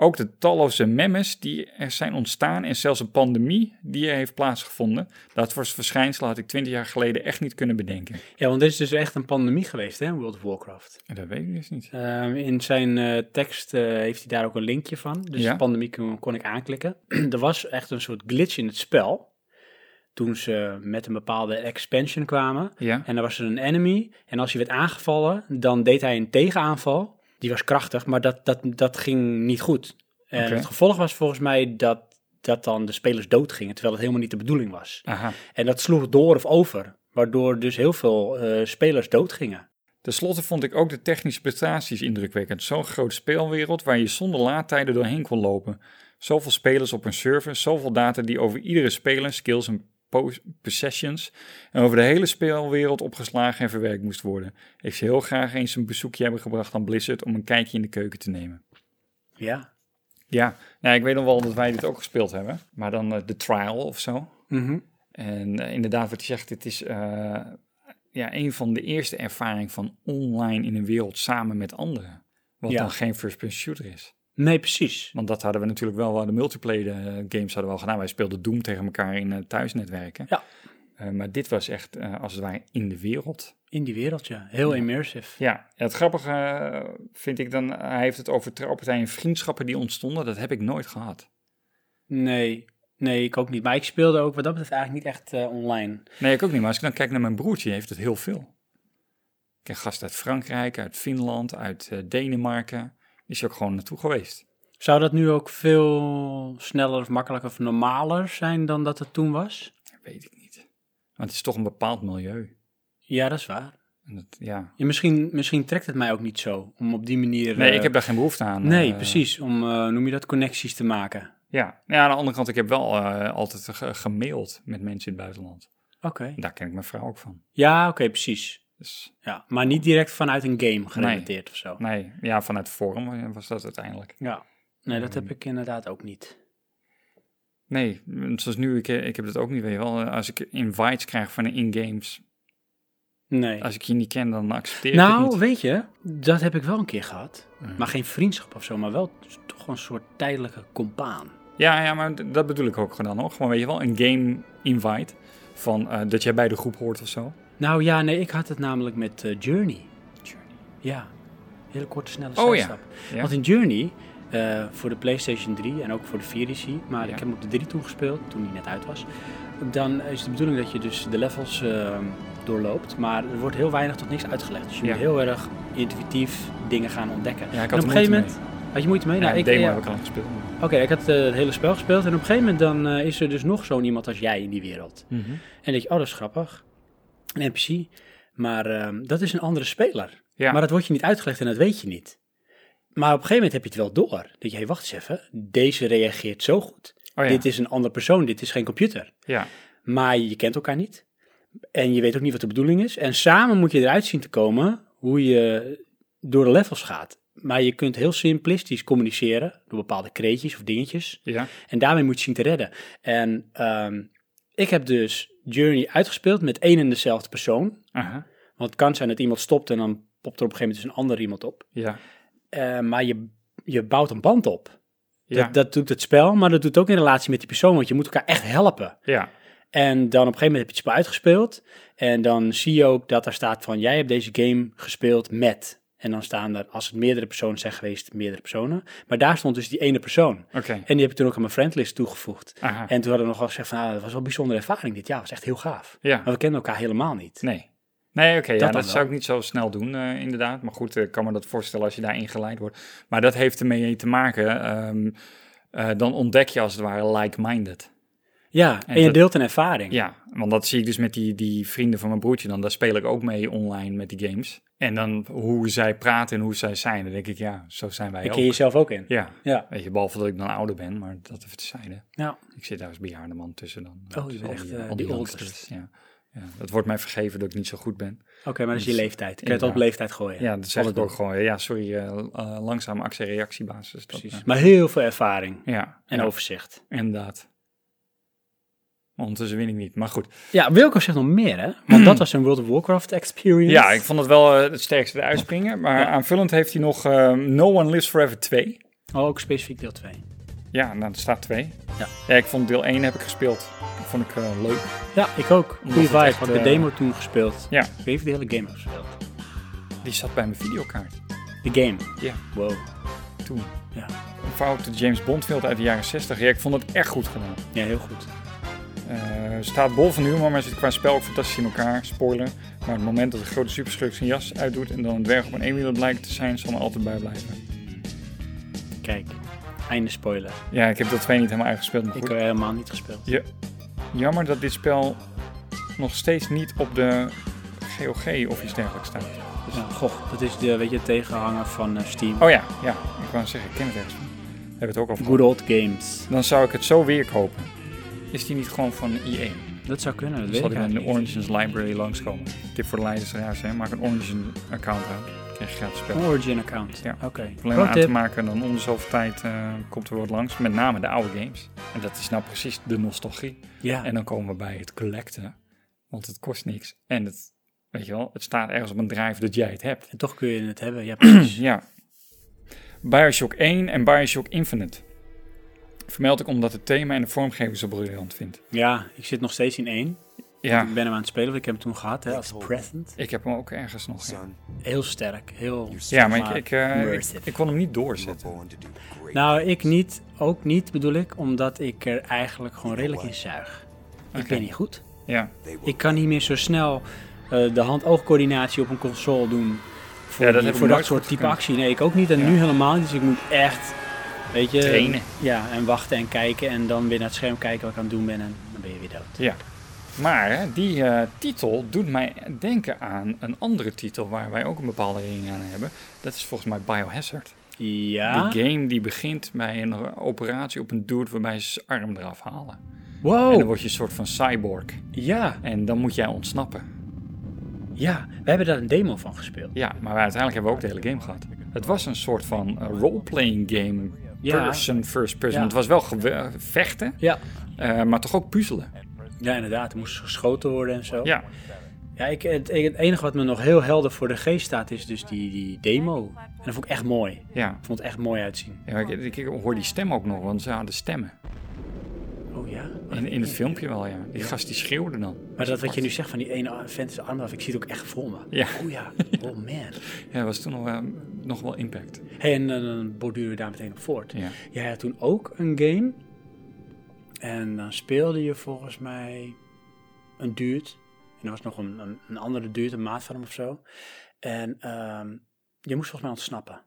Speaker 2: Ook de talloze memes die er zijn ontstaan en zelfs een pandemie die er heeft plaatsgevonden, dat was verschijnsel had ik twintig jaar geleden echt niet kunnen bedenken.
Speaker 1: Ja, want er is dus echt een pandemie geweest, hè, World of Warcraft.
Speaker 2: En dat weet ik dus niet.
Speaker 1: Ehm, in zijn eh, tekst eh, heeft hij daar ook een linkje van. Dus
Speaker 2: Ja.
Speaker 1: de pandemie kon, kon ik aanklikken. er was echt een soort glitch in het spel. Toen ze met een bepaalde expansion kwamen.
Speaker 2: Ja.
Speaker 1: En er was er een enemy. En als hij werd aangevallen, dan deed hij een tegenaanval. Die was krachtig, maar dat, dat, dat ging niet goed. En
Speaker 2: Oké.
Speaker 1: het gevolg was volgens mij dat, dat dan de spelers doodgingen. Terwijl het helemaal niet de bedoeling was.
Speaker 2: Aha.
Speaker 1: En dat sloeg door of over. Waardoor dus heel veel eh, spelers doodgingen.
Speaker 2: Ten slotte vond ik ook de technische prestaties indrukwekkend. Zo'n grote speelwereld waar je zonder laadtijden doorheen kon lopen. Zoveel spelers op een server, zoveel data die over iedere speler, skills en po- possessions en over de hele speelwereld opgeslagen en verwerkt moest worden. Ik zou heel graag eens een bezoekje hebben gebracht aan Blizzard om een kijkje in de keuken te nemen.
Speaker 1: Ja.
Speaker 2: Ja, nou, ik weet nog wel dat wij dit ook gespeeld hebben, maar dan eh, de trial of zo.
Speaker 1: Mhm.
Speaker 2: En eh, inderdaad, wat je zegt, het is eh, ja, een van de eerste ervaringen van online in een wereld samen met anderen. Wat
Speaker 1: Ja.
Speaker 2: dan geen first-person shooter is.
Speaker 1: Nee, precies.
Speaker 2: Want dat hadden we natuurlijk wel, we hadden multiplayer eh, games hadden we al gedaan. Wij speelden Doom tegen elkaar in eh, thuisnetwerken.
Speaker 1: Ja.
Speaker 2: Eh, maar dit was echt, eh, als het ware, in de wereld.
Speaker 1: In die wereld, ja. Heel immersive.
Speaker 2: Ja, het grappige eh, vind ik dan, hij heeft het over trouwpartijen en vriendschappen die ontstonden. Dat heb ik nooit gehad.
Speaker 1: Nee, nee, ik ook niet. Maar ik speelde ook wat dat betreft eigenlijk niet echt eh, online.
Speaker 2: Nee, ik ook niet. Maar als ik dan kijk naar mijn broertje, die heeft het heel veel. Ik ken gasten uit Frankrijk, uit Finland, uit eh, Denemarken. Die is ook gewoon naartoe geweest.
Speaker 1: Zou dat nu ook veel sneller of makkelijker of normaler zijn dan dat het toen was?
Speaker 2: Dat weet ik niet. Want het is toch een bepaald milieu.
Speaker 1: Ja, dat is waar.
Speaker 2: En dat, ja.
Speaker 1: Ja, misschien, misschien trekt het mij ook niet zo om op die manier.
Speaker 2: Nee,
Speaker 1: eh,
Speaker 2: ik heb daar geen behoefte aan.
Speaker 1: Nee,
Speaker 2: eh,
Speaker 1: precies. Om, eh, noem je dat, connecties te maken.
Speaker 2: Ja. ja, aan de andere kant, ik heb wel eh, altijd ge- gemaild met mensen in het buitenland.
Speaker 1: Oké.
Speaker 2: En daar ken ik mijn vrouw ook van.
Speaker 1: Ja, oké, precies.
Speaker 2: Dus
Speaker 1: Ja, maar niet direct vanuit een game gerelateerd of zo.
Speaker 2: nee, ja, vanuit Forum eh, was dat uiteindelijk.
Speaker 1: Ja. Nee, dat heb ik inderdaad ook niet.
Speaker 2: Nee, zoals nu, ik, eh, ik heb dat ook niet. Weet je wel, als ik invites krijg van de in-games,
Speaker 1: Nee.
Speaker 2: als ik je niet ken, dan accepteer ik het niet.
Speaker 1: Nou, weet je, dat heb ik wel een keer gehad. Maar geen vriendschap of zo, maar wel t- toch een soort tijdelijke compaan.
Speaker 2: Ja, ja, maar d- dat bedoel ik ook gewoon dan hoor. Gewoon weet je wel, een game invite. Van eh, dat jij bij de groep hoort of zo.
Speaker 1: Nou ja, nee, ik had het namelijk met eh, Journey. Ja, hele korte, snelle
Speaker 2: Oh ja,
Speaker 1: zijstap.
Speaker 2: ja.
Speaker 1: Want in Journey, eh, voor de PlayStation 3 en ook voor de 4 is hij, maar
Speaker 2: Ja.
Speaker 1: ik heb hem op de 3 toen gespeeld, toen hij net uit was. Dan is de bedoeling dat je dus de levels eh, doorloopt, maar er wordt heel weinig tot niks uitgelegd. Dus je
Speaker 2: Ja.
Speaker 1: moet heel erg intuïtief dingen gaan ontdekken.
Speaker 2: Ja, ik
Speaker 1: en
Speaker 2: had
Speaker 1: op
Speaker 2: er
Speaker 1: een gegeven
Speaker 2: moeite
Speaker 1: moment... Had je moeite mee?
Speaker 2: ja,
Speaker 1: nou, ik,
Speaker 2: demo
Speaker 1: ja.
Speaker 2: heb ik al gespeeld.
Speaker 1: Oké, ik had eh, het hele spel gespeeld en op een gegeven moment dan eh, is er dus nog zo'n iemand als jij in die wereld.
Speaker 2: Mhm.
Speaker 1: En denk je, oh dat is grappig, een NPC, maar ehm, dat is een andere speler.
Speaker 2: Ja.
Speaker 1: Maar dat wordt je niet uitgelegd en dat weet je niet. Maar op een gegeven moment heb je het wel door. Dat je, hey, wacht eens even, deze reageert zo goed.
Speaker 2: Oh ja.
Speaker 1: Dit is een andere persoon, dit is geen computer.
Speaker 2: Ja,
Speaker 1: Maar je kent elkaar niet en je weet ook niet wat de bedoeling is. En samen moet je eruit zien te komen hoe je door de levels gaat. Maar je kunt heel simplistisch communiceren door bepaalde kreetjes of dingetjes.
Speaker 2: ja.
Speaker 1: En daarmee moet je zien te redden. En ehm, ik heb dus Journey uitgespeeld met één en dezelfde persoon.
Speaker 2: Aha.
Speaker 1: Want het kan zijn dat iemand stopt en dan popt er op een gegeven moment dus een ander iemand op.
Speaker 2: Ja,
Speaker 1: Eh, maar je, je bouwt een band op.
Speaker 2: Ja.
Speaker 1: Dat, dat doet het spel, maar dat doet ook in relatie met die persoon, want je moet elkaar echt helpen.
Speaker 2: Ja.
Speaker 1: En dan op een gegeven moment heb je het spel uitgespeeld. En dan zie je ook dat daar staat van, jij hebt deze game gespeeld met. En dan staan er, als het meerdere personen zijn geweest, meerdere personen. Maar daar stond dus die ene persoon.
Speaker 2: Oké.
Speaker 1: En die heb ik toen ook aan mijn friendlist toegevoegd.
Speaker 2: Aha.
Speaker 1: En toen hadden we nog wel gezegd van, ah, dat was wel een bijzondere ervaring dit. Ja, dat was echt heel gaaf.
Speaker 2: Ja.
Speaker 1: Maar we kenden elkaar helemaal niet.
Speaker 2: Nee. Nee, oké, ja,
Speaker 1: dan
Speaker 2: dat
Speaker 1: wel.
Speaker 2: zou ik niet zo snel doen, eh, inderdaad. Maar goed, ik kan me dat voorstellen als je daarin geleid wordt. Maar dat heeft ermee te maken. ehm, eh, dan ontdek je als het ware like-minded.
Speaker 1: Ja, en,
Speaker 2: En
Speaker 1: je
Speaker 2: dat-
Speaker 1: deelt een ervaring.
Speaker 2: Ja, want dat zie ik dus met die, die vrienden van mijn broertje dan. Daar speel ik ook mee online met die games. En dan hoe zij praten en hoe zij zijn. Dan denk ik, ja, zo zijn wij
Speaker 1: Daar
Speaker 2: ook.
Speaker 1: ken je jezelf ook in.
Speaker 2: Ja.
Speaker 1: Ja.
Speaker 2: weet je, behalve dat ik dan ouder ben, maar dat even tezijde.
Speaker 1: Ja.
Speaker 2: Ik zit daar als bejaarde man tussen dan.
Speaker 1: Oh, je
Speaker 2: Tussen
Speaker 1: bent
Speaker 2: al
Speaker 1: echt,
Speaker 2: eh,
Speaker 1: eh,
Speaker 2: al
Speaker 1: die
Speaker 2: langsters.
Speaker 1: oldest.
Speaker 2: Ja. ja, dat wordt mij vergeven dat ik niet zo goed ben.
Speaker 1: Oké, maar dat is je leeftijd. Kun je het
Speaker 2: Dus Inderdaad.
Speaker 1: op leeftijd gooien.
Speaker 2: Ja, dat zeg
Speaker 1: Alles
Speaker 2: ik ook
Speaker 1: doen.
Speaker 2: gewoon. Ja, sorry, eh eh, langzame actie-reactiebasis. Dat,
Speaker 1: Precies.
Speaker 2: eh,
Speaker 1: Maar heel veel ervaring
Speaker 2: ja,
Speaker 1: en
Speaker 2: ja,
Speaker 1: overzicht.
Speaker 2: Inderdaad. Ondertussen win ik niet, maar goed.
Speaker 1: Ja, Wilco zegt nog meer, hè? Want dat was een World of Warcraft experience.
Speaker 2: Hmm. Ja, ik vond het wel eh, het sterkste eruit springen. Maar aanvullend heeft hij nog eh, No One Lives Forever 2.
Speaker 1: Oh, ook specifiek deel 2.
Speaker 2: Ja, nou, er staat 2.
Speaker 1: Ja.
Speaker 2: ik vond deel 1 heb ik gespeeld. Dat vond ik eh, leuk.
Speaker 1: Ja, ik ook. Goeie
Speaker 2: het
Speaker 1: vibe.
Speaker 2: echt,
Speaker 1: Had de
Speaker 2: eh,
Speaker 1: demo toen gespeeld.
Speaker 2: Ja,
Speaker 1: Ik heb de hele game gespeeld.
Speaker 2: die zat bij mijn videokaart.
Speaker 1: De game.
Speaker 2: Ja,
Speaker 1: Wow.
Speaker 2: toen.
Speaker 1: Ja.
Speaker 2: Een foute James Bond film uit de jaren 60. Ja, ik vond het echt goed gedaan.
Speaker 1: Ja, heel goed.
Speaker 2: Eh, staat bol van humor, maar zit qua spel ook fantastisch in elkaar. Spoiler. Maar het moment dat de grote superschurk zijn jas uitdoet en dan een dwerg op een eenwieler blijkt te zijn, zal me altijd bijblijven.
Speaker 1: Kijk, einde spoiler.
Speaker 2: Ja, ik heb dat twee niet helemaal uitgespeeld, maar
Speaker 1: Ik
Speaker 2: goed.
Speaker 1: heb helemaal niet gespeeld.
Speaker 2: Ja. Jammer dat dit spel nog steeds niet op de GOG of iets dergelijks staat.
Speaker 1: Ja, goh, dat is de, weet je, tegenhanger van eh, Steam.
Speaker 2: Oh ja, ja. Ik wou zeggen, ik ken het ergens van. We hebben het ook al van.
Speaker 1: Good old games.
Speaker 2: Dan zou ik het zo weer kopen. Is die niet gewoon van E EA?
Speaker 1: Dat zou kunnen, dat
Speaker 2: Dan
Speaker 1: weet
Speaker 2: zal
Speaker 1: ik
Speaker 2: ik in de
Speaker 1: eigenlijk niet.
Speaker 2: Origins Library langskomen. Tip voor de luisteraars, hè. Maak een Origin account aan. Dan krijg je gratis spel.
Speaker 1: Een Origin account.
Speaker 2: Ja.
Speaker 1: Oké.
Speaker 2: Alleen
Speaker 1: Pro
Speaker 2: maar aan
Speaker 1: Oh, tip.
Speaker 2: te maken en dan om de zoveel tijd eh, komt er wat langs. Met name de oude games. En dat is nou precies de nostalgie.
Speaker 1: Ja.
Speaker 2: En dan komen we bij het collecten. Want het kost niks. En het, weet je wel, het staat ergens op een drive dat jij het hebt. Dus
Speaker 1: En toch kun je het hebben. Ja, precies.
Speaker 2: Ja. Bioshock 1 en Bioshock Infinite. Vermeld ik omdat het thema en de vormgeving zo briljant vind.
Speaker 1: ja, ik zit nog steeds in één.
Speaker 2: Ja,
Speaker 1: Ik ben hem aan het spelen, want ik heb hem toen gehad hè, als present.
Speaker 2: ik heb hem ook ergens nog. ja.
Speaker 1: Heel sterk, heel...
Speaker 2: Ja, maar ik,
Speaker 1: maar
Speaker 2: ik, eh, ik,
Speaker 1: immersive.
Speaker 2: ik kon hem niet doorzetten.
Speaker 1: Nou, ik niet, ook niet bedoel ik, omdat ik er eigenlijk gewoon redelijk in zuig. Ik ben niet goed.
Speaker 2: Ja,
Speaker 1: Ik kan niet meer zo snel eh, de hand-oogcoördinatie op een console doen. Voor,
Speaker 2: Ja, dat
Speaker 1: die-
Speaker 2: heb ik
Speaker 1: voor
Speaker 2: nooit
Speaker 1: dat soort
Speaker 2: goed
Speaker 1: type
Speaker 2: gekund.
Speaker 1: actie. Nee, ik ook niet. En nu helemaal niet. Dus ik moet echt, weet je...
Speaker 2: Trainen.
Speaker 1: Ja, en wachten en kijken. En dan weer naar het scherm kijken wat ik aan het doen ben. En dan ben je weer dood.
Speaker 2: ja. Maar hè, die eh, titel doet mij denken aan een andere titel waar wij ook een bepaalde herinnering aan hebben. Dat is volgens mij Biohazard.
Speaker 1: Ja.
Speaker 2: Die game die begint bij een operatie op een dude waarbij ze zijn arm eraf halen. En dan
Speaker 1: Wow.
Speaker 2: word je een soort van cyborg.
Speaker 1: Ja,
Speaker 2: En dan moet jij ontsnappen.
Speaker 1: ja. We hebben daar een demo van gespeeld.
Speaker 2: Ja, maar uiteindelijk hebben we ook de hele game gehad. Het was een soort van eh, role-playing game.
Speaker 1: Ja.
Speaker 2: Person, first person.
Speaker 1: Ja.
Speaker 2: Het was wel gewe- eh, vechten,
Speaker 1: Ja.
Speaker 2: eh, maar toch ook puzzelen.
Speaker 1: Ja, inderdaad. Er moest geschoten worden en zo.
Speaker 2: Ja,
Speaker 1: Ja, ik, het, het enige wat me nog heel helder voor de geest staat is dus die, die demo. En dat vond ik echt mooi.
Speaker 2: ja.
Speaker 1: Ik vond het echt mooi uitzien.
Speaker 2: ja ik, ik, ik hoor die stem ook nog, want ze hadden stemmen.
Speaker 1: Oh ja.
Speaker 2: In, in het filmpje wel, ja. Die gast die schreeuwde dan.
Speaker 1: Maar dat wat je nu zegt van die ene vent is arm af, ik zie het ook echt voor me.
Speaker 2: Ja.
Speaker 1: Oh ja, oh man.
Speaker 2: Ja, dat was toen nog, eh, nog wel impact.
Speaker 1: Hey, en dan dan borduren we daar meteen op voort.
Speaker 2: Ja.
Speaker 1: Jij had toen ook een game. En dan speelde je volgens mij een duurt. En er was nog een, een, een andere duurt, een maat van hem of zo. En ehm, je moest volgens mij ontsnappen.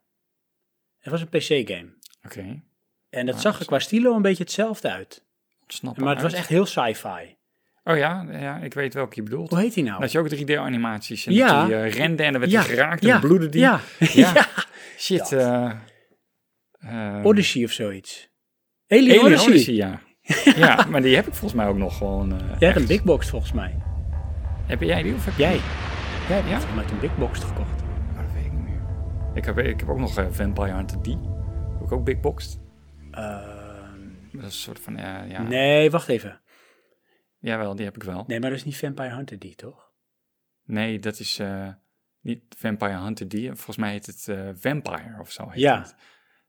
Speaker 1: Het was een PC-game.
Speaker 2: Oké.
Speaker 1: En
Speaker 2: Ah,
Speaker 1: dat zag er qua stilo een beetje hetzelfde uit.
Speaker 2: Ontsnappen
Speaker 1: Maar het was
Speaker 2: uit.
Speaker 1: echt heel sci-fi.
Speaker 2: Oh ja, ja, ik weet welke je bedoelt.
Speaker 1: Hoe heet die nou?
Speaker 2: Dat je ook 3D-animaties en
Speaker 1: Ja.
Speaker 2: dat die eh, rende en dan werd
Speaker 1: Ja.
Speaker 2: hij geraakt en
Speaker 1: Ja.
Speaker 2: bloedde die.
Speaker 1: Ja.
Speaker 2: Ja.
Speaker 1: Ja.
Speaker 2: Shit.
Speaker 1: Dat.
Speaker 2: eh, eh,
Speaker 1: Odyssey of zoiets. Alien,
Speaker 2: Alien
Speaker 1: Odyssey.
Speaker 2: Odyssey, ja. ja, maar die heb ik volgens mij ook nog gewoon. eh,
Speaker 1: Jij hebt
Speaker 2: ergens.
Speaker 1: een big box volgens mij.
Speaker 2: Heb jij die of heb
Speaker 1: Jij. Jij
Speaker 2: Ja?
Speaker 1: hebt met een big box gekocht.
Speaker 2: Oh, dat weet ik niet meer. Ik heb, ik heb ook nog eh, Vampire Hunter D. Heb ik ook Big Boxed.
Speaker 1: Ehm,
Speaker 2: Dat is een soort van, eh, ja.
Speaker 1: Nee, wacht even.
Speaker 2: Jawel, die heb ik wel. Nee,
Speaker 1: Nee, maar dat is niet Vampire Hunter D, toch?
Speaker 2: dat is eh, niet Vampire Hunter D. Volgens mij heet het eh, Vampire of zo. Heet
Speaker 1: Ja.
Speaker 2: het.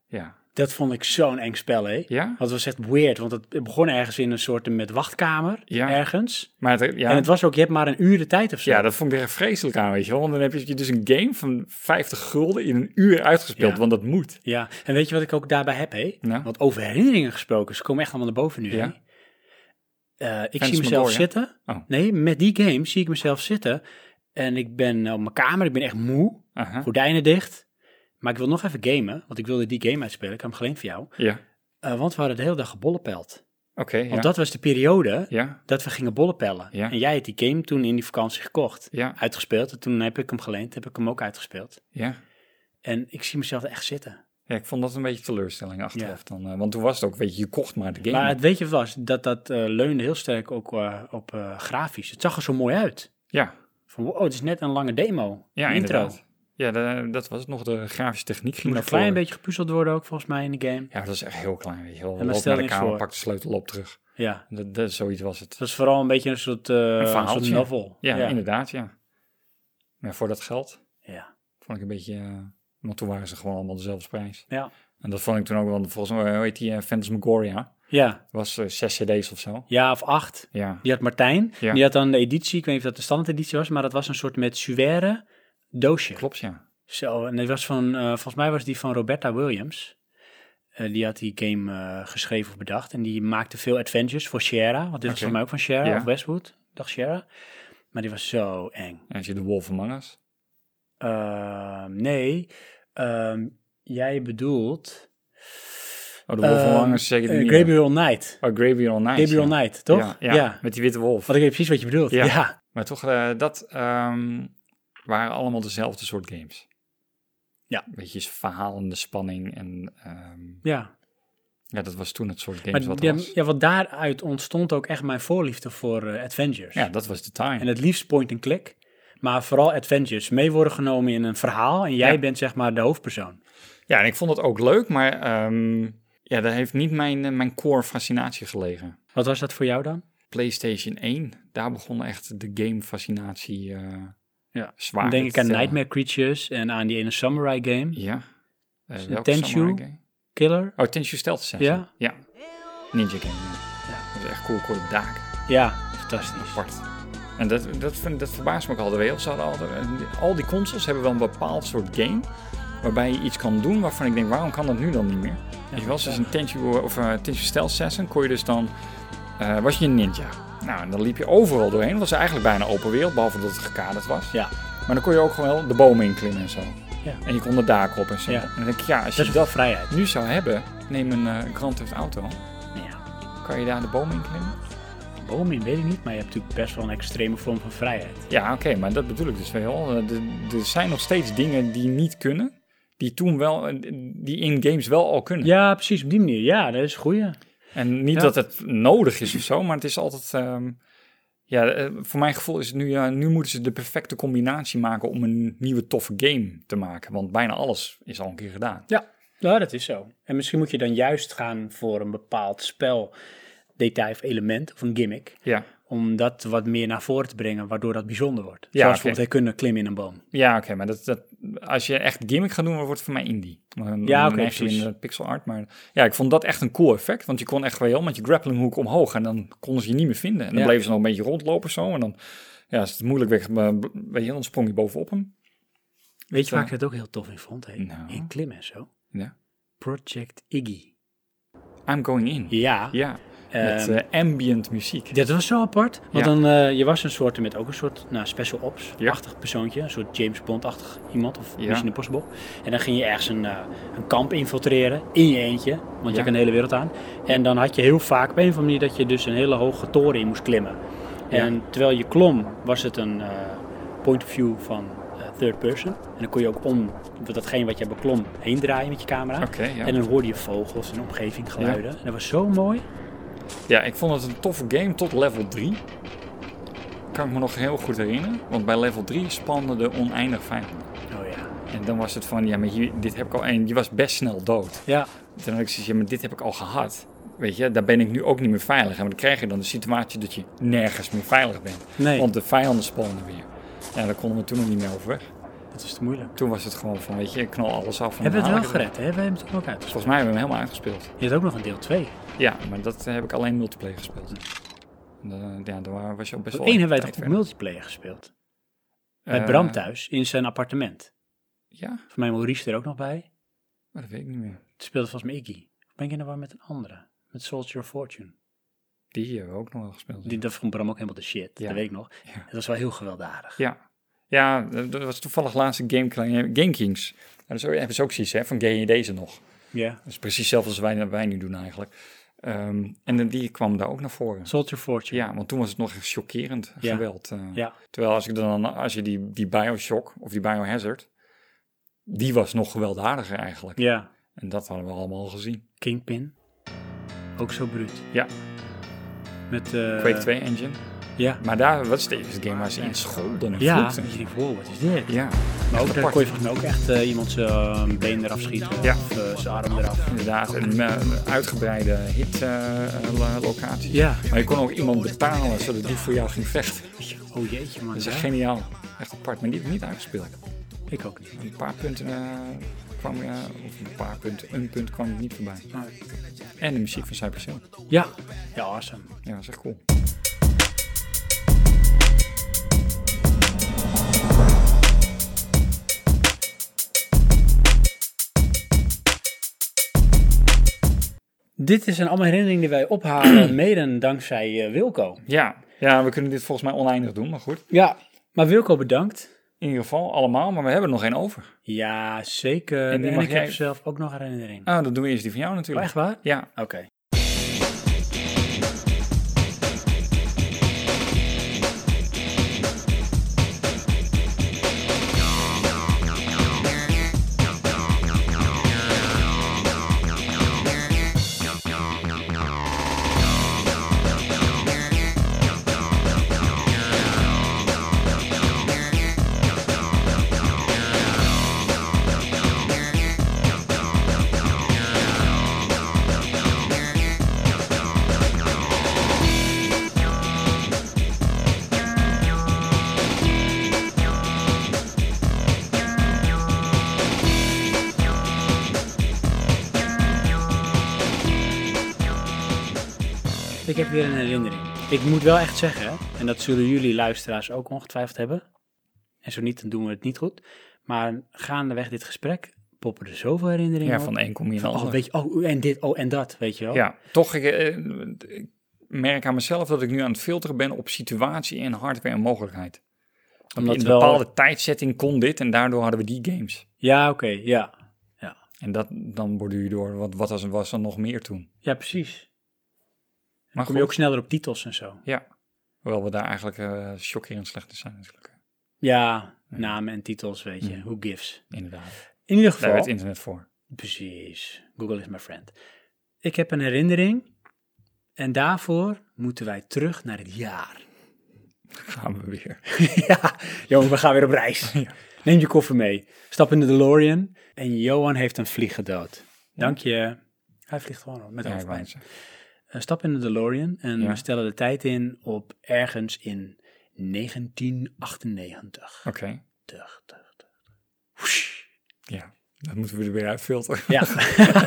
Speaker 2: Ja.
Speaker 1: Dat vond ik zo'n eng spel, hè?
Speaker 2: Ja?
Speaker 1: Want het was echt weird, want het begon ergens in een soort met wachtkamer,
Speaker 2: Ja.
Speaker 1: ergens.
Speaker 2: Maar het, ja,
Speaker 1: En het was ook, je hebt maar een uur de tijd of zo.
Speaker 2: ja, dat vond ik er vreselijk aan, weet je wel. Want dan heb je dus een game van 50 gulden in een uur uitgespeeld,
Speaker 1: Ja.
Speaker 2: want dat moet.
Speaker 1: Ja, en weet je wat ik ook daarbij heb, hé?
Speaker 2: Nou?
Speaker 1: Want over herinneringen gesproken, ze komen echt allemaal naar boven nu, hè?
Speaker 2: Ja.
Speaker 1: Eh, ik
Speaker 2: Phantom
Speaker 1: zie mezelf
Speaker 2: Door, ja?
Speaker 1: zitten.
Speaker 2: Oh.
Speaker 1: Nee, met die game zie ik mezelf zitten. En ik ben eh, op mijn kamer, ik ben echt moe.
Speaker 2: Aha.
Speaker 1: Gordijnen dicht. Maar ik wil nog even gamen, want ik wilde die game uitspelen. Ik heb hem geleend voor jou.
Speaker 2: Ja, oké,
Speaker 1: Eh, want we hadden de hele dag gebollenpeld.
Speaker 2: ja.
Speaker 1: Want dat was de periode
Speaker 2: Ja,
Speaker 1: dat we gingen bollen pellen.
Speaker 2: Ja.
Speaker 1: En jij had die game toen in die vakantie gekocht.
Speaker 2: Ja.
Speaker 1: Uitgespeeld. En toen heb ik hem geleend, heb ik hem ook uitgespeeld.
Speaker 2: ja.
Speaker 1: En ik zie mezelf er echt zitten.
Speaker 2: Ja, ik vond dat een beetje teleurstelling achteraf
Speaker 1: Ja.
Speaker 2: dan. eh, want toen was het ook, weet je, je kocht maar de game.
Speaker 1: Maar het weet je wat was? Dat, dat eh, leunde heel sterk ook eh, op eh, grafisch. Het zag er zo mooi uit.
Speaker 2: ja,
Speaker 1: Van wow, het is net een lange demo.
Speaker 2: ja,
Speaker 1: Een intro.
Speaker 2: inderdaad. Ja, da- dat was het nog. De grafische techniek ging
Speaker 1: Moet
Speaker 2: naar
Speaker 1: een klein
Speaker 2: voren.
Speaker 1: beetje gepuzzeld worden ook volgens mij in de game.
Speaker 2: Ja, dat was echt heel klein, weet je wel.
Speaker 1: maar
Speaker 2: Loop
Speaker 1: stel
Speaker 2: naar de
Speaker 1: niks
Speaker 2: kamer,
Speaker 1: voor.
Speaker 2: pak de sleutel op terug.
Speaker 1: Ja.
Speaker 2: Dat, dat, zoiets was het.
Speaker 1: Het was vooral een beetje een soort, eh,
Speaker 2: Een
Speaker 1: een soort
Speaker 2: verhaaltje.
Speaker 1: novel.
Speaker 2: Ja,
Speaker 1: ja.
Speaker 2: inderdaad, ja. Maar voor dat geld
Speaker 1: Ja.
Speaker 2: vond ik een beetje... eh, want toen waren ze gewoon allemaal dezelfde prijs.
Speaker 1: Ja.
Speaker 2: En dat vond ik toen ook, want volgens mij, hoe heet die, eh, Phantasmagoria?
Speaker 1: Ja.
Speaker 2: Was eh, zes cd's of zo.
Speaker 1: ja, of acht.
Speaker 2: Ja,
Speaker 1: Die had Martijn.
Speaker 2: Ja.
Speaker 1: Die had dan de editie, ik weet niet of dat de standaard editie was, maar dat was een soort met suère doosje.
Speaker 2: klopt, ja.
Speaker 1: Zo, en die was van, eh, volgens mij was die van Roberta Williams. Eh, die had die game eh, geschreven of bedacht. En die maakte veel adventures voor Sierra. Want dit was volgens
Speaker 2: Oké.
Speaker 1: mij ook van Sierra
Speaker 2: Ja.
Speaker 1: of Westwood. Ik dacht Sierra. Maar die was zo eng.
Speaker 2: En als je de Wolf Among Us.
Speaker 1: Ehm, nee, ehm, jij bedoelt...
Speaker 2: Oh, de Wolf
Speaker 1: ehm,
Speaker 2: Among Us is zeker
Speaker 1: eh,
Speaker 2: niet.
Speaker 1: Gabriel Knight.
Speaker 2: Oh, Gabriel Knight.
Speaker 1: Gabriel
Speaker 2: ja.
Speaker 1: Knight, toch?
Speaker 2: Ja, ja, met die witte wolf.
Speaker 1: Want ik weet precies wat je bedoelt.
Speaker 2: Ja.
Speaker 1: Ja.
Speaker 2: Maar toch, eh, dat ehm, waren allemaal dezelfde soort games.
Speaker 1: Ja.
Speaker 2: Beetje verhalende spanning en ehm,
Speaker 1: ja.
Speaker 2: ja, dat was toen het soort games
Speaker 1: Maar
Speaker 2: wat er
Speaker 1: ja,
Speaker 2: was. Ja,
Speaker 1: ja, wat daaruit ontstond ook echt mijn voorliefde voor eh, Adventures.
Speaker 2: dat was de time.
Speaker 1: En het liefst point and click. Maar vooral Adventures. Mee worden genomen in een verhaal en jij
Speaker 2: Ja.
Speaker 1: bent zeg maar de hoofdpersoon.
Speaker 2: Ja, en ik vond het ook leuk, maar ehm, ja, daar heeft niet mijn, eh, mijn core fascinatie gelegen.
Speaker 1: Wat was dat voor jou dan?
Speaker 2: PlayStation 1, daar begon echt de game fascinatie eh,
Speaker 1: Ja.
Speaker 2: zwaar
Speaker 1: Dan denk
Speaker 2: te
Speaker 1: ik aan
Speaker 2: tellen.
Speaker 1: Nightmare Creatures en aan die ene Samurai game.
Speaker 2: Ja. Eh,
Speaker 1: een Dus
Speaker 2: welke
Speaker 1: Tenchu?
Speaker 2: samurai game?
Speaker 1: Killer.
Speaker 2: Oh, Tenshu Stealth Assassin.
Speaker 1: Ja?
Speaker 2: Ja. Ninja game. Ja. Dat is echt cool, korte daken.
Speaker 1: Ja, fantastisch.
Speaker 2: apart. En dat, dat, vind, dat verbaast me ook altijd wel. Ze hadden altijd- Al die consoles hebben wel een bepaald soort game. Waarbij je iets kan doen waarvan ik denk, waarom kan dat nu dan niet meer? je was dus een Tenchu, of, eh Tenchu Stealth Assassin, kon je dus dan... eh, was je een ninja. Nou, en dan liep je overal doorheen. Het was eigenlijk bijna open wereld, behalve dat het gekaderd was.
Speaker 1: Ja,
Speaker 2: Maar dan kon je ook gewoon wel de bomen inklimmen en zo.
Speaker 1: Ja.
Speaker 2: En je kon de daken op en zo.
Speaker 1: Ja.
Speaker 2: En dan denk ik, ja, als je
Speaker 1: dat is
Speaker 2: dat,
Speaker 1: wel vrijheid.
Speaker 2: nu zou hebben, neem een eh Grand Theft Auto.
Speaker 1: Ja.
Speaker 2: Kan je daar de bomen inklimmen?
Speaker 1: Bomen in weet ik niet, maar je hebt natuurlijk best wel een extreme vorm van vrijheid.
Speaker 2: Ja, oké, maar dat bedoel ik dus wel. Eh, de- Er zijn nog steeds dingen die niet kunnen, die toen wel, eh, die in games wel al kunnen.
Speaker 1: Ja, precies op die manier. Ja, dat is een goeie.
Speaker 2: En niet
Speaker 1: Ja.
Speaker 2: dat het nodig is of zo, maar het is altijd, ehm, ja, eh, voor mijn gevoel is het nu, ja, nu moeten ze de perfecte combinatie maken om een nieuwe toffe game te maken, want bijna alles is al een keer gedaan.
Speaker 1: Ja, nou, dat is zo. En misschien moet je dan juist gaan voor een bepaald spel, detail of element of een gimmick.
Speaker 2: Ja,
Speaker 1: Om dat wat meer naar voren te brengen, waardoor dat bijzonder wordt.
Speaker 2: oké.
Speaker 1: Zoals bijvoorbeeld hij kunnen klimmen in een boom.
Speaker 2: ja oké, maar dat, dat, als je echt gimmick gaat doen, dan wordt het voor mij indie. Dan-
Speaker 1: Ja,
Speaker 2: dan
Speaker 1: oké,
Speaker 2: neig je
Speaker 1: precies.
Speaker 2: in de pixel art, maar ja, ik vond dat echt een cool effect, want je kon echt wel met je grapplinghoek omhoog en dan konden ze je niet meer vinden. En dan
Speaker 1: Ja.
Speaker 2: bleven ze nog een beetje rondlopen zo, en dan, ja, als het moeilijk weg, eh, weet je, dan sprong je bovenop hem.
Speaker 1: Weet je
Speaker 2: eh,
Speaker 1: waar ik het ook heel tof in vond? Hè?
Speaker 2: Nou.
Speaker 1: In klimmen en zo.
Speaker 2: Ja.
Speaker 1: Project Iggy.
Speaker 2: I'm going in.
Speaker 1: Ja,
Speaker 2: Ja, met
Speaker 1: Ehm,
Speaker 2: eh, ambient muziek.
Speaker 1: dat was zo apart. Want
Speaker 2: Ja.
Speaker 1: dan, eh, je was een soort, met ook een soort nou, special ops-achtig persoontje. Een soort James Bond-achtig iemand of
Speaker 2: Ja.
Speaker 1: Mission Impossible. En dan ging je ergens een, eh, een kamp infiltreren in je eentje. Want je
Speaker 2: Ja.
Speaker 1: kan de hele wereld aan. En dan had je heel vaak op een of andere manier dat je dus een hele hoge toren in moest klimmen. En terwijl je klom was het een eh, point of view van eh, third person. En dan kon je ook om datgene wat je beklom heen draaien met je camera.
Speaker 2: Oké, ja.
Speaker 1: En dan hoorde je vogels en omgeving geluiden. En dat was zo mooi.
Speaker 2: Ja, ik vond het een toffe game tot level 3. Kan ik me nog heel goed herinneren, want bij level 3 spande de oneindig vijand.
Speaker 1: Oh ja.
Speaker 2: En dan was het van, ja, maar hier, dit heb ik al en je was best snel dood.
Speaker 1: Ja,
Speaker 2: Toen had ik zoiets, ja, maar dit heb ik al gehad. Weet je, daar ben ik nu ook niet meer veilig. En dan krijg je dan de situatie dat je nergens meer veilig bent.
Speaker 1: Nee.
Speaker 2: Want de vijanden spawnen weer. Ja, daar konden we toen nog niet meer over weg.
Speaker 1: Dat is te moeilijk.
Speaker 2: Toen was het gewoon van, weet je, ik knal alles af. en
Speaker 1: Hebben we
Speaker 2: haal
Speaker 1: het
Speaker 2: ik
Speaker 1: wel gered, hè? We hebben het ook uit.
Speaker 2: Volgens mij hebben we hem helemaal uitgespeeld.
Speaker 1: Je hebt ook nog een deel 2.
Speaker 2: Ja, maar dat eh, heb ik alleen multiplayer gespeeld. En, eh, ja, daar wa- was je ook best wel...
Speaker 1: Eén hebben wij
Speaker 2: tijd
Speaker 1: toch op
Speaker 2: verder.
Speaker 1: multiplayer gespeeld? Bij
Speaker 2: Eh,
Speaker 1: Bram thuis, in zijn appartement.
Speaker 2: Ja,
Speaker 1: Voor mij Maurice er ook nog bij.
Speaker 2: maar dat weet ik niet meer.
Speaker 1: Het speelde volgens mij Iggy. Of ben ik in de war met een andere? Met Soldier of Fortune.
Speaker 2: Die hebben we ook nog wel gespeeld.
Speaker 1: Die, dat vond Bram ook helemaal de shit.
Speaker 2: Ja.
Speaker 1: Dat weet ik nog.
Speaker 2: Ja.
Speaker 1: Het was wel heel gewelddadig.
Speaker 2: Ja. Ja, dat was toevallig laatst Game, Game Kings. Nou, dat is ook- hebben ze ook zoiets, hè, van ken je deze nog?
Speaker 1: Ja.
Speaker 2: Dat is precies hetzelfde als wij, wij nu doen eigenlijk. Ehm, en dan- die kwam daar ook naar voren.
Speaker 1: Soldier of Fortune.
Speaker 2: Ja, want toen was het nog echt chockerend
Speaker 1: Ja.
Speaker 2: geweld. eh.
Speaker 1: Ja.
Speaker 2: Terwijl als, ik dan, als je die, die Bioshock of die Biohazard, die was nog gewelddadiger eigenlijk.
Speaker 1: Ja.
Speaker 2: En dat hadden we allemaal al gezien.
Speaker 1: Kingpin. Ook zo bruut.
Speaker 2: Ja,
Speaker 1: Met... eh,
Speaker 2: Quake 2 engine.
Speaker 1: Ja.
Speaker 2: Maar daar was deze game waar ze in scholden en
Speaker 1: Ja.
Speaker 2: vloekten.
Speaker 1: Dat je denkt, wow, wat is dit?
Speaker 2: Ja,
Speaker 1: Maar ook,
Speaker 2: Echt
Speaker 1: daar
Speaker 2: apart.
Speaker 1: kon je volgens mij ook echt eh, iemand zijn been eraf schieten.
Speaker 2: Ja.
Speaker 1: Of eh, zijn arm eraf.
Speaker 2: inderdaad. Een eh, uitgebreide eh, hit-locatie.
Speaker 1: Ja.
Speaker 2: Maar je kon ook iemand betalen zodat die voor jou ging vechten.
Speaker 1: Oh jeetje man.
Speaker 2: Dat is echt
Speaker 1: ja.
Speaker 2: geniaal. Echt apart, maar die heb ik niet uitgespeeld.
Speaker 1: Ik ook niet.
Speaker 2: Een paar punten eh, kwam, eh, of een paar punten, een punt kwam ik niet voorbij. En de muziek van Cypress Hill.
Speaker 1: Ja. Ja, awesome.
Speaker 2: Ja, dat is echt cool.
Speaker 1: Dit is een allemaal herinnering die wij ophalen, mede dankzij eh, Wilco.
Speaker 2: Ja. ja, we kunnen dit volgens mij oneindig doen, maar goed.
Speaker 1: Ja, maar Wilco bedankt.
Speaker 2: In ieder geval allemaal, maar we hebben er nog één over.
Speaker 1: Ja, zeker.
Speaker 2: En
Speaker 1: En,
Speaker 2: die mag
Speaker 1: ik
Speaker 2: jij-
Speaker 1: heb zelf ook nog een herinnering.
Speaker 2: Ah, dan doen we eerst die van jou natuurlijk.
Speaker 1: Echt waar?
Speaker 2: Ja,
Speaker 1: Ah, Oké. Ik heb weer een herinnering. Ik moet wel echt zeggen, en dat zullen jullie luisteraars ook ongetwijfeld hebben. En zo niet, dan doen we het niet goed. Maar gaandeweg dit gesprek poppen er zoveel herinneringen
Speaker 2: ja
Speaker 1: op.
Speaker 2: van één kom je in de
Speaker 1: Oh,
Speaker 2: ander.
Speaker 1: weet je, oh, en dit, oh, en dat, weet je wel.
Speaker 2: Ja, toch, ik, eh, ik merk aan mezelf dat ik nu aan het filteren ben op situatie en hardware en mogelijkheid.
Speaker 1: Omdat
Speaker 2: in een
Speaker 1: wel-
Speaker 2: bepaalde tijdzetting kon dit en daardoor hadden we die games.
Speaker 1: Ja, oké, ja.
Speaker 2: En dat, dan borduur je door, wat, wat was, was er nog meer toen?
Speaker 1: Ja, precies.
Speaker 2: Maar
Speaker 1: Kom je
Speaker 2: goed,
Speaker 1: ook sneller op titels en zo.
Speaker 2: ja. Hoewel we daar eigenlijk eh chockerend slecht in zijn natuurlijk.
Speaker 1: Ja, namen en titels, weet je. Who gives?
Speaker 2: Inderdaad.
Speaker 1: In ieder
Speaker 2: Mhm. Daar
Speaker 1: geval.
Speaker 2: werd internet voor.
Speaker 1: Precies. Google is my friend. Ik heb een herinnering. En daarvoor moeten wij terug naar het jaar.
Speaker 2: Gaan we weer.
Speaker 1: ja, jongen, we gaan weer op reis. Neem je koffer mee. Stap in de DeLorean. En Johan heeft een vlieg gedood. Dank je. Hij vliegt gewoon al met
Speaker 2: Ja,
Speaker 1: een
Speaker 2: ik wou
Speaker 1: hoofdpijn.
Speaker 2: het zeggen.
Speaker 1: Eh, stap in de DeLorean en
Speaker 2: Ja.
Speaker 1: we stellen de tijd in op ergens in 1998.
Speaker 2: Oké.
Speaker 1: Tug, tug, tug.
Speaker 2: Ja. Dat moeten we er weer uitfilteren.
Speaker 1: Ja.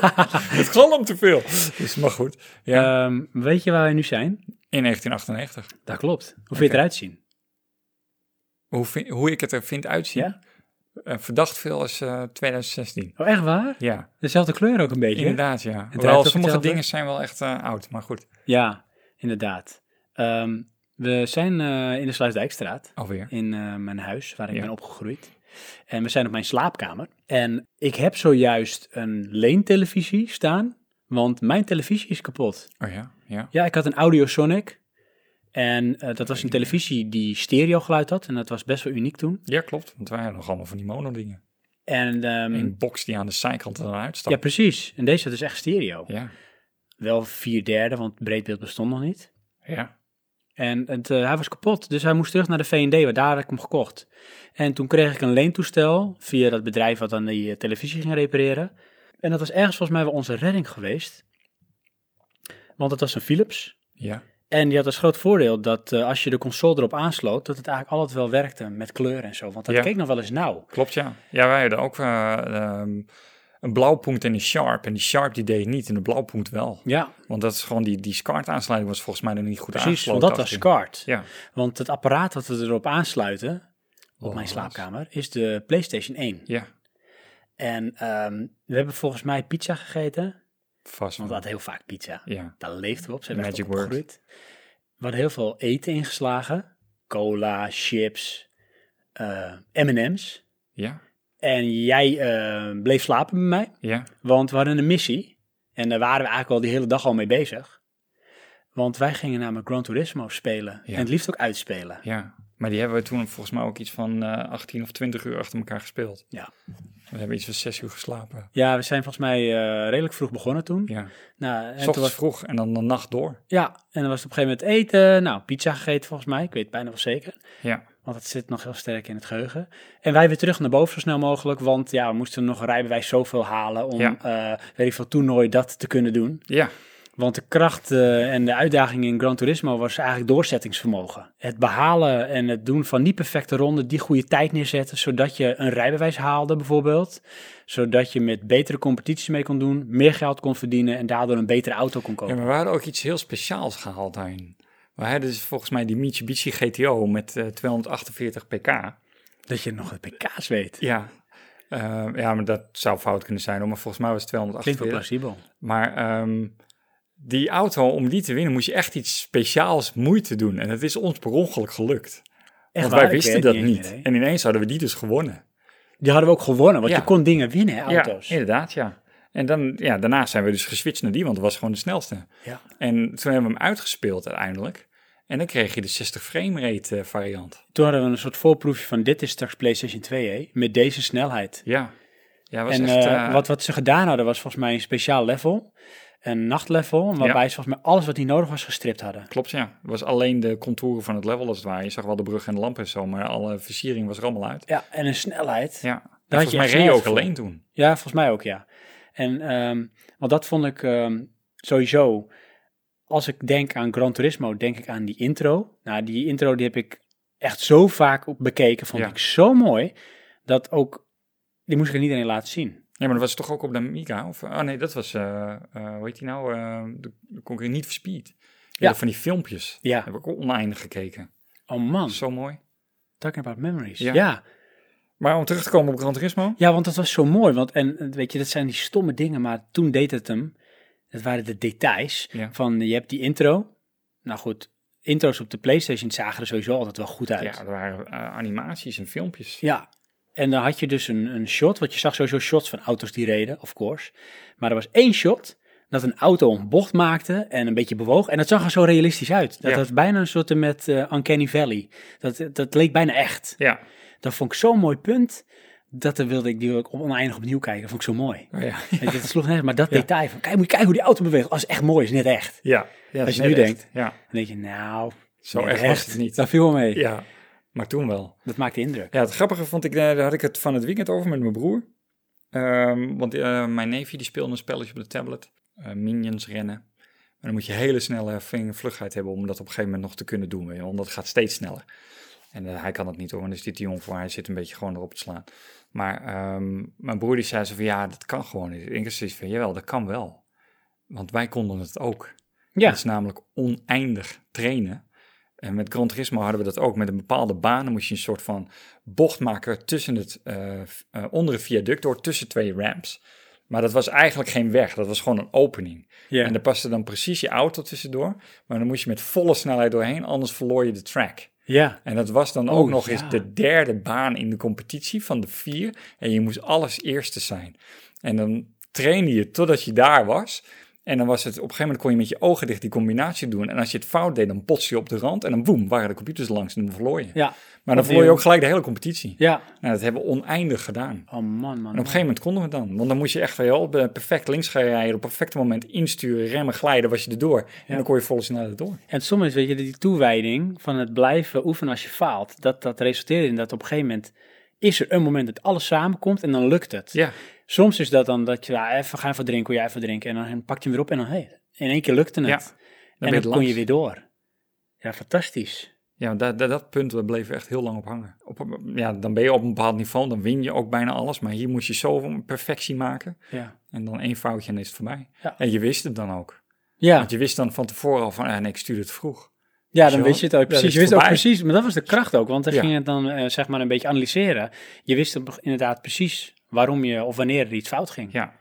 Speaker 2: het galmt te veel. Dus maar goed. Ja.
Speaker 1: Ehm, weet je waar wij nu zijn?
Speaker 2: in 1998.
Speaker 1: Dat klopt. Hoe vind je het eruit zien?
Speaker 2: Hoe, vind- hoe ik het er vind uitzien.
Speaker 1: Ja?
Speaker 2: Eh, verdacht veel als eh, 2016.
Speaker 1: Oh, echt waar?
Speaker 2: Ja.
Speaker 1: Dezelfde kleur ook een beetje.
Speaker 2: Inderdaad, ja.
Speaker 1: draait
Speaker 2: Hoewel
Speaker 1: ook
Speaker 2: sommige
Speaker 1: hetzelfde?
Speaker 2: dingen zijn wel echt eh, oud, maar goed.
Speaker 1: Ja, inderdaad. Ehm, we zijn eh, in de Sluisdijkstraat.
Speaker 2: Alweer.
Speaker 1: in eh, mijn huis waar ik
Speaker 2: Ja.
Speaker 1: ben opgegroeid. En we zijn op mijn slaapkamer. En ik heb zojuist een leentelevisie staan, want mijn televisie is kapot.
Speaker 2: Oh ja, ja.
Speaker 1: Ja, ik had een Audiosonic. En eh, dat was een televisie die stereogeluid had. En dat was best wel uniek toen.
Speaker 2: Ja, klopt. Want wij hadden nog allemaal van die mono dingen.
Speaker 1: En ehm,
Speaker 2: Een box die aan de zijkant eruit
Speaker 1: ja,
Speaker 2: stapt.
Speaker 1: precies. En deze had dus echt stereo.
Speaker 2: Ja,
Speaker 1: Wel vier derde, want breedbeeld bestond nog niet.
Speaker 2: ja.
Speaker 1: En het, eh, hij was kapot, dus hij moest terug naar de V&D, waar daar had ik hem gekocht. En toen kreeg ik een leentoestel via dat bedrijf wat dan die eh, televisie ging repareren. En dat was ergens volgens mij wel onze redding geweest. Want het was een Philips
Speaker 2: Ja,
Speaker 1: En die had als groot voordeel dat eh, als je de console erop aansloot, dat het eigenlijk altijd wel werkte met kleur en zo. Want dat
Speaker 2: Ja.
Speaker 1: keek nog wel eens nauw.
Speaker 2: Klopt, ja. Ja, wij hadden ook eh, ehm, een blauwpunt en een sharp. En die sharp die deed het niet en de blauwpunt wel.
Speaker 1: Ja,
Speaker 2: Want dat is gewoon die, die SCART-aansluiting was volgens mij nog niet goed
Speaker 1: precies. Want
Speaker 2: aangesloten.
Speaker 1: dat was
Speaker 2: achterin.
Speaker 1: SCART. Want het apparaat dat we erop aansluiten, op
Speaker 2: Oh,
Speaker 1: mijn
Speaker 2: wat.
Speaker 1: slaapkamer, is de PlayStation 1.
Speaker 2: Ja, ja.
Speaker 1: En ehm, we hebben volgens mij pizza gegeten.
Speaker 2: Vast.
Speaker 1: Want we
Speaker 2: wel.
Speaker 1: hadden heel vaak pizza.
Speaker 2: Ja.
Speaker 1: Daar leefden we op. Zijn we echt
Speaker 2: Magic
Speaker 1: op opgegroeid. We hadden heel veel eten ingeslagen. Cola, chips, eh, M&M's.
Speaker 2: Ja.
Speaker 1: En jij eh, bleef slapen bij mij.
Speaker 2: Ja.
Speaker 1: Want we hadden een missie. En daar waren we eigenlijk al die hele dag al mee bezig. Want wij gingen namelijk Gran Turismo spelen.
Speaker 2: Ja.
Speaker 1: En het liefst ook uitspelen.
Speaker 2: Ja. Maar die hebben we toen volgens mij ook iets van eh 18 of 20 uur achter elkaar gespeeld.
Speaker 1: Ja.
Speaker 2: We hebben iets van 6 uur geslapen.
Speaker 1: Ja, we zijn volgens mij eh, redelijk vroeg begonnen toen.
Speaker 2: Ja.
Speaker 1: Nou,
Speaker 2: S
Speaker 1: en toen
Speaker 2: ochtends
Speaker 1: was,
Speaker 2: vroeg en dan de nacht door.
Speaker 1: ja, en dan was het op een gegeven moment eten. Nou, pizza gegeten volgens mij. Ik weet het bijna wel zeker.
Speaker 2: Ja.
Speaker 1: Want het zit nog heel sterk in het geheugen. En wij weer terug naar boven zo snel mogelijk. Want ja, we moesten nog een rijbewijs zoveel halen om,
Speaker 2: Ja.
Speaker 1: eh, weet ik veel, toernooi dat te kunnen doen.
Speaker 2: Ja.
Speaker 1: Want de kracht eh, en de uitdaging in Gran Turismo was eigenlijk doorzettingsvermogen. Het behalen en het doen van niet perfecte ronden, die goede tijd neerzetten, zodat je een rijbewijs haalde bijvoorbeeld. Zodat je met betere competities mee kon doen, meer geld kon verdienen en daardoor een betere auto kon
Speaker 2: Ja,
Speaker 1: kopen.
Speaker 2: maar we hadden ook iets heel speciaals gehaald daarin. We hadden dus volgens mij die Mitsubishi GTO met eh, 248 pk.
Speaker 1: Dat je nog het PK's weet.
Speaker 2: Ja. Eh, ja, maar dat zou fout kunnen zijn, hoor, maar volgens mij was het
Speaker 1: Klinkt wel
Speaker 2: 248.
Speaker 1: plausibel.
Speaker 2: Maar ehm, die auto, om die te winnen, moest je echt iets speciaals moeite doen. En dat is ons per ongeluk gelukt.
Speaker 1: Echt
Speaker 2: want
Speaker 1: waar,
Speaker 2: wij
Speaker 1: ik
Speaker 2: wisten
Speaker 1: weet
Speaker 2: dat
Speaker 1: het
Speaker 2: niet.
Speaker 1: meer, hè?
Speaker 2: en ineens hadden we die dus gewonnen.
Speaker 1: Die hadden we ook gewonnen, want
Speaker 2: Ja.
Speaker 1: je kon dingen winnen, hè, auto's.
Speaker 2: Ja, inderdaad, ja. En dan, ja, daarna zijn we dus geswitcht naar die, want dat was gewoon de snelste.
Speaker 1: Ja.
Speaker 2: En toen hebben we hem uitgespeeld uiteindelijk. En dan kreeg je de 60 frame rate eh, variant.
Speaker 1: Toen hadden we een soort voorproefje van dit is straks PlayStation 2, hè, met deze snelheid.
Speaker 2: Ja. Ja, was
Speaker 1: En
Speaker 2: echt...
Speaker 1: eh,
Speaker 2: eh,
Speaker 1: wat, wat ze gedaan hadden was volgens mij een speciaal level, een nachtlevel, waarbij ze volgens mij alles wat niet nodig was gestript hadden.
Speaker 2: Klopt, ja. Het was alleen de contouren van het level als het ware. Je zag wel de brug en de lamp en zo, maar alle versiering was er allemaal uit.
Speaker 1: Ja, en een snelheid. Ja,
Speaker 2: Ja. En
Speaker 1: je
Speaker 2: volgens mij
Speaker 1: echt
Speaker 2: reed je
Speaker 1: snel
Speaker 2: ook
Speaker 1: voor.
Speaker 2: alleen toen.
Speaker 1: volgens mij ook, ja. En, ehm, want dat vond ik ehm, sowieso, als ik denk aan Gran Turismo, denk ik aan die intro. Nou, die intro die heb ik echt zo vaak op bekeken, vond
Speaker 2: Ja.
Speaker 1: ik zo mooi, dat ook, die moest ik aan iedereen laten zien.
Speaker 2: Ja, maar dat was toch ook op de Amiga? Of, oh nee, dat was, eh eh, hoe heet die nou? eh de, de concurrent niet verspied. Ja.
Speaker 1: Ja.
Speaker 2: Van die filmpjes.
Speaker 1: Ja.
Speaker 2: Heb ik ook oneindig gekeken.
Speaker 1: Oh man,
Speaker 2: Zo mooi.
Speaker 1: talking about memories.
Speaker 2: Ja.
Speaker 1: ja.
Speaker 2: Maar om terug te komen op Gran Turismo.
Speaker 1: Ja, want dat was zo mooi. Want en eh, weet je, dat zijn die stomme dingen, maar toen deed het hem. Dat waren de details
Speaker 2: Ja.
Speaker 1: van je hebt die intro. Nou goed, intro's op de PlayStation zagen er sowieso altijd wel goed uit.
Speaker 2: Ja, er waren eh, animaties en filmpjes.
Speaker 1: Ja. En dan had je dus een, een shot, want je zag sowieso shots van auto's die reden, of course. Maar er was één shot dat een auto een bocht maakte en een beetje bewoog. En dat zag er zo realistisch uit. Dat
Speaker 2: Ja.
Speaker 1: was bijna een soort met eh, Uncanny Valley. Dat, dat leek bijna echt.
Speaker 2: Ja.
Speaker 1: Dat vond ik zo'n mooi punt. Dat daar wilde ik, die wilde ik oneindig opnieuw kijken. Dat vond ik zo mooi.
Speaker 2: Oh, ja.
Speaker 1: Weet je, dat sloeg nergens, maar dat detail van, kijk, moet je kijken hoe die auto beweegt. Als het echt mooi is, net echt.
Speaker 2: Ja. ja
Speaker 1: Als je
Speaker 2: net
Speaker 1: nu
Speaker 2: echt.
Speaker 1: denkt.
Speaker 2: Ja.
Speaker 1: Dan denk je, nou,
Speaker 2: Zo
Speaker 1: net
Speaker 2: echt was het niet.
Speaker 1: Dat viel wel mee.
Speaker 2: Ja. Maar toen wel.
Speaker 1: Dat maakte indruk.
Speaker 2: Ja, het grappige vond ik, eh, daar had ik het van het weekend over met mijn broer. Ehm, want eh, mijn neefje die speelde een spelletje op de tablet, eh, Minions rennen. Maar dan moet je hele snelle ving- vlugheid hebben om dat op een gegeven moment nog te kunnen doen. weet je wel, Want dat gaat steeds sneller. En eh, hij kan dat niet hoor, want daar is dit jong voor. Hij zit een beetje gewoon erop te slaan. Maar ehm, mijn broer die zei zo van, ja, dat kan gewoon niet. Ik zei van, jawel, dat kan wel. Want wij konden het ook.
Speaker 1: Ja.
Speaker 2: Dat is namelijk oneindig trainen. En met Gran Turismo hadden we dat ook. Met een bepaalde baan dan moest je een soort van bocht maken tussen het, eh, v- eh, onder een viaduct door, tussen twee ramps. Maar dat was eigenlijk geen weg, dat was gewoon een opening.
Speaker 1: Ja.
Speaker 2: En daar paste dan precies je auto tussendoor. Maar dan moest je met volle snelheid doorheen, anders verloor je de track.
Speaker 1: Ja.
Speaker 2: En dat was dan ook
Speaker 1: Oh,
Speaker 2: nog
Speaker 1: ja.
Speaker 2: eens de derde baan in de competitie van de vier. En je moest alles eerste zijn. En dan trainde je totdat je daar was. En dan was het op een gegeven moment kon je met je ogen dicht die combinatie doen. En als je het fout deed, dan botste je op de rand. En dan boem, waren de computers langs en dan verloor je.
Speaker 1: Ja.
Speaker 2: Maar dan verloor je ook gelijk de hele competitie.
Speaker 1: Ja.
Speaker 2: Nou, dat hebben we oneindig gedaan.
Speaker 1: Oh man, man.
Speaker 2: En op een gegeven moment konden we het dan. Want dan moest je echt wel perfect links gaan rijden. Op het perfecte moment insturen, remmen, glijden, was je erdoor. En dan kon je volle snelheid door.
Speaker 1: En soms weet je, die toewijding van het blijven oefenen als je faalt, dat, dat resulteert in dat op een gegeven moment is er een moment dat alles samenkomt en dan lukt het.
Speaker 2: Ja,
Speaker 1: Soms is dat dan dat je, ja, even gaan even drinken, wil jij even drinken. En dan pak je hem weer op en dan, hey, in één keer lukte
Speaker 2: Ja.
Speaker 1: het.
Speaker 2: ben
Speaker 1: en dan
Speaker 2: je het
Speaker 1: kon je
Speaker 2: langs.
Speaker 1: weer door. Ja, fantastisch.
Speaker 2: Ja, dat, dat, dat punt bleef echt heel lang op hangen. Op, een- ja, dan ben je op een bepaald niveau, dan win je ook bijna alles. Maar hier moest je zoveel perfectie maken.
Speaker 1: Ja.
Speaker 2: En dan één foutje en dan is het voorbij.
Speaker 1: Ja.
Speaker 2: En je wist het dan ook.
Speaker 1: Ja,
Speaker 2: Want je wist dan van tevoren al van, ah, nee, ik stuur het vroeg.
Speaker 1: ja
Speaker 2: weet
Speaker 1: dan
Speaker 2: je
Speaker 1: wist je het
Speaker 2: wel,
Speaker 1: ook
Speaker 2: dat
Speaker 1: precies.
Speaker 2: is
Speaker 1: Je wist ook
Speaker 2: voorbij.
Speaker 1: precies, maar dat was de kracht ook, want dan
Speaker 2: Ja.
Speaker 1: ging het dan eh, zeg maar een beetje analyseren. Je wist dan inderdaad precies waarom je of wanneer er iets fout ging.
Speaker 2: Ja.
Speaker 1: En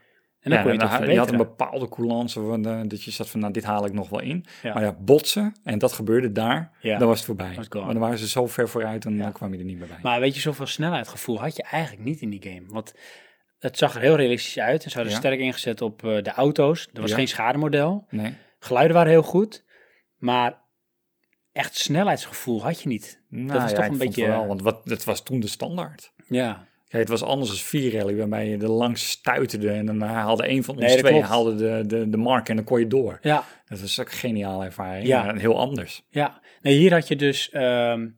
Speaker 1: dan
Speaker 2: Ja,
Speaker 1: kon je
Speaker 2: dan
Speaker 1: het
Speaker 2: ha-
Speaker 1: ook
Speaker 2: je had een
Speaker 1: verbeteren.
Speaker 2: bepaalde coulance van, eh, dat je zat van, nou, dit haal ik nog wel in.
Speaker 1: Ja.
Speaker 2: Maar ja, botsen, en dat gebeurde daar,
Speaker 1: Ja.
Speaker 2: dan was het voorbij.
Speaker 1: Was gone.
Speaker 2: Maar dan waren ze zo ver vooruit, dan eh, kwam je er niet meer bij.
Speaker 1: Maar weet je, zoveel snelheidgevoel had je eigenlijk niet in die game. Want het zag er heel realistisch uit. En ze hadden
Speaker 2: Ja.
Speaker 1: sterk ingezet op eh, de auto's. Er was
Speaker 2: Ja.
Speaker 1: geen schademodel.
Speaker 2: nee,
Speaker 1: Geluiden waren heel goed. Maar echt snelheidsgevoel had je niet.
Speaker 2: Nou
Speaker 1: dat was
Speaker 2: ja,
Speaker 1: toch
Speaker 2: ik
Speaker 1: een
Speaker 2: vond het
Speaker 1: beetje...
Speaker 2: wel, want wat, dat was toen de standaard.
Speaker 1: ja.
Speaker 2: Kijk, het was anders als vier rally, waarbij je er langs stuiterde en dan haalde een van ons
Speaker 1: Nee, dat
Speaker 2: twee
Speaker 1: klopt.
Speaker 2: haalde de, de, de mark en dan kon je door.
Speaker 1: ja,
Speaker 2: Dat was ook een geniale ervaring.
Speaker 1: Ja.
Speaker 2: Ja. Heel anders.
Speaker 1: ja. Nee, hier had je dus... ehm,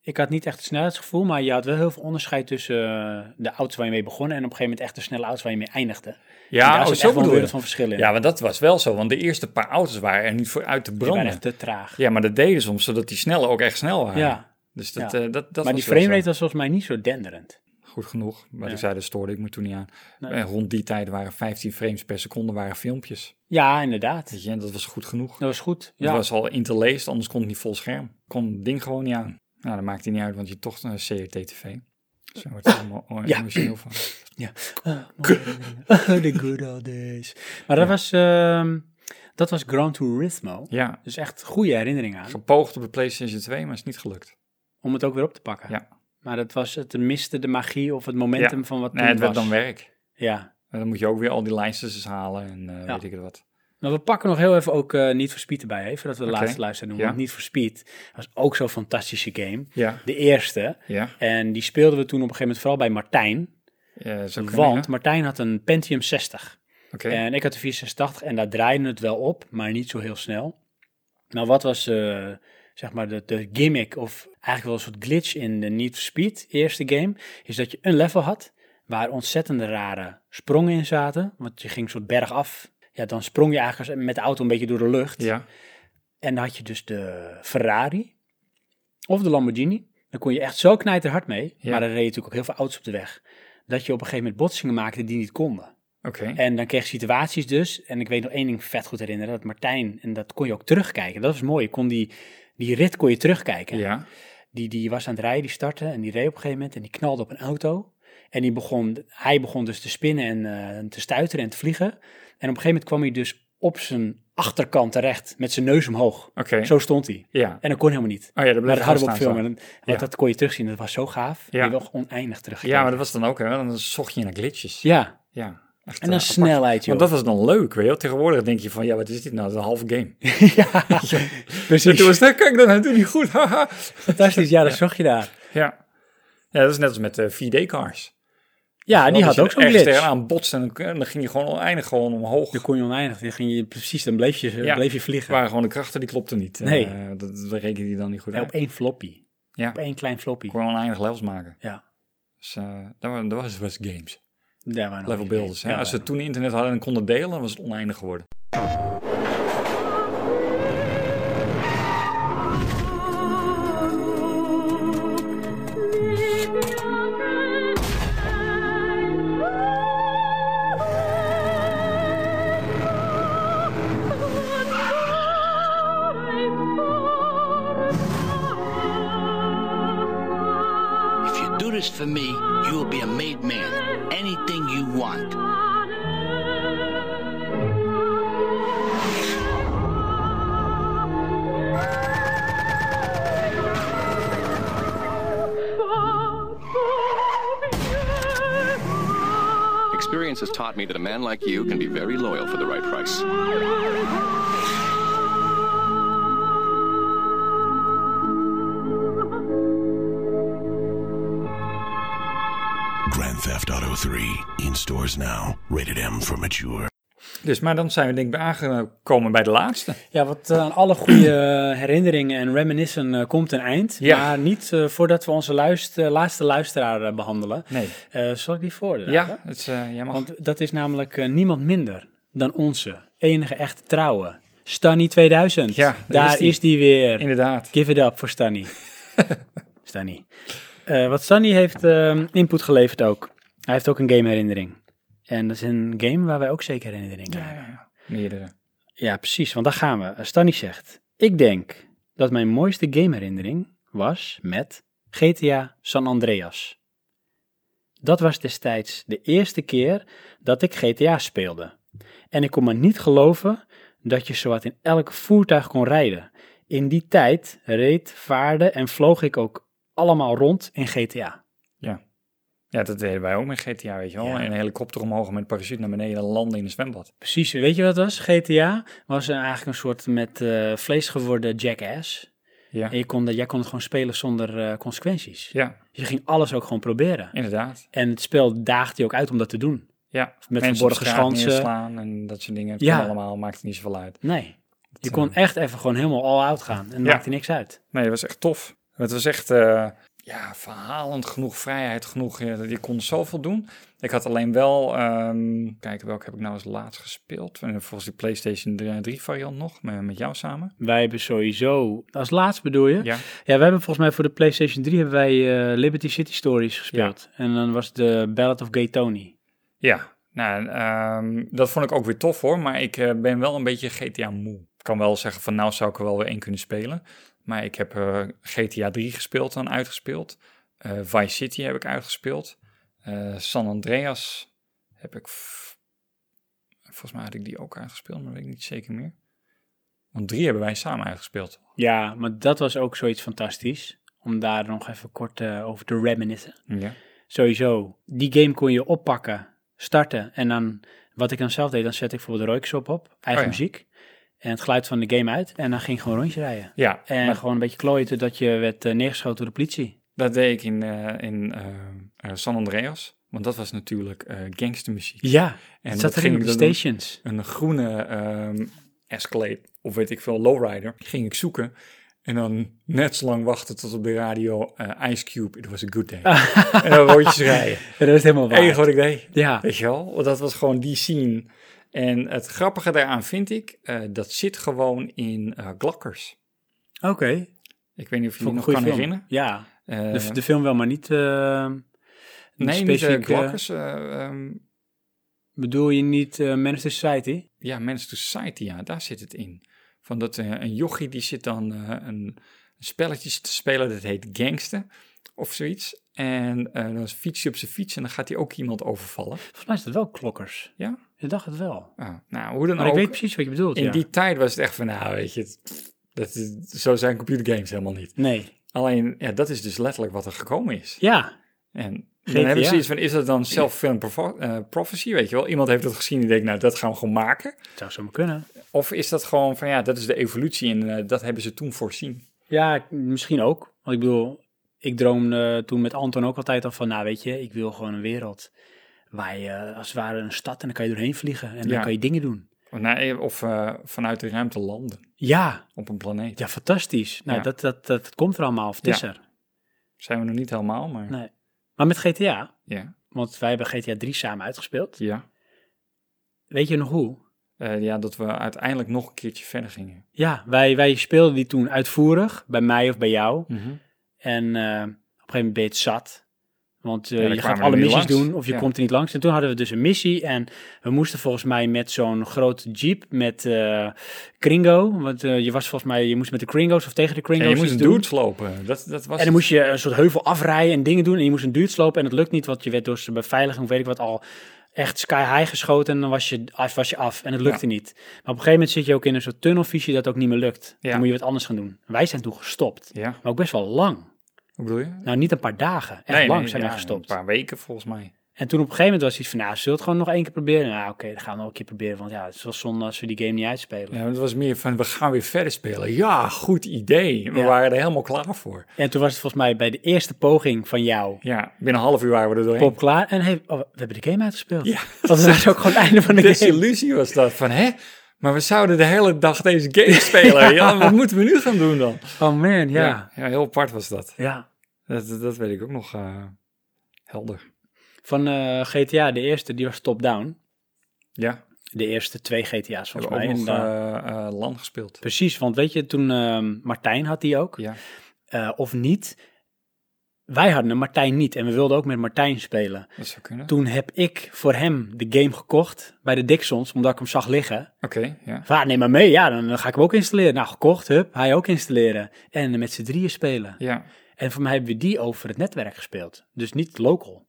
Speaker 1: ik had niet echt het snelheidsgevoel, maar je had wel heel veel onderscheid tussen eh, de auto's waar je mee begon en op een gegeven moment echt de snelle auto's waar je mee eindigde. En daar
Speaker 2: Ja,
Speaker 1: zit
Speaker 2: oh, zo
Speaker 1: echt wel een
Speaker 2: bedoel je.
Speaker 1: wereld van verschil in.
Speaker 2: Ja, want dat was wel zo, want de eerste paar auto's waren er niet voor uit te
Speaker 1: Die waren
Speaker 2: branden.
Speaker 1: echt te traag.
Speaker 2: Ja, maar dat deden ze soms, zodat die snelle ook echt snel waren.
Speaker 1: Ja.
Speaker 2: Dus dat,
Speaker 1: Ja.
Speaker 2: eh, dat, dat
Speaker 1: maar
Speaker 2: was
Speaker 1: die
Speaker 2: wel zo.
Speaker 1: framerate was volgens mij niet zo denderend.
Speaker 2: Goed genoeg. Wat
Speaker 1: Ja.
Speaker 2: ik zei, dat stoorde ik me toen niet aan.
Speaker 1: Nee.
Speaker 2: En rond die tijd waren 15 frames per seconde waren filmpjes.
Speaker 1: Ja, inderdaad.
Speaker 2: Weet je, en dat was goed genoeg.
Speaker 1: Dat was goed.
Speaker 2: Het
Speaker 1: Ja.
Speaker 2: was al interlaced, anders kon het niet vol scherm. Kon het ding gewoon niet aan. Nou, dat maakt het niet uit, want je hebt toch een CRT-TV. Zo Dus wordt het allemaal o-
Speaker 1: Ja.
Speaker 2: emotioneel van.
Speaker 1: ja. The good old days. Maar dat, was, ehm, dat was Gran Turismo.
Speaker 2: Ja,
Speaker 1: Dus echt goede herinnering aan.
Speaker 2: gepoogd op de PlayStation 2, maar is niet gelukt.
Speaker 1: Om het ook weer op te pakken.
Speaker 2: Ja.
Speaker 1: Maar dat was, het miste de magie of het momentum
Speaker 2: Ja.
Speaker 1: van wat
Speaker 2: Nee,
Speaker 1: toen
Speaker 2: het werd
Speaker 1: was.
Speaker 2: dan werk.
Speaker 1: Ja.
Speaker 2: En dan moet je ook weer al die lijstjes halen en eh,
Speaker 1: Ja.
Speaker 2: weet ik het wat.
Speaker 1: Maar we pakken nog heel even ook eh, Niet voor Speed erbij, hè, voordat we de
Speaker 2: Oké.
Speaker 1: laatste luister doen.
Speaker 2: Ja.
Speaker 1: Want Niet voor Speed was ook zo'n fantastische game.
Speaker 2: Ja.
Speaker 1: De eerste.
Speaker 2: Ja.
Speaker 1: En die speelden we toen op een gegeven moment vooral bij Martijn.
Speaker 2: Eh, zo kunnen,
Speaker 1: Want
Speaker 2: ja.
Speaker 1: Martijn had een Pentium 60.
Speaker 2: Oké.
Speaker 1: En ik had de 486 en daar draaide het wel op, maar niet zo heel snel. Nou, wat was eh, zeg maar de, de gimmick of eigenlijk wel een soort glitch in de Need for Speed eerste game, is dat je een level had waar ontzettende rare sprongen in zaten, want je ging een soort berg af. Ja, dan sprong je eigenlijk als- met de auto een beetje door de lucht.
Speaker 2: Ja.
Speaker 1: En dan had je dus de Ferrari of de Lamborghini. Dan kon je echt zo knijterhard mee,
Speaker 2: Ja.
Speaker 1: maar dan reed je natuurlijk ook heel veel auto's op de weg, dat je op een gegeven moment botsingen maakte die niet konden.
Speaker 2: Oké.
Speaker 1: En dan kreeg je situaties dus. En ik weet nog één ding vet goed herinneren. Dat Martijn, en dat kon je ook terugkijken. Dat was mooi. Je kon die, die rit kon je terugkijken.
Speaker 2: Ja.
Speaker 1: Die, die was aan het rijden, die startte. En die reed op een gegeven moment. En die knalde op een auto. En die begon, hij begon dus te spinnen en eh, te stuiteren en te vliegen. En op een gegeven moment kwam hij dus op zijn achterkant terecht. Met zijn neus omhoog.
Speaker 2: Oké.
Speaker 1: Zo stond hij.
Speaker 2: Ja.
Speaker 1: En dat kon helemaal niet.
Speaker 2: Oh ja, dat
Speaker 1: maar
Speaker 2: bleef
Speaker 1: dat hadden we op
Speaker 2: gewoon
Speaker 1: film.
Speaker 2: staan
Speaker 1: En, dat- want
Speaker 2: Ja.
Speaker 1: dat kon je terugzien. Dat was zo gaaf.
Speaker 2: Ja.
Speaker 1: Je wil oneindig teruggekeken.
Speaker 2: Ja, maar dat was dan ook, hè? Dan zocht je naar glitches.
Speaker 1: Ja.
Speaker 2: ja. Echt,
Speaker 1: En dan
Speaker 2: eh, apart.
Speaker 1: snelheid, joh.
Speaker 2: Want dat was dan leuk, weet je wel. Tegenwoordig denk je van, ja, wat is dit nou? Dat is een halve game.
Speaker 1: ja,
Speaker 2: En
Speaker 1: precies.
Speaker 2: toen was dat, kijk, dat doe je niet goed. haha.
Speaker 1: Fantastisch, ja, dat zag je daar.
Speaker 2: ja. ja, dat is net als met eh 4D-cars.
Speaker 1: Ja, die had ook zo'n glitch.
Speaker 2: aan botsen en dan- en dan ging je gewoon oneindig gewoon omhoog.
Speaker 1: Dan kon je oneindig, dan ging je precies, dan bleef je,
Speaker 2: Ja.
Speaker 1: bleef je vliegen.
Speaker 2: waren gewoon de krachten, die klopten niet.
Speaker 1: Nee.
Speaker 2: Eh, dat, dat rekende die dan niet goed
Speaker 1: Ja,
Speaker 2: uit.
Speaker 1: op één floppy,
Speaker 2: Ja,
Speaker 1: op één klein floppy.
Speaker 2: kon oneindig levels maken.
Speaker 1: Ja,
Speaker 2: Dus eh, dat, wa- dat was, was games.
Speaker 1: daar waren
Speaker 2: Level builders. Hè?
Speaker 1: Ja,
Speaker 2: Als ze
Speaker 1: waren-
Speaker 2: toen internet hadden en konden delen, dan was het oneindig geworden.
Speaker 11: If you do this for me, you will be a made man. Anything you want.
Speaker 12: Experience has taught me that a man like you can be very loyal for the right price.
Speaker 9: Grand Theft Auto 3 in stores now. Rated M for mature.
Speaker 2: Dus, maar dan zijn we denk ik aangekomen bij de laatste.
Speaker 1: Ja, want eh, aan alle goede eh, herinneringen en reminiscen eh, komt een eind.
Speaker 2: Ja.
Speaker 1: Maar niet eh, voordat we onze luister, laatste luisteraar eh, behandelen.
Speaker 2: Nee.
Speaker 1: Eh, zal ik die voordragen?
Speaker 2: Ja, het is, eh, jij mag.
Speaker 1: Want dat is namelijk eh, niemand minder dan onze enige echte trouwe Stanny 2000.
Speaker 2: Ja,
Speaker 1: daar, is, die. weer.
Speaker 2: Inderdaad.
Speaker 1: Give it up voor Stanny. Stanny. Eh, wat Stanny heeft ehm, input geleverd ook. Hij heeft ook een gameherinnering. En dat is een game waar wij ook zeker herinneringen aan hebben.
Speaker 2: Meerdere.
Speaker 1: Ja, precies, want daar gaan we. Eh, Stanny zegt: Ik denk dat mijn mooiste gameherinnering was met GTA San Andreas. Dat was destijds de eerste keer dat ik GTA speelde. En ik kon maar niet geloven dat je zowat in elk voertuig kon rijden. In die tijd reed, vaarde en vloog ik ook allemaal rond in GTA.
Speaker 2: Ja. Ja, dat deden wij ook met GTA, weet je wel.
Speaker 1: Ja.
Speaker 2: Een helikopter omhoog en met parachute naar beneden landen in een zwembad.
Speaker 1: Precies, weet je wat het was? GTA was eh, eigenlijk een soort met eh, vlees geworden jackass.
Speaker 2: Ja.
Speaker 1: En je kon, dat- jij kon het gewoon spelen zonder eh, consequenties.
Speaker 2: Ja,
Speaker 1: Je ging alles ook gewoon proberen.
Speaker 2: inderdaad.
Speaker 1: En het spel daagde je ook uit om dat te doen.
Speaker 2: Ja.
Speaker 1: Met
Speaker 2: Mensen op
Speaker 1: verborgen
Speaker 2: straat
Speaker 1: schansen.
Speaker 2: neerslaan en dat soort dingen. Het
Speaker 1: Ja.
Speaker 2: kan allemaal, maakt het niet zoveel uit.
Speaker 1: Nee. Je
Speaker 2: eh,
Speaker 1: kon echt even gewoon helemaal all-out gaan. En dat
Speaker 2: Ja.
Speaker 1: maakte niks uit.
Speaker 2: Nee, dat was echt tof. Het was echt eh, ja, verhalend genoeg, vrijheid genoeg. Je, je kon zoveel doen. Ik had alleen wel, ehm kijken welke heb ik nou als laatst gespeeld. En Volgens die PlayStation 3 variant nog, met, met jou samen.
Speaker 1: Wij hebben sowieso... Als laatst bedoel je?
Speaker 2: Ja.
Speaker 1: Ja, we hebben volgens mij voor de PlayStation 3 hebben wij eh, Liberty City Stories gespeeld. En dan was de Ballad of Gay Tony.
Speaker 2: Ja, nou, ehm, dat vond ik ook weer tof hoor. Maar ik eh, ben wel een beetje GTA moe. Ik kan wel zeggen van nou zou ik er wel weer één kunnen spelen. Maar ik heb eh, GTA 3 gespeeld en uitgespeeld. Eh, Vice City heb ik uitgespeeld. Eh, San Andreas heb ik... v- Volgens mij had ik die ook uitgespeeld, maar weet ik niet zeker meer. Want drie hebben wij samen uitgespeeld.
Speaker 1: Ja, maar dat was ook zoiets fantastisch. Om daar nog even kort eh, over te reminiscen.
Speaker 2: Ja.
Speaker 1: sowieso, die game kon je oppakken, starten en dan, wat ik dan zelf deed, dan zette ik bijvoorbeeld de Roykesop op, eigen
Speaker 2: Oh ja.
Speaker 1: muziek en het geluid van de game uit en dan ging ik gewoon rondje rijden.
Speaker 2: Ja,
Speaker 1: En
Speaker 2: maar-
Speaker 1: gewoon een beetje klooien totdat je werd eh, neergeschoten door de politie.
Speaker 2: Dat deed ik in, eh, in eh, eh, San Andreas. Want dat was natuurlijk eh, gangstermuziek.
Speaker 1: Ja,
Speaker 2: En
Speaker 1: het
Speaker 2: dat
Speaker 1: zat erin
Speaker 2: ging
Speaker 1: op de
Speaker 2: ik dan doen.
Speaker 1: stations.
Speaker 2: een groene ehm, Escalade of weet ik veel, lowrider, ging ik zoeken. En dan net zo lang wachten tot op de radio eh, Ice Cube, It Was A Good Day. en dan rondjes rijden.
Speaker 1: Ja, dat is helemaal
Speaker 2: Het enige
Speaker 1: waar.
Speaker 2: wat ik deed.
Speaker 1: Ja.
Speaker 2: Weet je wel? Want Dat was gewoon die scene. En het grappige daaraan vind ik, eh, dat zit gewoon in eh Glakkers.
Speaker 1: Oké,
Speaker 2: Ik weet niet of
Speaker 1: vond ik
Speaker 2: je die
Speaker 1: een
Speaker 2: nog
Speaker 1: goede
Speaker 2: kan
Speaker 1: film.
Speaker 2: herinneren.
Speaker 1: Ja,
Speaker 2: Eh,
Speaker 1: de, de film wel, maar niet... eh, niet
Speaker 2: nee, niet
Speaker 1: specifiek,
Speaker 2: eh,
Speaker 1: eh,
Speaker 2: Glakkers. eh, ehm,
Speaker 1: bedoel je niet eh Man of Society?
Speaker 2: ja, Men's Society, ja, daar zit het in. Van dat eh, een jochie die zit dan eh, een, een spelletje te spelen, dat heet gangster of zoiets. En eh, dan fiets je op zijn fiets en dan gaat hij ook iemand overvallen.
Speaker 1: Volgens mij is dat wel Klokkers.
Speaker 2: Ja?
Speaker 1: Ik dacht het wel.
Speaker 2: Ah, nou, hoe dan
Speaker 1: Maar
Speaker 2: ook.
Speaker 1: Oh, ik weet precies wat je bedoelt,
Speaker 2: in
Speaker 1: ja.
Speaker 2: die tijd was het echt van, nou weet je, het- dat is, zo zijn computergames helemaal niet.
Speaker 1: Nee,
Speaker 2: Alleen, ja, dat is dus letterlijk wat er gekomen is.
Speaker 1: ja,
Speaker 2: En dan
Speaker 1: GTA.
Speaker 2: heb ik zoiets van, is dat dan self-fulfilling profo- eh, prophecy, weet je wel? Iemand heeft dat gezien en die denkt, nou, dat gaan we gewoon maken.
Speaker 1: het zou zomaar kunnen.
Speaker 2: Of is dat gewoon van ja, dat is de evolutie en eh, dat hebben ze toen voorzien?
Speaker 1: Ja, ik- misschien ook. Want ik bedoel, ik droomde toen met Anton ook altijd al van, nou weet je, ik wil gewoon een wereld waar je eh, als het ware een stad en dan kan je doorheen vliegen en dan
Speaker 2: Ja.
Speaker 1: kan je dingen doen.
Speaker 2: Of, nou, of eh, vanuit de ruimte landen
Speaker 1: Ja,
Speaker 2: op een planeet.
Speaker 1: ja, fantastisch. Nou,
Speaker 2: Ja.
Speaker 1: dat, dat, dat, dat komt er allemaal, of het is
Speaker 2: Ja.
Speaker 1: er.
Speaker 2: Zijn we nog niet helemaal, maar
Speaker 1: Nee. Maar met GTA,
Speaker 2: ja.
Speaker 1: want wij hebben GTA 3 samen uitgespeeld.
Speaker 2: Ja.
Speaker 1: Weet je nog hoe?
Speaker 2: Eh, ja, dat we uiteindelijk nog een keertje verder gingen.
Speaker 1: Ja, wij, wij speelden die toen uitvoerig, bij mij of bij jou. En eh, op een gegeven moment ben je het zat. Want eh,
Speaker 2: Ja, dan
Speaker 1: je
Speaker 2: kwamen
Speaker 1: gaat
Speaker 2: we
Speaker 1: alle
Speaker 2: er niet
Speaker 1: missies
Speaker 2: langs.
Speaker 1: doen of je
Speaker 2: Ja.
Speaker 1: komt er niet langs. En toen hadden we dus een missie en we moesten volgens mij met zo'n grote jeep met eh, Kringo. Want eh, je was volgens mij, je moest met de Kringo's of tegen de
Speaker 2: En
Speaker 1: Kringo's
Speaker 2: je moest
Speaker 1: iets
Speaker 2: een
Speaker 1: doen.
Speaker 2: dude slopen. Dat, dat was
Speaker 1: En dan moest je een soort heuvel afrijden en dingen doen. En je moest een duurt slopen en dat lukt niet, want je werd door zijn beveiliging, weet ik wat, al echt sky high geschoten. En dan was je af, was je af en het lukte niet. Maar op een gegeven moment zit je ook in een soort tunnelvisie dat ook niet meer lukt.
Speaker 2: Ja.
Speaker 1: Dan moet je wat anders gaan doen. Wij zijn toen gestopt.
Speaker 2: Ja,
Speaker 1: Maar ook best wel lang.
Speaker 2: hoe bedoel je?
Speaker 1: Nou, niet een paar dagen. Echt lang zijn
Speaker 2: ja,
Speaker 1: wij gestopt.
Speaker 2: Een paar weken volgens mij.
Speaker 1: En toen op een gegeven moment was iets van, nou, zullen we het gewoon nog één keer proberen? Nou, oké, dan gaan we nog een keer proberen, want ja, het is wel zonde als we die game niet uitspelen.
Speaker 2: Ja, maar het was meer van, we gaan weer verder spelen. Ja, goed idee. We
Speaker 1: Ja.
Speaker 2: waren er helemaal klaar voor.
Speaker 1: En toen was het volgens mij bij de eerste poging van jou
Speaker 2: Ja, binnen een half uur waren we er doorheen.
Speaker 1: pop klaar. En hey, oh, we hebben de game uitgespeeld.
Speaker 2: Ja.
Speaker 1: Want het was ook gewoon het einde van de game.
Speaker 2: Desillusie was dat. Van, hè? Maar we zouden de hele dag deze game spelen. ja, wat moeten we nu gaan doen dan?
Speaker 1: Oh man, ja.
Speaker 2: Ja, ja, heel apart was dat.
Speaker 1: Ja.
Speaker 2: Dat, dat, dat weet ik ook nog eh, helder.
Speaker 1: Van eh, GTA, de eerste, die was top-down.
Speaker 2: Ja,
Speaker 1: De eerste twee GTA's volgens
Speaker 2: Hebben
Speaker 1: mij.
Speaker 2: ook nog,
Speaker 1: En, eh,
Speaker 2: eh, eh, LAN gespeeld.
Speaker 1: Precies, want weet je, toen ehm, Martijn had die ook.
Speaker 2: Ja.
Speaker 1: Eh, of niet. Wij hadden een Martijn niet en we wilden ook met Martijn spelen.
Speaker 2: Dat zou kunnen.
Speaker 1: Toen heb ik voor hem de game gekocht bij de Dixons, omdat ik hem zag liggen.
Speaker 2: Oké, ja.
Speaker 1: Van, ah, neem maar mee, ja, dan eh, ga ik hem ook installeren. Nou, gekocht, hup, hij ook installeren. En met z'n drieën spelen.
Speaker 2: Ja.
Speaker 1: En voor mij hebben we die over het netwerk gespeeld. Dus niet local.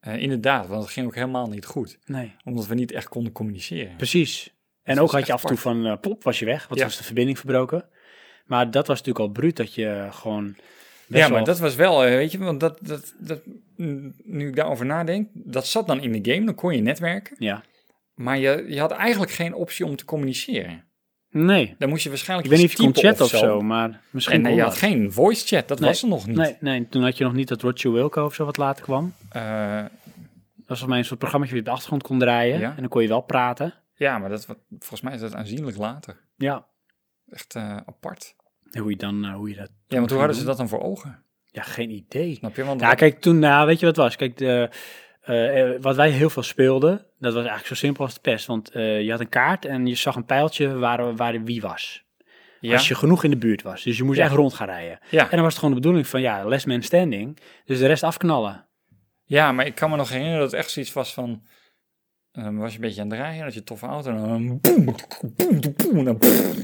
Speaker 2: Eh, inderdaad, want het ging ook helemaal niet goed.
Speaker 1: Nee.
Speaker 2: Omdat we niet echt konden communiceren.
Speaker 1: Precies. En
Speaker 2: Dat
Speaker 1: ook
Speaker 2: was
Speaker 1: had je af
Speaker 2: echt
Speaker 1: en toe van, eh, plop, was je weg. Want
Speaker 2: Ja.
Speaker 1: was de verbinding verbroken. Maar dat was natuurlijk al bruut, dat je gewoon... best
Speaker 2: ja, maar
Speaker 1: wel-
Speaker 2: dat was wel, eh, weet je, want dat, dat, dat, nu ik daarover nadenk, dat zat dan in de game, dan kon je netwerken.
Speaker 1: Ja.
Speaker 2: Maar je, je had eigenlijk geen optie om te communiceren.
Speaker 1: Nee.
Speaker 2: Dan moest je waarschijnlijk
Speaker 1: Ik weet niet of
Speaker 2: iets
Speaker 1: je kon
Speaker 2: typen
Speaker 1: chatten of zo, maar misschien
Speaker 2: En eh,
Speaker 1: kon
Speaker 2: je
Speaker 1: dat.
Speaker 2: had geen voice chat, dat
Speaker 1: Nee,
Speaker 2: was er nog niet.
Speaker 1: Nee, nee, toen had je nog niet dat Roger Wilco of zo wat later kwam.
Speaker 2: Eh,
Speaker 1: Dat was volgens mij een soort programma dat je op de achtergrond kon draaien.
Speaker 2: Ja.
Speaker 1: En dan kon je wel praten.
Speaker 2: ja, maar dat, wa- volgens mij is dat aanzienlijk later.
Speaker 1: Ja.
Speaker 2: Echt eh, apart.
Speaker 1: En hoe je dan, eh, hoe je dat...
Speaker 2: Ja, want
Speaker 1: ging
Speaker 2: hoe hadden ze
Speaker 1: doen.
Speaker 2: dat dan voor ogen?
Speaker 1: Ja, geen idee.
Speaker 2: Snap je? Want
Speaker 1: Ja, kijk, toen, nou, weet je wat het was? Kijk, de, eh, eh, wat wij heel veel speelden, dat was eigenlijk zo simpel als de pest. Want eh, je had een kaart en je zag een pijltje waar, waar wie was.
Speaker 2: Ja.
Speaker 1: Als je genoeg in de buurt was. Dus je moest
Speaker 2: Ja.
Speaker 1: echt rond gaan rijden.
Speaker 2: Ja.
Speaker 1: En dan was het gewoon de bedoeling van, ja, last man standing. Dus de rest afknallen.
Speaker 2: Ja, maar ik kan me nog herinneren dat het echt zoiets was van... eh, Dan was je een beetje aan het draaien, dat je een toffe auto en dan boem, boem, boem, boem, dan boem.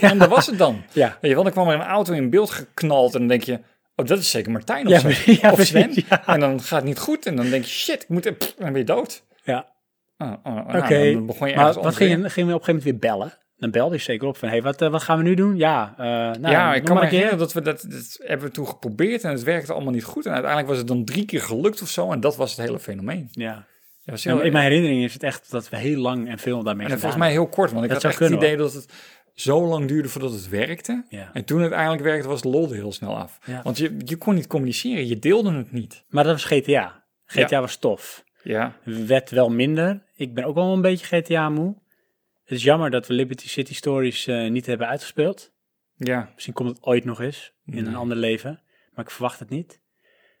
Speaker 2: En dat was het dan.
Speaker 1: Ja.
Speaker 2: Weet je wel, dan kwam er een auto in beeld geknald en dan denk je... Oh, dat is zeker Martijn of
Speaker 1: Ja,
Speaker 2: zo.
Speaker 1: precies, ja,
Speaker 2: of Sven.
Speaker 1: precies,
Speaker 2: En dan gaat het niet goed en dan denk je, shit, ik moet... En dan ben je dood.
Speaker 1: Ja.
Speaker 2: Oh, oh, nou,
Speaker 1: Oké,
Speaker 2: dan begon je
Speaker 1: maar wat
Speaker 2: ergens anders
Speaker 1: ging je,
Speaker 2: weer.
Speaker 1: ging je op een gegeven moment weer bellen? Dan belde je zeker op van, hey, wat, eh, wat gaan we nu doen? Ja, eh, nou,
Speaker 2: ja, ik
Speaker 1: nog
Speaker 2: kan me
Speaker 1: maar een keer.
Speaker 2: herinneren dat we dat, dat hebben we toen geprobeerd en het werkte allemaal niet goed. En uiteindelijk was het dan drie keer gelukt of zo en dat was het hele fenomeen.
Speaker 1: Ja.
Speaker 2: Dat was
Speaker 1: Ja,
Speaker 2: heel-
Speaker 1: in mijn herinnering is het echt dat we heel lang en veel daarmee
Speaker 2: En dan
Speaker 1: gedaan
Speaker 2: volgens mij heel kort, want ik
Speaker 1: Dat zou
Speaker 2: had echt het
Speaker 1: kunnen,
Speaker 2: idee dat het zo lang duurde voordat het werkte.
Speaker 1: Ja.
Speaker 2: En toen het eindelijk werkte, was het lol er heel snel af.
Speaker 1: Ja.
Speaker 2: Want je, je kon niet communiceren, je deelde het niet.
Speaker 1: Maar dat was GTA. GTA
Speaker 2: Ja.
Speaker 1: was tof.
Speaker 2: Ja,
Speaker 1: Werd wel minder. Ik ben ook wel een beetje GTA moe. Het is jammer dat we Liberty City Stories eh, niet hebben uitgespeeld.
Speaker 2: ja.
Speaker 1: Misschien komt het ooit nog eens in een
Speaker 2: Nee.
Speaker 1: ander leven. Maar ik verwacht het niet.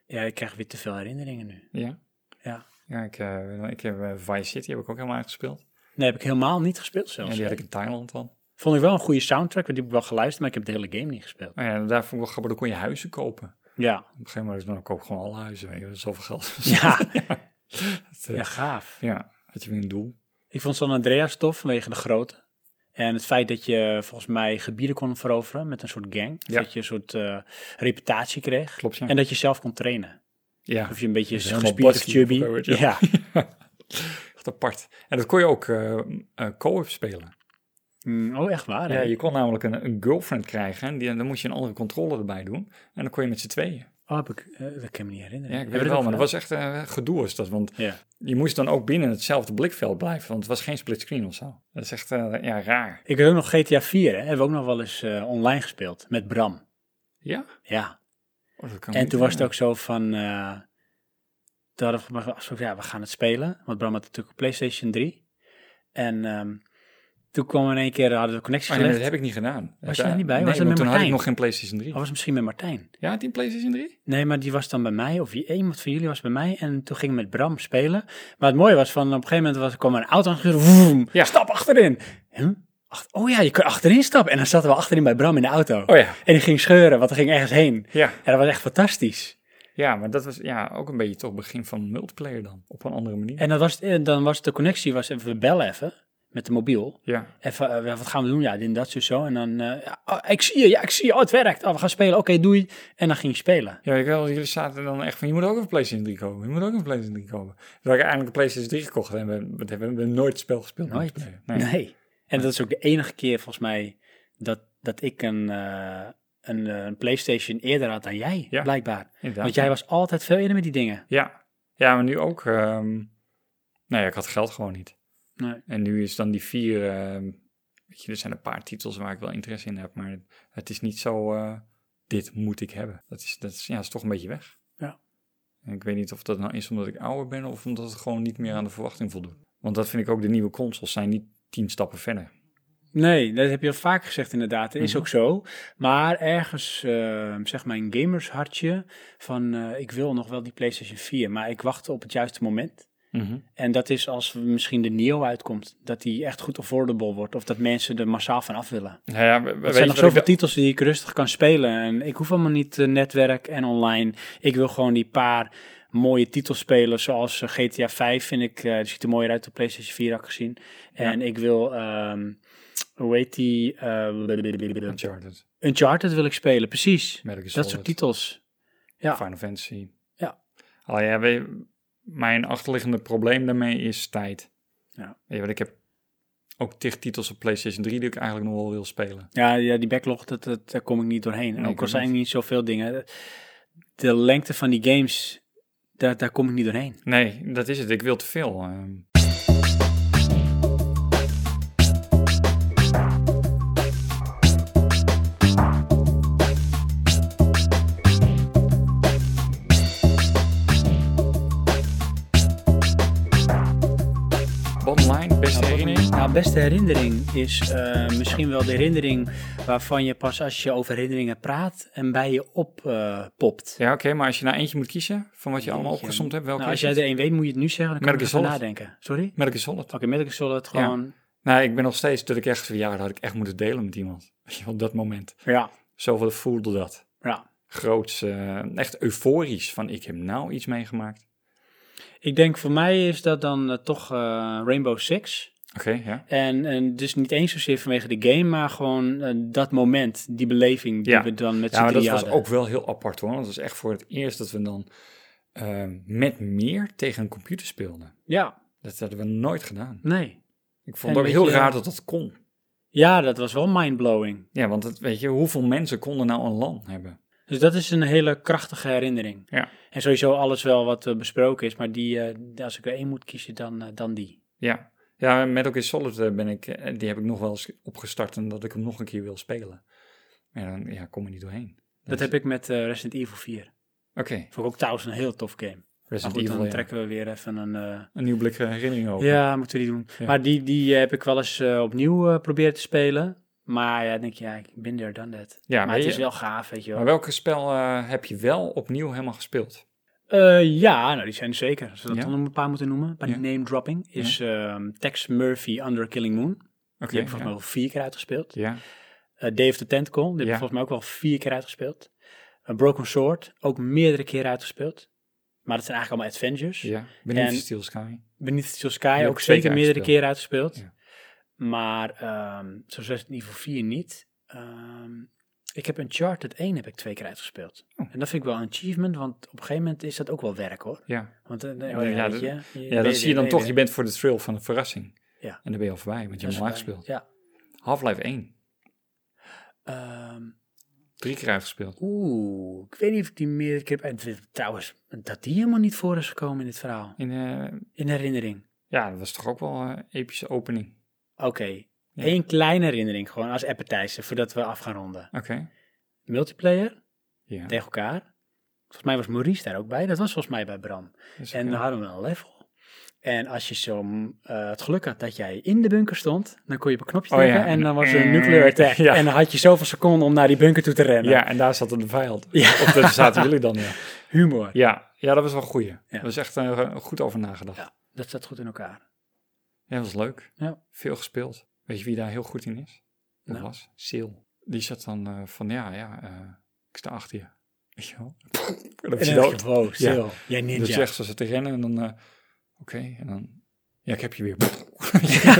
Speaker 1: Ja, ik krijg weer te veel herinneringen nu.
Speaker 2: ja.
Speaker 1: Ja.
Speaker 2: ja ik, eh, ik heb eh, Vice City heb ik ook helemaal uitgespeeld.
Speaker 1: Nee, heb ik helemaal niet gespeeld
Speaker 2: En
Speaker 1: zelfs.
Speaker 2: die had ik in Thailand dan.
Speaker 1: Vond ik wel een goede soundtrack, want die heb ik wel geluisterd, maar ik heb de hele game niet gespeeld.
Speaker 2: Maar Oh ja, daar vond ik wel grappig, dan kon je huizen kopen. Op
Speaker 1: Ja,
Speaker 2: een gegeven moment dus dan koop ik gewoon alle huizen, weet je, wel, zoveel geld.
Speaker 1: Ja.
Speaker 2: Dat, eh,
Speaker 1: ja gaaf.
Speaker 2: ja, had je weer een doel.
Speaker 1: Ik vond San Andreas tof vanwege de grootte. En het feit dat je volgens mij gebieden kon veroveren met een soort gang.
Speaker 2: Ja.
Speaker 1: Dat je een soort eh, reputatie kreeg.
Speaker 2: Klopt, ja.
Speaker 1: En dat je zelf kon trainen.
Speaker 2: Ja.
Speaker 1: Of je een beetje
Speaker 2: Dus helemaal
Speaker 1: gespierd of
Speaker 2: Baskie
Speaker 1: chubby.
Speaker 2: of zo, weet je.
Speaker 1: Ja.
Speaker 2: Echt apart. En dat kon je ook eh, eh, co-op spelen.
Speaker 1: Mm, oh, echt waar? hè?
Speaker 2: Ja, je kon namelijk een, een girlfriend krijgen en die, dan moest je een andere controle erbij doen. En dan kon je met z'n tweeën.
Speaker 1: Oh, heb ik, eh, dat kan ik me niet herinneren.
Speaker 2: Ja, ik
Speaker 1: Heb
Speaker 2: weet
Speaker 1: je
Speaker 2: het wel,
Speaker 1: ook
Speaker 2: maar dat
Speaker 1: gedaan?
Speaker 2: was echt eh, gedoe is dat. Want
Speaker 1: Ja.
Speaker 2: je moest dan ook binnen hetzelfde blikveld blijven, want het was geen splitscreen of zo. Dat is echt eh, ja, raar.
Speaker 1: Ik weet ook nog GTA 4, hè. Hebben we ook nog wel eens eh, online gespeeld met Bram.
Speaker 2: Ja?
Speaker 1: Ja.
Speaker 2: Oh, dat kan
Speaker 1: En
Speaker 2: niet,
Speaker 1: toen was
Speaker 2: eh,
Speaker 1: het ook zo van. eh toen hadden we maar afgesproken, ja, we gaan het spelen. Want Bram had natuurlijk een PlayStation 3. En ehm, toen kwam in één keer, hadden we connecties
Speaker 2: Oh, nee,
Speaker 1: gelegd.
Speaker 2: dat heb ik niet gedaan.
Speaker 1: Was je daar niet bij?
Speaker 2: Nee,
Speaker 1: Was dat
Speaker 2: want
Speaker 1: met
Speaker 2: toen had ik
Speaker 1: Martijn? Oh,
Speaker 2: nog geen PlayStation 3.
Speaker 1: Dat was misschien met Martijn.
Speaker 2: Ja, had die een PlayStation 3?
Speaker 1: Nee, maar die was dan bij mij, of wie- iemand van jullie was bij mij. En toen ging ik met Bram spelen. Maar het mooie was van, op een gegeven moment was, kwam er een auto aan. Woem,
Speaker 2: Ja.
Speaker 1: Stap achterin. Huh? Ach- oh ja, je kunt achterin stappen. En dan zaten we achterin bij Bram in de auto.
Speaker 2: Oh ja.
Speaker 1: En die ging scheuren, want er ging ergens heen.
Speaker 2: Ja.
Speaker 1: En dat was echt fantastisch.
Speaker 2: Ja, maar dat was ja, ook een beetje toch begin van multiplayer dan, op een andere manier.
Speaker 1: En dan was, het- en dan was de connectie, was even we bellen even, met de mobiel.
Speaker 2: Ja,
Speaker 1: Even, eh, wat gaan we doen? Ja, dit en dat, zo, zo. En dan, eh, ja, oh, ik zie je, ja, ik zie je. Oh, het werkt. Oh, we gaan spelen. Oké, doei. En dan ging je spelen.
Speaker 2: ja ik wel, jullie zaten dan echt van, je moet ook een PlayStation 3 kopen, je moet ook een PlayStation 3 kopen. Toen had ik eigenlijk een PlayStation 3 gekocht en we, we hebben we hebben nooit het spel gespeeld.
Speaker 1: Nooit.
Speaker 2: multiplayer.
Speaker 1: Nee. En dat is ook de enige keer volgens mij dat, dat ik een, eh, een, eh, een PlayStation eerder had dan jij,
Speaker 2: Ja,
Speaker 1: blijkbaar.
Speaker 2: inderdaad.
Speaker 1: Want jij was altijd veel eerder met die dingen.
Speaker 2: Ja, ja maar nu ook. ehm nou ja, ik had geld gewoon niet.
Speaker 1: Nee.
Speaker 2: En nu is dan die vier. ehm, weet je, er zijn een paar titels waar ik wel interesse in heb, maar het is niet zo. eh, dit moet ik hebben. Dat is, dat is, ja, dat is toch een beetje weg.
Speaker 1: Ja.
Speaker 2: En ik weet niet of dat nou is omdat ik ouder ben of omdat het gewoon niet meer aan de verwachting voldoet. Want dat vind ik ook, de nieuwe consoles zijn niet tien stappen verder.
Speaker 1: Nee, dat heb je al vaak gezegd inderdaad. Dat is ook zo. Maar ergens, eh, zeg mijn gamershartje van eh, ik wil nog wel die PlayStation 4, maar ik wacht op het juiste moment.
Speaker 2: Mhm.
Speaker 1: En dat is als misschien de Neo uitkomt, dat die echt goed affordable wordt. Of dat mensen er massaal van af willen.
Speaker 2: Ja, ja, we- we-
Speaker 1: er
Speaker 2: weet je
Speaker 1: zijn nog
Speaker 2: wat
Speaker 1: zoveel
Speaker 2: ik wel-
Speaker 1: titels die ik rustig kan spelen. En ik hoef allemaal niet eh, netwerk en online. Ik wil gewoon die paar mooie titels spelen. Zoals eh, GTA 5 vind ik, eh, die ziet er mooier uit. De PlayStation 4 had ik gezien. En ik wil, ehm, hoe heet die? eh,
Speaker 2: Uncharted.
Speaker 1: Uncharted wil ik spelen, precies.
Speaker 2: Metal Gear
Speaker 1: Dat
Speaker 2: Solid.
Speaker 1: soort titels. Ja.
Speaker 2: Final Fantasy.
Speaker 1: Ja.
Speaker 2: Al ja, we- mijn achterliggende probleem daarmee is tijd.
Speaker 1: Ja.
Speaker 2: Weet je wat, ik heb ook tig titels op PlayStation 3 die ik eigenlijk nog wel wil spelen.
Speaker 1: Ja, ja die backlog, dat, dat, daar kom ik niet doorheen. En
Speaker 2: Nee, ik
Speaker 1: ook al
Speaker 2: ook
Speaker 1: zijn er
Speaker 2: niet.
Speaker 1: niet zoveel dingen. De lengte van die games, daar, daar kom ik niet doorheen.
Speaker 2: Nee, dat is het. Ik wil te veel. ehm. Bottom line, beste herinnering.
Speaker 1: Nou, beste herinnering is eh, misschien wel de herinnering waarvan je pas als je over herinneringen praat en bij je oppopt.
Speaker 2: Ja, oké, maar als je nou eentje moet kiezen van wat je allemaal opgezomd hebt, welke
Speaker 1: nou, als
Speaker 2: is
Speaker 1: jij
Speaker 2: het?
Speaker 1: er één weet, moet je het nu zeggen. Dan kan
Speaker 2: Metal
Speaker 1: ik
Speaker 2: Gear
Speaker 1: even
Speaker 2: Solid.
Speaker 1: nadenken. Sorry?
Speaker 2: Metal Gear Solid.
Speaker 1: Oké, Metal Gear Solid
Speaker 2: Ja.
Speaker 1: gewoon.
Speaker 2: Nou, ik ben nog steeds dat ik echt van ja, dat had ik echt moeten delen met iemand. Weet je, Op dat moment.
Speaker 1: Ja.
Speaker 2: Zoveel voelde dat.
Speaker 1: Ja.
Speaker 2: Groots, eh, echt euforisch van ik heb nou iets meegemaakt.
Speaker 1: Ik denk voor mij is dat dan eh, toch eh, Rainbow Six.
Speaker 2: Oké, ja.
Speaker 1: En, en dus niet eens zozeer vanwege de game, maar gewoon eh, dat moment, die beleving die
Speaker 2: ja.
Speaker 1: we dan met
Speaker 2: ja,
Speaker 1: z'n
Speaker 2: maar dat
Speaker 1: drieën
Speaker 2: was
Speaker 1: hadden.
Speaker 2: ook wel heel apart hoor. Want dat was echt voor het eerst dat we dan eh, met meer tegen een computer speelden.
Speaker 1: Ja,
Speaker 2: Dat hadden we nooit gedaan.
Speaker 1: nee.
Speaker 2: Ik
Speaker 1: En
Speaker 2: vond het ook
Speaker 1: weet
Speaker 2: heel
Speaker 1: je-
Speaker 2: raar dat dat kon.
Speaker 1: Ja, dat was wel mindblowing.
Speaker 2: Ja, want het, weet je, hoeveel mensen konden nou een LAN hebben?
Speaker 1: Dus dat is een hele krachtige herinnering.
Speaker 2: Ja.
Speaker 1: En sowieso alles wel wat eh, besproken is, maar die, eh, als ik er één moet kiezen, dan, eh, dan die.
Speaker 2: Ja, ja Metal Gear Solid eh, ben ik, eh, die heb ik nog wel eens opgestart en dat ik hem nog een keer wil spelen. Maar dan ja, kom er niet doorheen.
Speaker 1: Dat heb ik met eh, Resident Evil 4.
Speaker 2: Oké,
Speaker 1: Vond ik ook trouwens een heel tof game. Maar
Speaker 2: Resident
Speaker 1: Nou goed,
Speaker 2: Evil,
Speaker 1: dan
Speaker 2: ja.
Speaker 1: trekken we weer even een... eh,
Speaker 2: een nieuw blik eh, herinnering over.
Speaker 1: Ja, moeten we die doen.
Speaker 2: Ja.
Speaker 1: Maar die, die eh, heb ik wel eens eh, opnieuw eh proberen te spelen. Maar ja, dan denk je, ja, ik ben there, done that.
Speaker 2: Ja,
Speaker 1: maar
Speaker 2: maar
Speaker 1: het
Speaker 2: je-
Speaker 1: is wel gaaf, weet je wel.
Speaker 2: Maar welke spel eh, heb je wel opnieuw helemaal gespeeld?
Speaker 1: Eh, ja, nou, die zijn er zeker. Als we dat
Speaker 2: Ja.
Speaker 1: dan nog een paar moeten noemen, bij die name dropping, is ehm, Tex Murphy Under a Killing Moon.
Speaker 2: Oké,
Speaker 1: die heb ik volgens
Speaker 2: ja.
Speaker 1: mij wel vier keer uitgespeeld.
Speaker 2: Ja,
Speaker 1: Eh, Dave the Tentacle, die heb ik
Speaker 2: Ja.
Speaker 1: volgens mij ook wel vier keer uitgespeeld. Eh, Broken Sword, ook meerdere keren uitgespeeld. Maar dat zijn eigenlijk allemaal adventures.
Speaker 2: ja. Beneath
Speaker 1: En- Oh,
Speaker 2: the Steel Sky.
Speaker 1: Beneath the Steel
Speaker 2: heb
Speaker 1: Sky
Speaker 2: ik
Speaker 1: ook
Speaker 2: twee
Speaker 1: zeker
Speaker 2: keer
Speaker 1: meerdere
Speaker 2: uitgespeeld.
Speaker 1: keren uitgespeeld.
Speaker 2: Ja.
Speaker 1: Maar ehm zo zegt niveau 4 niet. Ehm, ik heb Uncharted 1 heb ik twee keer uitgespeeld.
Speaker 2: Oh.
Speaker 1: En dat vind ik wel een achievement, want op een gegeven moment is dat ook wel werk hoor.
Speaker 2: Ja,
Speaker 1: Want eh,
Speaker 2: ja,
Speaker 1: oh ja, weet
Speaker 2: dat,
Speaker 1: je, je-
Speaker 2: ja,
Speaker 1: ben
Speaker 2: dat
Speaker 1: je
Speaker 2: zie je
Speaker 1: er,
Speaker 2: dan
Speaker 1: ben
Speaker 2: toch. Je
Speaker 1: er.
Speaker 2: bent voor de thrill van een verrassing.
Speaker 1: Ja.
Speaker 2: En dan ben je al voorbij, want je
Speaker 1: Dat
Speaker 2: hebt
Speaker 1: is
Speaker 2: hem al
Speaker 1: fijn.
Speaker 2: gespeeld.
Speaker 1: Ja.
Speaker 2: Half-Life 1,
Speaker 1: Ehm,
Speaker 2: drie keer uitgespeeld.
Speaker 1: Oeh, ik weet niet of ik die meerdere keer heb en Trouwens, dat die helemaal niet voor is gekomen in dit verhaal.
Speaker 2: In, eh,
Speaker 1: In herinnering.
Speaker 2: ja, dat was toch ook wel een epische opening.
Speaker 1: Oké, één kleine herinnering gewoon als appetizer voordat we af gaan ronden.
Speaker 2: Oké,
Speaker 1: Multiplayer,
Speaker 2: ja.
Speaker 1: tegen elkaar. Volgens mij was Maurice daar ook bij. Dat was volgens mij bij Bram.
Speaker 2: Dus,
Speaker 1: En
Speaker 2: eh,
Speaker 1: dan hadden we een level. En als je zo mm, eh, het geluk had dat jij in de bunker stond, dan kon je op een knopje
Speaker 2: Oh ja,
Speaker 1: drukken en
Speaker 2: en-
Speaker 1: dan was er een nuclear attack.
Speaker 2: Ja.
Speaker 1: En dan had je zoveel seconden om naar die bunker toe te rennen.
Speaker 2: Ja, en eh, daar zat een vijand.
Speaker 1: Ja.
Speaker 2: Of daar zaten jullie dan, ja.
Speaker 1: Humor.
Speaker 2: Ja, ja dat was wel een goeie. Dat was echt eh, goed over nagedacht. Ja.
Speaker 1: Dat zat goed in elkaar.
Speaker 2: dat was leuk.
Speaker 1: Ja.
Speaker 2: Veel gespeeld. Weet je wie daar heel goed in is? Dat
Speaker 1: Nou.
Speaker 2: was Sil. Die zat dan eh, van, ja, ja, eh, ik sta achter je. Weet je wel? En dan
Speaker 1: En
Speaker 2: was je
Speaker 1: dan
Speaker 2: dood.
Speaker 1: dacht je, wow,
Speaker 2: Ja.
Speaker 1: Sil, jij ninja.
Speaker 2: Dat zegt ze ze te rennen en dan, eh, oké, en dan, ja, ik heb je weer.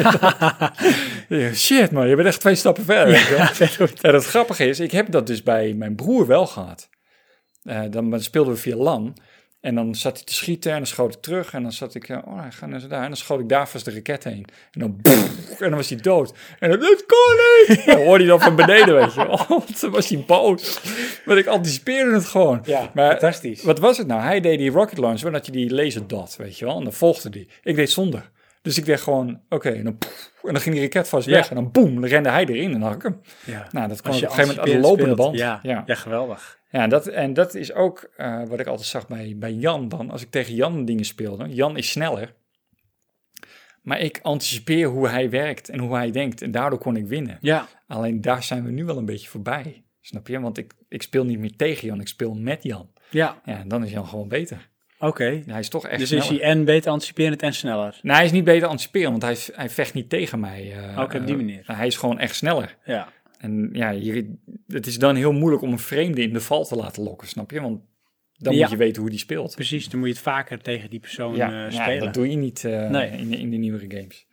Speaker 2: Ja, Shit man, je bent echt twee stappen verder. weet je wel. En het grappige is, ik heb dat dus bij mijn broer wel gehad. Eh, dan, dan speelden we via LAN. En dan zat hij te schieten en dan schoot ik terug. En dan zat ik, eh, oh, hij gaat naar daar. En dan schoot ik daar vast de raket heen. En dan, en dan was hij dood. En dan, dat kon niet! Dan hoorde hij dan van beneden, weet je wel. Want dan was hij boos. Maar ik anticipeerde het gewoon.
Speaker 1: Ja,
Speaker 2: maar,
Speaker 1: fantastisch.
Speaker 2: Wat was het nou? Hij deed die rocket launch, maar dat je die laser dot, weet je wel. En dan volgde die. Ik deed zonder. Dus ik deed gewoon, oké, en dan... En dan ging die raket vast weg. En dan boem, dan rende hij erin en dan had ik hem.
Speaker 1: Ja.
Speaker 2: Nou, dat kwam
Speaker 1: Als
Speaker 2: op
Speaker 1: je
Speaker 2: een gegeven moment aan de lopende
Speaker 1: anticiperend
Speaker 2: band.
Speaker 1: speelt, Ja. Ja.
Speaker 2: ja.
Speaker 1: geweldig.
Speaker 2: Ja, dat, en dat is ook eh, wat ik altijd zag bij, bij Jan dan. Als ik tegen Jan dingen speelde. Jan is sneller. Maar ik anticipeer hoe hij werkt en hoe hij denkt. En daardoor kon ik winnen.
Speaker 1: Ja,
Speaker 2: Alleen daar zijn we nu wel een beetje voorbij. Snap je? Want ik, ik speel niet meer tegen Jan, ik speel met Jan.
Speaker 1: ja.
Speaker 2: Ja, en dan is Jan gewoon beter.
Speaker 1: Oké.
Speaker 2: Hij is toch echt
Speaker 1: Dus is
Speaker 2: sneller.
Speaker 1: hij en beter anticiperend en sneller.
Speaker 2: Nou, hij is niet beter anticiperen, want hij, hij vecht niet tegen mij. eh,
Speaker 1: Oké, op die
Speaker 2: eh,
Speaker 1: manier.
Speaker 2: hij is gewoon echt sneller.
Speaker 1: Ja.
Speaker 2: En ja, je, het is dan heel moeilijk om een vreemde in de val te laten lokken, snap je? Want dan
Speaker 1: Ja.
Speaker 2: moet je weten hoe die speelt.
Speaker 1: Precies, dan moet je het vaker tegen die persoon
Speaker 2: ja,
Speaker 1: eh,
Speaker 2: ja,
Speaker 1: spelen.
Speaker 2: dat doe je niet eh,
Speaker 1: Nee.
Speaker 2: in, de- in de nieuwere games.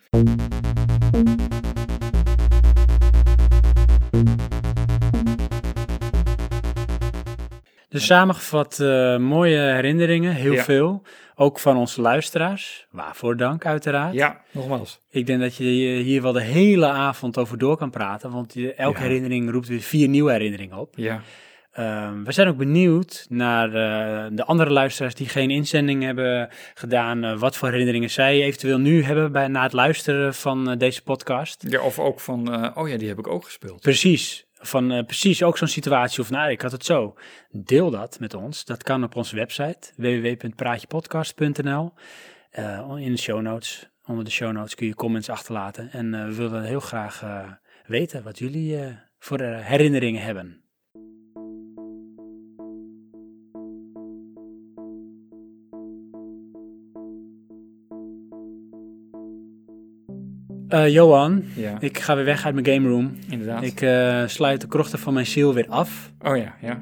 Speaker 1: Dus samengevat, eh, mooie herinneringen, heel
Speaker 2: Ja.
Speaker 1: veel. Ook van onze luisteraars. Waarvoor dank, uiteraard.
Speaker 2: Ja, nogmaals.
Speaker 1: Ik denk dat je hier wel de hele avond over door kan praten. Want je- elke
Speaker 2: Ja.
Speaker 1: herinnering roept weer vier nieuwe herinneringen op.
Speaker 2: Ja.
Speaker 1: Ehm, we zijn ook benieuwd naar eh, de andere luisteraars die geen inzending hebben gedaan. eh, wat voor herinneringen zij eventueel nu hebben bij, na het luisteren van eh, deze podcast.
Speaker 2: Ja, of ook van, eh, oh ja, die heb ik ook gespeeld.
Speaker 1: Precies. Van eh, precies ook zo'n situatie of nou, ik had het zo. Deel dat met ons. Dat kan op onze website www.praatjepodcast.nl. Eh, in de show notes. Onder de show notes kun je comments achterlaten. En eh, we willen heel graag eh, weten wat jullie eh, voor eh, herinneringen hebben. Eh, Johan,
Speaker 2: Ja.
Speaker 1: ik ga weer weg uit mijn game room.
Speaker 2: Inderdaad.
Speaker 1: Ik eh, sluit de krochten van mijn ziel weer af.
Speaker 2: Oh ja, ja.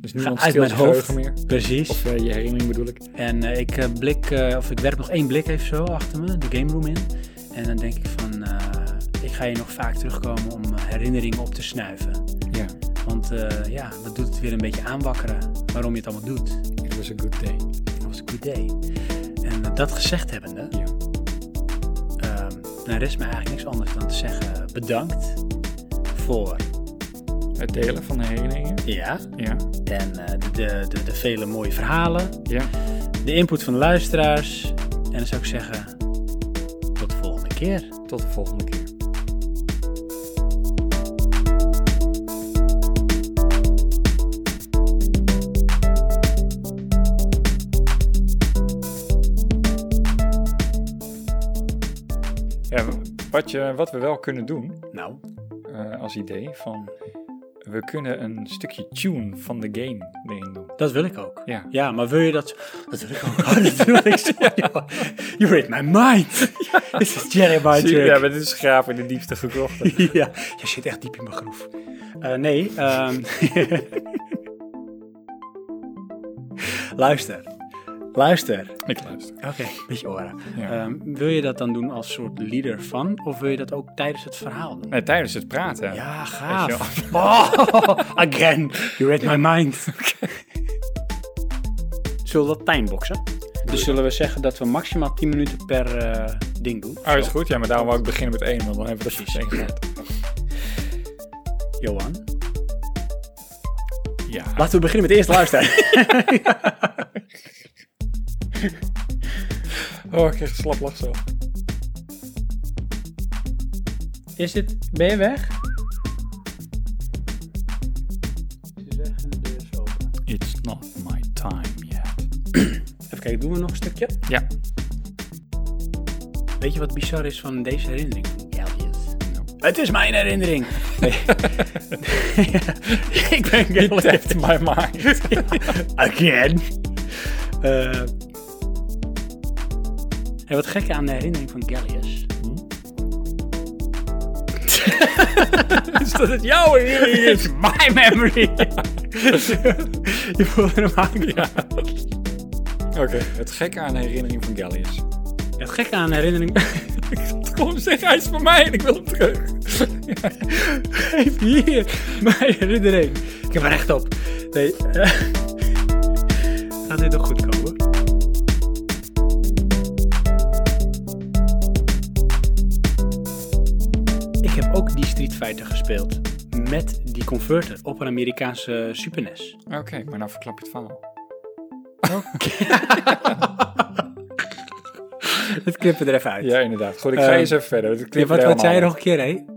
Speaker 2: Dus
Speaker 1: Ga
Speaker 2: niemand
Speaker 1: uit
Speaker 2: steelt
Speaker 1: mijn
Speaker 2: je
Speaker 1: hoofd.
Speaker 2: geheugen meer.
Speaker 1: Precies.
Speaker 2: Of eh, je herinnering bedoel ik.
Speaker 1: En eh, ik eh, blik, eh, of ik werp nog één blik even zo achter me, de game room in. En dan denk ik van, eh, ik ga hier nog vaak terugkomen om eh, herinneringen op te snuiven.
Speaker 2: Ja,
Speaker 1: Want eh, ja, dat doet het weer een beetje aanwakkeren waarom je het allemaal doet.
Speaker 2: it was a good day.
Speaker 1: Dat was een good day. En eh, dat gezegd hebbende,
Speaker 2: Ja.
Speaker 1: ehm, nou rest me eigenlijk niks anders dan te zeggen eh, bedankt voor
Speaker 2: Het delen van de herinneringen.
Speaker 1: ja,
Speaker 2: Ja,
Speaker 1: en eh, de, de, de, de vele mooie verhalen,
Speaker 2: ja.
Speaker 1: de input van de luisteraars. En dan zou ik zeggen, tot de volgende keer.
Speaker 2: Tot de volgende keer. Ja, wat, je, wat we wel kunnen doen
Speaker 1: Nou,
Speaker 2: eh, als idee van we kunnen een stukje tune van de game erin doen.
Speaker 1: dat wil ik ook.
Speaker 2: Ja.
Speaker 1: maar wil je dat... Dat wil ik ook. Oh, dat wil ik zo. joh. You read my mind. Dit is Jeremiah
Speaker 2: Zie je,
Speaker 1: Jerk.
Speaker 2: ja, maar dit is graaf in de diepste gekrochten.
Speaker 1: ja, je zit echt diep in mijn groef. Eh, nee, ehm, luister. Luister.
Speaker 2: Ik luister.
Speaker 1: Oké, met je oren.
Speaker 2: Ja.
Speaker 1: Ehm, wil je dat dan doen als soort leader van? Of wil je dat ook tijdens het verhaal doen?
Speaker 2: Nee, tijdens het praten.
Speaker 1: Ja,
Speaker 2: Weet
Speaker 1: gaaf.
Speaker 2: je
Speaker 1: Oh, again, you read my mind. Zullen we dat timeboxen? Dus zullen we zeggen dat we maximaal 10 minuten per eh, ding doen?
Speaker 2: Oh, is goed. Ja, maar daarom wou ik beginnen met één, want dan hebben we er
Speaker 1: Precies.
Speaker 2: precies één gehad.
Speaker 1: Johan?
Speaker 2: Ja.
Speaker 1: Laten we beginnen met eerst luisteren.
Speaker 2: Oh, ik kreeg een slap lach zo.
Speaker 1: Is dit... Ben je weg? Ze zeggen de deur is open.
Speaker 2: It's not my time yet.
Speaker 1: Even kijken, doen we nog een stukje?
Speaker 2: Ja.
Speaker 1: Weet je wat bizar is van deze herinnering? Ja, Het is mijn herinnering! ik ben
Speaker 2: It tapped my mind.
Speaker 1: Again. Eh, en wat gekke aan de herinnering van Gallius. is dat het jouw herinnering is? My memory. Je voelde hem aan.
Speaker 2: Oké, het gekke aan de herinnering van Gallius.
Speaker 1: Het gekke aan de herinnering.
Speaker 2: ik zat gewoon te zeggen, hij is van mij en ik wil hem terug.
Speaker 1: Geef hier mijn herinnering. Ik heb er recht op. Nee. eh, Gaat dit nog goed komen? Ik heb ook die Street Fighter gespeeld. Met die converter op een Amerikaanse Super E NES.
Speaker 2: Oké, maar nou verklap je het van al.
Speaker 1: Dat knippen er even uit.
Speaker 2: Ja, inderdaad. Goed, ik ga
Speaker 1: Ehm,
Speaker 2: eens even verder. want ik
Speaker 1: Ja,
Speaker 2: knip
Speaker 1: wat,
Speaker 2: er
Speaker 1: wat zei je nog
Speaker 2: helemaal
Speaker 1: een keer, hé?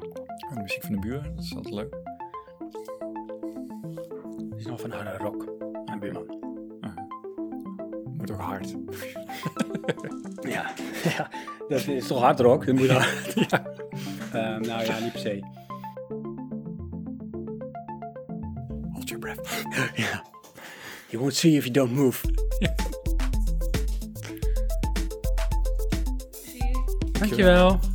Speaker 2: uit. Oh, de muziek van de buren, dat is altijd leuk.
Speaker 1: Dit is nog van harde rock. Mijn buurman.
Speaker 2: Moet ook hard.
Speaker 1: Ja, ja dat is toch hard rock? Dat moet hard. Ehm, nou ja, niet per se.
Speaker 2: Hold your breath.
Speaker 1: Ja. You won't see if you don't move.
Speaker 2: Dankjewel.